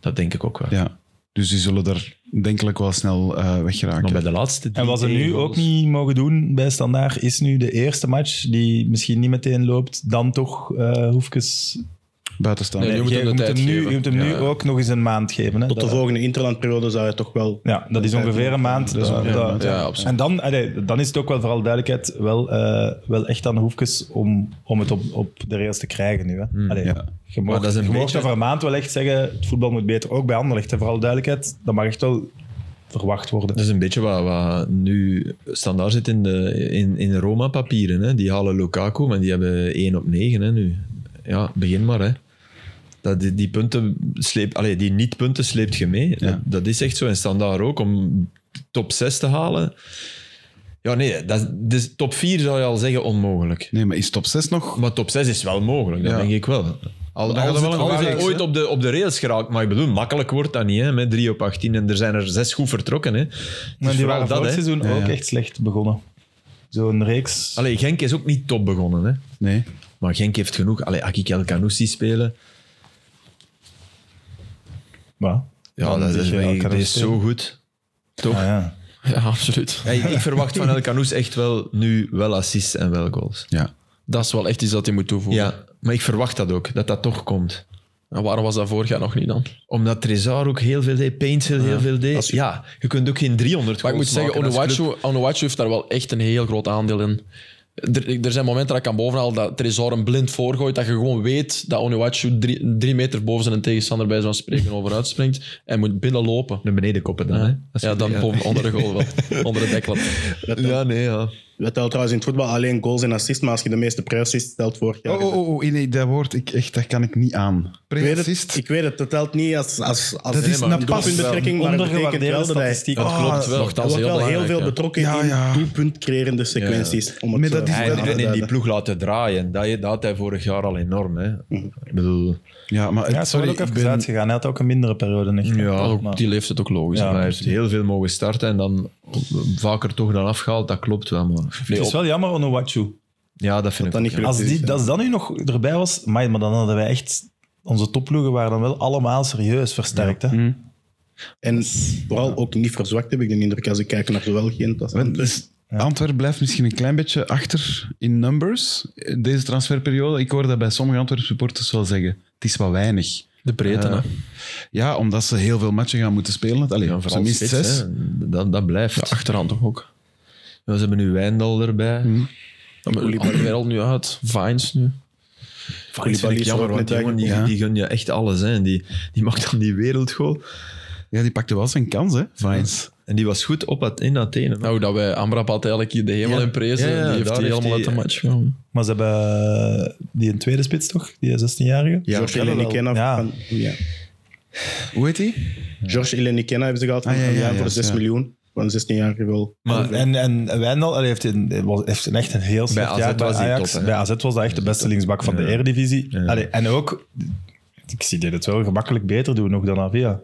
Speaker 3: dat denk ik ook wel.
Speaker 1: ja. Dus die zullen daar denkelijk wel snel eh,
Speaker 3: Maar
Speaker 1: weggeraken.
Speaker 3: bij de laatste
Speaker 2: En wat ze nu ook niet mogen doen bij Standaard, is nu de eerste match die misschien niet meteen loopt, dan toch eh Hoefkes...
Speaker 1: Buitenstaan.
Speaker 4: Nee, je moet hem de
Speaker 2: Je
Speaker 4: tijd
Speaker 2: hem nu,
Speaker 4: geven.
Speaker 2: je moet hem nu
Speaker 4: Ja.
Speaker 2: ook nog eens een maand geven. Hè?
Speaker 5: Tot de
Speaker 2: Dat-
Speaker 5: volgende interlandperiode zou je toch wel...
Speaker 2: Ja, dat is ongeveer een maand.
Speaker 1: Dat is ongeveer
Speaker 2: Dat-
Speaker 1: een maand,
Speaker 2: dat-
Speaker 4: ja, absoluut.
Speaker 2: En dan, allee, dan is het ook wel vooral duidelijkheid wel, eh, wel echt aan de hoefjes om, om het op, op de rails te krijgen nu. Hè. Allee,
Speaker 1: ja.
Speaker 2: Je
Speaker 3: Maar
Speaker 2: mag,
Speaker 3: dat is een
Speaker 2: je mag
Speaker 3: beetje-
Speaker 2: over een maand wel echt zeggen, het voetbal moet beter. Ook bij Anderlecht, hè, vooral duidelijkheid. Dat mag echt wel verwacht worden.
Speaker 3: Dat is een beetje wat, wat nu standaard zit in, de, in, in Roma-papieren. Hè. Die halen Lukaku, maar die hebben 1 op 9 hè, nu. Ja, begin maar. Hè. Dat, die, die punten sleep, allee, die niet-punten sleept je mee. Dat, dat is echt zo. En standaard ook, om top 6 te halen. Ja, nee, dat, is- dus top 4 zou je al zeggen onmogelijk.
Speaker 1: Nee, maar is top 6 nog?
Speaker 3: Maar top 6 is wel mogelijk, dat
Speaker 1: Ja.
Speaker 3: denk ik wel. Al,
Speaker 1: gaat
Speaker 3: als
Speaker 1: er wel
Speaker 3: het,
Speaker 1: een
Speaker 3: als het
Speaker 1: gevaarlijks,
Speaker 3: ooit
Speaker 1: hè?
Speaker 3: op de, op de rails geraakt, maar ik bedoel, makkelijk wordt dat niet, hè, met 3 op 18. En er zijn er 6 goed vertrokken. Hè. Dus
Speaker 2: Maar die
Speaker 3: vooral
Speaker 2: waren vorig
Speaker 3: hè.
Speaker 2: seizoen
Speaker 1: Ja,
Speaker 2: ook
Speaker 1: ja.
Speaker 2: echt slecht begonnen. Zo'n reeks.
Speaker 3: Allee, Genk is ook niet top begonnen. Hè.
Speaker 1: Nee.
Speaker 3: Maar Genk heeft genoeg. Allee, Akik El Kanoussi spelen.
Speaker 2: Maar,
Speaker 3: Ja,
Speaker 2: dan
Speaker 3: dat
Speaker 2: zeg
Speaker 3: is,
Speaker 2: je, nou, El
Speaker 3: dat
Speaker 2: Khanouchi.
Speaker 3: is zo goed. Toch?
Speaker 2: Ah, ja.
Speaker 4: Ja, absoluut.
Speaker 3: Ja, ik, ik verwacht van El Kanoussi echt wel nu wel assists en wel goals.
Speaker 1: Ja.
Speaker 4: Dat is wel echt iets dat hij moet toevoegen.
Speaker 3: Ja, maar ik verwacht dat ook, dat dat toch komt.
Speaker 4: En waarom was dat vorig jaar nog niet dan?
Speaker 3: Omdat Trezor ook heel veel deed, Paintshill heel veel deed. Ja, je kunt ook geen 300
Speaker 4: Maar ik moet
Speaker 3: goals
Speaker 4: zeggen,
Speaker 3: maken als club.
Speaker 4: Onuwachu, Onuwachu heeft daar wel echt een heel groot aandeel in. Er, er zijn momenten dat ik kan bovenhalen dat Tresor een blind voorgooit, dat je gewoon weet dat Onuwachu drie, drie meter boven zijn tegenstander bij zo'n spreken overuit springt en moet binnenlopen.
Speaker 3: Naar beneden koppen dan, hè. Als
Speaker 4: Ja,
Speaker 3: je-
Speaker 4: dan boven, onder de goal wel. Onder de dekklap.
Speaker 3: Ja, nee, ja.
Speaker 5: We tellen trouwens in het voetbal alleen goals en assists, maar als je de meeste pre-assists telt vorig jaar...
Speaker 1: Oh, oh, oh, oh, nee, dat woord, ik, echt, dat kan ik niet aan.
Speaker 5: Ik weet
Speaker 1: Pre-assist?
Speaker 5: het, ik weet het, dat telt niet als, als, als
Speaker 1: Dat is
Speaker 5: een
Speaker 1: een pas.
Speaker 5: doelpuntbetrekking, maar dat betekent
Speaker 2: Ondergewaardeerde
Speaker 5: wel dat hij...
Speaker 2: statistiek.
Speaker 1: Ah,
Speaker 4: Klopt wel.
Speaker 5: Er
Speaker 4: Nogthans
Speaker 5: wordt wel heel
Speaker 4: belangrijk,
Speaker 5: veel
Speaker 4: ja.
Speaker 5: betrokken
Speaker 1: Ja, ja.
Speaker 5: in doelpuntcreërende sequenties. Om het eh,
Speaker 1: Maar
Speaker 5: zo
Speaker 1: dat is-
Speaker 5: aan
Speaker 1: dat- dat-
Speaker 5: te
Speaker 3: En in die
Speaker 5: duiden.
Speaker 3: ploeg laten draaien, dat, je- dat had hij vorig jaar al enorm, hè. Ik bedoel...
Speaker 1: Ja, maar
Speaker 2: Ja,
Speaker 1: sorry,
Speaker 2: sorry, ook
Speaker 1: ik
Speaker 2: even
Speaker 1: ben-
Speaker 2: uitgegaan. Hij had ook een mindere periode. Niet?
Speaker 3: Ja,
Speaker 4: Ook
Speaker 2: maar-
Speaker 4: op die leeftijd ook logisch.
Speaker 2: Ja.
Speaker 4: hè.
Speaker 3: hij heeft heel veel mogen starten en dan vaker toch dan afgehaald. Dat klopt wel, man.
Speaker 4: Nee,
Speaker 2: Het
Speaker 4: op-
Speaker 2: is wel jammer, Onuwachu.
Speaker 3: Ja, dat vind
Speaker 5: Dat
Speaker 3: ik
Speaker 5: niet
Speaker 3: ook, ja.
Speaker 5: gelukt
Speaker 2: Als,
Speaker 5: is.
Speaker 2: die, als dat nu nog erbij was, amai, maar dan hadden wij echt... Onze topploegen waren dan wel allemaal serieus versterkt. Hè?
Speaker 3: Mm.
Speaker 5: En vooral ook niet verzwakt, heb ik de indruk, als ik kijk naar zowel Gent als...
Speaker 1: Want, dus Antwerpen blijft misschien een klein beetje achter in numbers eh, deze transferperiode. Ik hoor dat bij sommige Antwerpen supporters wel zeggen. Het is wat weinig.
Speaker 4: De breedte, hè.
Speaker 1: Ja, omdat ze heel veel matchen gaan moeten spelen. Allee,
Speaker 3: Ja,
Speaker 1: ja,
Speaker 3: vooral
Speaker 1: minst
Speaker 3: spits,
Speaker 1: zes.
Speaker 3: hè. Dat, dat blijft.
Speaker 4: Achterhand toch ook.
Speaker 3: Ja, ze hebben nu Wijndal erbij.
Speaker 4: Ja, maar Alderweireld nu uit. Vines nu.
Speaker 3: Dat vind ik jammer, want die jongen die,
Speaker 1: Ja.
Speaker 3: die gun je echt alles. Hè. En die, die maakt dan die wereldgoal.
Speaker 1: Ja, die pakte wel zijn kans, hè, Vines.
Speaker 3: En die was goed op at- in Athene. man.
Speaker 4: Nou, dat wij Amrap had eigenlijk hier de hemel
Speaker 3: Ja.
Speaker 4: in prezen.
Speaker 3: Ja, ja,
Speaker 4: die heeft
Speaker 3: daar
Speaker 4: die
Speaker 3: heeft
Speaker 4: helemaal
Speaker 3: hij-
Speaker 4: uit de match gehouden.
Speaker 2: Maar ze hebben eh, die een tweede spits toch? Die 16-jarige?
Speaker 3: Ja,
Speaker 5: George
Speaker 2: Jelle wel.
Speaker 5: Elenikena.
Speaker 2: Ja.
Speaker 5: van- Ja.
Speaker 1: Hoe heet die?
Speaker 5: George Elenikena hebben ze gehad van
Speaker 1: Ah, ja, ja,
Speaker 5: Italiaan
Speaker 1: ja,
Speaker 5: voor 6
Speaker 1: ja.
Speaker 5: miljoen. Van 16 jaar wel.
Speaker 3: Maar-
Speaker 2: en, en Wijndal allee, heeft, een, was- heeft een echt een heel slecht
Speaker 3: AZ
Speaker 2: jaar bij
Speaker 3: was hij
Speaker 2: Ajax.
Speaker 3: top, hè?
Speaker 2: bij AZ was dat echt de beste linksbak van de Eredivisie. Allee, en ook, ik zie dit het wel gemakkelijk beter doen nog dan Avia.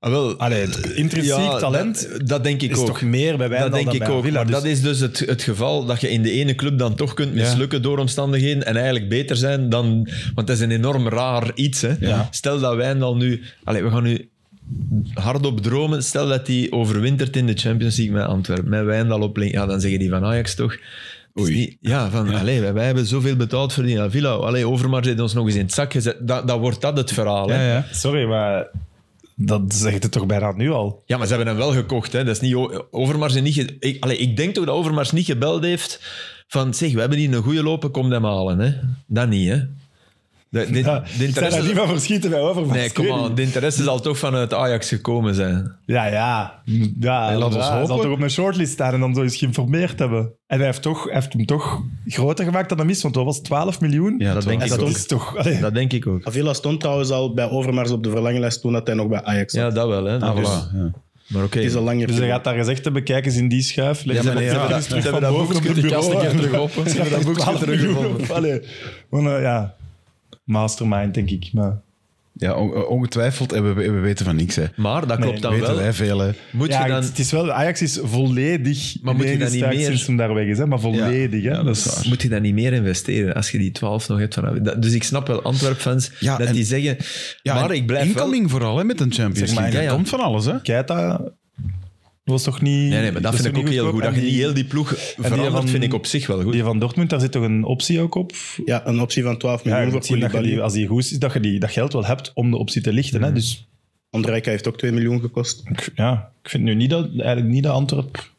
Speaker 3: Ah, wel,
Speaker 2: Allee, het intrinsiek
Speaker 3: ja,
Speaker 2: talent
Speaker 3: Dat, dat denk ik
Speaker 2: is
Speaker 3: ook.
Speaker 2: toch meer bij Wijndal
Speaker 3: dat denk
Speaker 2: dan
Speaker 3: ik
Speaker 2: bij
Speaker 3: ook.
Speaker 2: Avila,
Speaker 3: maar
Speaker 2: dus-
Speaker 3: dat is dus het, het geval dat je in de ene club dan toch kunt mislukken door omstandigheden en eigenlijk beter zijn dan. Want dat is een enorm raar iets. Hè?
Speaker 2: Ja.
Speaker 3: Stel dat wij dan nu. Allez, we gaan nu hardop dromen. Stel dat die overwintert in de Champions League met Antwerpen, met Wijndal op link. Ja, dan zeggen die van Ajax toch. het is niet- Ja, van, Allee, wij, wij hebben zoveel betaald voor die Avila. Allee, Overmars heeft ons nog eens in het zak gezet. Dat, dat wordt dat het verhaal. hè.
Speaker 2: Sorry, maar dat zegt het toch bijna nu al?
Speaker 3: Ja, maar ze hebben hem wel gekocht. Hè. Dat is niet o- Overmars heeft niet... ge- Ik, allee, ik denk toch dat Overmars niet gebeld heeft van... Zeg, we hebben hier een goede lopen, kom hem halen. Hè. Dat niet, hè. De,
Speaker 2: Ja,
Speaker 3: de, de
Speaker 2: ik zou daar
Speaker 3: interesse...
Speaker 2: niet van verschieten bij over.
Speaker 3: Nee, kom aan. De interesse zal toch vanuit Ajax gekomen zijn.
Speaker 2: Ja, ja. ja
Speaker 1: laat ons
Speaker 2: ja, Hij zal
Speaker 1: hopen.
Speaker 2: toch op mijn shortlist staan en dan zo eens geïnformeerd hebben. En hij heeft, toch, hij heeft hem toch groter gemaakt dan hem is, want dat was 12 miljoen.
Speaker 1: Ja,
Speaker 3: dat denk
Speaker 2: en
Speaker 3: ik
Speaker 2: dat
Speaker 3: ook.
Speaker 2: is toch... allee,
Speaker 3: Dat denk ik ook.
Speaker 5: Avila stond trouwens al bij Overmars op de verlanglijst toen dat hij nog bij Ajax zat.
Speaker 3: Ja, dat wel, hè.
Speaker 1: Ah,
Speaker 3: Dus-
Speaker 1: voilà. Ja.
Speaker 3: Maar oké.
Speaker 5: Het is al langer.
Speaker 2: dus hij
Speaker 5: geleden.
Speaker 2: gaat daar gezegd hebben, kijk eens in die schuif. Leg
Speaker 3: Ja,
Speaker 2: ze
Speaker 3: maar nee,
Speaker 2: dat
Speaker 3: ja,
Speaker 2: boekje
Speaker 3: ze
Speaker 2: terug
Speaker 3: hebben
Speaker 2: van
Speaker 3: dat
Speaker 2: boven op
Speaker 3: boekje-
Speaker 2: het
Speaker 4: de
Speaker 2: bureau.
Speaker 4: kast een keer terug open.
Speaker 2: Ze hebben dat boekje teruggevonden. Allee. Want, eh, ja, mastermind, denk ik. Maar...
Speaker 1: Ja, on- eh, ongetwijfeld. En we, we weten van niks, hè.
Speaker 3: Maar dat klopt dan
Speaker 1: weten
Speaker 3: wel.
Speaker 1: wij veel, hè.
Speaker 3: Moet
Speaker 2: Ja,
Speaker 3: je dan...
Speaker 2: het is wel, Ajax is volledig
Speaker 3: Maar moet je dan niet
Speaker 2: ineengestart
Speaker 3: meer-
Speaker 2: sinds hem daar weg is, hè? maar volledig. hè?
Speaker 3: Ja,
Speaker 2: Dat is-
Speaker 3: Moet je dan niet meer investeren als je die 12 nog hebt? Van, dat, dus ik snap wel Antwerp-fans
Speaker 1: Ja,
Speaker 3: dat
Speaker 1: en-
Speaker 3: die zeggen... maar ik blijf wel...
Speaker 1: Incoming vooral, hè, met een Champions
Speaker 2: Zeg maar,
Speaker 1: League.
Speaker 3: ja,
Speaker 1: Dat
Speaker 3: ja.
Speaker 1: komt van alles, hè.
Speaker 2: Keita was toch niet...
Speaker 3: Nee, nee, maar dat vind ik
Speaker 2: toch
Speaker 3: ook
Speaker 2: niet
Speaker 3: heel goed.
Speaker 2: goedkoop?
Speaker 3: Dat je
Speaker 2: En
Speaker 3: niet heel die ploeg verandert,
Speaker 2: van-
Speaker 3: vind ik op zich wel goed.
Speaker 2: Die van Dortmund, daar zit toch een optie ook op?
Speaker 5: Ja, een optie van
Speaker 2: Ja,
Speaker 5: 12 miljoen
Speaker 2: je
Speaker 5: voor
Speaker 2: moet zien dat je
Speaker 5: Koulibaly.
Speaker 2: die, als die goed is, dat je die, dat geld wel hebt om de optie te lichten. Hè? Dus
Speaker 5: Andrijka heeft ook 2 miljoen gekost.
Speaker 2: ik- ja, ik vind nu niet dat, eigenlijk niet dat Antwerp...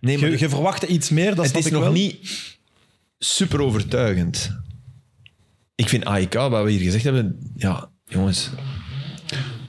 Speaker 3: nee, maar
Speaker 2: Je, je verwachtte iets meer, dat
Speaker 3: het
Speaker 2: snap
Speaker 3: is
Speaker 2: ik
Speaker 3: nog
Speaker 2: wel.
Speaker 3: niet super overtuigend. Ik vind AIK, wat we hier gezegd hebben, ja, jongens.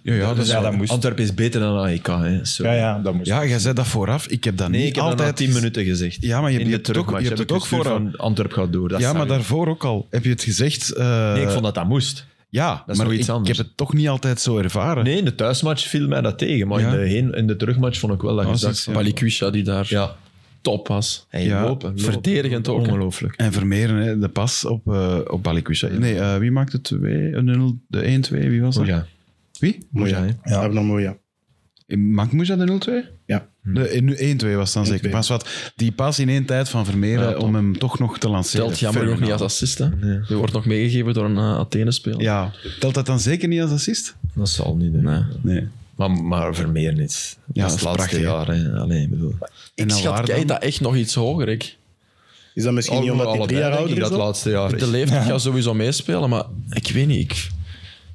Speaker 1: Ja, ja, dat is
Speaker 2: ja,
Speaker 1: waar.
Speaker 2: dat moest.
Speaker 3: Antwerpen is beter dan AIK. Hè. Sorry.
Speaker 2: Ja, ja, dat moest.
Speaker 1: Ja, jij zei dat vooraf. Ik heb dat
Speaker 3: Nee,
Speaker 1: niet
Speaker 3: ik heb altijd
Speaker 1: altijd...
Speaker 3: 10 minuten gezegd.
Speaker 1: Ja, maar je hebt
Speaker 3: In de
Speaker 1: het ook-
Speaker 3: terugmatch
Speaker 1: je hebt
Speaker 3: heb
Speaker 1: het
Speaker 3: ik
Speaker 1: ook
Speaker 3: gestuurd
Speaker 1: vooraf.
Speaker 3: van Antwerp gaat door. Dat
Speaker 1: Ja,
Speaker 3: zag
Speaker 1: maar
Speaker 3: ik.
Speaker 1: daarvoor ook al. Heb je het gezegd? eh,
Speaker 3: Nee, ik vond dat dat moest.
Speaker 1: Ja,
Speaker 3: is
Speaker 1: maar
Speaker 3: nog iets
Speaker 1: ik, ik
Speaker 3: anders.
Speaker 1: heb het toch niet altijd zo ervaren.
Speaker 3: Nee, in de thuismatch viel mij dat tegen. Maar
Speaker 1: Ja.
Speaker 3: in, de heen, in de terugmatch vond ik wel dat
Speaker 4: Ah,
Speaker 3: je
Speaker 1: Oh,
Speaker 3: zag
Speaker 1: zie-
Speaker 3: van-
Speaker 4: Balikwisha die daar
Speaker 3: Ja.
Speaker 4: top was.
Speaker 3: En je
Speaker 1: Ja.
Speaker 3: lopen, lopen.
Speaker 4: Verdedigend ook, hè.
Speaker 3: Ongelooflijk.
Speaker 1: En Vermeeren, hè, de pas op, eh op Balikwisha. Nee, eh, wie maakte 2? 0, de 1-2, wie was dat?
Speaker 4: Oh,
Speaker 3: Ja,
Speaker 1: Wie?
Speaker 3: ja, hè.
Speaker 5: Ja. Abnormoeja.
Speaker 1: Maakt Moesha de 0-2?
Speaker 5: Ja.
Speaker 1: De in- 1-2 was dan zeker. Maar wat, die pas in één tijd van Vermeeren om hem toch nog te lanceren.
Speaker 4: Telt jammer nog niet als assist. Hè. Die wordt nog meegegeven door een eh, Athene-speler.
Speaker 1: Ja, telt dat dan zeker niet als assist?
Speaker 3: Dat zal niet. hè.
Speaker 4: Nee.
Speaker 1: Nee.
Speaker 3: Maar, maar Vermeer niet.
Speaker 1: Ja,
Speaker 3: dat is het
Speaker 1: dat is
Speaker 3: laatste
Speaker 1: prachtig,
Speaker 3: jaar. Hè. Allee, ik bedoel.
Speaker 1: En
Speaker 4: Ik
Speaker 1: dan
Speaker 4: schat
Speaker 1: waar dan?
Speaker 4: Keita echt nog iets hoger. Ik.
Speaker 5: Is dat misschien niet omdat hij
Speaker 3: Allebei
Speaker 5: drie jaar
Speaker 3: denk
Speaker 5: ouder
Speaker 3: ik
Speaker 5: is?
Speaker 3: dat
Speaker 5: al?
Speaker 3: laatste jaar.
Speaker 4: De
Speaker 3: is.
Speaker 4: leeftijd gaat sowieso meespelen, maar ik weet niet. Ik,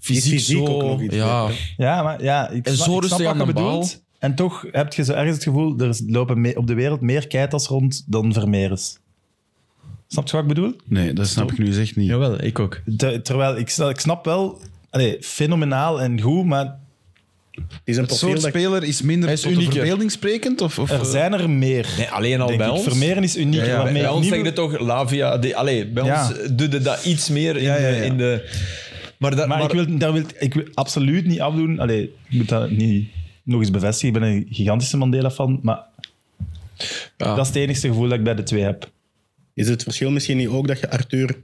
Speaker 4: fysiek,
Speaker 5: fysiek
Speaker 4: zo...
Speaker 5: ook nog iets
Speaker 4: ja,
Speaker 2: Ja, maar ja, ik,
Speaker 4: En
Speaker 2: sna-
Speaker 4: zo
Speaker 2: ik snap
Speaker 4: rustig
Speaker 2: wat
Speaker 4: aan
Speaker 2: je
Speaker 4: de bal.
Speaker 2: bedoelt. En toch heb je zo ergens het gevoel, er lopen me- op de wereld meer keitels rond dan Vermeers. Snap je wat ik bedoel?
Speaker 1: Nee, dat snap ik nu eens echt niet.
Speaker 3: Jawel, ik ook.
Speaker 2: Te- terwijl, ik, sna- ik snap wel, allee, fenomenaal en goed, maar
Speaker 5: Het is een
Speaker 1: Het
Speaker 5: profiel
Speaker 1: soort
Speaker 5: dat ik-
Speaker 1: speler is minder
Speaker 4: Hij is
Speaker 1: tot de
Speaker 4: unieker.
Speaker 1: verbeelding sprekend? Of, of,
Speaker 2: er zijn er meer.
Speaker 3: Nee, alleen al
Speaker 2: denk
Speaker 3: bij
Speaker 2: ik.
Speaker 3: ons.
Speaker 2: Vermeeren is uniek.
Speaker 3: Ja, ja, bij
Speaker 2: waarmee
Speaker 3: bij ons
Speaker 2: opnieuw-
Speaker 3: denk je toch Lavia. Die, allee, bij
Speaker 2: Ja.
Speaker 3: ons doet het dat iets meer in,
Speaker 1: Ja, ja, ja.
Speaker 3: De, in de. Maar, dat,
Speaker 2: Maar,
Speaker 3: maar-
Speaker 2: ik, wil, daar wil, ik wil absoluut niet afdoen. Allee, ik moet dat niet nog eens bevestigen. Ik ben een gigantische Mandela-fan, maar
Speaker 4: Ja.
Speaker 2: dat is het enigste gevoel dat ik bij de twee heb.
Speaker 5: Is het verschil misschien niet ook dat je Arthur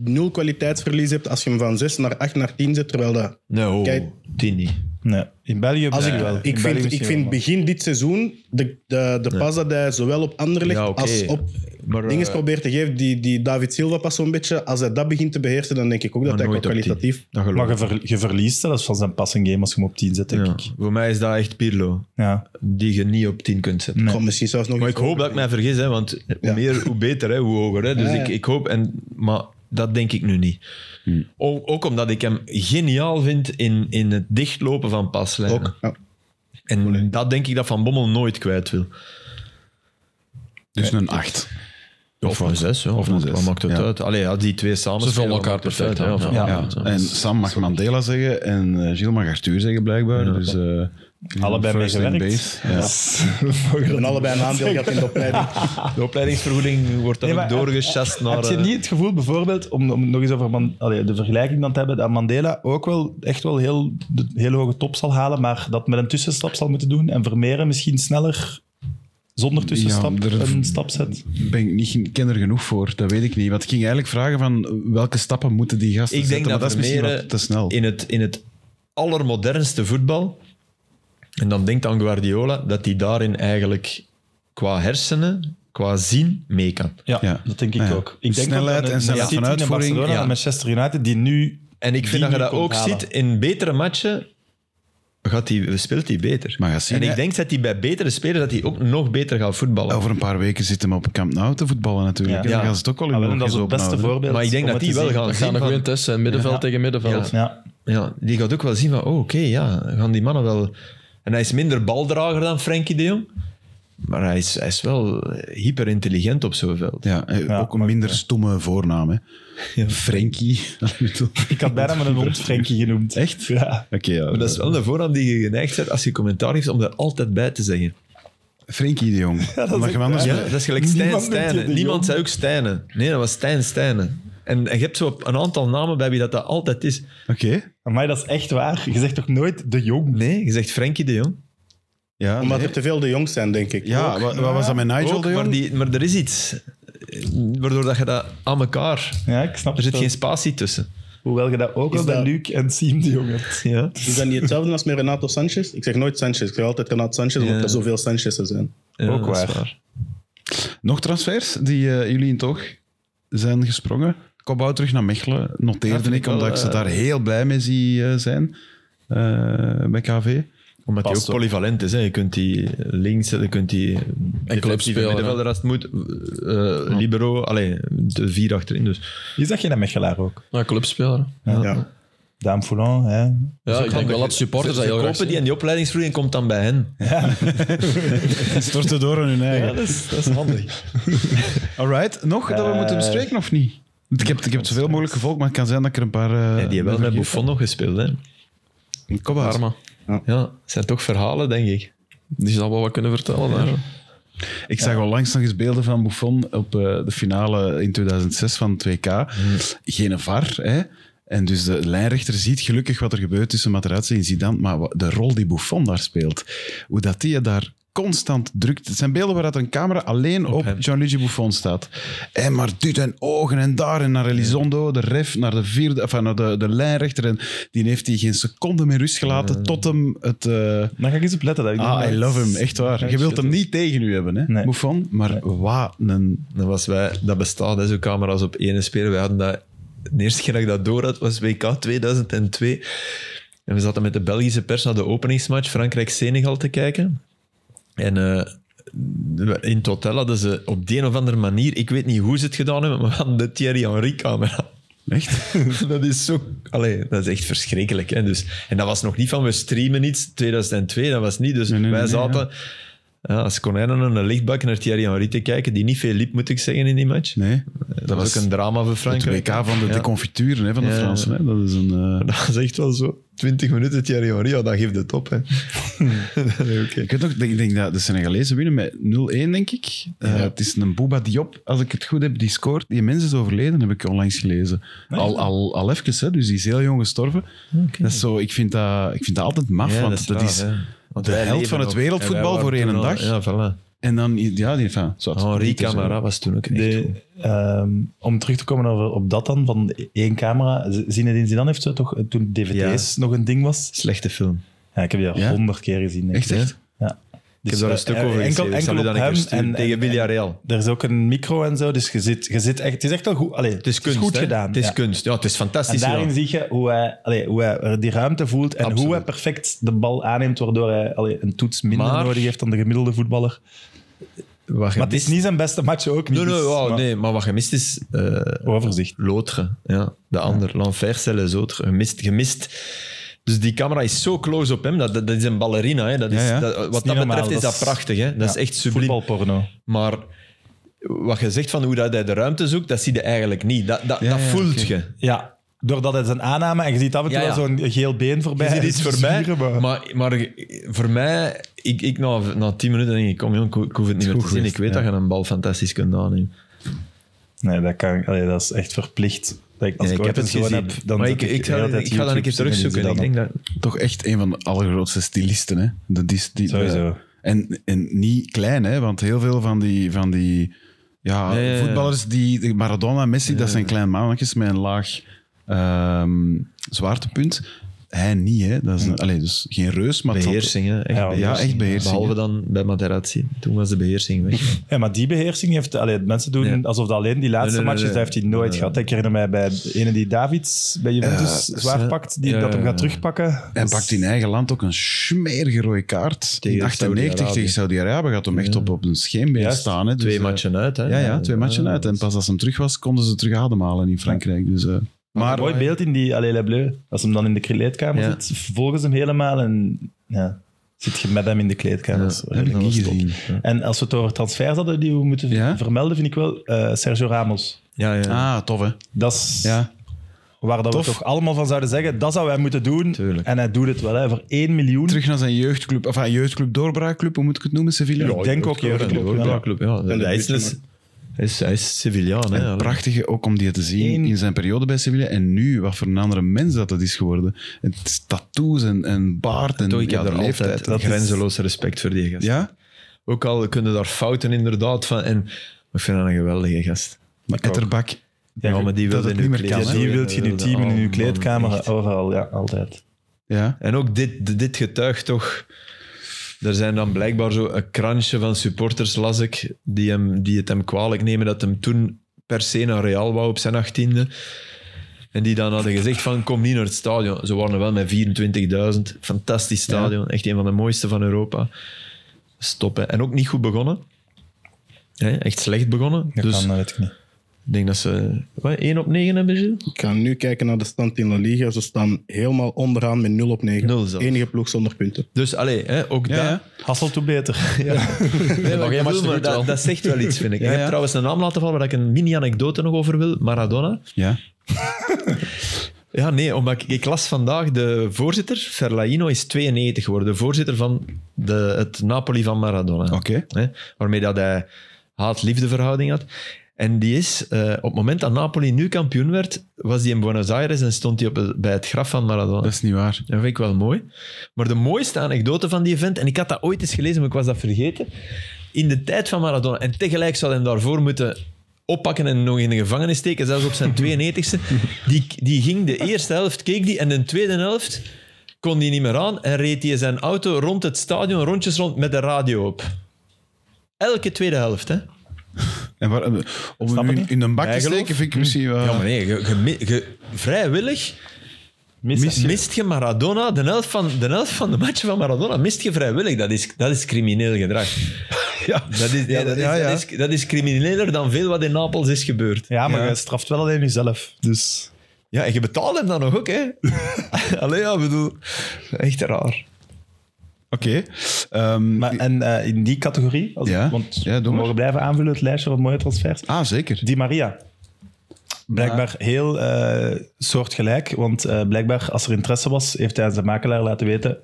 Speaker 5: nul kwaliteitsverlies hebt als je hem van 6 naar 8 naar 10 zet, terwijl dat...
Speaker 3: No,
Speaker 5: Kijk.
Speaker 3: die niet.
Speaker 2: Nee, in België
Speaker 5: Als
Speaker 2: nee,
Speaker 5: ik,
Speaker 2: wel. In
Speaker 5: ik
Speaker 2: België
Speaker 5: vind, ik
Speaker 2: misschien wel,
Speaker 5: vind
Speaker 2: maar-
Speaker 5: begin dit seizoen de, de, de pas dat hij zowel op Anderlecht
Speaker 3: Ja, oké.
Speaker 5: als op
Speaker 3: Maar, eh,
Speaker 5: dingen probeert te geven, die, die David Silva pas zo'n beetje, als hij dat begint te beheersen, dan denk ik ook dat
Speaker 3: Maar
Speaker 5: hij qua
Speaker 3: nooit op tien.
Speaker 5: kwalitatief...
Speaker 3: Dat geloof
Speaker 2: Maar je,
Speaker 3: ik.
Speaker 2: ver, je verliest zelfs van zijn passing game als je hem op 10 zet, denk
Speaker 3: Ja.
Speaker 2: ik.
Speaker 3: Voor mij is dat echt Pirlo.
Speaker 2: Ja.
Speaker 3: Die je niet op 10 kunt zetten.
Speaker 2: Nee.
Speaker 5: Goh, misschien zelfs nog
Speaker 3: Maar ik
Speaker 5: iets
Speaker 3: hoop
Speaker 5: hoger.
Speaker 3: dat ik mij vergis, hè, want hoe meer, hoe beter, hè, hoe hoger. Hè. Dus
Speaker 5: Ja, ja.
Speaker 3: Ik, ik hoop, en, maar dat denk ik nu niet. Ook, ook omdat ik hem geniaal vind in, in het dichtlopen van paslijnen.
Speaker 5: Ook, ja.
Speaker 3: En dat denk ik dat Van Bommel nooit kwijt wil.
Speaker 1: dus een 8.
Speaker 3: Of een zes, ja. of
Speaker 1: een
Speaker 3: een
Speaker 1: zes.
Speaker 3: Wat maakt het
Speaker 1: Ja.
Speaker 3: uit? Allee, ja, die twee samen.
Speaker 4: Ze vullen
Speaker 3: spelen,
Speaker 4: elkaar
Speaker 3: wat maakt het
Speaker 4: perfect
Speaker 3: uit,
Speaker 4: aan,
Speaker 3: hè,
Speaker 4: ja.
Speaker 3: of-
Speaker 2: Ja.
Speaker 3: of-
Speaker 1: En Sam mag Mandela zeggen en eh, Gilles mag Arthur zeggen, blijkbaar. dus, eh,
Speaker 2: Allebei
Speaker 1: first in
Speaker 2: meegewerkt.
Speaker 1: base. Ja.
Speaker 5: We hebben allebei een aandeel gehad in de opleiding.
Speaker 3: De opleidingsvergoeding wordt dan
Speaker 2: Nee,
Speaker 3: ook
Speaker 2: maar heb-
Speaker 3: doorgechast naar...
Speaker 2: Heb je
Speaker 3: eh,
Speaker 2: niet het gevoel, bijvoorbeeld, om, om nog eens over Man- allee, de vergelijking dan te hebben, dat Mandela ook wel echt wel heel, de hele hoge top zal halen, maar dat met een tussenstap zal moeten doen en Vermeeren misschien sneller zonder tussenstap
Speaker 1: Ja, er-
Speaker 2: een stap zet?
Speaker 1: ben ik niet ken er genoeg voor, dat weet ik niet. Want ik ging eigenlijk vragen van welke stappen moeten die gasten
Speaker 3: Ik denk
Speaker 1: zetten, maar
Speaker 3: dat,
Speaker 1: dat is misschien
Speaker 3: Vermeeren
Speaker 1: wat te snel.
Speaker 3: In het, in het allermodernste voetbal, en dan denkt aan Guardiola, dat hij daarin eigenlijk qua hersenen, qua zien, mee kan.
Speaker 2: Ja,
Speaker 1: Ja.
Speaker 2: dat denk ik
Speaker 1: Ja.
Speaker 2: ook. Ik denk
Speaker 1: Snelheid
Speaker 2: dat
Speaker 1: en snelheid
Speaker 2: City
Speaker 1: van
Speaker 2: en
Speaker 1: uitvoering,
Speaker 2: Barcelona
Speaker 3: ja.
Speaker 2: en Manchester United, die nu...
Speaker 3: En ik
Speaker 2: die
Speaker 3: vind dat je
Speaker 2: nu
Speaker 3: dat
Speaker 2: komt
Speaker 3: ook
Speaker 2: halen.
Speaker 3: ziet in betere matchen. Gaat die, speelt hij beter.
Speaker 1: Maar Yassine-
Speaker 3: en ik denk dat hij bij betere spelers dat hij ook nog beter gaat voetballen.
Speaker 1: Over een paar weken zitten we op Camp Nou te voetballen natuurlijk.
Speaker 2: Ja.
Speaker 1: En dan
Speaker 3: Ja.
Speaker 1: gaan ze het ook al in
Speaker 2: Ah, wel,
Speaker 1: hun
Speaker 2: Dat is
Speaker 1: oogjes
Speaker 2: het beste
Speaker 1: openhouden.
Speaker 2: voorbeeld.
Speaker 3: maar ik denk
Speaker 2: om
Speaker 3: dat
Speaker 2: het
Speaker 3: die
Speaker 2: te
Speaker 3: wel
Speaker 2: zien.
Speaker 3: gaan
Speaker 4: Dat gaat
Speaker 3: zien
Speaker 4: een goede
Speaker 3: van-
Speaker 4: test zijn. Middenveld
Speaker 3: Ja.
Speaker 4: tegen middenveld.
Speaker 2: Ja.
Speaker 3: Ja, die gaat ook wel zien van, oh, oké, ja, gaan die mannen wel... En hij is minder baldrager dan Frenkie de Jong. Maar hij is, hij is wel eh, hyperintelligent op zo'n veld.
Speaker 1: Ja, eh,
Speaker 2: Ja,
Speaker 1: ook een
Speaker 2: maar-
Speaker 1: minder stomme voornaam. Hè. Frenkie.
Speaker 2: Ik had bijna met een hond Frenkie genoemd.
Speaker 1: Echt?
Speaker 2: Ja.
Speaker 1: Oké, ja.
Speaker 3: Maar dat is wel een voornaam die je geneigd bent als je commentaar geeft om daar altijd bij te zeggen.
Speaker 1: Frenkie de Jong. Omdat je hem anders
Speaker 3: Ja, dat is gelijk Stijn
Speaker 2: Niemand noemt je
Speaker 3: Stijnen.
Speaker 2: de
Speaker 3: Niemand
Speaker 2: Jong.
Speaker 3: zei ook Stijnen. Nee, dat was Stijn Stijnen. En, en je hebt zo een aantal namen bij wie dat, dat altijd is.
Speaker 1: Oké.
Speaker 2: Maar dat is echt waar. Je zegt toch nooit de jong?
Speaker 3: Nee, je zegt Frenkie de Jong.
Speaker 1: Ja,
Speaker 5: Omdat
Speaker 1: nee.
Speaker 5: er te veel de jongs zijn, denk ik.
Speaker 1: ja
Speaker 5: Ook.
Speaker 1: wat, wat was dat met Nigel
Speaker 3: Ook,
Speaker 1: de Jong?
Speaker 3: maar, die, maar er is iets. eh, Waardoor dat je dat aan elkaar...
Speaker 2: Ja, ik snap
Speaker 3: Er zit
Speaker 2: het
Speaker 3: geen
Speaker 2: wel.
Speaker 3: spatie tussen.
Speaker 2: Hoewel je dat ook
Speaker 5: Is
Speaker 2: al bij
Speaker 5: dat-
Speaker 2: Luc en Siem de Jong hebt.
Speaker 3: Ja.
Speaker 5: Is dat Dus niet hetzelfde als met Renato Sanchez? Ik zeg nooit Sanchez, ik zeg altijd Renato Sanchez, omdat
Speaker 3: Ja.
Speaker 5: er zoveel Sanchez'en zijn.
Speaker 2: Ook
Speaker 3: dat is
Speaker 2: waar.
Speaker 1: Nog transfers die eh, jullie in het oog zijn gesprongen? Cobou terug naar Mechelen,
Speaker 3: Dat
Speaker 1: noteerde
Speaker 3: vind
Speaker 1: ik,
Speaker 3: ik wel,
Speaker 1: omdat ik ze
Speaker 3: eh,
Speaker 1: daar heel blij mee zie eh, zijn. eh, bij KV.
Speaker 3: Omdat hij ook
Speaker 2: Past op.
Speaker 3: polyvalent is. Hè. Je kunt die links, je kunt die... En
Speaker 4: clubspeler,
Speaker 3: Middenvelder als het moet. eh, libero, alleen de vier achterin. Dus.
Speaker 2: Is dat geen Mechelaar ook?
Speaker 4: Ja, clubspeler.
Speaker 5: Ja.
Speaker 2: Dame Foulan, hè?
Speaker 4: Ja, ik denk wel dat supporters
Speaker 3: Ze
Speaker 4: dat heel graag
Speaker 3: kopen die en die opleidingsvloei en komt dan bij hen.
Speaker 1: En stortte door aan hun eigen.
Speaker 3: dat, is, dat is handig.
Speaker 1: Alright, nog dat we moeten
Speaker 3: Eh,
Speaker 1: bespreken of niet? Want Ik heb, ik heb het zoveel mogelijk gevolgd, maar het kan zijn dat ik er een paar. eh,
Speaker 3: die hebben wel met
Speaker 1: vergeet.
Speaker 3: Buffon nog gespeeld. Hè.
Speaker 1: Cobbau.
Speaker 4: Arma.
Speaker 3: Ja, het zijn toch verhalen, denk ik.
Speaker 4: Die zal wel wat kunnen vertellen daar.
Speaker 1: Ik zag onlangs nog eens beelden van Buffon op eh, de finale in 2006 van het 2K. Geen VAR, hè. En dus de lijnrechter ziet gelukkig wat er gebeurt tussen Materazzi en Zidane, maar wa- de rol die Buffon daar speelt, hoe dat die je daar constant drukt. Het zijn beelden waar dat een camera alleen op, Gianluigi Buffon staat. En maar duwt en ogen en daar en naar Elizondo, de ref, naar de vierde, enfin, naar de, de lijnrechter. En die heeft hij geen seconde meer rust gelaten tot hem het... eh,
Speaker 2: Dan ga ik eens op letten. Dat ik
Speaker 1: Ah,
Speaker 2: denk
Speaker 1: I
Speaker 2: dat-
Speaker 1: love hem, echt waar. Je wilt hem niet tegen u hebben, hè,
Speaker 2: Nee.
Speaker 1: Buffon. Maar wat een...
Speaker 3: Dat, was wij, dat bestaat, hè, zo'n camera's op ene speler. Wij hadden dat, de eerste keer dat ik dat door had, was WK 2002. En we zaten met de Belgische pers naar de openingsmatch Frankrijk-Senegal te kijken. En eh, we- in het hotel hadden ze op de een of andere manier, ik weet niet hoe ze het gedaan hebben, maar we hadden de Thierry Henry-camera.
Speaker 1: Echt?
Speaker 3: dat is zo... Allee, dat is echt verschrikkelijk. Hè? Dus, en dat was nog niet van we streamen iets, 2002, dat was niet. Dus
Speaker 1: nee,
Speaker 3: wij
Speaker 1: nee,
Speaker 3: zaten ja, als konijnen aan een lichtbak naar Thierry Henry te kijken, die niet veel liep, moet ik zeggen, in die match.
Speaker 1: Nee.
Speaker 3: dat, was ook een drama voor
Speaker 1: Het
Speaker 3: Frankrijk.
Speaker 1: WK van de
Speaker 3: Ja.
Speaker 1: deconfituren hè, van de
Speaker 3: Ja, ja.
Speaker 1: Fransen. Hè. Dat is een... eh,
Speaker 3: Dat is echt wel zo. 20 minuten Thierry Henry, ja, dat geeft het op. Hè. Oké.
Speaker 1: Ik weet nog, ik denk dat de Senegalezen winnen met 0-1, denk ik. Eh, Het is een Booba Diop, als ik het goed heb, die scoort. Die mens is overleden, heb ik onlangs gelezen. Al, al, al even, hè, dus die is heel jong gestorven. Dat is zo, ik, vind dat, ik vind dat altijd maf,
Speaker 3: Ja,
Speaker 1: want dat is,
Speaker 3: raar, hè. Want
Speaker 1: de
Speaker 3: wij
Speaker 1: held
Speaker 3: leven
Speaker 1: van het
Speaker 3: nog.
Speaker 1: wereldvoetbal
Speaker 3: En wij
Speaker 1: voor
Speaker 3: waren
Speaker 1: één
Speaker 3: toen al-
Speaker 1: dag.
Speaker 3: Ja, voilà.
Speaker 1: En dan, ja, die, enfin, zwart.
Speaker 3: Henri
Speaker 1: Dat is, eh,
Speaker 3: Camara was toen ook echt goed.
Speaker 2: De, ehm, om terug te komen over, op dat dan, van één camera. Z- Zinedine Zidane heeft zo toch, eh, toen DVD's nog een ding was.
Speaker 3: Slechte film.
Speaker 2: Ja, ik heb die al
Speaker 1: Ja?
Speaker 2: honderd keer gezien. denk
Speaker 1: Echt,
Speaker 2: ik.
Speaker 1: echt?
Speaker 2: Ja. Dus,
Speaker 3: Ik heb daar een stuk over
Speaker 2: Eh, enkel,
Speaker 3: geschreven. Ik
Speaker 2: enkel
Speaker 3: zal u
Speaker 2: op
Speaker 3: dat een
Speaker 2: hem
Speaker 3: keer sturen.
Speaker 2: en,
Speaker 3: Tegen
Speaker 2: en-
Speaker 3: Villarreal.
Speaker 2: Er is ook een micro en zo, dus je zit, je zit echt, het is echt wel goed. Allee, het is,
Speaker 3: kunst,
Speaker 2: goed
Speaker 3: hè?
Speaker 2: gedaan.
Speaker 3: Het is
Speaker 2: ja.
Speaker 3: kunst. Ja, het is
Speaker 2: En
Speaker 3: fantastisch.
Speaker 2: daarin
Speaker 3: gedaan.
Speaker 2: zie je hoe hij, allee, hoe hij er die ruimte voelt en
Speaker 3: Absoluut.
Speaker 2: hoe hij perfect de bal aanneemt, waardoor hij allee, een toets minder
Speaker 3: Maar-
Speaker 2: nodig heeft dan de gemiddelde voetballer.
Speaker 3: Wat
Speaker 2: Maar het is niet zijn beste match ook niet.
Speaker 3: Nee, nee,
Speaker 2: dus-
Speaker 3: wow,
Speaker 2: maar-
Speaker 3: nee, maar wat gemist is... eh,
Speaker 2: Overzicht.
Speaker 3: L'autre, ja. De ander. L'enfer, c'est les autres. Gemist, gemist. Dus die camera is zo close op hem. Dat, dat, dat is een ballerina. Hè. Dat is,
Speaker 1: Ja, ja.
Speaker 3: Dat, wat dat,
Speaker 2: is niet
Speaker 3: betreft
Speaker 2: normaal,
Speaker 3: is
Speaker 2: dat
Speaker 3: dat
Speaker 2: is-
Speaker 3: prachtig. Hè. Dat is
Speaker 2: Ja,
Speaker 3: echt subliem.
Speaker 2: Voetbalporno.
Speaker 3: Maar wat je zegt van hoe dat hij de ruimte zoekt, dat zie je eigenlijk niet. Dat, dat,
Speaker 1: Ja,
Speaker 3: dat
Speaker 1: ja,
Speaker 3: voelt
Speaker 1: oké.
Speaker 3: je.
Speaker 2: Ja, doordat het zijn aanname en je ziet af en toe
Speaker 3: Ja, ja.
Speaker 2: wel zo'n geel been
Speaker 3: Je
Speaker 2: voorbij.
Speaker 3: ziet iets voorbij.
Speaker 2: Zwieren, maar-
Speaker 3: Maar, maar voor mij, ik, ik na, na tien minuten denk ik, kom jong, ik ho- ik hoef het niet meer te zien. Ik weet dat je een bal fantastisch kunt aannemen.
Speaker 2: Nee, dat, kan, allee, dat is echt verplicht. Dat ik, als
Speaker 3: Ja,
Speaker 2: ik,
Speaker 3: ik heb het gezien.
Speaker 2: Heb, dan
Speaker 3: maar
Speaker 2: zet
Speaker 3: ik, ik,
Speaker 2: de
Speaker 3: ga,
Speaker 2: hele tijd
Speaker 3: ik ga dat een keer
Speaker 2: YouTube
Speaker 3: terugzoeken.
Speaker 2: dingen
Speaker 3: Ik
Speaker 2: die
Speaker 3: denk
Speaker 2: ze
Speaker 3: dat,
Speaker 1: Toch echt een van de allergrootste stylisten. Hè? Dat is die,
Speaker 2: Sowieso.
Speaker 1: eh, en, en niet klein, hè? want heel veel van die, van die ja,
Speaker 3: Ja, ja, ja.
Speaker 1: voetballers, die, die Maradona, Messi, dat zijn kleine mannetjes met een laag ehm, zwaartepunt. Hij niet, hè? Dat is een, allee, dus geen reus, maar het zal-
Speaker 3: Beheersing, hè? Echt
Speaker 2: Ja,
Speaker 3: beheersing.
Speaker 1: ja, echt beheersing,
Speaker 3: Behalve
Speaker 1: hè.
Speaker 3: dan bij Materazzi. Toen was de beheersing weg.
Speaker 1: Dus,
Speaker 2: dan- Ja, maar die beheersing heeft... Allee, mensen doen
Speaker 3: Nee.
Speaker 2: alsof dat alleen die laatste
Speaker 3: Nee, nee,
Speaker 2: matches,
Speaker 3: nee,
Speaker 2: dat
Speaker 3: nee.
Speaker 2: heeft hij nooit
Speaker 3: Nee.
Speaker 2: gehad. Ik herinner mij bij de ene die Davids bij Juventus
Speaker 3: Ja,
Speaker 2: zwaar
Speaker 3: ze-
Speaker 2: pakt, die
Speaker 3: ja,
Speaker 2: dat hem
Speaker 3: ja,
Speaker 2: gaat
Speaker 3: ja.
Speaker 2: terugpakken.
Speaker 1: Hij
Speaker 2: Dus-
Speaker 1: pakt in eigen land ook een smerige rode kaart.
Speaker 3: Tegen
Speaker 1: in 98
Speaker 3: Saudi-Arabië.
Speaker 1: tegen Saudi-Arabië gaat hem echt op, op een scheenbeen
Speaker 2: Juist.
Speaker 1: staan. Hè? Dus,
Speaker 3: twee
Speaker 1: eh,
Speaker 3: matchen uit, Ah, hè?
Speaker 1: Ja, ja, twee matchen uit. En pas als hem terug was, konden ze terug ademhalen in Frankrijk. Dus, eh, maar
Speaker 2: Mooi beeld in die Allee Les Bleus. Als hem dan in de kleedkamer
Speaker 3: Ja.
Speaker 2: zit, volgen ze hem helemaal en ja, zit je met hem in de kleedkamer. Dat is
Speaker 1: heb ik
Speaker 2: redelijk
Speaker 1: niet
Speaker 2: top.
Speaker 1: gezien.
Speaker 2: En als we het over transfers hadden die we moeten
Speaker 1: Ja?
Speaker 2: vermelden, vind ik wel eh, Sergio Ramos.
Speaker 3: Ja, ja.
Speaker 1: Ah, tof hè.
Speaker 2: Dat is
Speaker 1: Ja.
Speaker 2: waar dat we
Speaker 1: Tof.
Speaker 2: toch allemaal van zouden zeggen, dat zouden wij moeten doen.
Speaker 3: Tuurlijk.
Speaker 2: En hij doet het wel, hè, voor 1 miljoen.
Speaker 1: Terug naar zijn jeugdclub, of enfin, jeugdclub doorbraakclub, hoe moet ik het noemen, Sevilla?
Speaker 2: ik denk ook
Speaker 3: Club,
Speaker 2: jeugdclub.
Speaker 3: ja.
Speaker 2: Ja.
Speaker 3: club, ja.
Speaker 5: de
Speaker 3: Hij is,
Speaker 5: buurt,
Speaker 3: hij is, hij is Sevillaan, hè?
Speaker 1: Een prachtige ook om die te zien
Speaker 2: Eén-
Speaker 1: in zijn periode bij Sevilla. En nu, wat voor een andere mens dat dat is geworden. Het is tattoos en, en baard en
Speaker 3: Toch, ik
Speaker 1: ja,
Speaker 3: heb
Speaker 1: de
Speaker 3: daar altijd
Speaker 1: leeftijd.
Speaker 2: dat is-
Speaker 3: grenzeloos respect voor die gast.
Speaker 1: Ja?
Speaker 3: Ook al kunnen daar fouten inderdaad van. En, maar ik vind dat een geweldige gast.
Speaker 1: Maar Etterbak,
Speaker 2: Ja,
Speaker 3: maar die
Speaker 1: dat
Speaker 3: wil
Speaker 1: het
Speaker 3: in uw
Speaker 1: niet meer
Speaker 3: kleed-
Speaker 1: kan,
Speaker 2: Ja,
Speaker 1: hè?
Speaker 2: die wilt je nu teamen in
Speaker 3: Oh,
Speaker 2: je
Speaker 3: man,
Speaker 2: kleedkamer,
Speaker 3: echt.
Speaker 2: overal, ja, altijd.
Speaker 1: ja.
Speaker 3: En ook dit, dit getuigt toch. Er zijn dan blijkbaar zo een kransje van supporters, las ik, die, hem, die het hem kwalijk nemen dat hem toen per se naar Real wou op zijn achttiende. En die dan hadden gezegd van kom niet naar het stadion. Ze waren er wel met 24.000. Fantastisch stadion. Echt een van de mooiste van Europa. Stoppen. En ook niet goed begonnen. Hè, echt slecht begonnen.
Speaker 2: Dat
Speaker 3: dus
Speaker 2: kan, dat eh, weet ik niet.
Speaker 3: ik denk dat ze... Wat, 1 op 9 hebben, Gilles?
Speaker 5: Ik ga nu kijken naar de stand in La Liga. Ze staan helemaal onderaan met 0 op 9.
Speaker 3: Nul zelfs.
Speaker 5: Enige ploeg zonder punten.
Speaker 3: Dus allee, hè, ook
Speaker 1: Ja,
Speaker 3: daar...
Speaker 1: ja.
Speaker 2: Hassel toe beter.
Speaker 3: Nee,
Speaker 4: Nog
Speaker 3: maar ik
Speaker 4: één match
Speaker 3: bedoel,
Speaker 4: te
Speaker 3: maar
Speaker 4: goed
Speaker 3: dat,
Speaker 4: wel.
Speaker 3: dat zegt wel iets, vind ik.
Speaker 1: Ja,
Speaker 3: Ik heb
Speaker 1: ja.
Speaker 3: trouwens een naam laten vallen waar ik een mini-anekdote nog over wil. Maradona.
Speaker 1: ja.
Speaker 3: Ja, nee, omdat ik, ik las vandaag de voorzitter, Ferlaino, is 92 geworden. De voorzitter van de, het Napoli van Maradona.
Speaker 1: Oké.
Speaker 3: Hè, waarmee dat hij haat-liefdeverhouding had. En die is, eh, op het moment dat Napoli nu kampioen werd, was hij in Buenos Aires en stond hij op het- bij het graf van Maradona.
Speaker 1: Dat is niet waar.
Speaker 3: Dat vind ik wel mooi. Maar de mooiste anekdote van die event, en ik had dat ooit eens gelezen, maar ik was dat vergeten. In de tijd van Maradona, en tegelijk zou hij hem daarvoor moeten oppakken en nog in de gevangenis steken, zelfs op zijn 92e. Die, die ging de eerste helft, keek die, en de tweede helft kon die niet meer aan en reed hij zijn auto rond het stadion, rondjes rond, met de radio op. Elke tweede helft, hè?
Speaker 1: En waar, eh, om hem
Speaker 2: het
Speaker 1: in,
Speaker 2: niet?
Speaker 1: in een bak te
Speaker 3: Bijgeloof?
Speaker 1: steken vind ik misschien wel...
Speaker 3: Ja, maar nee, ge- ge- mi- ge- vrijwillig
Speaker 2: Missen.
Speaker 3: Mist je Maradona, de helft van de, helft van de match van Maradona, mist je vrijwillig. Dat is, dat is crimineel gedrag. ja, dat is, ja, dat, is,
Speaker 1: ja, ja.
Speaker 3: Dat, is, dat is crimineler dan veel wat in Napels is gebeurd.
Speaker 2: Ja, maar je straft wel alleen jezelf. Dus
Speaker 3: Ja, en je betaalt hem dan nog ook, hè? Allee, ja, ik bedoel, echt raar.
Speaker 1: Oké. Ehm,
Speaker 2: Maar, en eh, in die categorie, als
Speaker 1: Ja,
Speaker 2: want
Speaker 1: ja, doe
Speaker 2: we
Speaker 1: maar.
Speaker 2: mogen blijven aanvullen het lijstje van mooie transfers.
Speaker 1: ah, zeker.
Speaker 2: Di Maria. Blijkbaar heel eh, soortgelijk, want eh, blijkbaar als er interesse was, heeft hij aan zijn makelaar laten weten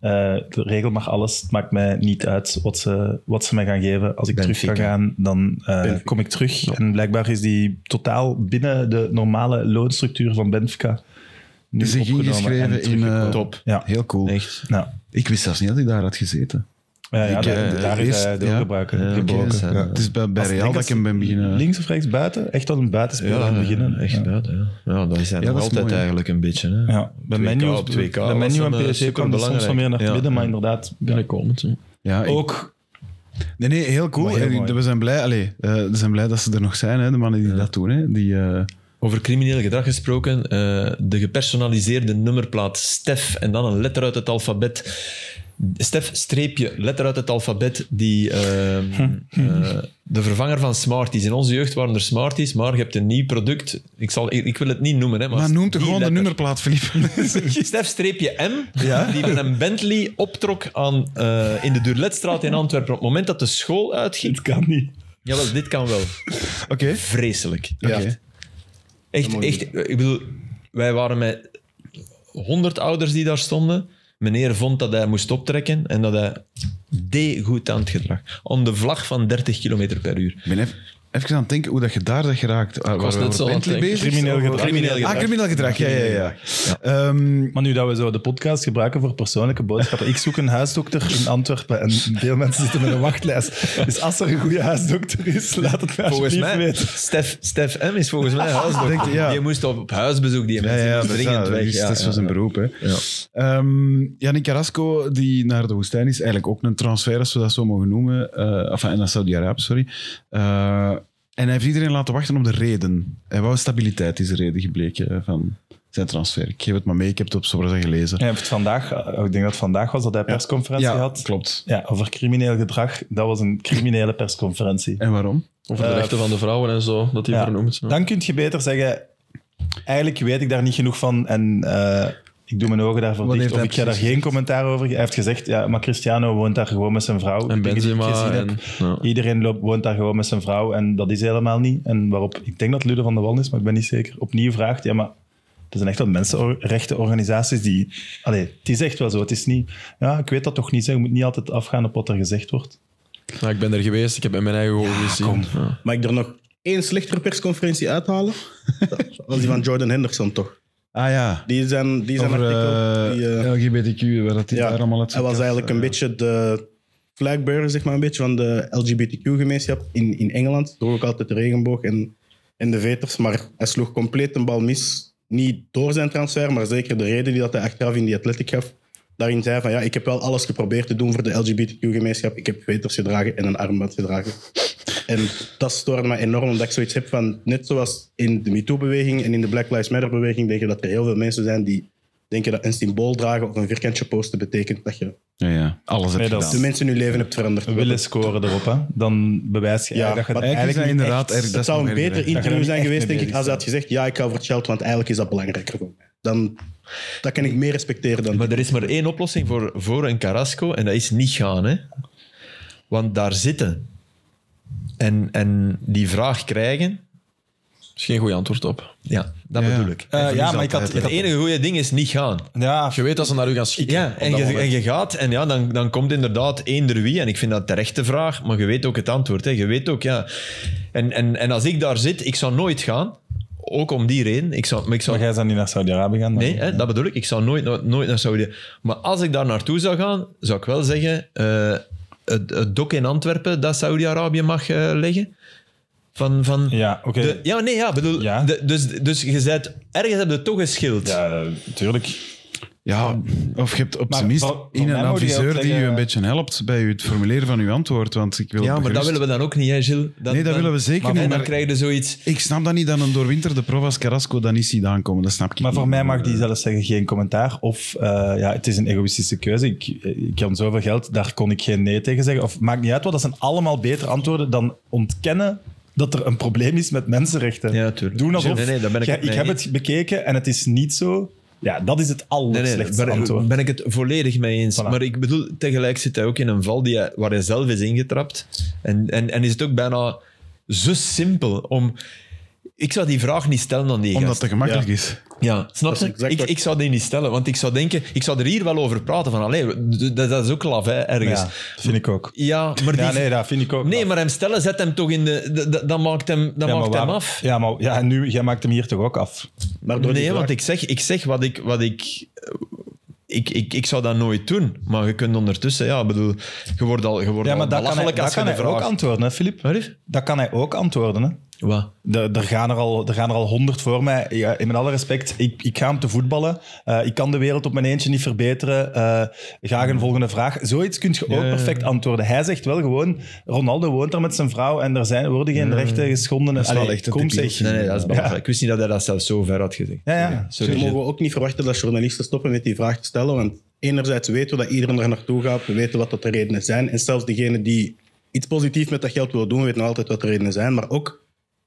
Speaker 2: eh, de regel mag alles, het maakt mij niet uit wat ze, wat ze mij gaan geven. Als ik terug kan
Speaker 3: Benfica.
Speaker 2: gaan, dan eh, kom ik terug. En blijkbaar is die totaal binnen de normale loonstructuur van Benfica nu
Speaker 1: Het is zich
Speaker 2: opgenomen
Speaker 1: ingeschreven
Speaker 2: en
Speaker 1: in... eh,
Speaker 2: teruggekomen.
Speaker 1: top.
Speaker 2: Ja.
Speaker 1: Heel cool.
Speaker 3: Echt.
Speaker 2: Nou,
Speaker 1: Ik wist zelfs niet dat hij daar had gezeten.
Speaker 2: ja, ja,
Speaker 1: Ik,
Speaker 2: daar,
Speaker 1: eh,
Speaker 2: daar is
Speaker 1: eerst-
Speaker 2: hij de
Speaker 1: ja.
Speaker 2: gebruiker
Speaker 3: Ja, oké,
Speaker 2: gebroken.
Speaker 3: dus, eh,
Speaker 1: Ja, het is bij, bij
Speaker 2: Als- ik
Speaker 1: Real
Speaker 2: denk
Speaker 1: dat
Speaker 2: als-
Speaker 1: ik hem ben beginnen... eh.
Speaker 2: Links of rechts buiten? Echt als een buitenspeler
Speaker 3: Ja,
Speaker 2: aan het beginnen.
Speaker 3: Echt
Speaker 2: Ja.
Speaker 3: buiten, ja. Ja, dat is hij
Speaker 1: Ja,
Speaker 3: nog
Speaker 1: dat is
Speaker 3: altijd
Speaker 1: mooi, hè.
Speaker 3: eigenlijk een beetje. Hè.
Speaker 2: Ja, bij
Speaker 3: 2K
Speaker 2: menu,
Speaker 3: op 2K
Speaker 2: bij
Speaker 3: was
Speaker 2: menu
Speaker 3: hem, eh,
Speaker 2: en PSG kwam die soms
Speaker 3: superbelangrijk.
Speaker 2: van meer naar het
Speaker 3: Ja.
Speaker 2: midden, maar inderdaad
Speaker 4: binnenkomend. hè.
Speaker 1: Ja, ik-
Speaker 2: ook
Speaker 1: Nee, nee, heel cool.
Speaker 2: Maar heel
Speaker 1: En
Speaker 2: mooi.
Speaker 1: we zijn blij, allee, eh, we zijn blij dat ze er nog zijn, hè, de mannen die dat doen. Hè, die, eh,
Speaker 3: Over crimineel gedrag gesproken, eh, de gepersonaliseerde nummerplaat Stef en dan een letter uit het alfabet. Stef streepje, letter uit het alfabet, die ehm, eh, de vervanger van Smarties. In onze jeugd waren er Smarties, maar je hebt een nieuw product. Ik, zal, ik, ik wil het niet noemen, hè, maar,
Speaker 1: maar noem toch
Speaker 3: die
Speaker 1: gewoon de
Speaker 3: letter.
Speaker 1: nummerplaat, Philippe.
Speaker 3: Stef streepje M, die met een Bentley optrok aan, eh, in de Durletstraat in Antwerpen. Op het moment dat de school uitging.
Speaker 2: het kan niet.
Speaker 3: Jawel, dit kan wel.
Speaker 1: Oké.
Speaker 3: Vreselijk.
Speaker 1: Ja.
Speaker 3: Echt. Echt, echt. Ik bedoel, wij waren met honderd ouders die daar stonden. Meneer vond dat hij moest optrekken en dat hij deed goed aan het gedrag. Om de vlag van 30 km per uur.
Speaker 1: Ik ben even, even aan het denken hoe dat je daar bent geraakt. Ah, waren
Speaker 4: was
Speaker 1: we
Speaker 4: net
Speaker 1: over
Speaker 4: zo aan het
Speaker 1: Bentley
Speaker 4: denken.
Speaker 1: bezig?
Speaker 2: Crimineel gedrag.
Speaker 3: Crimineel
Speaker 1: Ah, crimineel gedrag, ja, ja, ja. Ehm,
Speaker 2: Maar nu dat we zo de podcast gebruiken voor persoonlijke boodschappen. Ik zoek een huisdokter in Antwerpen en veel mensen zitten met een wachtlijst. Dus als er een goede huisdokter is, laat het mij
Speaker 3: Volgens
Speaker 2: alsjeblieft
Speaker 3: mij,
Speaker 2: weten.
Speaker 3: Stef, Stef M is volgens mij
Speaker 1: Denk
Speaker 3: huisdokter.
Speaker 1: je, ja.
Speaker 3: Die moest op, op huisbezoek, die
Speaker 1: ja,
Speaker 3: mensen
Speaker 1: ja,
Speaker 3: moest
Speaker 1: dat is
Speaker 3: dringend
Speaker 1: dat.
Speaker 3: weg.
Speaker 1: Dus
Speaker 3: Ja,
Speaker 1: dat is
Speaker 3: ja,
Speaker 1: wel zijn
Speaker 3: ja.
Speaker 1: beroep. Hè.
Speaker 3: Ja.
Speaker 1: Ehm, Yannick Carrasco, die naar de woestijn is, eigenlijk ook een transfer, als we dat zo mogen noemen. eh enfin, naar Saudi-Arabië, sorry. Eh, en hij heeft iedereen laten wachten op de reden. Hij wou stabiliteit, is de reden gebleken eh, van zijn transfer. Ik geef het maar mee, ik heb het op Sobra gelezen.
Speaker 2: Hij heeft vandaag, eh, ik denk dat het vandaag was dat hij persconferentie
Speaker 1: Ja,
Speaker 2: had.
Speaker 1: klopt.
Speaker 2: Ja, over crimineel gedrag. Dat was een criminele persconferentie.
Speaker 1: En waarom?
Speaker 4: Over de
Speaker 2: Eh,
Speaker 4: rechten van de vrouwen en zo, dat hij
Speaker 2: Ja,
Speaker 4: vernoemd. Ja.
Speaker 2: Dan kun je beter zeggen, eigenlijk weet ik daar niet genoeg van en eh, ik doe mijn ogen daarvoor
Speaker 1: Wat
Speaker 2: dicht.
Speaker 1: heeft
Speaker 2: Of
Speaker 1: hij
Speaker 2: ik ga daar
Speaker 1: precies
Speaker 2: geen commentaar over. Hij heeft gezegd, ja, maar Cristiano woont daar gewoon met zijn vrouw. De
Speaker 4: En
Speaker 2: dingen die ik
Speaker 4: Benzema.
Speaker 2: gezien heb.
Speaker 4: En, ja.
Speaker 2: Iedereen loopt, woont daar gewoon met zijn vrouw en dat is helemaal niet. En waarop, ik denk dat Lude van der Wallen is, maar ik ben niet zeker, opnieuw vraagt, ja, maar dat zijn echt wel mensenrechtenorganisaties die... Allee, het is echt wel zo, het is niet... Ja, ik weet dat toch niet, zeg. je moet niet altijd afgaan op wat er gezegd wordt.
Speaker 4: Ja, ik ben er geweest, ik heb het met mijn eigen ogen gezien. Ja.
Speaker 5: Mag ik er nog één slechtere persconferentie uithalen? dat was die van Jordan Henderson, toch?
Speaker 1: Ah ja,
Speaker 5: Die zijn, die zijn
Speaker 1: over
Speaker 5: artikel... Die,
Speaker 1: eh,
Speaker 5: eh,
Speaker 1: LGBTQ, waar dat die
Speaker 5: ja,
Speaker 1: daar allemaal uit
Speaker 5: hij was eigenlijk een beetje de flagbearer, zeg maar, een beetje van de LGBTQ-gemeenschap in, in Engeland. Door ook altijd de regenboog en, en de veters. Maar hij sloeg compleet een bal mis. Niet door zijn transfer, maar zeker de reden die dat hij achteraf in die Athletic gaf. Daarin zei van ja, ik heb wel alles geprobeerd te doen voor de LGBTQ-gemeenschap. Ik heb veters gedragen en een armband gedragen. En dat stoorde mij enorm, omdat ik zoiets heb van... Net zoals in de MeToo-beweging en in de Black Lives Matter-beweging... denk je dat er heel veel mensen zijn die denken dat een symbool dragen... of een vierkantje posten betekent dat je
Speaker 1: Ja, ja. Alles heb
Speaker 2: Nee,
Speaker 1: gedaan.
Speaker 2: dat
Speaker 5: de mensen in hun leven hebt veranderd.
Speaker 2: Willen scoren erop, hè. Dan bewijs je
Speaker 5: Ja,
Speaker 2: eigenlijk dat je het
Speaker 5: maar
Speaker 1: Eigenlijk is dat
Speaker 2: niet
Speaker 1: inderdaad
Speaker 2: echt-
Speaker 1: erg.
Speaker 5: het zou een beter
Speaker 2: Dat je daar
Speaker 5: interview
Speaker 2: niet
Speaker 5: zijn
Speaker 2: echt
Speaker 5: geweest,
Speaker 2: mee
Speaker 5: denk ik,
Speaker 2: bezig
Speaker 5: als hij had gezegd: Ja, ik hou voor het geld, want eigenlijk is dat belangrijker voor mij. Dan, dat kan ik meer respecteren dan.
Speaker 3: Maar er is maar één oplossing voor, voor een Carrasco en dat is niet gaan. Hè? Want daar zitten en, en die vraag krijgen,
Speaker 4: Dat is geen goed antwoord op.
Speaker 3: ja, dat
Speaker 1: Ja, ja.
Speaker 3: bedoel ik.
Speaker 2: Eh,
Speaker 1: verlies
Speaker 2: ja, maar ik had...
Speaker 1: altijd,
Speaker 2: ik
Speaker 3: Het
Speaker 2: had-
Speaker 3: enige goede ding is niet gaan.
Speaker 2: Ja,
Speaker 4: Je weet dat ze naar u gaan schieten.
Speaker 3: Ja,
Speaker 4: op
Speaker 3: en
Speaker 4: dat
Speaker 3: je,
Speaker 4: moment.
Speaker 3: en je gaat en ja, dan, dan komt inderdaad eender wie. En ik vind dat terecht de vraag, maar je weet ook het antwoord. Hè. Je weet ook, ja. En, en, en als ik daar zit, ik zou nooit gaan. Ook om die reden. Ik zou, maar ik zou
Speaker 2: maar jij zou niet naar Saudi-Arabië gaan. maar-
Speaker 3: Nee, hè, dat bedoel ik. Ik zou nooit, nooit, nooit naar Saudi. Maar als ik daar naartoe zou gaan, zou ik wel zeggen: eh, het, het dok in Antwerpen dat Saudi-Arabië mag eh, leggen. Van, van
Speaker 2: Ja, oké.
Speaker 3: de- ja, nee, ja, bedoel,
Speaker 2: Ja.
Speaker 3: de- dus, dus je zet ergens heb je toch een schild.
Speaker 2: Ja, eh, tuurlijk.
Speaker 1: Ja, of je hebt op
Speaker 2: Maar
Speaker 1: zijn minst
Speaker 2: van- van
Speaker 1: in een
Speaker 2: mij moet je ook
Speaker 1: adviseur die je
Speaker 2: zeggen-
Speaker 1: een beetje helpt bij het formuleren van uw antwoord. Want ik wil
Speaker 3: Ja, maar dat
Speaker 1: gerust-
Speaker 3: willen we dan ook niet, hè, Gilles? Dan-
Speaker 1: Nee, dat
Speaker 3: dan-
Speaker 1: willen we zeker
Speaker 3: en
Speaker 1: niet.
Speaker 3: dan
Speaker 1: Maar
Speaker 3: krijg je zoiets.
Speaker 1: ik snap dat niet dat een doorwinterde prof als Carrasco dan niet ziet aankomen. Dat snap ik
Speaker 2: Maar
Speaker 1: niet.
Speaker 2: voor mij mag die zelf zeggen geen commentaar. Of eh, ja, het is een egoïstische keuze. Ik, ik kan zoveel geld, daar kon ik geen nee tegen zeggen. Of maakt niet uit wat. Dat zijn allemaal betere antwoorden dan ontkennen dat er een probleem is met mensenrechten.
Speaker 3: Ja, tuurlijk.
Speaker 2: Doen alsof...
Speaker 3: Nee, nee, daar ben ik
Speaker 2: Ja,
Speaker 3: het mee
Speaker 2: heb
Speaker 3: eens.
Speaker 2: het bekeken en het is niet zo. Ja, dat is het
Speaker 3: Nee, nee,
Speaker 2: allerslechtste
Speaker 3: daar ben,
Speaker 2: antwoord.
Speaker 3: ben ik het volledig mee eens.
Speaker 2: Voilà.
Speaker 3: Maar ik bedoel, tegelijk zit hij ook in een val die hij, waar hij zelf is ingetrapt. En, en, en is het ook bijna zo simpel om... Ik zou die vraag niet stellen aan die
Speaker 1: Omdat
Speaker 3: gast.
Speaker 1: het gemakkelijk is.
Speaker 3: Ja, snap
Speaker 5: Dat is
Speaker 3: je?
Speaker 5: exact
Speaker 3: Ik,
Speaker 5: wat-
Speaker 3: ik zou die niet stellen, want ik zou denken... Ik zou er hier wel over praten, van allee, d- dat, dat is ook lavij ergens.
Speaker 2: Ja,
Speaker 3: Ja,
Speaker 2: dat vind ik ook.
Speaker 3: maar die...
Speaker 2: Ja,
Speaker 3: nee.
Speaker 2: nee, dat vind ik ook.
Speaker 3: maar hem stellen zet hem toch in de... d- d- Dat maakt hem, dat
Speaker 2: ja, maar
Speaker 3: maakt hem
Speaker 2: waar-
Speaker 3: af.
Speaker 2: Ja, maar ja, en nu, jij maakt hem hier toch ook af?
Speaker 5: Maar door die
Speaker 3: nee,
Speaker 5: vraag-
Speaker 3: want ik zeg, ik zeg wat ik... Wat ik ik, ik, ik zou dat nooit doen, maar je kunt ondertussen, ja, ik bedoel, je wordt al, je wordt
Speaker 2: Ja,
Speaker 3: al
Speaker 2: maar dat kan hij,
Speaker 3: belachelijk
Speaker 2: dat
Speaker 3: als je
Speaker 2: kan
Speaker 3: de
Speaker 2: hij ook
Speaker 3: vraag...
Speaker 2: antwoorden, hè, Filip?
Speaker 3: Wat is?
Speaker 2: Dat kan hij ook antwoorden, hè?
Speaker 3: Wat?
Speaker 2: De- Er gaan er al- er gaan er al honderd voor mij. Ja, in met alle respect, ik, ik ga hem te voetballen. Eh, ik kan de wereld op mijn eentje niet verbeteren. Eh graag een volgende vraag. Zoiets kun je ook
Speaker 3: Eh.
Speaker 2: perfect antwoorden. Hij zegt wel gewoon, Ronaldo woont daar met zijn vrouw en er zijn, worden
Speaker 3: Eh.
Speaker 2: geen rechten geschonden. Dat
Speaker 1: is wel echt een
Speaker 2: kom
Speaker 1: typisch.
Speaker 2: zeg.
Speaker 3: Nee, nee, dat is belachelijk. Ik wist niet dat hij dat zelfs zo ver had gezegd.
Speaker 2: Ja, ja.
Speaker 5: Dus
Speaker 3: Sorry.
Speaker 5: mogen we ook niet verwachten dat journalisten stoppen met die vraag te stellen. Want enerzijds weten we dat iedereen er naartoe gaat. We weten wat dat de redenen zijn. En zelfs degene die iets positiefs met dat geld wil doen, weet nog altijd wat de redenen zijn. Maar ook,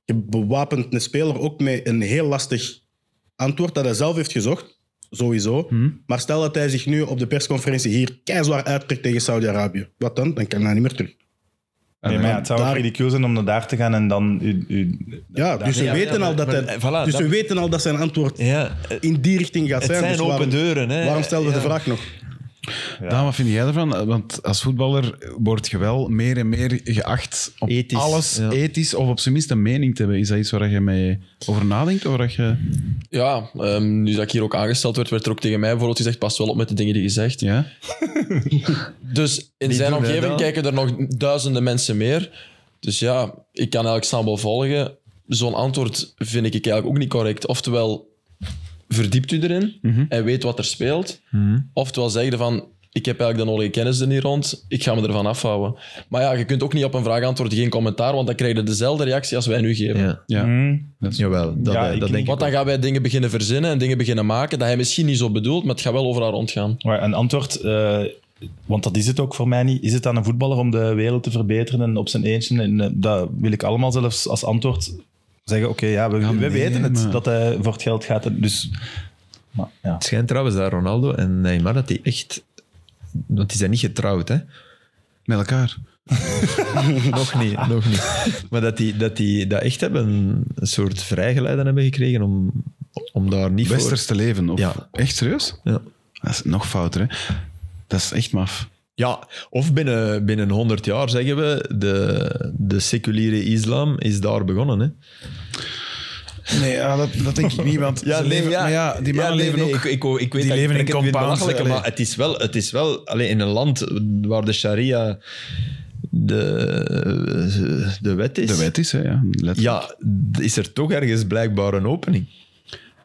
Speaker 5: je bewapent een speler ook met een heel lastig antwoord dat hij zelf heeft gezocht. Sowieso.
Speaker 3: Hm.
Speaker 5: Maar stel dat hij zich nu op de persconferentie hier keizwaar uittrekt tegen Saudi-Arabië. Wat dan? Dan kan hij niet meer terug.
Speaker 2: Nee, maar ja, het zou ook
Speaker 5: daar-
Speaker 2: ridicuul zijn om naar daar te gaan en dan... u- u-
Speaker 5: Ja, dus
Speaker 3: ja,
Speaker 5: we
Speaker 3: ja,
Speaker 5: weten
Speaker 3: maar-
Speaker 5: al dat
Speaker 3: maar, eh,
Speaker 5: hij-
Speaker 3: voilà,
Speaker 5: dus
Speaker 3: dat-
Speaker 5: we weten al dat zijn antwoord
Speaker 3: Ja, eh,
Speaker 5: in die richting gaat
Speaker 3: het
Speaker 5: zijn.
Speaker 3: zijn
Speaker 5: Dus
Speaker 3: open
Speaker 5: waarom-
Speaker 3: deuren. Hè.
Speaker 5: Waarom stellen we
Speaker 3: Ja.
Speaker 5: de vraag nog?
Speaker 1: Daan, wat vind jij ervan? Want als voetballer word je wel meer en meer geacht op
Speaker 3: Ethisch,
Speaker 1: alles
Speaker 3: ja.
Speaker 1: ethisch of op zijn minst een mening te hebben. Is dat iets waar je mee over nadenkt? Of dat je...
Speaker 4: Ja, ehm, nu dat ik hier ook aangesteld werd, werd er ook tegen mij bijvoorbeeld gezegd, pas wel op met de dingen die je zegt.
Speaker 1: Ja?
Speaker 4: Dus in zijn
Speaker 3: doen wij
Speaker 4: omgeving
Speaker 3: dat.
Speaker 4: kijken er nog duizenden mensen meer. Dus ja, ik kan eigenlijk snel wel volgen. Zo'n antwoord vind ik eigenlijk ook niet correct. Oftewel, verdiept u erin
Speaker 3: Mhm.
Speaker 4: en weet wat er speelt. Oftewel zeg je van, ik heb eigenlijk de nodige kennis er niet rond, ik ga me ervan afhouden. Maar ja, je kunt ook niet op een vraag antwoorden, geen commentaar, want dan krijg je dezelfde reactie als wij nu geven.
Speaker 3: Ja.
Speaker 1: Ja.
Speaker 2: Mm.
Speaker 3: Jawel, dat,
Speaker 2: Ja,
Speaker 3: eh,
Speaker 2: ik denk-
Speaker 3: dat denk ik.
Speaker 4: Want dan gaan wij dingen beginnen verzinnen en dingen beginnen maken dat hij misschien niet zo bedoelt, maar het gaat wel overal rondgaan.
Speaker 2: Maar een antwoord, eh, want dat is het ook voor mij niet. Is het aan een voetballer om de wereld te verbeteren en op zijn eentje? En, eh, dat wil ik allemaal zelfs als antwoord zeggen. Oké, ja, we, we
Speaker 1: nee,
Speaker 2: weten het,
Speaker 1: maar-
Speaker 2: dat hij voor het geld gaat. En Dus, maar, ja.
Speaker 3: Het schijnt trouwens dat Ronaldo en Neymar dat die echt... Want die zijn niet getrouwd, hè?
Speaker 1: Met elkaar.
Speaker 3: nog niet, nog niet. Maar dat die dat, die dat echt hebben, een soort vrijgeleide hebben gekregen om, om daar niet
Speaker 1: Westers te leven. Of...
Speaker 3: Ja.
Speaker 1: Echt serieus?
Speaker 3: voor... Ja.
Speaker 1: Dat is nog fouter, hè? Dat is echt maf.
Speaker 3: Ja, of binnen, binnen 100 jaar zeggen we, de, de seculiere islam is daar begonnen. Hè?
Speaker 1: Nee, ja, dat, dat denk ik niet, want ze leven- maar ja, die mannen
Speaker 3: nee,
Speaker 1: leven
Speaker 3: nee,
Speaker 1: ook...
Speaker 3: Ik, ik, ik weet
Speaker 1: die
Speaker 3: dat
Speaker 1: leven
Speaker 3: ik
Speaker 1: in
Speaker 3: denk het weer
Speaker 1: compounds,
Speaker 3: belachelijker,
Speaker 1: allee.
Speaker 3: maar het is wel, het is wel allee, in een land waar de sharia de, de wet is.
Speaker 1: De wet is, hè, ja. letterlijk.
Speaker 3: Ja, d- is er toch ergens blijkbaar een opening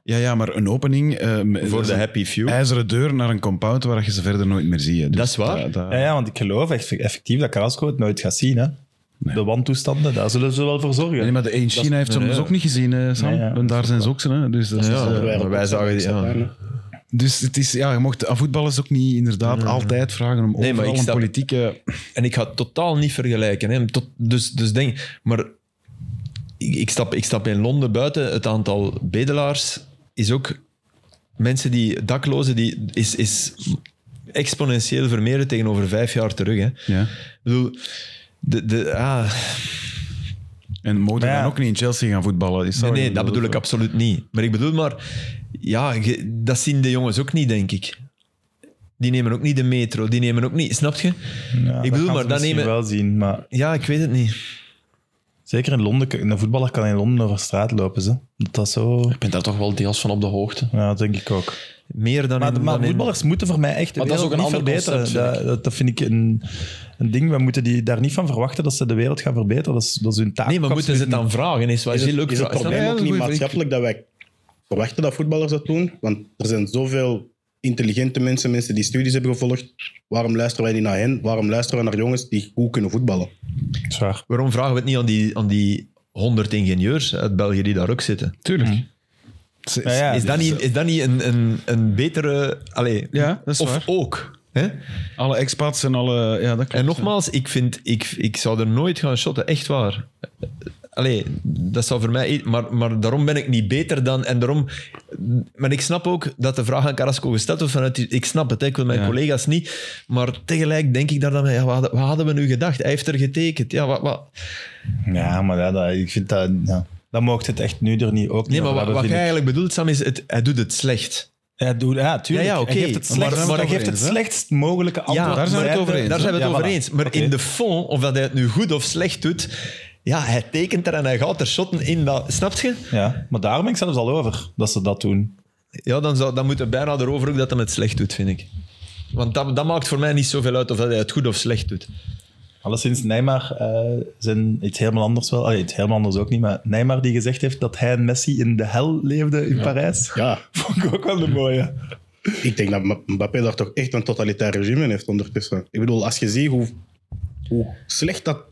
Speaker 1: Ja, ja, maar een opening... ehm,
Speaker 3: voor
Speaker 1: dat
Speaker 3: de
Speaker 1: is
Speaker 3: happy few.
Speaker 1: een ijzeren deur naar een compound waar je ze verder nooit meer ziet. hè. Dus
Speaker 3: Dat is waar. Eh,
Speaker 1: dat- dat-
Speaker 2: Ja, ja, want ik geloof echt effectief dat Carrasco het nooit gaat zien. Hè? De wantoestanden, daar zullen ze wel voor zorgen.
Speaker 1: Nee, maar de een China heeft ze
Speaker 3: nee,
Speaker 1: ons
Speaker 3: ja.
Speaker 1: ook niet gezien, hè, Sam.
Speaker 2: Nee, ja,
Speaker 1: en daar zijn ze ook zo, hè. Dus, dat is,
Speaker 3: Ja,
Speaker 1: eh,
Speaker 5: Zouden
Speaker 3: maar
Speaker 5: ook
Speaker 3: wij
Speaker 5: niet
Speaker 3: zagen die-
Speaker 5: zeggen,
Speaker 3: ja.
Speaker 5: bijna.
Speaker 1: dus het is, ja, je mocht aan voetballers ook niet inderdaad altijd vragen om
Speaker 3: maar
Speaker 1: overal
Speaker 3: ik
Speaker 1: een
Speaker 3: snap-
Speaker 1: politieke...
Speaker 3: En ik ga het totaal niet vergelijken. Hè. Tot, dus, dus denk, maar ik, ik, stap, ik stap in Londen buiten. Het aantal bedelaars is ook. Mensen die daklozen, die is, is exponentieel vermeerderd tegenover vijf jaar terug. Hè. Ik
Speaker 1: Ja.
Speaker 3: bedoel, de, de, ah,
Speaker 1: En mogen
Speaker 2: Maar ja.
Speaker 1: dan ook niet in Chelsea gaan voetballen. Is
Speaker 3: nee,
Speaker 1: wat je
Speaker 3: nee, dat bedoel ik
Speaker 1: of-
Speaker 3: absoluut niet. Maar ik bedoel maar, ja, ge- dat zien de jongens ook niet, denk ik. Die nemen ook niet de metro, die nemen ook niet, snap je? ik bedoel maar, dan
Speaker 2: dat nemen...
Speaker 3: nemen-
Speaker 2: wel zien. Maar
Speaker 3: Ja, ik weet het niet.
Speaker 2: zeker in Londen, een voetballer kan in Londen over straat lopen. Ze. Dat is zo...
Speaker 4: Ik ben daar toch wel deels van op de hoogte.
Speaker 2: Ja, dat denk ik ook.
Speaker 3: Meer dan in-
Speaker 2: Maar, maar
Speaker 3: dan in-
Speaker 2: voetballers moeten voor mij echt de
Speaker 4: Maar dat is
Speaker 2: wereld
Speaker 4: ook een
Speaker 2: niet
Speaker 4: ander
Speaker 2: verbeteren.
Speaker 4: concept, vind
Speaker 2: dat, dat, dat vind ik een, een ding. We moeten die daar niet van verwachten dat ze de wereld gaan verbeteren. Dat is, dat is hun taak.
Speaker 3: Nee, maar
Speaker 2: Ik
Speaker 3: moeten ze het
Speaker 2: absoluut
Speaker 3: dan vragen? Is,
Speaker 5: Is
Speaker 3: is,
Speaker 5: het,
Speaker 3: heel leuk
Speaker 5: is het
Speaker 3: vraag.
Speaker 5: probleem
Speaker 1: Ja, dat
Speaker 5: ook
Speaker 1: is
Speaker 5: niet
Speaker 1: een goeie
Speaker 5: maatschappelijk dat wij verwachten dat voetballers dat doen? Want er zijn zoveel intelligente mensen, mensen die studies hebben gevolgd. Waarom luisteren wij niet naar hen? Waarom luisteren we naar jongens die goed kunnen voetballen?
Speaker 2: niet. Zwaar.
Speaker 3: Waarom vragen we het niet aan die, aan die 100 ingenieurs uit België die daar ook zitten?
Speaker 1: Tuurlijk. Ze-
Speaker 2: Ja, ja.
Speaker 3: Is dat niet, is dat niet een, een, een betere. Allee,
Speaker 1: Ja, dat is
Speaker 3: of
Speaker 1: waar.
Speaker 3: ook. Hè?
Speaker 1: Alle expats en alle... Ja, dat klopt.
Speaker 3: En nogmaals, ik, vind, ik, ik zou er nooit gaan shotten, echt waar.
Speaker 4: allee, dat zou voor mij... e- Maar, maar daarom ben ik niet beter dan... En daarom... Maar ik snap ook dat de vraag aan Carrasco gesteld wordt vanuit... die- Ik snap het, hè, ik wil mijn collega's niet. Maar tegelijk denk ik daar dan... Ja, wat, hadden- wat hadden we nu gedacht? Hij heeft er getekend. Ja, wat... wat
Speaker 2: Ja, maar dat, dat- ik vind dat... Ja. Dan mocht het echt nu er niet ook niet
Speaker 4: nee, maar
Speaker 2: over
Speaker 4: wat,
Speaker 2: hebben,
Speaker 4: wat jij
Speaker 2: vind ik.
Speaker 4: eigenlijk bedoelt, Sam, is... Het, hij doet het slecht.
Speaker 2: Ja, doe, ja, tuurlijk.
Speaker 4: Ja, ja, oké.
Speaker 2: Hij geeft het
Speaker 4: Maar-
Speaker 2: slechtst,
Speaker 1: maar
Speaker 2: hij
Speaker 1: dat
Speaker 2: geeft het
Speaker 1: eens, hè?
Speaker 2: slechtst mogelijke antwoord.
Speaker 1: daar zijn we het
Speaker 2: Maar
Speaker 1: over
Speaker 2: hij-
Speaker 1: eens,
Speaker 4: Daar
Speaker 1: hè?
Speaker 4: zijn we het
Speaker 2: Ja,
Speaker 4: over
Speaker 2: voilà.
Speaker 4: eens. Maar
Speaker 2: Oké.
Speaker 4: in de fond, of dat hij het nu goed of slecht doet... Ja, hij tekent er en hij gaat er shotten in. Dat, snap je?
Speaker 2: Ja, maar daar ben ik zelfs al over, dat ze dat doen.
Speaker 4: Ja, dan, zou, dan moet het bijna erover ook dat hij het slecht doet, vind ik. Want dat, dat maakt voor mij niet zoveel uit of dat hij het goed of slecht doet.
Speaker 2: Alleszins, Neymar eh, zijn iets helemaal anders wel. Allee, iets helemaal anders ook niet, maar Neymar die gezegd heeft dat hij en Messi in de hel leefden in Parijs.
Speaker 5: Ja,
Speaker 2: Vond ik ook wel een mooie.
Speaker 5: ik denk dat M- Mbappé daar toch echt een totalitair regime in heeft ondertussen. Ik bedoel, als je ziet hoe, hoe slecht dat,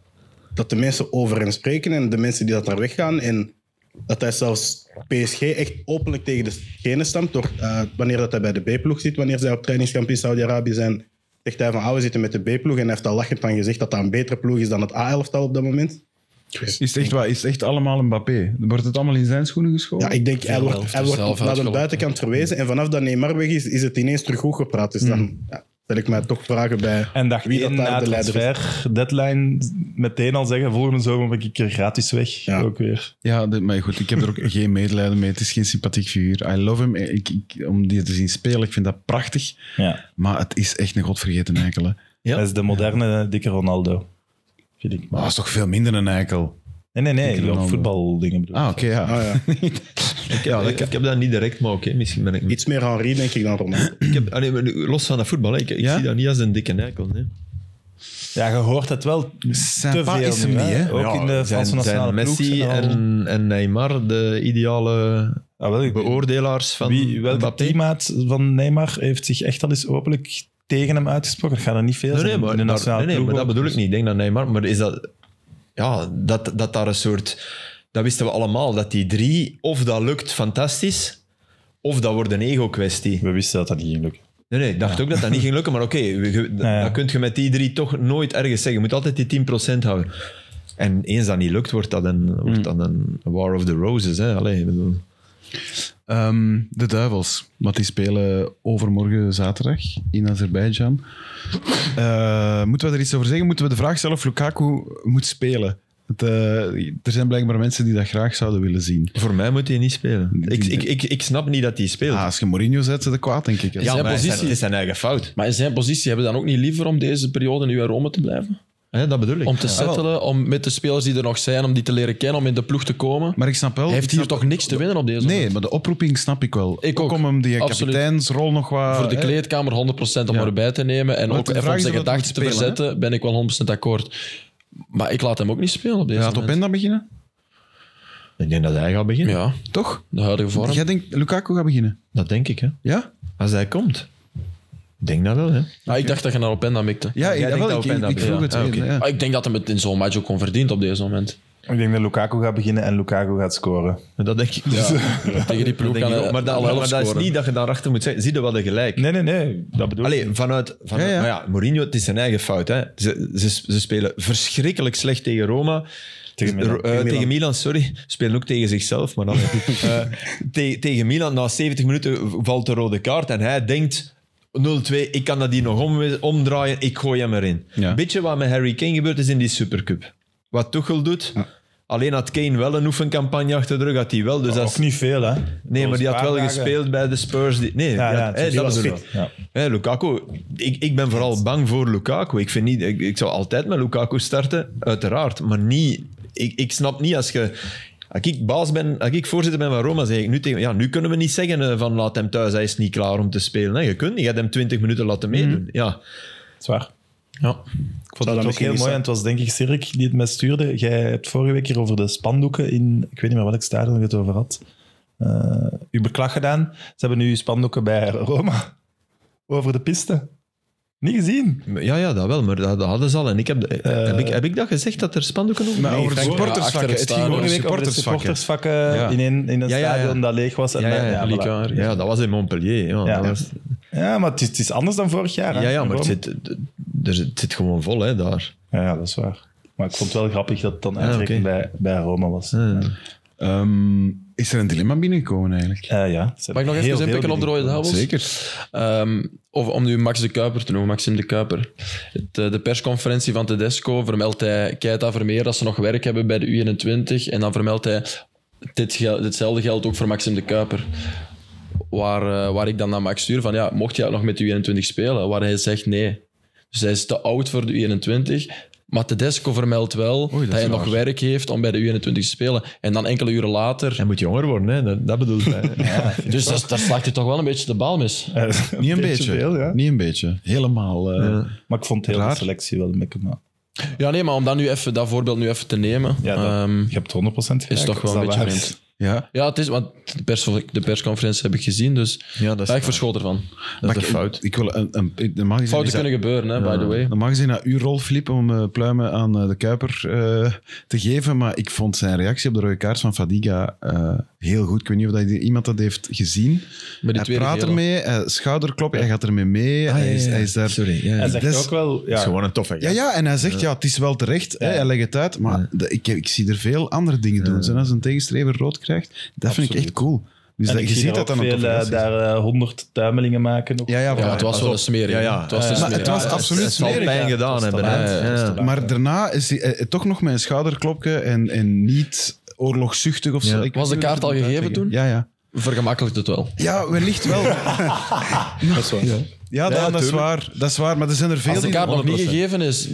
Speaker 5: dat de mensen over hem spreken en de mensen die dat daar weggaan en dat hij zelfs PSG echt openlijk tegen de schenen stamt door, eh, wanneer dat hij bij de B-ploeg zit, wanneer zij op trainingskamp in Saudi-Arabië zijn, zegt hij van, ah, we zitten met de B-ploeg en hij heeft al lachend van gezegd dat dat een betere ploeg is dan het A-elftal op dat moment.
Speaker 1: Is het echt, waar? Is het echt allemaal Mbappé? Wordt het allemaal in zijn schoenen geschoven?
Speaker 5: Ja, ik denk, hij wordt,
Speaker 3: zelf
Speaker 5: hij wordt naar de
Speaker 3: uitgelopen.
Speaker 5: buitenkant verwezen. En vanaf dat Neymar weg is, is het ineens terug goed gepraat. Dus dan ja, stel ik mij toch vragen bij
Speaker 2: En dag
Speaker 5: wie
Speaker 2: één
Speaker 5: dat daar
Speaker 2: na
Speaker 5: de leider is.
Speaker 2: transfer deadline meteen al zeggen, volgende zomer ben ik er gratis weg.
Speaker 5: Ja.
Speaker 2: Ook weer.
Speaker 1: Ja, dit- maar goed, ik heb er ook geen medelijden mee. Het is geen sympathiek figuur. I love him. Ik, ik- om die te zien spelen, ik vind dat prachtig.
Speaker 2: Ja.
Speaker 1: Maar het is echt een godvergeten eikel. hè.
Speaker 4: Ja.
Speaker 2: Dat is de moderne eh, dikke Ronaldo. Vind ik.
Speaker 1: Maar dat is toch veel minder een eikel.
Speaker 2: Nee, nee, nee.
Speaker 1: Ah. Dikke
Speaker 2: Ik
Speaker 1: Ronaldo.
Speaker 2: voetbaldingen bedoel ik.
Speaker 1: Ah, oké, ja.
Speaker 5: Ah, ja.
Speaker 4: Ik heb, ik, ik heb dat niet direct, maar oké, misschien ben ik niet.
Speaker 5: Iets meer Henri, denk ik, dan Ronaldo.
Speaker 4: Ik heb, ah, nee, maar los van dat voetbal, hè, ik, ik
Speaker 1: Ja?
Speaker 4: zie dat niet als een dikke eikel. Nee.
Speaker 2: Ja, je hoort het wel te
Speaker 1: pa
Speaker 2: veel
Speaker 1: is hem
Speaker 2: nu,
Speaker 1: niet, hè?
Speaker 2: Ook
Speaker 1: Ja,
Speaker 2: in de
Speaker 4: Zijn,
Speaker 2: Franse nationale
Speaker 4: zijn Messi
Speaker 2: ploeg zijn al-
Speaker 4: en, en Neymar de ideale
Speaker 2: Ah, wel, ik-
Speaker 4: beoordelaars van
Speaker 2: Wie, welke
Speaker 4: Mm, Mbappé?
Speaker 2: teammaat van Neymar heeft zich echt al eens openlijk tegen hem uitgesproken? Er gaan er niet veel
Speaker 4: Nee,
Speaker 2: zijn
Speaker 4: nee, maar,
Speaker 2: in de
Speaker 4: maar-
Speaker 2: nationale
Speaker 4: nee, nee, maar
Speaker 2: ploeg
Speaker 4: dat
Speaker 2: ook.
Speaker 4: bedoel ik niet. Ik denk dat Neymar... Maar is dat... Ja, dat, dat daar een soort... Dat wisten we allemaal, dat die drie... Of dat lukt fantastisch, of dat wordt een ego-kwestie.
Speaker 2: We wisten dat dat niet ging lukken.
Speaker 4: Nee, nee, ik dacht ook dat dat niet ging lukken. Maar oké, we- ge-
Speaker 2: Ja, ja.
Speaker 4: dan kun je met die drie toch nooit ergens zeggen. Je moet altijd die 10% houden. En eens dat niet lukt, wordt dat een,
Speaker 2: Mm.
Speaker 4: wordt dat een War of the Roses. Hè? Allee, ik bedoel.
Speaker 1: Ehm, de Duivels, want die spelen overmorgen zaterdag in Azerbeidzjan. Eh, moeten we er iets over zeggen? Moeten we de vraag stellen of Lukaku moet spelen? Want, eh, er zijn blijkbaar mensen die dat graag zouden willen zien.
Speaker 4: Voor mij moet hij niet spelen. Ik, ik, ik, ik snap niet dat hij speelt.
Speaker 1: Ah, als je Mourinho zet, ze de kwaad, denk ik. hè.
Speaker 3: Ja. zijn
Speaker 4: maar het is
Speaker 3: positie-
Speaker 4: zijn- het is zijn eigen fout.
Speaker 3: Maar in zijn positie hebben we dan ook niet liever om deze periode nu in Rome te blijven?
Speaker 4: Hè, dat bedoel ik.
Speaker 3: Om te
Speaker 4: Ja.
Speaker 3: settelen, om met de spelers die er nog zijn, om die te leren kennen, om in de ploeg te komen.
Speaker 1: Maar ik snap wel...
Speaker 3: Hij heeft
Speaker 1: ik
Speaker 3: hier
Speaker 1: snap-
Speaker 3: toch niks te winnen op deze
Speaker 1: Nee, maar de oproeping snap ik wel.
Speaker 3: Ik ook.
Speaker 1: Kom hem die
Speaker 3: Absoluut.
Speaker 1: kapiteinsrol nog wat...
Speaker 3: Voor de
Speaker 4: Ah,
Speaker 1: hè?
Speaker 3: kleedkamer 100% om
Speaker 1: Ja.
Speaker 3: erbij te nemen en
Speaker 1: Maar
Speaker 3: ook
Speaker 1: de
Speaker 3: even
Speaker 1: vraag
Speaker 3: om
Speaker 1: is
Speaker 3: zijn
Speaker 1: of dat
Speaker 3: gedachten te
Speaker 1: moet spelen,
Speaker 3: verzetten, ben ik wel 100% akkoord. Maar ik laat hem ook niet spelen op deze
Speaker 1: Gaat
Speaker 3: moment.
Speaker 1: Openda beginnen?
Speaker 4: Ik denk dat hij gaat beginnen.
Speaker 3: Ja,
Speaker 1: Toch?
Speaker 3: de huidige vorm.
Speaker 1: Jij denkt Lukaku gaat beginnen?
Speaker 4: Dat denk ik. Hè.
Speaker 1: Ja?
Speaker 4: Als hij komt. Ik denk dat wel. Hè.
Speaker 3: Ah, ik dacht dat je naar Openda mikte.
Speaker 1: Ja, ik,
Speaker 4: denkt
Speaker 1: wel,
Speaker 4: dat
Speaker 1: ik,
Speaker 4: Openda
Speaker 1: ik vroeg
Speaker 4: begint.
Speaker 1: het
Speaker 4: Ah,
Speaker 1: weer,
Speaker 4: oké.
Speaker 1: ja.
Speaker 3: Ah, ik denk dat hem het in zo'n match ook gewoon verdient op deze moment.
Speaker 2: Ik denk dat Lukaku gaat beginnen en Lukaku gaat scoren.
Speaker 4: Dat denk ik.
Speaker 3: Ja.
Speaker 4: Dus, eh,
Speaker 3: Tegen die ploeg
Speaker 4: dat denk
Speaker 3: kan
Speaker 4: ik
Speaker 3: hij
Speaker 4: ook. Maar, dat,
Speaker 3: alle
Speaker 4: maar
Speaker 3: elf
Speaker 4: dat is
Speaker 3: scoren.
Speaker 4: niet dat je daarachter moet zeggen. Zie je wat een gelijk.
Speaker 2: Nee, nee, nee. Dat bedoel ik.
Speaker 4: Allee, vanuit... vanuit
Speaker 1: Ja, ja.
Speaker 4: Maar ja, Mourinho, het is zijn eigen fout. Hè. Ze, ze, ze spelen verschrikkelijk slecht tegen Roma.
Speaker 2: Tegen Milan.
Speaker 4: Eh, tegen Milan, sorry. Ze Spelen ook tegen zichzelf, maar dan... Eh, te- tegen Milan, na 70 minuten valt de rode kaart en hij denkt... 0-2, ik kan dat hier nog om, omdraaien, ik gooi hem erin.
Speaker 1: Ja.
Speaker 4: Beetje wat met Harry Kane gebeurd is in die Supercup. Wat Tuchel doet, alleen had Kane wel een oefencampagne achter de rug, had hij wel. Dus dat is-
Speaker 2: Ook niet veel, hè?
Speaker 4: Nee, maar die had wel
Speaker 2: Een paar dagen.
Speaker 4: gespeeld bij de Spurs. Die, nee,
Speaker 2: Ja,
Speaker 4: die
Speaker 2: ja,
Speaker 4: had-
Speaker 2: het
Speaker 4: hè,
Speaker 2: is
Speaker 4: dat
Speaker 2: wel
Speaker 4: bedoel
Speaker 2: fit.
Speaker 4: ik.
Speaker 2: Ja.
Speaker 4: Hè, Lukaku, ik, ik ben vooral bang voor Lukaku. Ik, vind niet, ik, ik zou altijd met Lukaku starten, uiteraard. Maar niet, ik, ik snap niet als je... Als ik baas ben, als ik voorzitter ben van Roma, zeg ik nu tegen... Ja, nu kunnen we niet zeggen eh, van laat hem thuis, hij is niet klaar om te spelen. Hè. Je kunt niet, je hebt hem 20 minuten laten meedoen. Ja.
Speaker 2: Zwaar.
Speaker 3: Ja.
Speaker 2: Ik vond
Speaker 5: Zou
Speaker 2: het ook
Speaker 5: dat
Speaker 2: heel
Speaker 5: misschien
Speaker 2: mooi.
Speaker 5: niet
Speaker 2: En het was denk ik Cirk die het mij stuurde. Jij hebt vorige week hier over de spandoeken in... Ik weet niet meer welk stadion je het over had. Eh uw beklag gedaan. Ze hebben nu spandoeken bij Roma. Over de piste. Niet gezien.
Speaker 4: ja, ja, dat wel, maar dat, dat hadden ze al. En ik heb, heb, ik, heb ik dat gezegd, dat er spandoeken op?
Speaker 1: Maar over de
Speaker 3: Frank, ja,
Speaker 1: supportersvakken.
Speaker 3: achter het
Speaker 1: het ging
Speaker 3: stadion.
Speaker 1: over de
Speaker 2: Vorige week over de
Speaker 1: supportersvakken.
Speaker 2: supportersvakken
Speaker 1: Ja.
Speaker 2: in een, in een
Speaker 4: Ja, ja, ja.
Speaker 2: stadion dat leeg was. En
Speaker 4: Ja, ja,
Speaker 2: dan-
Speaker 4: ja,
Speaker 2: voilà.
Speaker 3: Lica, ja.
Speaker 4: ja, dat was in Montpellier. Ja,
Speaker 2: Ja.
Speaker 4: Dat was,
Speaker 2: Ja, maar het is, het is anders dan vorig jaar. hè.
Speaker 4: ja, ja maar het
Speaker 2: Waarom?
Speaker 4: zit, er, zit- het zit gewoon vol hè, daar.
Speaker 2: Ja, ja, dat is waar. Maar ik vond het wel grappig dat het dan uitrekend bij, bij Roma was. Eh,
Speaker 1: Ehm, is er een dilemma binnengekomen eigenlijk?
Speaker 2: Eh, ja, ze
Speaker 4: Mag ik
Speaker 2: hebben
Speaker 4: nog
Speaker 2: heel
Speaker 4: even
Speaker 2: veel
Speaker 4: inpikken op de rode
Speaker 2: dingen.
Speaker 4: duivels?
Speaker 1: Zeker.
Speaker 4: Ehm, of om nu Max de Kuiper te noemen, Maxim de Kuiper. Het, eh, de persconferentie van Tedesco vermeldt hij Keita Vermeer dat ze nog werk hebben bij de U21. En dan vermeldt hij dit gel- ditzelfde geldt ook voor Maxim de Kuiper. Waar, eh, waar ik dan naar Max stuur van ja, mocht jij nog met de U21 spelen? Waar hij zegt nee. Dus hij is te oud voor de U21. Maar Tedesco vermeldt wel
Speaker 1: is
Speaker 4: dat hij
Speaker 1: raar.
Speaker 4: nog werk heeft om bij de U21 te spelen. En dan enkele uren later.
Speaker 3: Hij moet jonger worden, hè? dat, dat bedoelt hij.
Speaker 4: Dus dat- daar slaagt hij toch wel een beetje de bal mis.
Speaker 2: Eh,
Speaker 1: Niet een beetje.
Speaker 2: veel, ja.
Speaker 1: Niet een beetje. Helemaal. eh,
Speaker 2: Maar ik vond heel
Speaker 1: Raar.
Speaker 2: de selectie wel een beetje... Maar
Speaker 4: Ja, nee, maar om dat, nu even, dat voorbeeld nu even te nemen.
Speaker 2: ja, dat-
Speaker 4: Ehm,
Speaker 2: je hebt 100% gelijk.
Speaker 4: is toch wel
Speaker 2: dat
Speaker 4: een beetje
Speaker 2: waar?
Speaker 4: vreemd.
Speaker 1: Ja.
Speaker 4: Ja, het is, want de, pers, de persconferentie heb ik gezien, dus
Speaker 3: Ja, dat is
Speaker 4: ja, ik verschoot ervan.
Speaker 3: Dat is
Speaker 1: ik-
Speaker 3: een fout.
Speaker 1: Ik wil een, een, normaal gezien
Speaker 4: Fouten
Speaker 1: is dat-
Speaker 4: kunnen gebeuren, hè, by the way.
Speaker 1: Normaal gezien naar uw rol, Filip, om eh, pluimen aan eh, de Kuiper eh, te geven. Maar ik vond zijn reactie op de rode kaart van Fadiga eh, heel goed. Ik weet niet of dat iemand dat heeft gezien.
Speaker 4: Met die
Speaker 1: Hij
Speaker 4: tweede
Speaker 1: praat
Speaker 4: gele.
Speaker 1: ermee, hij schouderklop, hij gaat ermee mee. hij, is, hij is daar...
Speaker 3: Sorry. Ja.
Speaker 2: Hij
Speaker 3: Het
Speaker 2: zegt
Speaker 1: Des-
Speaker 2: ook wel...
Speaker 3: is
Speaker 2: Ja,
Speaker 3: gewoon een toffe
Speaker 1: Ja, ja, en hij zegt, ja, het is wel terecht, hè, hij legt het uit, maar de- ik, ik zie er veel andere dingen doen. En als een tegenstrever rood krijgt, dat vind ik echt cool. Dus
Speaker 2: en
Speaker 1: dat,
Speaker 2: ik
Speaker 1: je
Speaker 2: zie
Speaker 1: ziet
Speaker 2: daar
Speaker 1: dat
Speaker 2: ook
Speaker 1: dan een
Speaker 2: veel, eh,
Speaker 1: toffe
Speaker 2: daar eh, 100 tuimelingen maken. Ook.
Speaker 1: Ja, ja, voilà.
Speaker 4: Ja, het was wel een smerig.
Speaker 3: Ja, ja.
Speaker 4: hè. Het was
Speaker 2: Eh,
Speaker 4: een
Speaker 1: Maar
Speaker 4: smerig.
Speaker 1: het was
Speaker 4: Ja,
Speaker 1: absoluut
Speaker 3: Het zal
Speaker 1: smerig.
Speaker 3: pijn gedaan hebben. hè.
Speaker 4: Ja,
Speaker 3: Ja.
Speaker 1: Maar daarna is hij eh, toch nog met een schouderklopje en, en niet oorlogzuchtig of zo.
Speaker 3: Ja.
Speaker 1: Ik
Speaker 4: Was de
Speaker 1: weet niet
Speaker 4: kaart
Speaker 1: hoe
Speaker 4: al
Speaker 1: ik dat
Speaker 4: gegeven
Speaker 1: moet
Speaker 4: toen?
Speaker 1: Ja, ja.
Speaker 4: Vergemakkelijkt het wel.
Speaker 1: Ja, wellicht wel. ja,
Speaker 5: Dat is waar.
Speaker 1: Daan, dat, is
Speaker 3: tuurlijk.
Speaker 1: waar, dat is waar. Maar er zijn er veel
Speaker 4: Als de
Speaker 1: die...
Speaker 4: kaart nog niet
Speaker 3: 100%.
Speaker 4: gegeven is...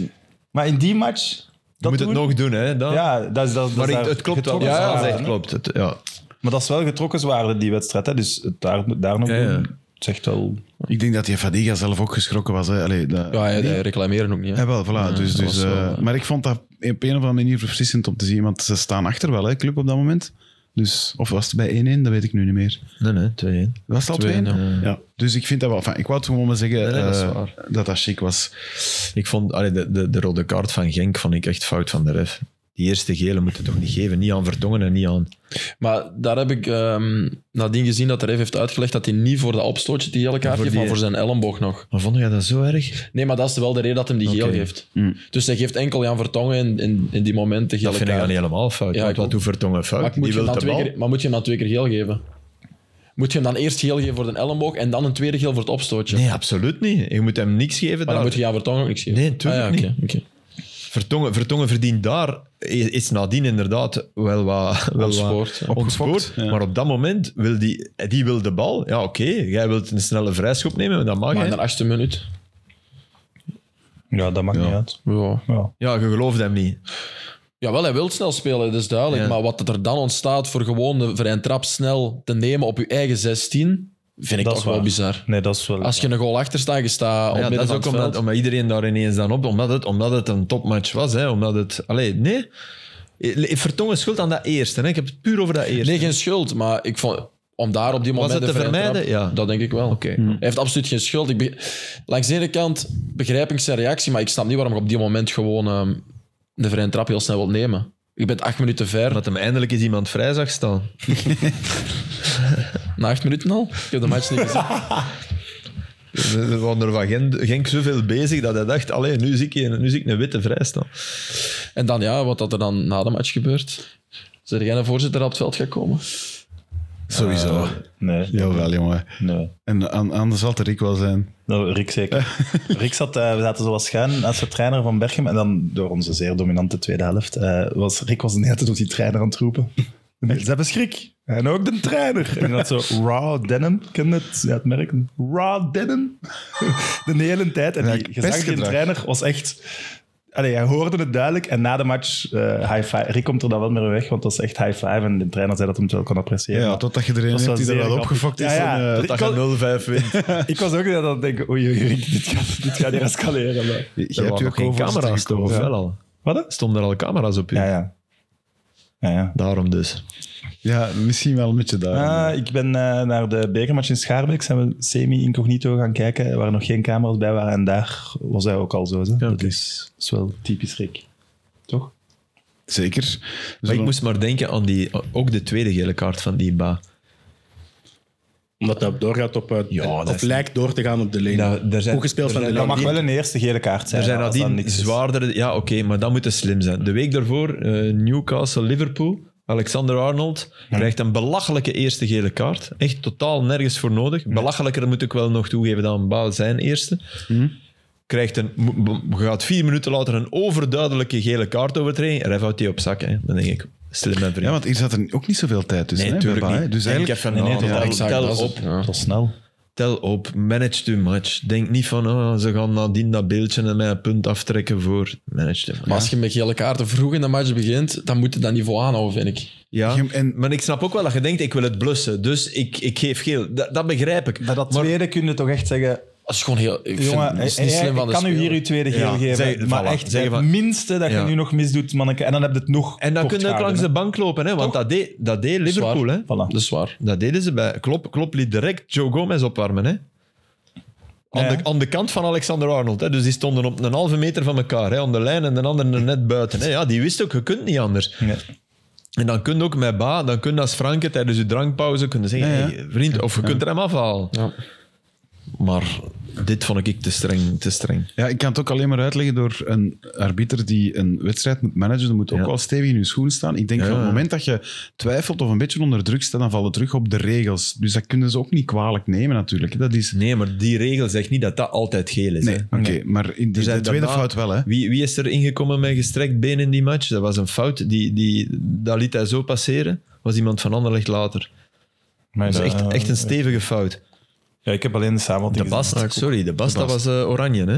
Speaker 2: Maar in die match...
Speaker 3: Je
Speaker 2: Dat
Speaker 3: moet het
Speaker 2: doen-
Speaker 3: nog doen, hè? Dan.
Speaker 2: Ja, dat is, dat, dat
Speaker 3: Maar
Speaker 2: is
Speaker 3: ik-
Speaker 2: daar
Speaker 3: het klopt wel.
Speaker 2: getrokken
Speaker 3: Ja,
Speaker 4: Ja,
Speaker 3: dat
Speaker 2: zwaarden,
Speaker 3: zegt
Speaker 2: hè.
Speaker 3: klopt. Het, ja.
Speaker 2: Maar dat is wel getrokken zwaarde, die wedstrijd. Hè? Dus het daar, daar nog
Speaker 3: Ja, ja.
Speaker 2: doen, het zegt wel...
Speaker 1: Ik denk dat die Fadiga zelf ook geschrokken was. Hè. Allee, dat...
Speaker 4: Ja, hij, hij reclameren ook niet. hè.
Speaker 1: Ja, wel, voilà. dus, dus,
Speaker 4: dat was wel,
Speaker 1: eh,
Speaker 4: eh.
Speaker 1: maar ik vond dat op een of andere manier verfrissend om te zien. Want ze staan achter wel, hè, club op dat moment. Dus, of was het bij 1-1? Dat weet ik nu niet meer.
Speaker 3: Nee, nee, 2-1.
Speaker 1: Was het al 2-1?
Speaker 4: 2-1,
Speaker 5: Ja.
Speaker 1: Dus ik vind dat wel... Enfin, ik wou het gewoon maar zeggen
Speaker 3: nee, dat is
Speaker 1: eh,
Speaker 3: waar.
Speaker 1: dat dat chic was.
Speaker 3: Ik vond allee, de, de, de rode kaart van Genk vond ik echt fout van de ref. Die eerste gele moeten toch niet geven. Niet aan Vertongen en niet aan...
Speaker 4: Maar daar heb ik ehm, nadien gezien dat de ref heeft uitgelegd dat hij niet voor dat opstootje die gele kaart
Speaker 3: voor
Speaker 4: geeft, maar
Speaker 3: die-
Speaker 4: voor zijn elleboog nog.
Speaker 3: Maar vond jij dat zo erg?
Speaker 4: Nee, maar dat is wel de reden dat hem die geel
Speaker 3: Oké.
Speaker 4: geeft. Dus hij geeft enkel Jan Vertongen in, in, in die momenten gele
Speaker 3: Dat vind ik
Speaker 4: kaart.
Speaker 3: dan helemaal fout.
Speaker 4: Ja,
Speaker 3: want
Speaker 4: ik
Speaker 3: wat
Speaker 4: ook.
Speaker 3: doet Vertongen
Speaker 4: Maar,
Speaker 3: fout?
Speaker 4: ik moet
Speaker 3: Die
Speaker 4: je
Speaker 3: wil
Speaker 4: hem dan
Speaker 3: de
Speaker 4: twee
Speaker 3: bal.
Speaker 4: keer, maar moet je hem dan twee keer geel geven? Moet je hem dan eerst geel geven voor de elleboog en dan een tweede geel voor het opstootje?
Speaker 3: Nee, absoluut niet. Je moet hem niks geven.
Speaker 4: maar
Speaker 3: daar.
Speaker 4: dan moet je Jan Vertongen ook niks geven.
Speaker 3: Nee, tuurlijk
Speaker 4: Ah, ja, oké,
Speaker 3: niet.
Speaker 4: oké.
Speaker 3: Vertongen, Vertongen verdient daar, i- is nadien inderdaad wel wat, wel
Speaker 4: Ontspoord, ja.
Speaker 3: wat ontspoord.
Speaker 1: ja.
Speaker 3: Maar op dat moment wil die, die wil de bal. Ja, oké, jij wilt een snelle vrijschop nemen, dat mag
Speaker 4: Maar in
Speaker 3: je.
Speaker 4: de achtste minuut.
Speaker 2: Ja, dat maakt niet uit.
Speaker 4: Ja.
Speaker 2: Ja.
Speaker 3: Ja, je gelooft hem niet.
Speaker 4: Jawel, hij wil snel spelen, dat is duidelijk.
Speaker 3: Ja.
Speaker 4: Maar wat er dan ontstaat voor gewoon de vrije trap snel te nemen op je eigen 16, vind ik
Speaker 2: Dat
Speaker 4: toch
Speaker 2: is
Speaker 4: wel
Speaker 2: waar.
Speaker 4: bizar.
Speaker 2: Nee, dat is wel...
Speaker 4: Als je een goal achter staat, je staat op
Speaker 3: Ah Ja,
Speaker 4: midden
Speaker 3: dat is ook
Speaker 4: van het
Speaker 3: omdat,
Speaker 4: veld.
Speaker 3: omdat iedereen daar ineens dan op, omdat het, omdat het een topmatch was. Hè, omdat het, allee, nee. Vertongen schuld aan dat eerste. Hè. Ik heb het puur over dat eerste.
Speaker 4: Nee, geen schuld, maar ik vond... Om daar op die
Speaker 3: Was
Speaker 4: moment
Speaker 3: het te vermijden? Ja.
Speaker 4: Dat denk ik wel.
Speaker 3: Oké.
Speaker 4: Hij heeft absoluut geen schuld. Ik be- Langs de ene kant begrijp ik zijn reactie, maar ik snap niet waarom je op die moment gewoon ehm, de vrije trap heel snel wilt nemen. Je bent acht minuten ver.
Speaker 3: Omdat hem eindelijk eens iemand vrij zag staan.
Speaker 4: Na acht minuten al? Ik heb de match niet gezien.
Speaker 3: We waren er van Genk, Genk zoveel bezig dat hij dacht, allee, nu zie ik, een- nu zie ik een witte vrij staan.
Speaker 4: En dan ja, wat dat er dan na de match gebeurt. Zijn jij een voorzitter op het veld gaat komen?
Speaker 1: Sowieso.
Speaker 2: Nee,
Speaker 1: Jawel, jongen.
Speaker 2: nee.
Speaker 1: En an- anders zal het Rick wel zijn.
Speaker 2: Nou, Rick zeker. Rick zat, eh, we zaten zo wat schuin als de trainer van Berchem. En dan, door onze zeer dominante tweede helft, eh, was Rick was de hele tijd op die trainer aan het roepen. Ze hebben schrik. En ook de trainer. En dat zo, raw denim, ken je het? Ja, het merk. Raw denim. De hele tijd. En die
Speaker 1: Ja,
Speaker 2: gezang die
Speaker 1: pestgedrag.
Speaker 2: trainer was echt... Allee, hij hoorde het duidelijk. En na de match, eh, high five. Rick komt er dan wel meer weg, want dat is echt high five. En de trainer zei dat hij het wel kon
Speaker 1: Ja,
Speaker 2: appreciëren.
Speaker 1: totdat je er een
Speaker 2: was
Speaker 1: hebt
Speaker 2: wel
Speaker 1: die er
Speaker 2: zeer
Speaker 1: wel
Speaker 2: grappig.
Speaker 1: opgefokt is.
Speaker 2: Ja, ja.
Speaker 1: en, eh,
Speaker 2: Ik
Speaker 3: Dat je 0-5 wint.
Speaker 2: Ik was ook net aan het denken, oei, oei, oei, dit gaat, dit gaat hier escaleren. maar-
Speaker 1: je- je hebt
Speaker 3: Er waren
Speaker 1: je
Speaker 3: nog
Speaker 1: ook
Speaker 3: geen
Speaker 1: over
Speaker 3: camera's
Speaker 1: gekomen.
Speaker 3: toch? Of
Speaker 1: Ja.
Speaker 3: wel al?
Speaker 2: Wat? hè?
Speaker 3: Stonden er al camera's op u?
Speaker 2: Ja, ja. ja, ja.
Speaker 3: Daarom dus.
Speaker 1: Ja, misschien wel met je daar.
Speaker 2: Ah, ik ben eh, naar de bekermatch in Schaarbeek, zijn we semi-incognito gaan kijken, waar nog geen camera's bij waren. En daar was hij ook al zo. Hè? Dat
Speaker 3: oké.
Speaker 2: is, is wel typisch Rick. Toch?
Speaker 1: Zeker. Dus-
Speaker 3: Maar
Speaker 1: Zullen-
Speaker 3: ik moest maar denken aan die, ook de tweede gele kaart van die Ba.
Speaker 5: Omdat dat doorgaat op... eh,
Speaker 3: Ja, dat
Speaker 5: of
Speaker 3: is-
Speaker 5: lijkt door te gaan op de lane.
Speaker 3: Nou, er zijn-
Speaker 5: Goed gespeeld
Speaker 3: er
Speaker 5: van de
Speaker 3: zijn-
Speaker 2: Dat
Speaker 5: lane.
Speaker 2: mag wel een eerste gele kaart zijn.
Speaker 3: Er zijn
Speaker 2: als dat
Speaker 3: nadien
Speaker 2: niks is.
Speaker 3: zwaardere... Ja, oké, maar dat moet dus slim zijn. De week daarvoor, eh, Newcastle, Liverpool. Alexander Arnold krijgt een belachelijke eerste gele kaart. Echt totaal nergens voor nodig. Belachelijker moet ik wel nog toegeven dan Bouw zijn eerste. Krijgt een, mo- mo- gaat vier minuten later een overduidelijke gele kaart overtreding. Ref houdt die op zak. Hè. Dan denk ik, slim en vriend.
Speaker 1: Ja, want hier zat er ook niet zoveel tijd tussen.
Speaker 3: nee,
Speaker 1: hè,
Speaker 3: natuurlijk
Speaker 1: bij Ba, hè.
Speaker 3: niet.
Speaker 1: Dus
Speaker 3: Denk
Speaker 1: eigenlijk...
Speaker 3: even,
Speaker 2: Nee, nee,
Speaker 3: na,
Speaker 2: totaal-
Speaker 3: tel-
Speaker 4: exact,
Speaker 3: tel
Speaker 4: dat is het.
Speaker 3: op.
Speaker 4: Ja.
Speaker 2: Tot snel.
Speaker 3: Tel op, manage too much. Denk niet van, oh, ze gaan nadien dat beeldje en mij een punt aftrekken voor manage too much.
Speaker 4: Maar als je met gele kaarten vroeg in de match begint, dan moet je dat niveau aanhouden, vind ik.
Speaker 3: Ja,
Speaker 1: Je- en-
Speaker 3: maar ik snap ook wel dat je denkt, ik wil het blussen, dus ik, ik geef geel. Dat, dat begrijp ik.
Speaker 2: Bij dat
Speaker 3: Maar-
Speaker 2: tweede kun je toch echt zeggen...
Speaker 4: Dat is gewoon heel... Ik
Speaker 2: Jongen,
Speaker 4: vind, dat is
Speaker 2: eh,
Speaker 4: niet
Speaker 2: eh,
Speaker 4: slim van
Speaker 2: ik
Speaker 4: de
Speaker 2: kan u
Speaker 4: speler.
Speaker 2: hier uw tweede geel
Speaker 3: Ja,
Speaker 2: geven.
Speaker 3: zeg-
Speaker 2: maar
Speaker 3: voilà,
Speaker 2: echt
Speaker 3: zeg
Speaker 2: het
Speaker 3: van-
Speaker 2: minste dat
Speaker 3: Ja.
Speaker 2: je nu nog misdoet, manneke. En dan heb je het nog
Speaker 3: en dan
Speaker 2: kort
Speaker 3: kun je ook
Speaker 2: gehouden,
Speaker 3: langs
Speaker 2: hè.
Speaker 3: de bank lopen, hè, want dat deed, dat deed
Speaker 4: is waar.
Speaker 3: Liverpool. Hè.
Speaker 2: Voilà.
Speaker 4: Dat is waar.
Speaker 3: Dat deden ze bij... Klop, Klop liet direct Joe Gomez opwarmen. Hè. Aan,
Speaker 2: Ja.
Speaker 3: de, aan de kant van Alexander Arnold. Hè. Dus die stonden op een halve meter van elkaar, hè, aan de lijn en de ander er net buiten. Hè. Ja, die wist ook, je kunt niet anders.
Speaker 2: Nee.
Speaker 3: En dan kun je ook met Ba, dan kun je als Franke tijdens je drankpauze kunnen zeggen,
Speaker 1: Ja, ja.
Speaker 3: "Hey, vriend, of je kunt er hem afhalen.
Speaker 4: Ja.
Speaker 3: Maar dit vond ik te streng, te streng.
Speaker 1: Ja, ik kan het ook alleen maar uitleggen door een arbiter die een wedstrijd moet managen. Dan moet ook
Speaker 3: Ja.
Speaker 1: wel stevig in je schoen staan. Ik denk
Speaker 3: Ja.
Speaker 1: op het moment dat je twijfelt of een beetje onder druk staat, dan valt het terug op de regels. Dus dat kunnen ze ook niet kwalijk nemen, natuurlijk. Dat is...
Speaker 3: Nee, maar die regel zegt niet dat dat altijd geel is.
Speaker 1: Nee,
Speaker 3: hè.
Speaker 1: oké. Maar in die,
Speaker 3: Er zijn
Speaker 1: de tweede
Speaker 3: daarna-
Speaker 1: fout wel, hè.
Speaker 3: Wie, wie is er ingekomen met gestrekt been in die match? Dat was een fout. Die, die, dat liet hij zo passeren. Was iemand van Anderlecht later.
Speaker 2: Maar
Speaker 3: Dat is
Speaker 2: de-
Speaker 3: echt, echt een stevige fout.
Speaker 2: Ja, ik heb alleen de samenvatting
Speaker 3: De
Speaker 2: gezien.
Speaker 3: Bast, sorry, de Bast, dat was eh, Oranje. Hè?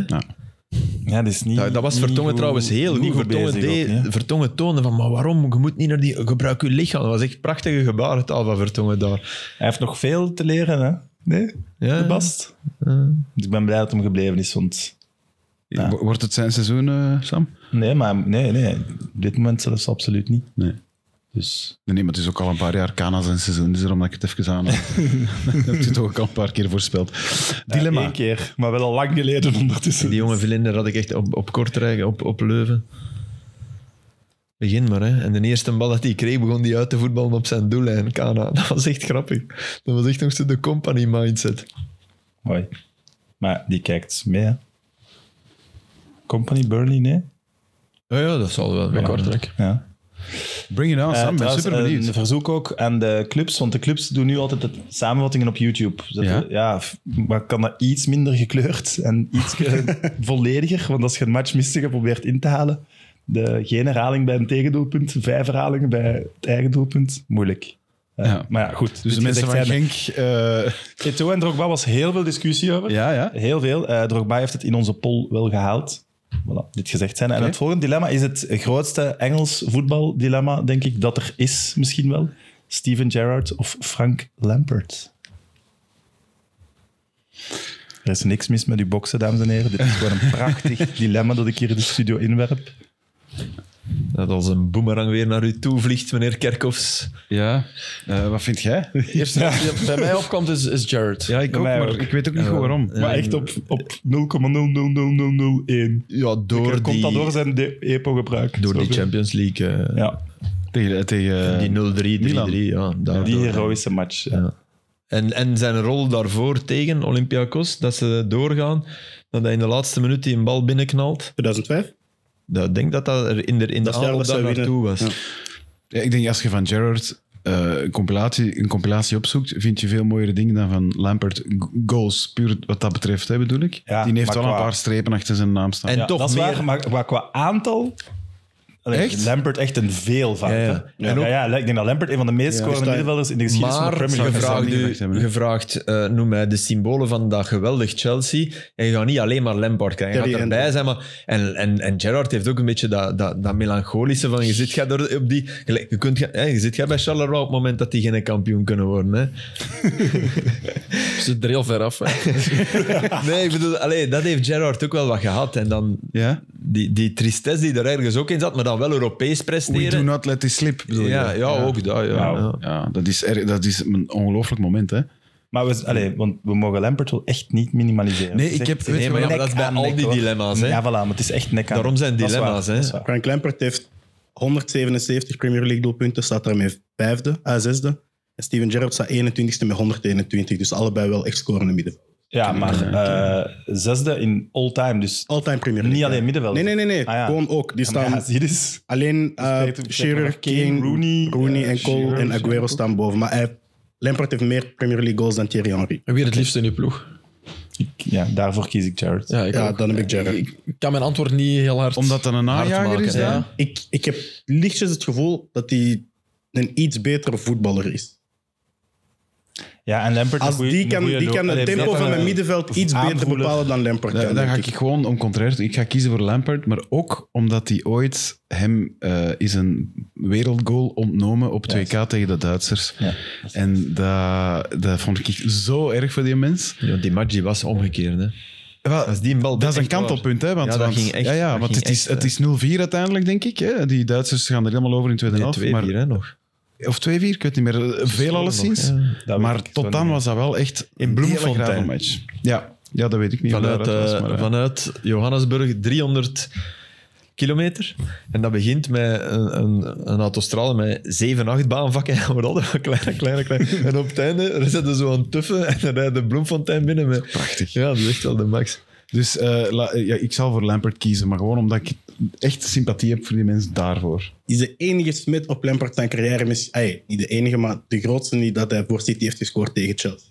Speaker 2: Ja, dat is niet...
Speaker 3: Dat, dat was
Speaker 2: niet
Speaker 3: Vertongen
Speaker 2: goed-
Speaker 3: trouwens heel
Speaker 2: niet
Speaker 3: goed. Vertongen,
Speaker 2: bezig ook,
Speaker 3: deed-
Speaker 2: hè.
Speaker 3: Vertongen toonde van, maar waarom? Je moet niet naar die... Gebruik je lichaam. Dat was echt prachtige gebarentaal van Vertongen daar.
Speaker 2: Hij heeft nog veel te leren, hè? Nee,
Speaker 3: Ja,
Speaker 2: de Bast. Dus ik ben blij dat hem gebleven is, want... Ja.
Speaker 1: Wo- Wordt het zijn seizoen, eh, Sam?
Speaker 2: Nee, maar nee, nee. Op dit moment zelfs absoluut niet.
Speaker 1: Nee.
Speaker 2: Dus...
Speaker 1: Nee, nee, maar het is ook al een paar jaar Kana zijn seizoen. Dus daarom dat ik het even aan... dat heb je toch ook al een paar keer voorspeld. Dilemma.
Speaker 2: Ja, één keer, maar wel al lang geleden ondertussen.
Speaker 3: Die jonge vlinder had ik echt op, op Kortrijk, op, op Leuven. Begin maar, hè. En de eerste bal dat hij kreeg, begon hij uit te voetballen op zijn doellijn. Kana, dat was echt grappig. Dat was echt nog zo de company mindset.
Speaker 2: Hoi. Maar die kijkt mee, hè. Company Burnley, nee?
Speaker 3: Ja, ja dat zal wel.
Speaker 4: Bij
Speaker 3: Ja.
Speaker 4: Kortrijk.
Speaker 2: Ja.
Speaker 1: Bring it on,
Speaker 2: Eh,
Speaker 1: Sam. Ik ben
Speaker 2: trouwens,
Speaker 1: super benieuwd.
Speaker 2: Een verzoek ook aan de clubs, want de clubs doen nu altijd de samenvattingen op YouTube. Zetten-
Speaker 1: Ja.
Speaker 2: ja. f- maar kan dat iets minder gekleurd en iets eh, vollediger? Want als je een match mistiger probeert in te halen, de, geen herhaling bij een tegendoelpunt, vijf herhalingen bij het eigen doelpunt, moeilijk. Eh,
Speaker 1: Ja.
Speaker 2: Maar ja, goed.
Speaker 1: dus de mensen van Genk... eh,
Speaker 2: Eto'o en Drogba was heel veel discussie over.
Speaker 1: ja, ja.
Speaker 2: Heel veel. Eh, Drogba heeft het in onze poll wel gehaald. Voilà, dit gezegd zijn. En
Speaker 1: Oké.
Speaker 2: het volgende dilemma is het grootste Engels voetbaldilemma, denk ik, dat er is misschien wel. Steven Gerrard of Frank Lampert? Er is niks mis met uw boksen, dames en heren. Dit is gewoon een prachtig dilemma dat ik hier in de studio inwerp.
Speaker 3: Dat als een boemerang weer naar u toe vliegt, meneer Kerkhoffs.
Speaker 1: Ja, eh, wat vind jij?
Speaker 4: Eerste die bij mij opkomt is, is Jared.
Speaker 1: Ja, ik
Speaker 2: Bij
Speaker 1: ook,
Speaker 2: mij
Speaker 1: maar
Speaker 2: ook.
Speaker 1: ik weet ook niet goed waarom.
Speaker 2: Maar echt op, op 0,000001.
Speaker 3: Ja, door
Speaker 2: Komt
Speaker 3: die,
Speaker 2: dat door zijn de- EPO-gebruik?
Speaker 3: door die
Speaker 2: Zoveel.
Speaker 3: Champions League. eh,
Speaker 2: Ja,
Speaker 1: Tegen, eh, tegen
Speaker 3: Die 0-3, 3-3.
Speaker 1: Milan.
Speaker 3: Ja, daardoor.
Speaker 2: die heroïsche match. eh, ja.
Speaker 3: En, en zijn rol daarvoor tegen Olympiakos, dat ze doorgaan, dat hij in de laatste minuut die een bal binnenknalt.
Speaker 5: 2005?
Speaker 3: Dat, ik denk dat dat er in de, in de
Speaker 5: Dat is
Speaker 3: aanloop
Speaker 5: duidelijk,
Speaker 3: daar
Speaker 5: zou
Speaker 3: Ah, naartoe was.
Speaker 5: winnen.
Speaker 1: Ja, ik denk als je van Gerrard eh, een, compilatie, een compilatie opzoekt, vind je veel mooiere dingen dan van Lampert G- goals, puur wat dat betreft, hè, bedoel ik.
Speaker 2: Ja,
Speaker 1: Die heeft
Speaker 2: maar
Speaker 1: wel een
Speaker 2: qua-
Speaker 1: paar strepen achter zijn naam staan.
Speaker 3: En
Speaker 2: Ja,
Speaker 3: toch
Speaker 2: dat is
Speaker 3: meer.
Speaker 2: waar, maar, maar qua aantal... Allee,
Speaker 1: Echt?
Speaker 2: Lampert echt een veelvoud.
Speaker 3: Ja, ja.
Speaker 2: hè.
Speaker 3: Ja.
Speaker 2: En ook- Ja, ja, ik denk dat Lampert een van de meest scorende
Speaker 5: Dus dat-
Speaker 2: middenvelders in de geschiedenis van de
Speaker 3: Maar
Speaker 2: Premier League is.
Speaker 1: zou niet
Speaker 3: gevraagd, u,
Speaker 1: gedacht hebben, hè?
Speaker 3: gevraagd eh, noem mij de symbolen van dat geweldig Chelsea. En je gaat niet alleen maar Lampard krijgen. Je
Speaker 5: Terry
Speaker 3: gaat
Speaker 5: en-
Speaker 3: erbij zijn. Maar, en, en, en Gerrard heeft ook een beetje dat, dat, dat melancholische van je zit jij door, op die... gelijk, Je, kunt, ge- hè, je zit jij bij Charleroi op het moment dat die geen kampioen kunnen worden. Hè.
Speaker 4: Ze zit er heel ver af. hè.
Speaker 3: Nee, ik bedoel, allee, dat heeft Gerrard ook wel wat gehad. En dan
Speaker 1: Ja?
Speaker 3: die, die tristesse die er ergens ook in zat, maar dan wel Europees
Speaker 1: We
Speaker 3: presteren.
Speaker 1: do not let this slip, bedoel
Speaker 3: ja,
Speaker 1: je?
Speaker 3: ja, ook dat. Ja,
Speaker 2: Ja.
Speaker 3: ja.
Speaker 1: Ja, dat is, erg- dat is een ongelooflijk moment, hè.
Speaker 2: Maar we, allee, want we mogen Lampert wel echt niet minimaliseren.
Speaker 1: Nee,
Speaker 2: Het is
Speaker 1: ik
Speaker 2: echt-
Speaker 1: heb-
Speaker 2: het is
Speaker 1: nee, maar
Speaker 3: ja,
Speaker 2: nek
Speaker 3: dat is bij
Speaker 2: aan
Speaker 3: al
Speaker 2: nek,
Speaker 3: die
Speaker 2: hoor.
Speaker 3: dilemma's, hè.
Speaker 2: Ja, voilà, maar het is echt nek aan
Speaker 3: Daarom zijn
Speaker 2: nek. Dat is
Speaker 3: dilemma's,
Speaker 2: waar,
Speaker 3: hè.
Speaker 2: dat is waar.
Speaker 5: Frank Lampert heeft 177 Premier League doelpunten, staat daarmee vijfde, eh, zesde. En Steven Gerrard staat 21ste met 121. Dus allebei wel echt scorende midden.
Speaker 2: Ja, maar eh, zesde in all-time,
Speaker 3: Oh,
Speaker 2: dus
Speaker 5: All-time Premier
Speaker 2: niet
Speaker 5: League,
Speaker 2: alleen
Speaker 5: hè.
Speaker 2: middenveld.
Speaker 5: Nee, nee, nee. nee.
Speaker 2: Ah, ja.
Speaker 5: Gewoon ook. Die
Speaker 2: Ja, maar
Speaker 5: staan
Speaker 2: ja, zie dus.
Speaker 5: alleen eh,
Speaker 2: beter te
Speaker 5: Shearer,
Speaker 2: bekijken.
Speaker 5: Kane,
Speaker 2: Rooney,
Speaker 5: Rooney, Rooney
Speaker 2: eh,
Speaker 5: en Cole
Speaker 2: Shearer
Speaker 5: en
Speaker 2: misschien
Speaker 5: Aguero
Speaker 2: ook.
Speaker 5: staan boven. Maar hij, Lampard heeft meer Premier League goals dan Thierry Henry.
Speaker 4: En wie het liefst in je ploeg?
Speaker 2: Ja, daarvoor kies ik Jared.
Speaker 4: Ja, ik
Speaker 5: Ja,
Speaker 4: ook.
Speaker 5: dan heb ik Gerrard.
Speaker 4: Ik ik kan mijn antwoord niet heel hard
Speaker 1: Omdat dat een
Speaker 4: hard
Speaker 1: najager
Speaker 4: maken,
Speaker 1: is,
Speaker 4: hè.
Speaker 1: dan?
Speaker 5: Ik, ik heb lichtjes het gevoel dat hij een iets betere voetballer is.
Speaker 2: Ja, en Lampert
Speaker 5: Als die kan, die kan het tempo van mijn middenveld iets beter
Speaker 2: eh, aanvoelen.
Speaker 5: bepalen dan Lampard.
Speaker 1: Ja,
Speaker 5: kan,
Speaker 1: dan
Speaker 5: denk
Speaker 1: ga
Speaker 5: ik.
Speaker 1: ik gewoon om contraire toe. Ik ga kiezen voor Lampard, maar ook omdat hij ooit hem eh, is een wereldgoal ontnomen op 2K tegen de Duitsers.
Speaker 2: Ja.
Speaker 1: En dat, dat vond ik zo erg voor die mens.
Speaker 3: Ja, want die match die was omgekeerd. Hè.
Speaker 1: Wel,
Speaker 3: Als die een bal
Speaker 1: dat is een
Speaker 3: echt waar.
Speaker 1: kantelpunt, hè? Want,
Speaker 3: Ja, dat
Speaker 1: want-
Speaker 3: ging echt-
Speaker 1: ja, ja
Speaker 3: dat
Speaker 1: want
Speaker 3: ging
Speaker 1: het is,
Speaker 3: echt, eh,
Speaker 1: het is 0-4 uiteindelijk, denk ik. Hè? Die Duitsers gaan er helemaal over in de tweede helft.
Speaker 3: Nee, 2-4
Speaker 1: maar-
Speaker 3: hè, nog.
Speaker 1: Of 2-4, ik weet niet meer. Veel alleszins.
Speaker 3: nog, ja.
Speaker 2: weet
Speaker 1: Maar
Speaker 2: ik
Speaker 1: tot
Speaker 2: zo
Speaker 1: dan
Speaker 2: niet.
Speaker 1: was dat wel echt
Speaker 2: In
Speaker 1: een hele
Speaker 2: Bloemfontein.
Speaker 1: grave match. Ja. ja, dat weet ik niet. hoe
Speaker 3: Vanuit,
Speaker 1: dat was,
Speaker 3: eh,
Speaker 1: maar, ja.
Speaker 3: vanuit Johannesburg 300 kilometer. En dat begint met een, een, een autostrade met 7, 8 baanvakken. En wordt altijd maar kleiner, kleiner, kleiner. En op het einde er zitten zo een tuffe en dan rijdt de Bloemfontein binnen. Met... Prachtig. Ja, dat is echt wel de max.
Speaker 1: Dus eh, la- ja, ik zal voor Lampert kiezen, maar gewoon omdat ik echt sympathie heb voor die mensen daarvoor.
Speaker 5: is de enige smid op Lampard zijn carrière. Mis, ay, niet de enige, maar de grootste niet dat hij voor City heeft gescoord tegen Chelsea.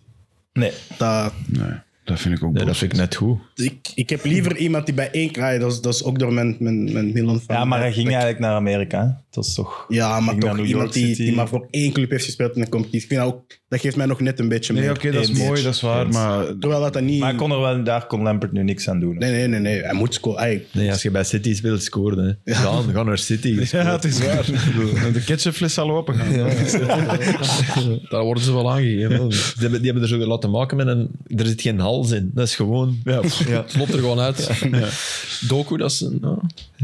Speaker 2: Nee,
Speaker 5: Dat,
Speaker 1: Nee, dat vind ik ook
Speaker 3: Nee, dat
Speaker 1: bullshit.
Speaker 3: vind ik net goed.
Speaker 5: ik, ik heb liever iemand die bij één kraai. Dat is, dat is ook door mijn, mijn, mijn Milan fan.
Speaker 2: ja, maar hij ging
Speaker 5: Dat-
Speaker 2: eigenlijk naar Amerika. hè. Dat is toch...
Speaker 5: Ja, maar
Speaker 2: ging naar
Speaker 5: toch
Speaker 2: New
Speaker 5: iemand
Speaker 2: York
Speaker 5: die,
Speaker 2: City.
Speaker 5: die maar voor één club heeft gespeeld in de competitie. Ik vind dat, ook, dat geeft mij nog net een beetje
Speaker 1: Nee,
Speaker 5: meer.
Speaker 1: oké, dat is
Speaker 2: Eens.
Speaker 1: mooi, dat is waar,
Speaker 2: Eens.
Speaker 1: maar...
Speaker 5: Terwijl dat, dat niet...
Speaker 2: Maar hij kon er wel, daar kon Lampert nu niks aan doen. hè.
Speaker 5: Nee, nee, nee, nee. Hij moet scoren. Ay,
Speaker 3: Nee, als je bij City speelt, scoorde. Hè. Gaan, gaan naar City.
Speaker 1: Ja, het is waar. De ketchupfles zal open gaan.
Speaker 4: Daar worden ze wel aangegeven.
Speaker 3: Ja, die, hebben, die hebben er zo weer laten maken met een... Er zit geen hals in. Dat is gewoon...
Speaker 4: Ja, pff, het loopt er gewoon uit. Doku, dat, is een-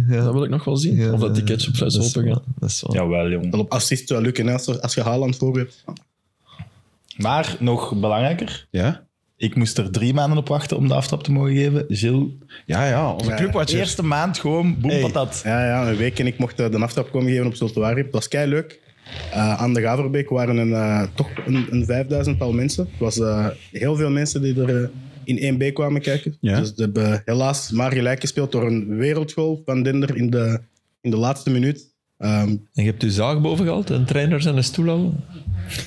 Speaker 4: ja, dat wil ik nog wel zien. of dat die ketchupfles
Speaker 3: eh, Dat is
Speaker 4: open
Speaker 3: wel-
Speaker 4: gaat.
Speaker 3: Dat is wel...
Speaker 2: Jawel, jong.
Speaker 5: dat op assist zou lukken hè, als, er- als je Haaland voor hebt.
Speaker 2: Maar nog belangrijker,
Speaker 1: Ja?
Speaker 2: ik moest er drie maanden op wachten om de aftrap te mogen geven. Gilles,
Speaker 1: Ja, ja, onze
Speaker 5: Ja.
Speaker 1: clubwatcher.
Speaker 2: eerste maand gewoon boem patat.
Speaker 5: Ja, ja, een week en ik mocht eh, de aftrap komen geven op Zultuari. Dat was kei leuk. aan de Gaverbeek waren een, eh, toch een, een vijfduizendtal mensen. Het was eh, heel veel mensen die er eh, in 1B kwamen kijken.
Speaker 1: Ja.
Speaker 5: Dus ze hebben helaas maar gelijk gespeeld door een wereldgoal van Dinder in de, in de laatste minuut. Ehm,
Speaker 3: En je hebt je zaag boven gehaald, een trainer en een stoel al.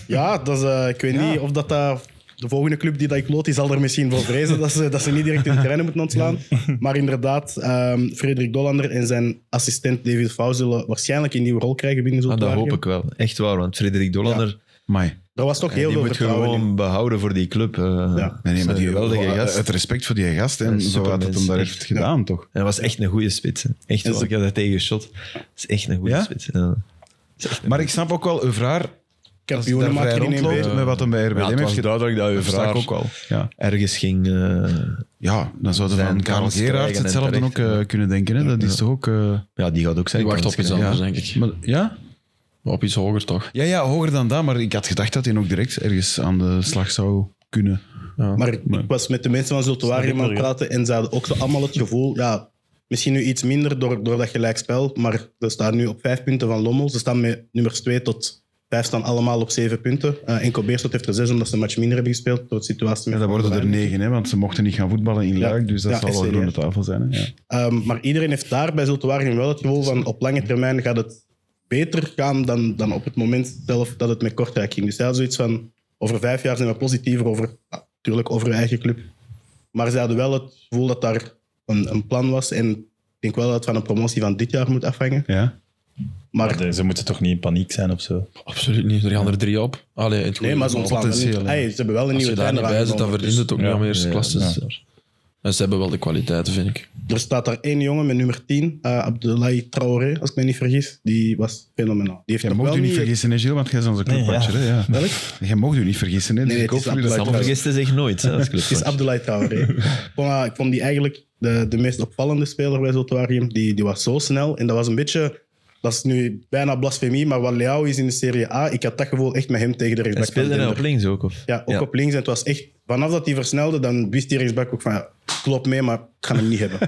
Speaker 5: ja, dat is, eh, ik weet niet of dat, dat de volgende club die dat ik lood, die zal er misschien voor vrezen dat ze, dat ze niet direct in de treinen moeten ontslaan. Maar inderdaad, ehm, Frederik Dollander en zijn assistent David Fouw zullen waarschijnlijk een nieuwe rol krijgen binnen
Speaker 3: Ah, dat
Speaker 5: Zultuari.
Speaker 3: hoop ik wel. Echt waar, want Frederik Dollander
Speaker 1: Amai.
Speaker 5: Er was toch heel
Speaker 3: die
Speaker 5: veel
Speaker 3: moet je
Speaker 5: vertrouwen in.
Speaker 3: gewoon behouden voor die club. eh.
Speaker 5: Ja.
Speaker 1: Nee, nee, maar
Speaker 3: Dat is
Speaker 1: die,
Speaker 3: een geweldige
Speaker 1: dus, eh, wel-
Speaker 3: gast.
Speaker 1: het respect voor die gast en
Speaker 3: Een
Speaker 1: zo had het
Speaker 3: supermens,
Speaker 1: hem daar
Speaker 3: echt.
Speaker 1: heeft gedaan, toch?
Speaker 3: En dat was echt een goede spits. hè. Echt
Speaker 5: En
Speaker 3: wel,
Speaker 5: ze-
Speaker 3: ik heb dat tegen shot. Dat is echt een goede
Speaker 1: Ja?
Speaker 3: spits. Ja.
Speaker 1: Maar ik snap ook wel, Evraar,
Speaker 5: Kampioenen
Speaker 1: daar vrij
Speaker 5: maken in
Speaker 1: rondloopt
Speaker 5: een
Speaker 3: eh,
Speaker 1: met wat hem bij RBD
Speaker 3: Ja, het
Speaker 1: heeft
Speaker 3: was
Speaker 1: gedaan.
Speaker 3: duidelijk dat je
Speaker 1: Versta ik
Speaker 3: vraag
Speaker 1: ook wel. Ja.
Speaker 3: ergens ging... eh,
Speaker 1: Ja, dan zouden we
Speaker 3: Zijn
Speaker 1: van Karel
Speaker 3: kans krijgen
Speaker 1: Gerard
Speaker 3: en
Speaker 1: hetzelfde ook
Speaker 3: terecht,
Speaker 1: eh, kunnen denken. Hè? Dat is toch ook... eh,
Speaker 3: ja, die gaat ook zijn
Speaker 4: Die wacht
Speaker 3: kans
Speaker 4: op iets
Speaker 3: krijgen.
Speaker 4: anders, denk ik.
Speaker 1: maar, ja?
Speaker 4: Op iets hoger toch?
Speaker 1: Ja, ja, hoger dan dat, maar ik had gedacht dat hij ook direct ergens aan de slag zou kunnen.
Speaker 5: Maar ik ik was met de mensen van Zultuarium aan het praten en ze hadden ook zo allemaal het gevoel, ja, misschien nu iets minder door, door dat gelijkspel, maar ze staan nu op vijf punten van Lommel. Ze staan met nummers 2 tot 5 staan allemaal op zeven punten. Eh enkel Beerschot heeft er zes omdat ze een match minder hebben gespeeld door de situatie.
Speaker 1: Ja,
Speaker 5: met
Speaker 1: dat worden er
Speaker 5: Zultuarium.
Speaker 1: negen, hè, want ze mochten niet gaan voetballen in
Speaker 5: Ja.
Speaker 1: Luik, dus dat
Speaker 5: Ja,
Speaker 1: zal wel
Speaker 5: SCR.
Speaker 1: rond de tafel zijn. Hè? Ja.
Speaker 5: Ehm, maar iedereen heeft daar bij Zultuarium wel het gevoel van op lange termijn gaat het beter gaan dan, dan op het moment zelf dat het met Kortrijk ging. Dus zij hadden zoiets van, over vijf jaar zijn we positiever over, natuurlijk over hun eigen club. Maar ze hadden wel het gevoel dat daar een, een plan was en ik denk wel dat het van een promotie van dit jaar moet afhangen.
Speaker 1: Ja?
Speaker 5: Maar
Speaker 2: Ze moeten toch niet in paniek zijn of zo?
Speaker 4: Absoluut niet. Er gaan er drie op. Allee, in het
Speaker 5: nee,
Speaker 4: goede
Speaker 5: maar ze
Speaker 4: geval.
Speaker 5: ontslaan wel niet.
Speaker 1: potentieel, ja.
Speaker 5: Ey, ze hebben wel een
Speaker 4: Als
Speaker 5: nieuwe
Speaker 4: je daar niet
Speaker 5: trainer
Speaker 4: bij zit, dan
Speaker 5: aangenomen,
Speaker 4: verdient het ook niet
Speaker 2: Ja,
Speaker 4: om eerste
Speaker 3: ja,
Speaker 4: klasse te
Speaker 2: ja.
Speaker 4: zijn. En ze hebben wel de kwaliteiten, vind ik.
Speaker 5: dus Er staat daar één jongen met nummer 10, eh Abdoulaye Traoré, als ik me niet vergis. Die was fenomenaal. Die heeft
Speaker 1: Jij
Speaker 5: nog
Speaker 1: mocht
Speaker 5: wel
Speaker 1: u niet
Speaker 5: niet-
Speaker 1: vergissen, hè, Gilles, want jij is onze
Speaker 2: Nee,
Speaker 1: clubwatcher. hè, ja. Jij mocht u niet vergissen, hè, dus
Speaker 5: Nee,
Speaker 1: ik
Speaker 5: het
Speaker 1: hoop
Speaker 5: is
Speaker 1: voor u dat
Speaker 5: absoluut
Speaker 1: dat
Speaker 3: Sam vergist zich nooit. Hè, als
Speaker 5: Het is
Speaker 3: clubcoach.
Speaker 5: Abdoulaye Traoré. ik, vond, dat- ik vond die eigenlijk de, de meest opvallende speler bij Zultuarium. Die, die was zo snel. En dat was een beetje... Dat is nu bijna blasfemie, maar wat Leao is in de Serie A, ik had dat gevoel echt met hem tegen de
Speaker 3: en
Speaker 5: rechtsback van
Speaker 3: speelde hij op
Speaker 5: Dender.
Speaker 3: links ook? Of?
Speaker 5: Ja, ook op links. En het was echt... Vanaf dat hij versnelde, dan wist die rechtsback ook van... Ja, klopt mee, maar ik ga hem niet hebben.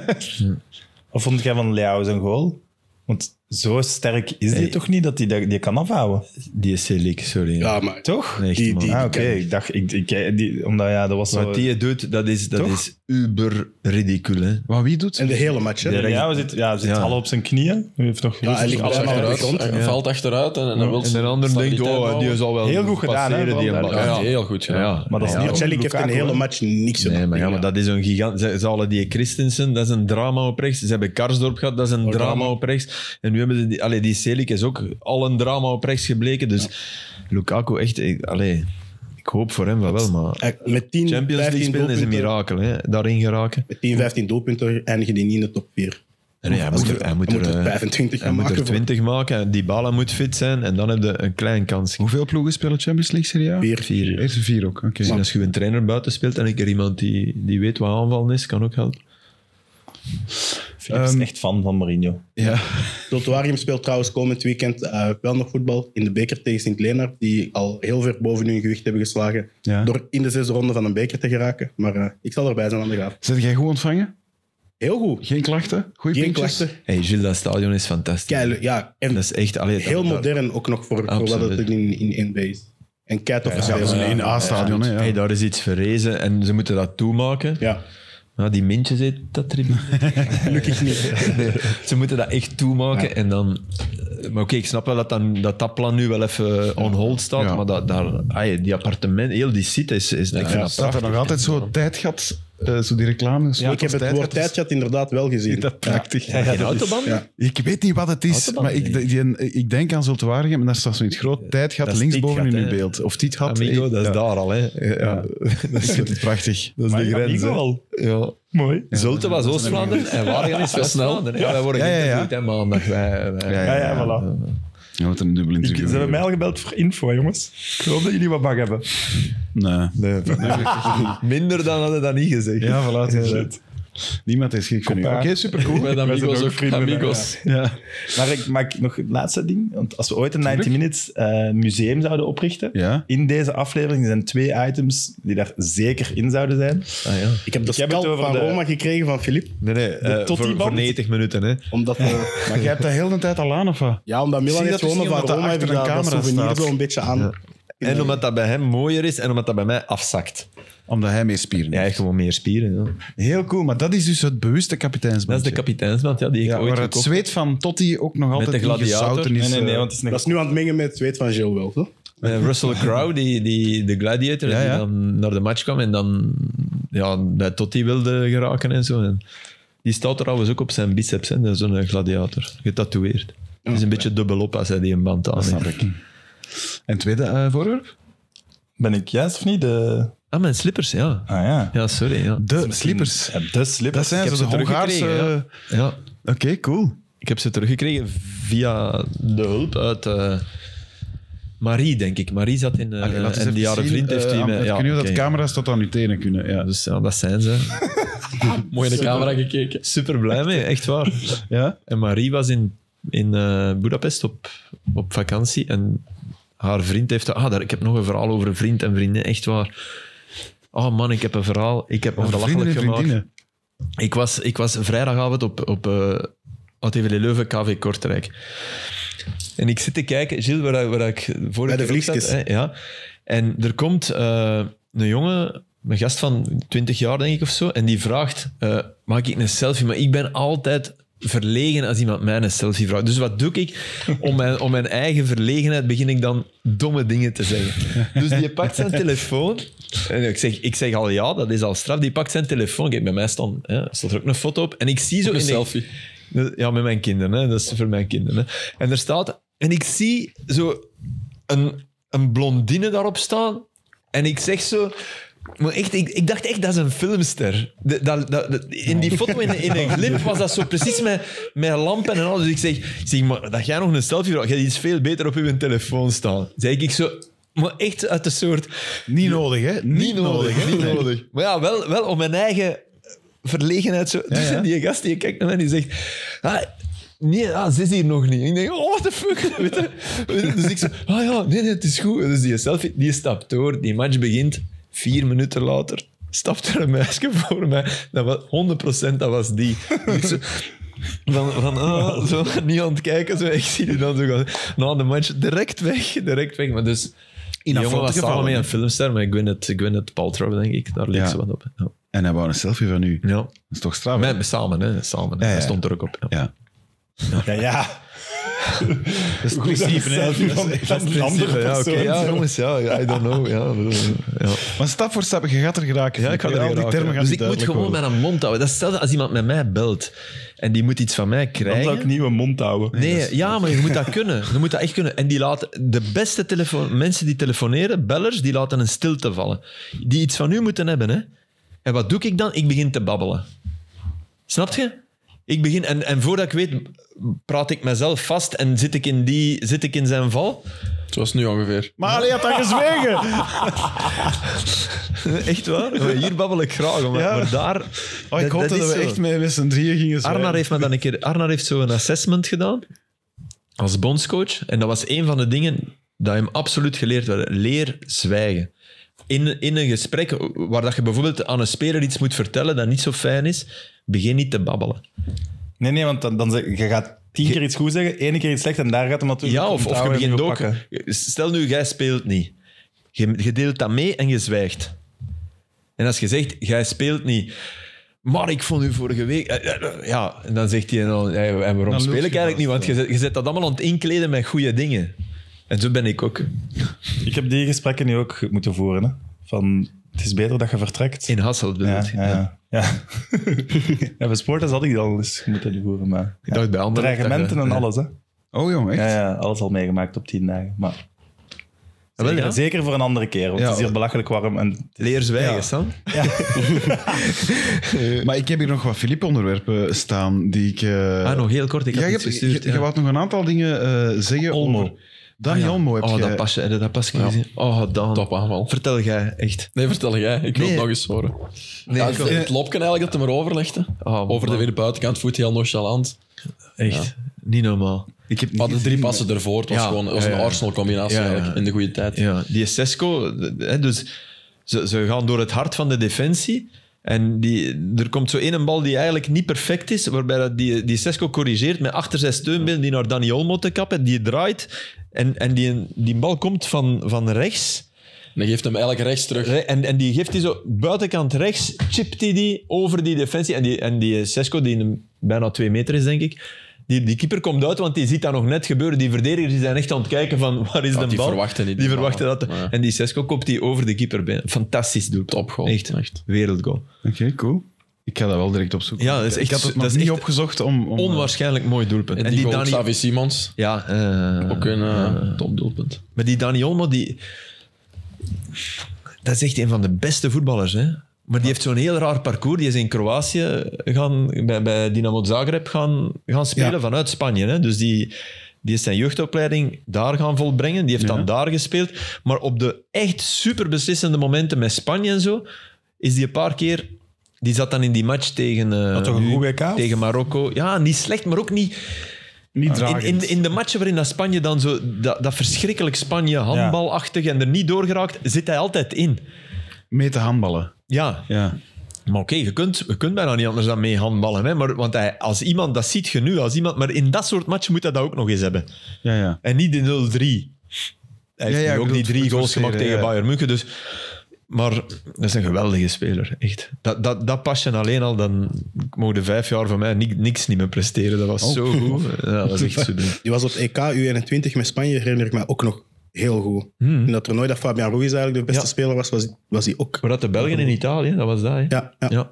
Speaker 2: Of vond jij van Leao zijn goal? Want zo sterk is die toch niet dat die dat- die kan afhouden?
Speaker 3: Die is Celik, sorry.
Speaker 5: Ja, maar
Speaker 2: Toch?
Speaker 3: Nee, echt,
Speaker 5: die,
Speaker 3: man.
Speaker 5: die,
Speaker 2: Ah,
Speaker 5: die
Speaker 2: oké.
Speaker 5: ken ik.
Speaker 2: Ik dacht, ik, ik, die, omdat ja, dat was zo...
Speaker 3: Wat die doet, dat is, dat
Speaker 2: Toch?
Speaker 3: is uber ridicul. Hè?
Speaker 1: Wat wie doet?
Speaker 5: En de hele match, hè?
Speaker 2: ja, we zitten ja, we zitten
Speaker 3: Ja.
Speaker 2: alle op zijn knieën. Hij heeft nog
Speaker 5: Ja, hij ligt
Speaker 4: Valt
Speaker 5: allemaal op de
Speaker 4: achteruit,
Speaker 5: grond.
Speaker 4: en valt achteruit en, en dan wil
Speaker 3: En de ander denkt, oh, die zal wel
Speaker 2: Heel goed gedaan, hè,
Speaker 3: passeren, die
Speaker 2: Van
Speaker 3: bal.
Speaker 2: Dijk.
Speaker 4: Ja,
Speaker 3: Ja,
Speaker 4: heel goed gedaan.
Speaker 3: Ja.
Speaker 2: Maar dat is
Speaker 3: Ja.
Speaker 2: niet
Speaker 5: Maar
Speaker 2: om
Speaker 5: Celik heeft een
Speaker 2: Lukaku,
Speaker 5: hele
Speaker 2: hè.
Speaker 5: match niks
Speaker 3: Nee,
Speaker 5: gedaan.
Speaker 3: maar, ja, maar dat is een gigant. Ze, ze halen die Christensen, dat is een drama op rechts. Ze hebben Karsdorp gehad, dat is een drama op rechts. En nu hebben ze die, allee, die Celik is ook al een drama op rechts gebleken. Dus Lukaku, echt, ik- allee, ik hoop voor hem wel, wel, maar
Speaker 5: Eh, Met 10,
Speaker 3: Champions League
Speaker 5: 15
Speaker 3: spelen is een
Speaker 5: doelpunten,
Speaker 3: mirakel, hè? daarin geraken.
Speaker 5: met 10, 15 doelpunten eindigen die niet in de top 4.
Speaker 3: En hij, moet er, hij, moet er, eh,
Speaker 5: 25
Speaker 3: hij
Speaker 5: gaan
Speaker 3: moet
Speaker 5: maken.
Speaker 3: er
Speaker 5: voor
Speaker 3: 20 maken, die bala moet fit zijn en dan heb je een klein kans.
Speaker 1: Hoeveel ploegen spelen Champions League Serie A?
Speaker 5: Vier.
Speaker 1: Vier. Eerste vier ook, oké.
Speaker 3: En Dus als je een trainer buiten speelt en een keer iemand die, die weet wat aanvallen is, kan ook helpen.
Speaker 2: Philippe is echt fan van Mourinho.
Speaker 1: Ja.
Speaker 5: Tultuarium speelt trouwens komend weekend eh, wel nog voetbal in de beker tegen Sint-Lenaard, die al heel ver boven hun gewicht hebben geslagen
Speaker 1: Ja.
Speaker 5: door in de zesde ronde van een beker te geraken. Maar eh, ik zal erbij zijn aan de graaf.
Speaker 1: Zijn jij goed ontvangen?
Speaker 5: Heel goed.
Speaker 1: Geen klachten? Goeie
Speaker 5: Geen
Speaker 1: pintjes?
Speaker 5: klachten.
Speaker 3: Hey, Gilles, dat stadion is fantastisch.
Speaker 5: Keil, ja, en
Speaker 3: Dat is echt... Allee, dat-
Speaker 5: heel
Speaker 3: dat-
Speaker 5: modern ook nog voor, voor wat
Speaker 3: Absoluut.
Speaker 5: het in, in NBA is. En kijk of
Speaker 1: Ja, dat is een A-stadion, hè.
Speaker 3: Hey,
Speaker 1: ja.
Speaker 3: daar is iets verrezen en ze moeten dat toemaken.
Speaker 5: Ja,
Speaker 3: Nou, die mintjes heet dat tribune.
Speaker 5: gelukkig niet.
Speaker 3: Nee, ze moeten dat echt toemaken en dan... Maar oké, ik snap wel dat, dan, dat dat plan nu wel even on hold staat,
Speaker 1: Ja.
Speaker 3: maar dat, daar, ay, die appartement, heel die site is... is ik vind dat
Speaker 1: Staat er
Speaker 3: prachtig.
Speaker 1: nog altijd zo'n tijdgat, eh, zo die reclame?
Speaker 5: Ja, ik heb het woord
Speaker 1: tijdgat.
Speaker 5: tijdchat inderdaad wel gezien.
Speaker 1: Dat prachtig.
Speaker 3: Geen autoband?
Speaker 5: Ja.
Speaker 1: Ik weet niet wat het is,
Speaker 3: Autobahn,
Speaker 1: maar ik,
Speaker 3: nee.
Speaker 1: die- ik denk aan Zultuarium en daar staat zo'n groot tijdgat
Speaker 3: dat is
Speaker 1: linksboven in
Speaker 3: Tietgat,
Speaker 1: uw
Speaker 3: hè.
Speaker 1: beeld. Of tijdgat.
Speaker 3: Amigo,
Speaker 1: eh,
Speaker 3: dat is
Speaker 1: ja.
Speaker 3: daar al, hè.
Speaker 1: Ja. Ik vind het prachtig.
Speaker 3: Dat is
Speaker 2: Maar
Speaker 3: de grens,
Speaker 2: Amigo
Speaker 3: hè.
Speaker 2: al.
Speaker 3: Ja.
Speaker 2: Mooi.
Speaker 3: Zulte was Oost-Vlaanderen en Waregem is West-Vlaanderen. Ja, wij worden
Speaker 1: Ja, ja, ja.
Speaker 3: geïnterviewd, hè, maandag. Wij, wij-
Speaker 1: Ja,
Speaker 2: Ja, ja, voilà.
Speaker 1: Je moet een dubbel
Speaker 2: Ik,
Speaker 1: interview
Speaker 2: ze hebben
Speaker 1: hebben.
Speaker 2: mij al gebeld voor info, jongens. Ik hoop dat jullie wat mag hebben.
Speaker 1: Nee.
Speaker 3: Nee, Minder dan hadden we dat niet gezegd.
Speaker 1: Ja, voilà. het is het. Niemand is geen Oké,
Speaker 2: aan.
Speaker 1: supercool.
Speaker 4: Met
Speaker 2: zijn
Speaker 4: amigos
Speaker 2: ook
Speaker 4: ook,
Speaker 2: vrienden,
Speaker 4: amigos.
Speaker 1: Ja.
Speaker 2: Maar ik maak nog het laatste ding. Want als we ooit een 90 Minutes eh, museum zouden oprichten,
Speaker 1: Ja.
Speaker 2: in deze aflevering zijn twee items die daar zeker in zouden zijn.
Speaker 3: Ah, ja.
Speaker 5: Ik heb de
Speaker 2: Ik heb het
Speaker 5: scalp
Speaker 2: over
Speaker 5: van
Speaker 2: de-
Speaker 5: Roma gekregen van Filip.
Speaker 3: Nee, nee, eh,
Speaker 2: tot
Speaker 3: voor,
Speaker 2: die band.
Speaker 3: voor 90 minuten. Hè.
Speaker 5: Omdat, eh,
Speaker 1: Maar jij hebt dat heel de tijd al aan, of wat?
Speaker 5: ja, omdat Milan
Speaker 1: Zie,
Speaker 5: heeft
Speaker 1: dat is
Speaker 5: gewonnen
Speaker 1: niet omdat
Speaker 5: van Roma,
Speaker 1: daar
Speaker 5: heb ik
Speaker 1: achter een
Speaker 5: dat, dat
Speaker 1: camera
Speaker 5: souvenir
Speaker 1: staat.
Speaker 5: zo een beetje aan.
Speaker 3: En omdat dat bij hem mooier is en omdat dat bij mij afzakt.
Speaker 1: Omdat hij mee spieren
Speaker 3: Ja,
Speaker 1: heeft.
Speaker 3: echt gewoon meer spieren. Ja.
Speaker 1: Heel cool, maar dat is dus het bewuste
Speaker 3: Dat is
Speaker 1: kapiteinsbandje.
Speaker 3: de kapiteinsband ja, die ik
Speaker 1: ja,
Speaker 3: ooit
Speaker 1: waar het
Speaker 3: gekocht heb.
Speaker 1: zweet van Totti ook nog altijd
Speaker 3: de gladiator.
Speaker 1: ingezouten is.
Speaker 2: Nee, nee, nee,
Speaker 1: eh,
Speaker 2: want het Dus, is een
Speaker 5: Dat is nu aan het mengen met het zweet van Gilles wel, toch?
Speaker 3: Eh, Russell Crowe, die, die, de gladiator,
Speaker 1: Ja, ja.
Speaker 3: die dan naar de match kwam en dan ja, bij Totti wilde geraken en zo. En die staat trouwens ook op zijn biceps, hè. Dat is zo'n gladiator, getatoeëerd. Het is een beetje dubbelop als hij die een band aan
Speaker 1: snap
Speaker 3: heeft.
Speaker 1: ik. En tweede eh, voorwerp?
Speaker 2: Ben ik juist of niet? De...
Speaker 3: Ah, mijn slippers, ja.
Speaker 2: Ah ja.
Speaker 3: Ja, sorry. Ja.
Speaker 1: De slippers.
Speaker 2: Ja, de slippers.
Speaker 1: Dat zijn
Speaker 3: Ik
Speaker 1: zo
Speaker 3: heb
Speaker 1: de
Speaker 3: ze
Speaker 1: Hongaarse...
Speaker 3: teruggekregen, ja. ja. Eh,
Speaker 1: Oké, cool.
Speaker 3: Ik heb ze teruggekregen via de hulp uit eh, Marie, denk ik. Marie zat in... eh,
Speaker 1: Allee, Ah, laat eens
Speaker 3: en die
Speaker 1: even
Speaker 3: jaren
Speaker 1: zien,
Speaker 3: vriend heeft
Speaker 1: eh,
Speaker 3: die...
Speaker 1: aan-
Speaker 3: met-
Speaker 1: Ik
Speaker 3: ja,
Speaker 1: weet niet of
Speaker 3: oké.
Speaker 1: dat camera's tot aan uw tenen kunnen. Ja.
Speaker 3: Dus ja, dat zijn ze.
Speaker 4: Mooi in de camera gekeken.
Speaker 3: Super blij mee, echt waar.
Speaker 1: ja?
Speaker 3: En Marie was in, in eh Budapest op, op vakantie en haar vriend heeft... dat- Ah, daar, ik heb nog een verhaal over een vriend en vriendin, echt waar. Oh man, ik heb een verhaal. Ik heb me
Speaker 1: Over vrienden en
Speaker 3: belachelijk gemaakt.
Speaker 1: vriendinnen.
Speaker 3: Ik was, ik was vrijdagavond op, op eh ATV Leuven, KV Kortrijk. En ik zit te kijken, Gilles, waar, waar ik vorige
Speaker 5: Bij de
Speaker 3: keer ook zat,
Speaker 5: vliegjes.
Speaker 3: hè, ja. En er komt eh, een jongen, een gast van 20 jaar denk ik of zo, en die vraagt, eh, maak ik een selfie? Maar ik ben altijd verlegen als iemand mij een selfie vraagt. Dus wat doe ik? Om mijn, om mijn eigen verlegenheid begin ik dan domme dingen te zeggen. Dus die pakt zijn telefoon. En ik zeg, ik zeg al ja, dat is al straf. Die pakt zijn telefoon. Kijk, bij mij stond, hè, stond er ook een foto op. En ik zie zo...
Speaker 4: Een
Speaker 3: in de-
Speaker 4: selfie.
Speaker 3: ja, met mijn kinderen. Hè. Dat is voor mijn kinderen. Hè. En er staat... En ik zie zo een, een blondine daarop staan. En ik zeg zo... Maar echt, ik, ik dacht echt, dat is een filmster. De- dat- dat- dat- in die foto, in, in een glip, was dat zo precies met, met lampen en alles. Dus ik zeg, ik zeg maar, dat jij nog een selfie vraagt, jij hebt iets veel beter op je telefoon staan. Zeg ik zo... Maar echt uit de soort...
Speaker 1: Niet nodig, hè? Niet, nodig, hè?
Speaker 3: Niet nodig. Maar ja, wel, wel om mijn eigen verlegenheid. Zo. Dus
Speaker 1: ja.
Speaker 3: die gast die kijkt naar mij en die zegt... Ah, nee, ah, ze is hier nog niet. Ik denk, oh, what the fuck. Weet je? Weet je? Dus ik zo... Ah ja, nee, nee, het is goed. Dus die selfie, die stapt door. Die match begint. Vier minuten later stapt er een meisje voor mij. Dat was 100% dat was die. Ik zo, Van, van ah, zo niet aan het kijken. Zo. Ik zie die dan zo gaan. Na de match direct weg, direct weg. Maar dus, in die jongen
Speaker 1: afvaltige
Speaker 3: was samen
Speaker 1: gevallen,
Speaker 3: met
Speaker 1: hè?
Speaker 3: een filmster, maar Gwyneth, Gwyneth Paltrow, denk ik. Daar leek
Speaker 1: Ja.
Speaker 3: ze wat op. hè. Ja.
Speaker 1: En hij wou een selfie van u. Dat
Speaker 3: ja.
Speaker 1: is toch straf? hè?
Speaker 3: Hm. Met, met samen, hè. Samen, hè.
Speaker 1: Ja, ja.
Speaker 3: Hij stond er ook op. ja.
Speaker 1: Ja.
Speaker 2: Ja, ja.
Speaker 1: Dat is het principe, hè.
Speaker 2: selfie
Speaker 1: Dat
Speaker 2: van-
Speaker 1: is-
Speaker 2: van een andere
Speaker 3: Ja, oké,
Speaker 2: persoon.
Speaker 3: ja, jongens, ja, I don't know. Ja, bedoel, ja.
Speaker 1: Maar stap voor stap, je gaat er geraken.
Speaker 3: Ja, ik ga
Speaker 1: Al die
Speaker 3: er
Speaker 1: termen gaan
Speaker 3: Dus
Speaker 1: niet
Speaker 3: ik moet
Speaker 1: duidelijk
Speaker 3: gewoon
Speaker 1: worden.
Speaker 3: met een mond houden. Dat is hetzelfde als iemand met mij belt en die moet iets van mij
Speaker 2: Dan zou
Speaker 3: krijgen.
Speaker 2: ik niet mijn mond houden.
Speaker 3: Nee, ja, maar je moet dat kunnen. Je moet dat echt kunnen. En die laten de beste telefoon, mensen die telefoneren, bellers, die laten een stilte vallen. Die iets van u moeten hebben. Hè? En wat doe ik dan? Ik begin te babbelen. Snap je? Ik begin, en, en voordat ik weet, praat ik mezelf vast en zit ik in, die, zit ik in zijn val.
Speaker 4: Zoals nu ongeveer.
Speaker 1: Maar Ali had dat gezwegen.
Speaker 3: Echt waar? Oh, Hier babbel ik graag, maar,
Speaker 1: Ja.
Speaker 3: maar daar...
Speaker 1: Oh, ik hoopte dat,
Speaker 3: is
Speaker 1: we
Speaker 3: zo.
Speaker 1: echt met, met z'n drieën gingen zwijgen.
Speaker 3: Arnar heeft me dan een keer... Arnar heeft zo'n assessment gedaan als bondscoach. En dat was een van de dingen dat hem absoluut geleerd werd. Leer zwijgen. In, in een gesprek waar dat je bijvoorbeeld aan een speler iets moet vertellen dat niet zo fijn is, begin niet te babbelen.
Speaker 2: Nee, nee, want dan, dan zeg, je gaat tien keer iets goed zeggen, één keer iets slecht en daar gaat hem natuurlijk
Speaker 3: Ja, of, of je
Speaker 2: onthouden en
Speaker 3: begint
Speaker 2: op
Speaker 3: ook...
Speaker 2: pakken.
Speaker 3: Stel nu, jij speelt niet. Je, je deelt dat mee en je zwijgt. En als je zegt, jij speelt niet... Maar ik vond u vorige week... eh, eh, eh, Ja, en dan zegt hij, dan, "Hey, en waarom
Speaker 1: lult
Speaker 3: speel ik
Speaker 1: je
Speaker 3: eigenlijk niet? Want je zet, je zet dat allemaal aan het inkleden met goede dingen. En zo ben ik ook.
Speaker 2: Ik heb die gesprekken nu ook moeten voeren. Hè? Van, het is beter dat je vertrekt.
Speaker 3: In Hasselt bedoel
Speaker 2: ja,
Speaker 3: ik.
Speaker 2: ja, ja. ja. ja, bij Sportas had ik die al eens moeten voeren, maar...
Speaker 3: Ik
Speaker 2: ja.
Speaker 3: dacht bij anderen... dat
Speaker 2: Dreigementen
Speaker 3: je-
Speaker 2: en
Speaker 3: ja.
Speaker 2: alles, hè.
Speaker 1: Oh, jong, echt?
Speaker 2: Ja, ja, alles al meegemaakt op tien dagen. Maar
Speaker 3: Ah, wel,
Speaker 2: zeker,
Speaker 3: ja.
Speaker 2: zeker voor een andere keer, want
Speaker 1: Ja.
Speaker 2: het is hier belachelijk warm. En,
Speaker 3: Leer zwijgen,
Speaker 2: Ja.
Speaker 3: Sam.
Speaker 1: Maar ik heb hier nog wat Filip-onderwerpen staan die ik... eh,
Speaker 3: Ah, nog heel kort. Ik
Speaker 1: Ja,
Speaker 3: had
Speaker 1: je,
Speaker 3: iets
Speaker 1: hebt, je,
Speaker 3: gestuurd.
Speaker 1: je
Speaker 3: ja.
Speaker 1: wou nog een aantal dingen eh, zeggen
Speaker 2: Olmo.
Speaker 1: over... Dani
Speaker 3: Ah, ja.
Speaker 1: Olmo heb
Speaker 3: Oh,
Speaker 1: je...
Speaker 3: dat pas, je- dat pas ik niet. Oh, Dan.
Speaker 4: Top aanval.
Speaker 3: Vertel jij, echt.
Speaker 4: Nee, vertel jij. Ik wil
Speaker 3: Nee.
Speaker 4: het nog eens horen.
Speaker 3: Nee,
Speaker 4: Ja,
Speaker 3: ik-
Speaker 4: het, het lopken eigenlijk dat hij maar overlegde.
Speaker 3: Oh,
Speaker 4: Over de
Speaker 3: man.
Speaker 4: weer buitenkant voet, heel nonchalant.
Speaker 3: Echt, niet normaal.
Speaker 1: Ik heb niet
Speaker 4: Maar de drie
Speaker 1: gezien,
Speaker 4: passen ervoor, het was
Speaker 3: Ja,
Speaker 4: gewoon het was een
Speaker 3: ja, ja.
Speaker 4: Arsenal-combinatie
Speaker 3: Ja, ja, ja.
Speaker 4: eigenlijk, in de goede tijd.
Speaker 3: Ja, die Sesco, hè, dus ze, ze gaan door het hart van de defensie. En die, er komt zo één bal die eigenlijk niet perfect is, waarbij dat die, die Sesco corrigeert met achter zijn steunbeen die naar Dani Olmo te kappen. Die draait en, en die, die bal komt van, van rechts.
Speaker 4: En dan geeft hem eigenlijk rechts terug.
Speaker 3: Re- En, en die geeft die zo buitenkant rechts, chipt die die over die defensie. En die, en die Sesco, die een- bijna twee meter is, denk ik. Die, die keeper komt uit, want die ziet dat nog net gebeuren. Die verdedigers die zijn echt aan het kijken van waar is de bal.
Speaker 4: die verwachten niet,
Speaker 3: Die
Speaker 4: die
Speaker 3: verwachten
Speaker 4: bal.
Speaker 3: dat.
Speaker 4: Maar ja.
Speaker 3: En die Sesco kopt die over de keeper binnen. Fantastisch doel.
Speaker 4: Topgoal.
Speaker 3: Echt, echt.
Speaker 4: Echt.
Speaker 3: Wereldgoal.
Speaker 1: Oké, cool. Ik ga dat wel direct opzoeken.
Speaker 3: Ja, dat is echt-
Speaker 1: ik had het
Speaker 3: dat
Speaker 1: nog
Speaker 3: is
Speaker 1: niet
Speaker 3: echt
Speaker 1: opgezocht om... eh, om
Speaker 3: Onwaarschijnlijk mooi doelpunt.
Speaker 4: eh, En die, goal
Speaker 3: Dani-
Speaker 4: Xavi Simons,
Speaker 3: Ja, eh,
Speaker 4: ook een
Speaker 3: eh,
Speaker 4: eh, topdoelpunt.
Speaker 3: Maar die Dani Olmo, die... Dat is echt een van de beste voetballers, hè. Maar die heeft zo'n heel raar parcours. Die is in Kroatië gaan, bij, bij Dynamo Zagreb gaan, gaan spelen
Speaker 1: Ja.
Speaker 3: vanuit Spanje. Hè? Dus die, die is zijn jeugdopleiding daar gaan volbrengen. Die heeft
Speaker 1: Ja.
Speaker 3: dan daar gespeeld. Maar op de echt super beslissende momenten met Spanje en zo, is die een paar keer... Die zat dan in die match tegen, eh,
Speaker 2: toch een
Speaker 3: nu,
Speaker 2: goed WK, of?
Speaker 3: tegen Marokko. Ja, niet slecht, maar ook niet...
Speaker 1: Niet
Speaker 3: Ah, In,
Speaker 1: dragend.
Speaker 3: in, in de matchen waarin dat Spanje dan zo dat, dat verschrikkelijk Spanje handbalachtig en er niet door geraakt, zit hij altijd in.
Speaker 1: Mee te handballen.
Speaker 3: Ja,
Speaker 1: Ja.
Speaker 3: maar oké, je, kunt, je kunt bijna niet anders dan mee handballen. Hè? Maar, want hij, als iemand, dat ziet je nu als iemand, maar in dat soort matchen moet hij dat ook nog eens hebben.
Speaker 1: Ja, ja.
Speaker 3: En niet in 0-3. Hij heeft
Speaker 1: ja, ik
Speaker 3: nu ook
Speaker 1: bedoel,
Speaker 3: die drie
Speaker 1: het eh,
Speaker 3: goals
Speaker 1: forceren,
Speaker 3: gemaakt tegen
Speaker 1: ja.
Speaker 3: Bayern München. Dus, maar dat is een geweldige speler, echt. Dat, dat, dat pas je alleen al, dan mogen vijf jaar van mij ni- niks niet meer presteren. Dat
Speaker 1: Oh.
Speaker 3: was zo goed. Ja, dat was echt super.
Speaker 5: Die was op het EK U21 met Spanje, herinner ik me ook nog heel goed.
Speaker 4: Hmm.
Speaker 5: In dat toernooi dat Fabian Ruiz eigenlijk de beste
Speaker 3: Ja.
Speaker 5: speler was, was, was hij ook.
Speaker 3: Maar dat de Belgen in Italië, dat was dat. Hè?
Speaker 5: Ja, ja.
Speaker 3: ja.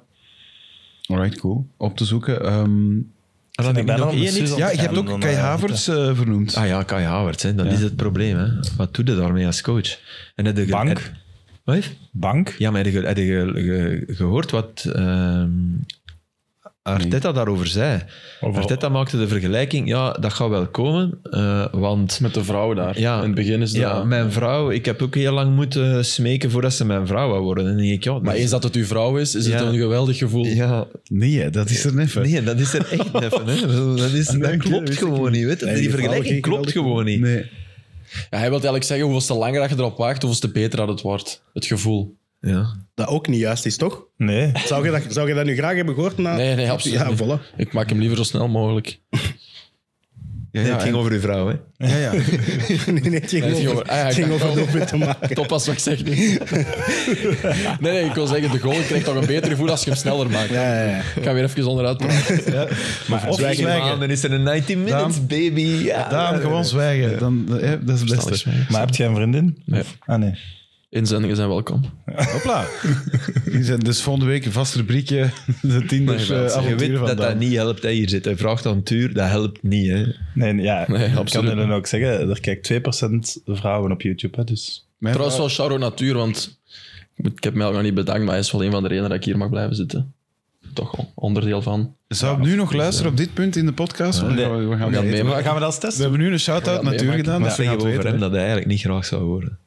Speaker 1: Alright, cool. Op te zoeken. ehm,
Speaker 3: En
Speaker 2: Zijn
Speaker 3: dan
Speaker 2: er bijna
Speaker 3: nog
Speaker 2: nog
Speaker 3: één
Speaker 2: de
Speaker 3: iets.
Speaker 2: Suze-
Speaker 1: ja, je hebt
Speaker 2: Dan,
Speaker 1: ook
Speaker 2: eh,
Speaker 1: Kai Havertz eh, vernoemd.
Speaker 3: Ah ja, Kai Havertz, hè. dat is het probleem. Hè. Wat doe je daarmee als coach? En heb je ge-
Speaker 2: Bank.
Speaker 3: heb- Wat?
Speaker 2: bank?
Speaker 3: Ja, maar heb je, ge- heb je ge- ge- gehoord wat ehm, Arteta daarover zei?
Speaker 2: Over-
Speaker 3: Arteta maakte de vergelijking, ja, dat gaat wel komen, eh, want...
Speaker 4: Met de vrouw daar.
Speaker 3: Ja,
Speaker 4: in het begin is dat...
Speaker 3: Ja, mijn vrouw, ik heb ook heel lang moeten smeken voordat ze mijn vrouw wou worden. En dan denk ik, ja, dat
Speaker 4: maar
Speaker 3: is-
Speaker 4: eens dat het uw vrouw is, is het
Speaker 3: Ja.
Speaker 4: een geweldig gevoel.
Speaker 3: Ja,
Speaker 1: Nee, hè, dat is er net.
Speaker 3: nee, dat is er echt even. Hè. Dat, is, dat klopt gewoon niet, weet je.
Speaker 5: Nee,
Speaker 3: Die
Speaker 5: die vrouw
Speaker 3: vergelijking
Speaker 5: ging
Speaker 3: klopt
Speaker 5: geweldig.
Speaker 3: gewoon niet.
Speaker 1: Nee.
Speaker 4: Ja, hij wil eigenlijk zeggen hoeveel te langer dat je erop waagt, hoeveel te beter dat het wordt. Het gevoel.
Speaker 3: Ja.
Speaker 5: Dat ook niet juist is, toch?
Speaker 2: Nee.
Speaker 5: Zou je dat, zou je dat nu graag hebben gehoord? Na...
Speaker 4: Nee, nee, absoluut
Speaker 5: Ja,
Speaker 4: niet.
Speaker 5: voilà.
Speaker 4: Ik maak hem liever zo snel mogelijk.
Speaker 3: Nee, het ging over uw vrouw, hè?
Speaker 1: Ja, ja.
Speaker 5: Nee, nee, het ging
Speaker 4: Nee, het ging
Speaker 5: over,
Speaker 4: over- ah ja,
Speaker 5: het
Speaker 4: ik
Speaker 5: ging
Speaker 4: dacht wel.
Speaker 5: over doelpunt te maken.
Speaker 4: Top als wat ik zeg nu. Nee, nee, ik wil zeggen, de goal krijgt toch een betere voet als je hem sneller maakt.
Speaker 5: Ja, ja, ja.
Speaker 4: Ik ga weer even onderuit praten.
Speaker 1: Maar of
Speaker 3: Zwijgen.
Speaker 1: zwijgen.
Speaker 3: man, Dan is er een 90 minutes, baby. Ah, Ja.
Speaker 1: Daan, gewoon zwijgen. Dan, eh, dat is het beste.
Speaker 2: Maar heb jij een vriendin?
Speaker 4: Nee.
Speaker 2: Ah, nee.
Speaker 4: Inzendingen zijn welkom.
Speaker 1: Hopla. Die zijn dus volgende week een vast rubriekje. De Tinders
Speaker 4: Nee,
Speaker 1: eh,
Speaker 4: mensen, je
Speaker 1: avonturen
Speaker 3: Je weet
Speaker 1: van
Speaker 3: dat
Speaker 1: Daan.
Speaker 3: dat niet helpt, hè? Hier zit hij vraagt aan Tuur, dat helpt niet, hè?
Speaker 2: Nee, ja.
Speaker 4: Nee,
Speaker 2: ik kan
Speaker 4: absoluut
Speaker 2: je dan ook zeggen, er kijkt 2% vrouwen op YouTube. Hè, dus.
Speaker 1: Mijn
Speaker 4: Trouwens, wel shout-out Natuur, want ik moet- ik heb mij al nog niet bedankt, maar hij is wel een van de redenen dat ik hier mag blijven zitten. Toch on- onderdeel van.
Speaker 1: Zou ik nu nog luisteren op dit punt in de podcast? Want
Speaker 2: Nee.
Speaker 1: we gaan- we gaan
Speaker 4: We gaan
Speaker 1: weten.
Speaker 4: meemaken.
Speaker 2: Gaan we dat eens
Speaker 1: We
Speaker 2: testen?
Speaker 1: hebben nu een shout-out
Speaker 4: We gaan
Speaker 1: natuurlijk
Speaker 4: meemaken.
Speaker 1: gedaan.
Speaker 3: Maar
Speaker 1: Dat ze
Speaker 3: zeggen
Speaker 1: gaan
Speaker 3: we over
Speaker 1: weten.
Speaker 3: hem dat hij eigenlijk niet graag zou horen.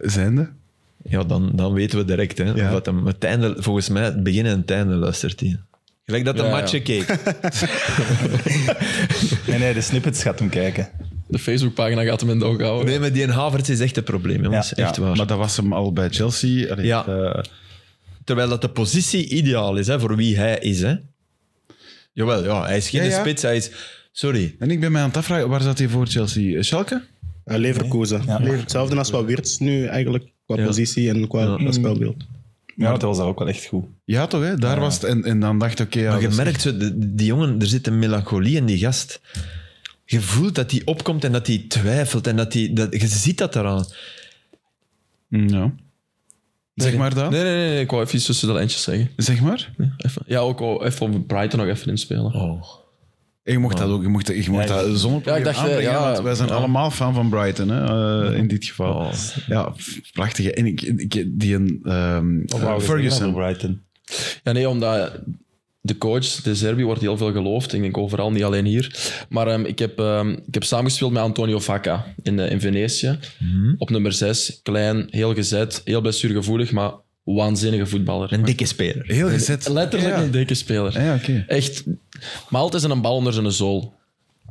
Speaker 1: Zijnde.
Speaker 3: Ja, dan, dan weten we direct, hè?
Speaker 1: Ja.
Speaker 3: Wat hem, het einde, volgens mij, het begin en het einde luistert hij. Gelijk dat de
Speaker 4: Ja, ja.
Speaker 3: matchen keek.
Speaker 2: Nee, nee, de snippets gaat hem kijken.
Speaker 4: De Facebookpagina gaat hem in de oog houden.
Speaker 3: Nee, maar die Havertz is echt een probleem, jongens.
Speaker 2: Ja,
Speaker 3: echt waar.
Speaker 1: Maar dat was hem al bij Chelsea. Allee,
Speaker 3: Ja.
Speaker 1: eh,
Speaker 3: Terwijl dat de positie ideaal is hè, voor wie hij is. Hè. Jawel, ja, hij is geen
Speaker 1: Ja, ja.
Speaker 3: spits. Hij is, sorry,
Speaker 1: en ik ben mij aan het afvragen, waar zat hij voor Chelsea? Eh, Schalke?
Speaker 5: Eh, Leverkusen.
Speaker 2: Ja.
Speaker 5: Lever- Hetzelfde als wat Wirtz nu eigenlijk, qua
Speaker 3: Ja.
Speaker 5: positie en qua
Speaker 3: Ja.
Speaker 4: Mm.
Speaker 5: dat spelbeeld.
Speaker 2: Ja, want dat was daar ook wel echt goed.
Speaker 1: Ja, toch? Hè? Daar was het. En, en dan dacht ik, oké... ja,
Speaker 3: maar je
Speaker 1: dat is-
Speaker 3: merkt, zo, de- die jongen, er zit een melancholie in die gast. Je voelt dat hij opkomt en dat hij twijfelt. En dat hij, dat, je ziet dat eraan.
Speaker 1: Mm, Ja. Zeg maar dan.
Speaker 4: Nee, nee, nee, nee, ik wou even iets tussen de lijntjes zeggen.
Speaker 1: Zeg maar.
Speaker 4: Even. Ja, ook al even op Brighton nog even inspelen.
Speaker 3: Oh.
Speaker 1: En je mocht dat ook, je mocht, je mocht
Speaker 2: Ja,
Speaker 1: dat zonder
Speaker 4: Ja, ik dacht, eh,
Speaker 1: aanbrengen,
Speaker 4: ja,
Speaker 1: want wij zijn
Speaker 4: ja.
Speaker 1: allemaal fan van Brighton, hè, eh, in dit geval.
Speaker 3: Oh.
Speaker 1: Ja, prachtige. En ik, ik, die een, ehm, eh,
Speaker 2: Over
Speaker 1: Ferguson.
Speaker 2: Brighton.
Speaker 4: Ja, nee, omdat de coach, de Serbi, wordt heel veel geloofd. Ik denk overal, niet alleen hier. Maar ehm, ik, heb, ehm, ik heb samengespeeld met Antonio Vacca in, eh, in Venetië.
Speaker 1: Mhm.
Speaker 4: Op nummer 6. Klein, heel gezet, heel blessuregevoelig, maar waanzinnige voetballer.
Speaker 3: Een dikke speler.
Speaker 1: Heel gezet.
Speaker 4: Letterlijk
Speaker 1: Ja.
Speaker 4: een dikke speler.
Speaker 1: Ja, oké.
Speaker 4: Echt. Maar altijd een bal onder zijn zool.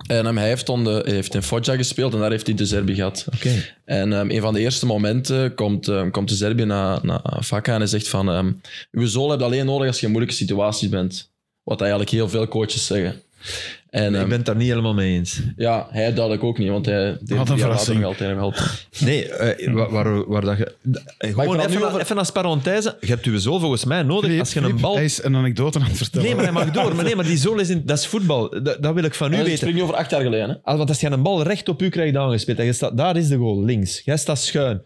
Speaker 4: En ehm, hij heeft, dan de, hij heeft in Foggia gespeeld en daar heeft hij de Serbi gehad.
Speaker 3: Oké.
Speaker 4: En ehm, een van de eerste momenten komt, ehm, komt de Serbië naar, naar Vakka en hij zegt van ehm uw zool heb je alleen nodig als je in moeilijke situaties bent. Wat eigenlijk heel veel coaches zeggen. En
Speaker 3: Ik
Speaker 4: ehm,
Speaker 3: ben het daar niet helemaal mee eens.
Speaker 4: ja, hij duidelijk ook niet, want hij
Speaker 1: een
Speaker 4: deed drie jaar later
Speaker 1: verrassing.
Speaker 4: nog altijd hem helpen.
Speaker 3: Nee, eh, waar, waar, waar dat je... eh, Gewoon
Speaker 4: praat nu
Speaker 3: even,
Speaker 4: over-
Speaker 3: even als parenthese. Je hebt je zool volgens mij nodig
Speaker 1: Filip,
Speaker 3: als je een
Speaker 1: Filip,
Speaker 3: bal
Speaker 1: Hij is een anekdote aan het vertellen.
Speaker 3: Nee, maar hij mag door. Maar nee, maar die zool is in... Dat is voetbal. Dat, dat wil ik van u
Speaker 4: Nu ik
Speaker 3: weten.
Speaker 4: spreek nu over acht jaar geleden. Hè?
Speaker 3: Als, want als je een bal recht op u krijgt aangespeeld en je staat... Daar is de goal, links. Jij staat schuin.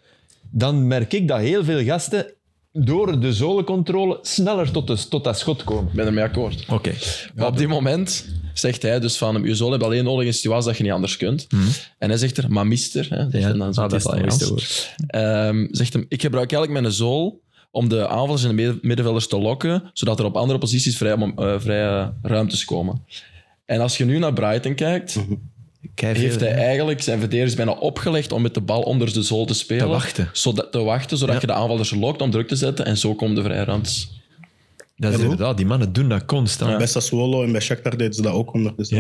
Speaker 3: Dan merk ik dat heel veel gasten door de zolencontrole sneller tot, de, tot dat schot komen.
Speaker 4: Ik ben ermee akkoord.
Speaker 3: Oké.
Speaker 4: Maar op dit moment zegt hij dus van, je zoon hebt alleen nodig in situaties dat je niet anders kunt. En hij zegt er, maar mister, hè, dat is
Speaker 3: Mhm. Ja,
Speaker 4: dan
Speaker 3: ah,
Speaker 4: zo'n
Speaker 3: dat is
Speaker 4: titel
Speaker 3: het mooiste
Speaker 4: Engels. Ehm, zegt hem, ik gebruik eigenlijk mijn zool om de aanvallers en de midden- middenvelders te lokken, zodat er op andere posities vrije, mom- eh, vrije ruimtes komen. En als je nu naar Brighton kijkt, heeft hij eigenlijk zijn verdedigers bijna opgelegd om met de bal onder de zool te spelen.
Speaker 3: wachten.
Speaker 4: Zodat, te wachten, zodat je de aanvallers lokt om druk te zetten. En zo komen de vrije ruimtes.
Speaker 3: Dat is inderdaad... Die mannen doen dat constant.
Speaker 5: Bij Sassuolo en bij Shakhtar deden ze dat ook ondertussen.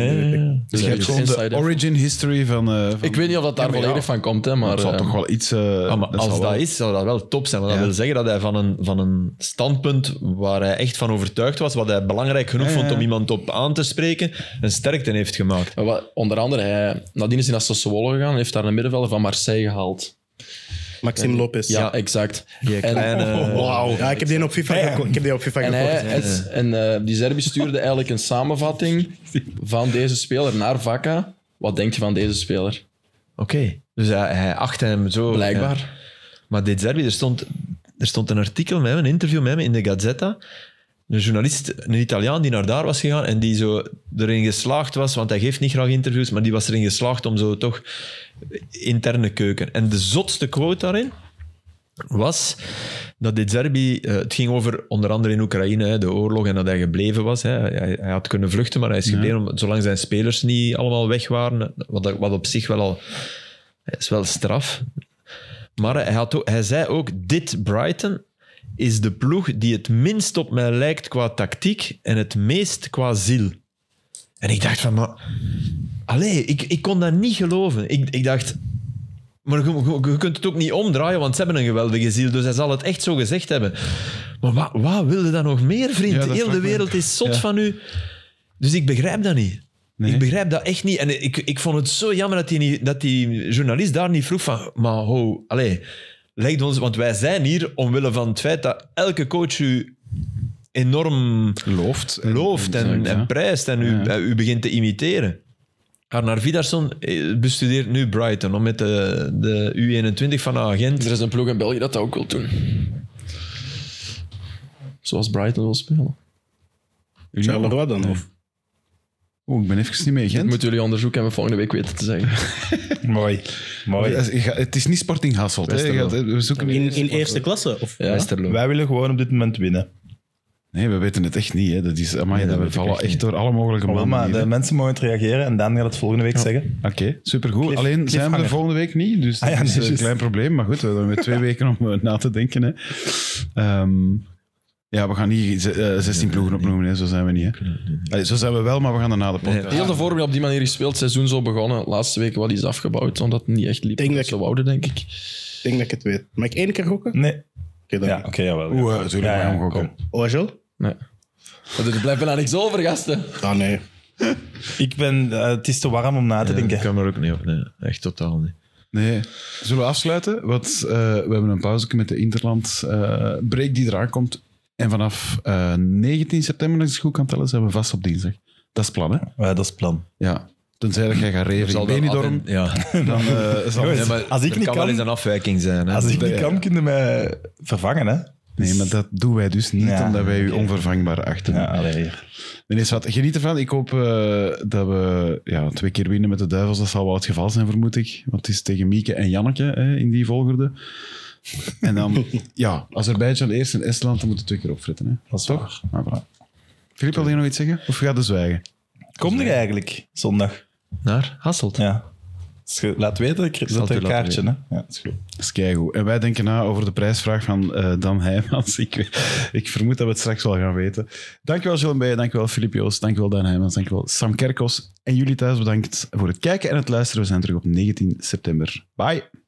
Speaker 4: Dus
Speaker 1: je
Speaker 4: dat
Speaker 1: hebt
Speaker 4: is
Speaker 1: gewoon
Speaker 4: inside
Speaker 1: de
Speaker 4: info.
Speaker 1: origin history van... eh, van-
Speaker 4: Ik weet niet of dat daar
Speaker 1: Ja, maar ja,
Speaker 4: volledig van komt, hè, maar...
Speaker 1: Het zal
Speaker 4: ehm,
Speaker 1: toch wel iets... eh,
Speaker 3: Ah, maar
Speaker 1: dat
Speaker 3: als
Speaker 1: zal
Speaker 3: dat
Speaker 1: wel-
Speaker 3: is, zou dat wel top zijn. Want
Speaker 1: Ja.
Speaker 3: dat wil zeggen dat hij van een, van een standpunt waar hij echt van overtuigd was, wat hij belangrijk genoeg
Speaker 1: Ja, ja,
Speaker 3: vond om
Speaker 1: ja.
Speaker 3: iemand op aan te spreken, een sterkte heeft gemaakt.
Speaker 4: Maar wat- Onder andere, hij, nadien is hij naar Sassuolo gegaan en heeft daar een middenvelder van Marseille gehaald.
Speaker 5: Maxim Lopez.
Speaker 4: Ja, exact.
Speaker 3: Die
Speaker 4: En-
Speaker 1: Oh.
Speaker 3: kleine-
Speaker 4: Wauw.
Speaker 5: Ja, ik heb die op FIFA, geko- ik heb die op FIFA
Speaker 4: En, hij,
Speaker 5: gekocht.
Speaker 4: het, en eh, die Serbi stuurde eigenlijk een samenvatting van deze speler naar Vakka. Wat denk je van deze speler?
Speaker 3: Oké. Dus hij, hij acht hem zo...
Speaker 4: Blijkbaar.
Speaker 3: Ja. Maar dit Zerbi, er stond, er stond een artikel met hem, een interview met hem in de Gazzetta. Een journalist, een Italiaan die naar daar was gegaan en die zo erin geslaagd was, want hij geeft niet graag interviews, maar die was erin geslaagd om zo toch interne keuken. En de zotste quote daarin was dat dit Zerbi, eh, het ging over onder andere in Oekraïne, hè, de oorlog en dat hij gebleven was. Hè. Hij, hij had kunnen vluchten, maar hij is gebleven om- zolang zijn spelers niet allemaal weg waren, wat, dat- wat op zich wel al is wel straf. Maar hij, had ook, hij zei ook, dit Brighton is de ploeg die het minst op mij lijkt qua tactiek en het meest qua ziel. En ik dacht van, maar... Allee, ik, ik kon dat niet geloven. Ik, ik dacht, Maar je, je- je kunt het ook niet omdraaien, want ze hebben een geweldige ziel. Dus hij zal het echt zo gezegd hebben. Maar wat, wat wil je dan nog meer,
Speaker 1: Ja,
Speaker 3: vriend?
Speaker 1: dat
Speaker 3: Heel
Speaker 1: vraag
Speaker 3: de
Speaker 1: ik me
Speaker 3: wereld is zot van u. Dus ik begrijp dat niet.
Speaker 1: Nee.
Speaker 3: Ik begrijp dat echt niet. En ik, ik vond het zo jammer dat die, niet- dat die journalist daar niet vroeg van... Maar ho, allee, leg ons... Want wij zijn hier omwille van het feit dat elke coach u enorm
Speaker 1: Looft. en-
Speaker 3: looft en,
Speaker 1: zoiets,
Speaker 3: en
Speaker 1: hè.
Speaker 3: prijst en u,
Speaker 1: Ja.
Speaker 3: eh, u begint te imiteren. Arnar Vidarsson eh, bestudeert nu Brighton om met de, de U21 van Agent.
Speaker 4: Er is een ploeg in België dat dat ook wil doen. Zoals Brighton wil spelen.
Speaker 5: Charleroi dan? Of?
Speaker 1: Oeh, ik ben even niet mee, Gent.
Speaker 4: Moeten jullie onderzoeken en we volgende week weten te zeggen.
Speaker 2: Mooi. Mooi.
Speaker 1: Je gaat- Het is niet Sporting Hasselt. hè. Je gaat- We zoeken
Speaker 5: In, in eerste klasse? Of?
Speaker 4: Ja.
Speaker 2: Wij willen gewoon op dit moment winnen.
Speaker 1: Nee, we weten het echt niet. Hè. Dat is, amai, dat we vallen echt, door alle mogelijke
Speaker 2: Oh,
Speaker 1: mannen.
Speaker 2: maar de mensen mogen het reageren en Daan gaat het volgende week zeggen.
Speaker 1: Oké, supergoed.
Speaker 2: Cliff-
Speaker 1: Alleen zijn we
Speaker 2: cliffhanger.
Speaker 1: er volgende week niet, dus dat
Speaker 2: Ah ja,
Speaker 1: is
Speaker 2: nee,
Speaker 1: een
Speaker 2: juist.
Speaker 1: klein probleem. Maar goed, we hebben weer twee weken om eh, na te denken. Hè. Ehm, ja, we gaan niet ze- eh, 16 ploegen opnoemen, hè. zo zijn we niet. Hè. Allee, zo zijn we wel, maar we gaan er na de podcast.
Speaker 4: Heel de voorbeeld op die manier gespeeld, het seizoen zo begonnen. Laatste week wat is afgebouwd, omdat het niet echt liep. Denk
Speaker 5: Denk dat
Speaker 4: dat ze wouden, denk ik.
Speaker 5: Ik denk dat ik het weet. Mag ik één keer gokken? Oké,
Speaker 2: Nee.
Speaker 5: dan.
Speaker 2: Ja, oké, jawel.
Speaker 1: Oeh, eh, zullen we
Speaker 2: Ja, ja,
Speaker 1: gaan gokken?
Speaker 5: OHL?
Speaker 4: Nee. Er blijft bijna niks over, gasten.
Speaker 5: Ah, nee.
Speaker 2: Ik ben, eh, het is te warm om na te
Speaker 3: Ik
Speaker 2: denken.
Speaker 3: kan er ook niet op, nee. Echt totaal niet.
Speaker 1: Nee. Zullen we afsluiten? Want eh, we hebben een pauze met de Interland eh break die eraan komt. En vanaf eh, 19 september, als ik het goed kan tellen, zijn we vast op dinsdag. Dat is het plan, hè?
Speaker 2: Ja, Eh, dat is het plan.
Speaker 1: Ja. Tenzij dat jij gaat reven in
Speaker 3: dan
Speaker 1: Benidorm,
Speaker 3: af en- Ja.
Speaker 1: dan eh, zal
Speaker 2: Jongens,
Speaker 3: Nee, maar
Speaker 2: Als ik
Speaker 3: er
Speaker 2: niet
Speaker 3: kan wel
Speaker 2: kan-
Speaker 3: eens een afwijking zijn. Hè.
Speaker 2: Als ik niet
Speaker 1: Ja.
Speaker 2: kan, kunnen mij vervangen, hè?
Speaker 1: Nee, maar dat doen wij dus niet,
Speaker 2: Ja,
Speaker 1: omdat wij u
Speaker 2: oké.
Speaker 1: onvervangbaar achten.
Speaker 2: Ja, allee. hier.
Speaker 1: Meneer Swat, geniet ervan. Ik hoop eh, dat we ja, twee keer winnen met de Duivels. Dat zal wel het geval zijn, vermoed ik. Want het is tegen Mieke en Janneke hè, in die volgorde. En dan, ja, Azerbeidzjan eerst en Estland, dan moeten we twee keer opfritten. Hè.
Speaker 2: Dat is toch?
Speaker 1: Maar voilà. Filip, wil je nog iets zeggen? Of gaat de zwijgen?
Speaker 2: Kom er eigenlijk zondag?
Speaker 3: Naar Hasselt.
Speaker 2: Ja. Dus je laat weten, ik
Speaker 3: zal
Speaker 2: zet
Speaker 3: het
Speaker 2: een
Speaker 3: u laten
Speaker 2: kaartje. Hè? Ja, dat is goed.
Speaker 1: Dat is keigoed. En wij denken na over de prijsvraag van eh, Dan Heijmans. Ik, weet- ik vermoed dat we het straks wel gaan weten. Dankjewel Jean Bey, dankjewel Filip Joost, dankjewel Dan Heijmans, dankjewel Sam Kerkos. En jullie thuis bedankt voor het kijken en het luisteren. We zijn terug op 19 september. Bye!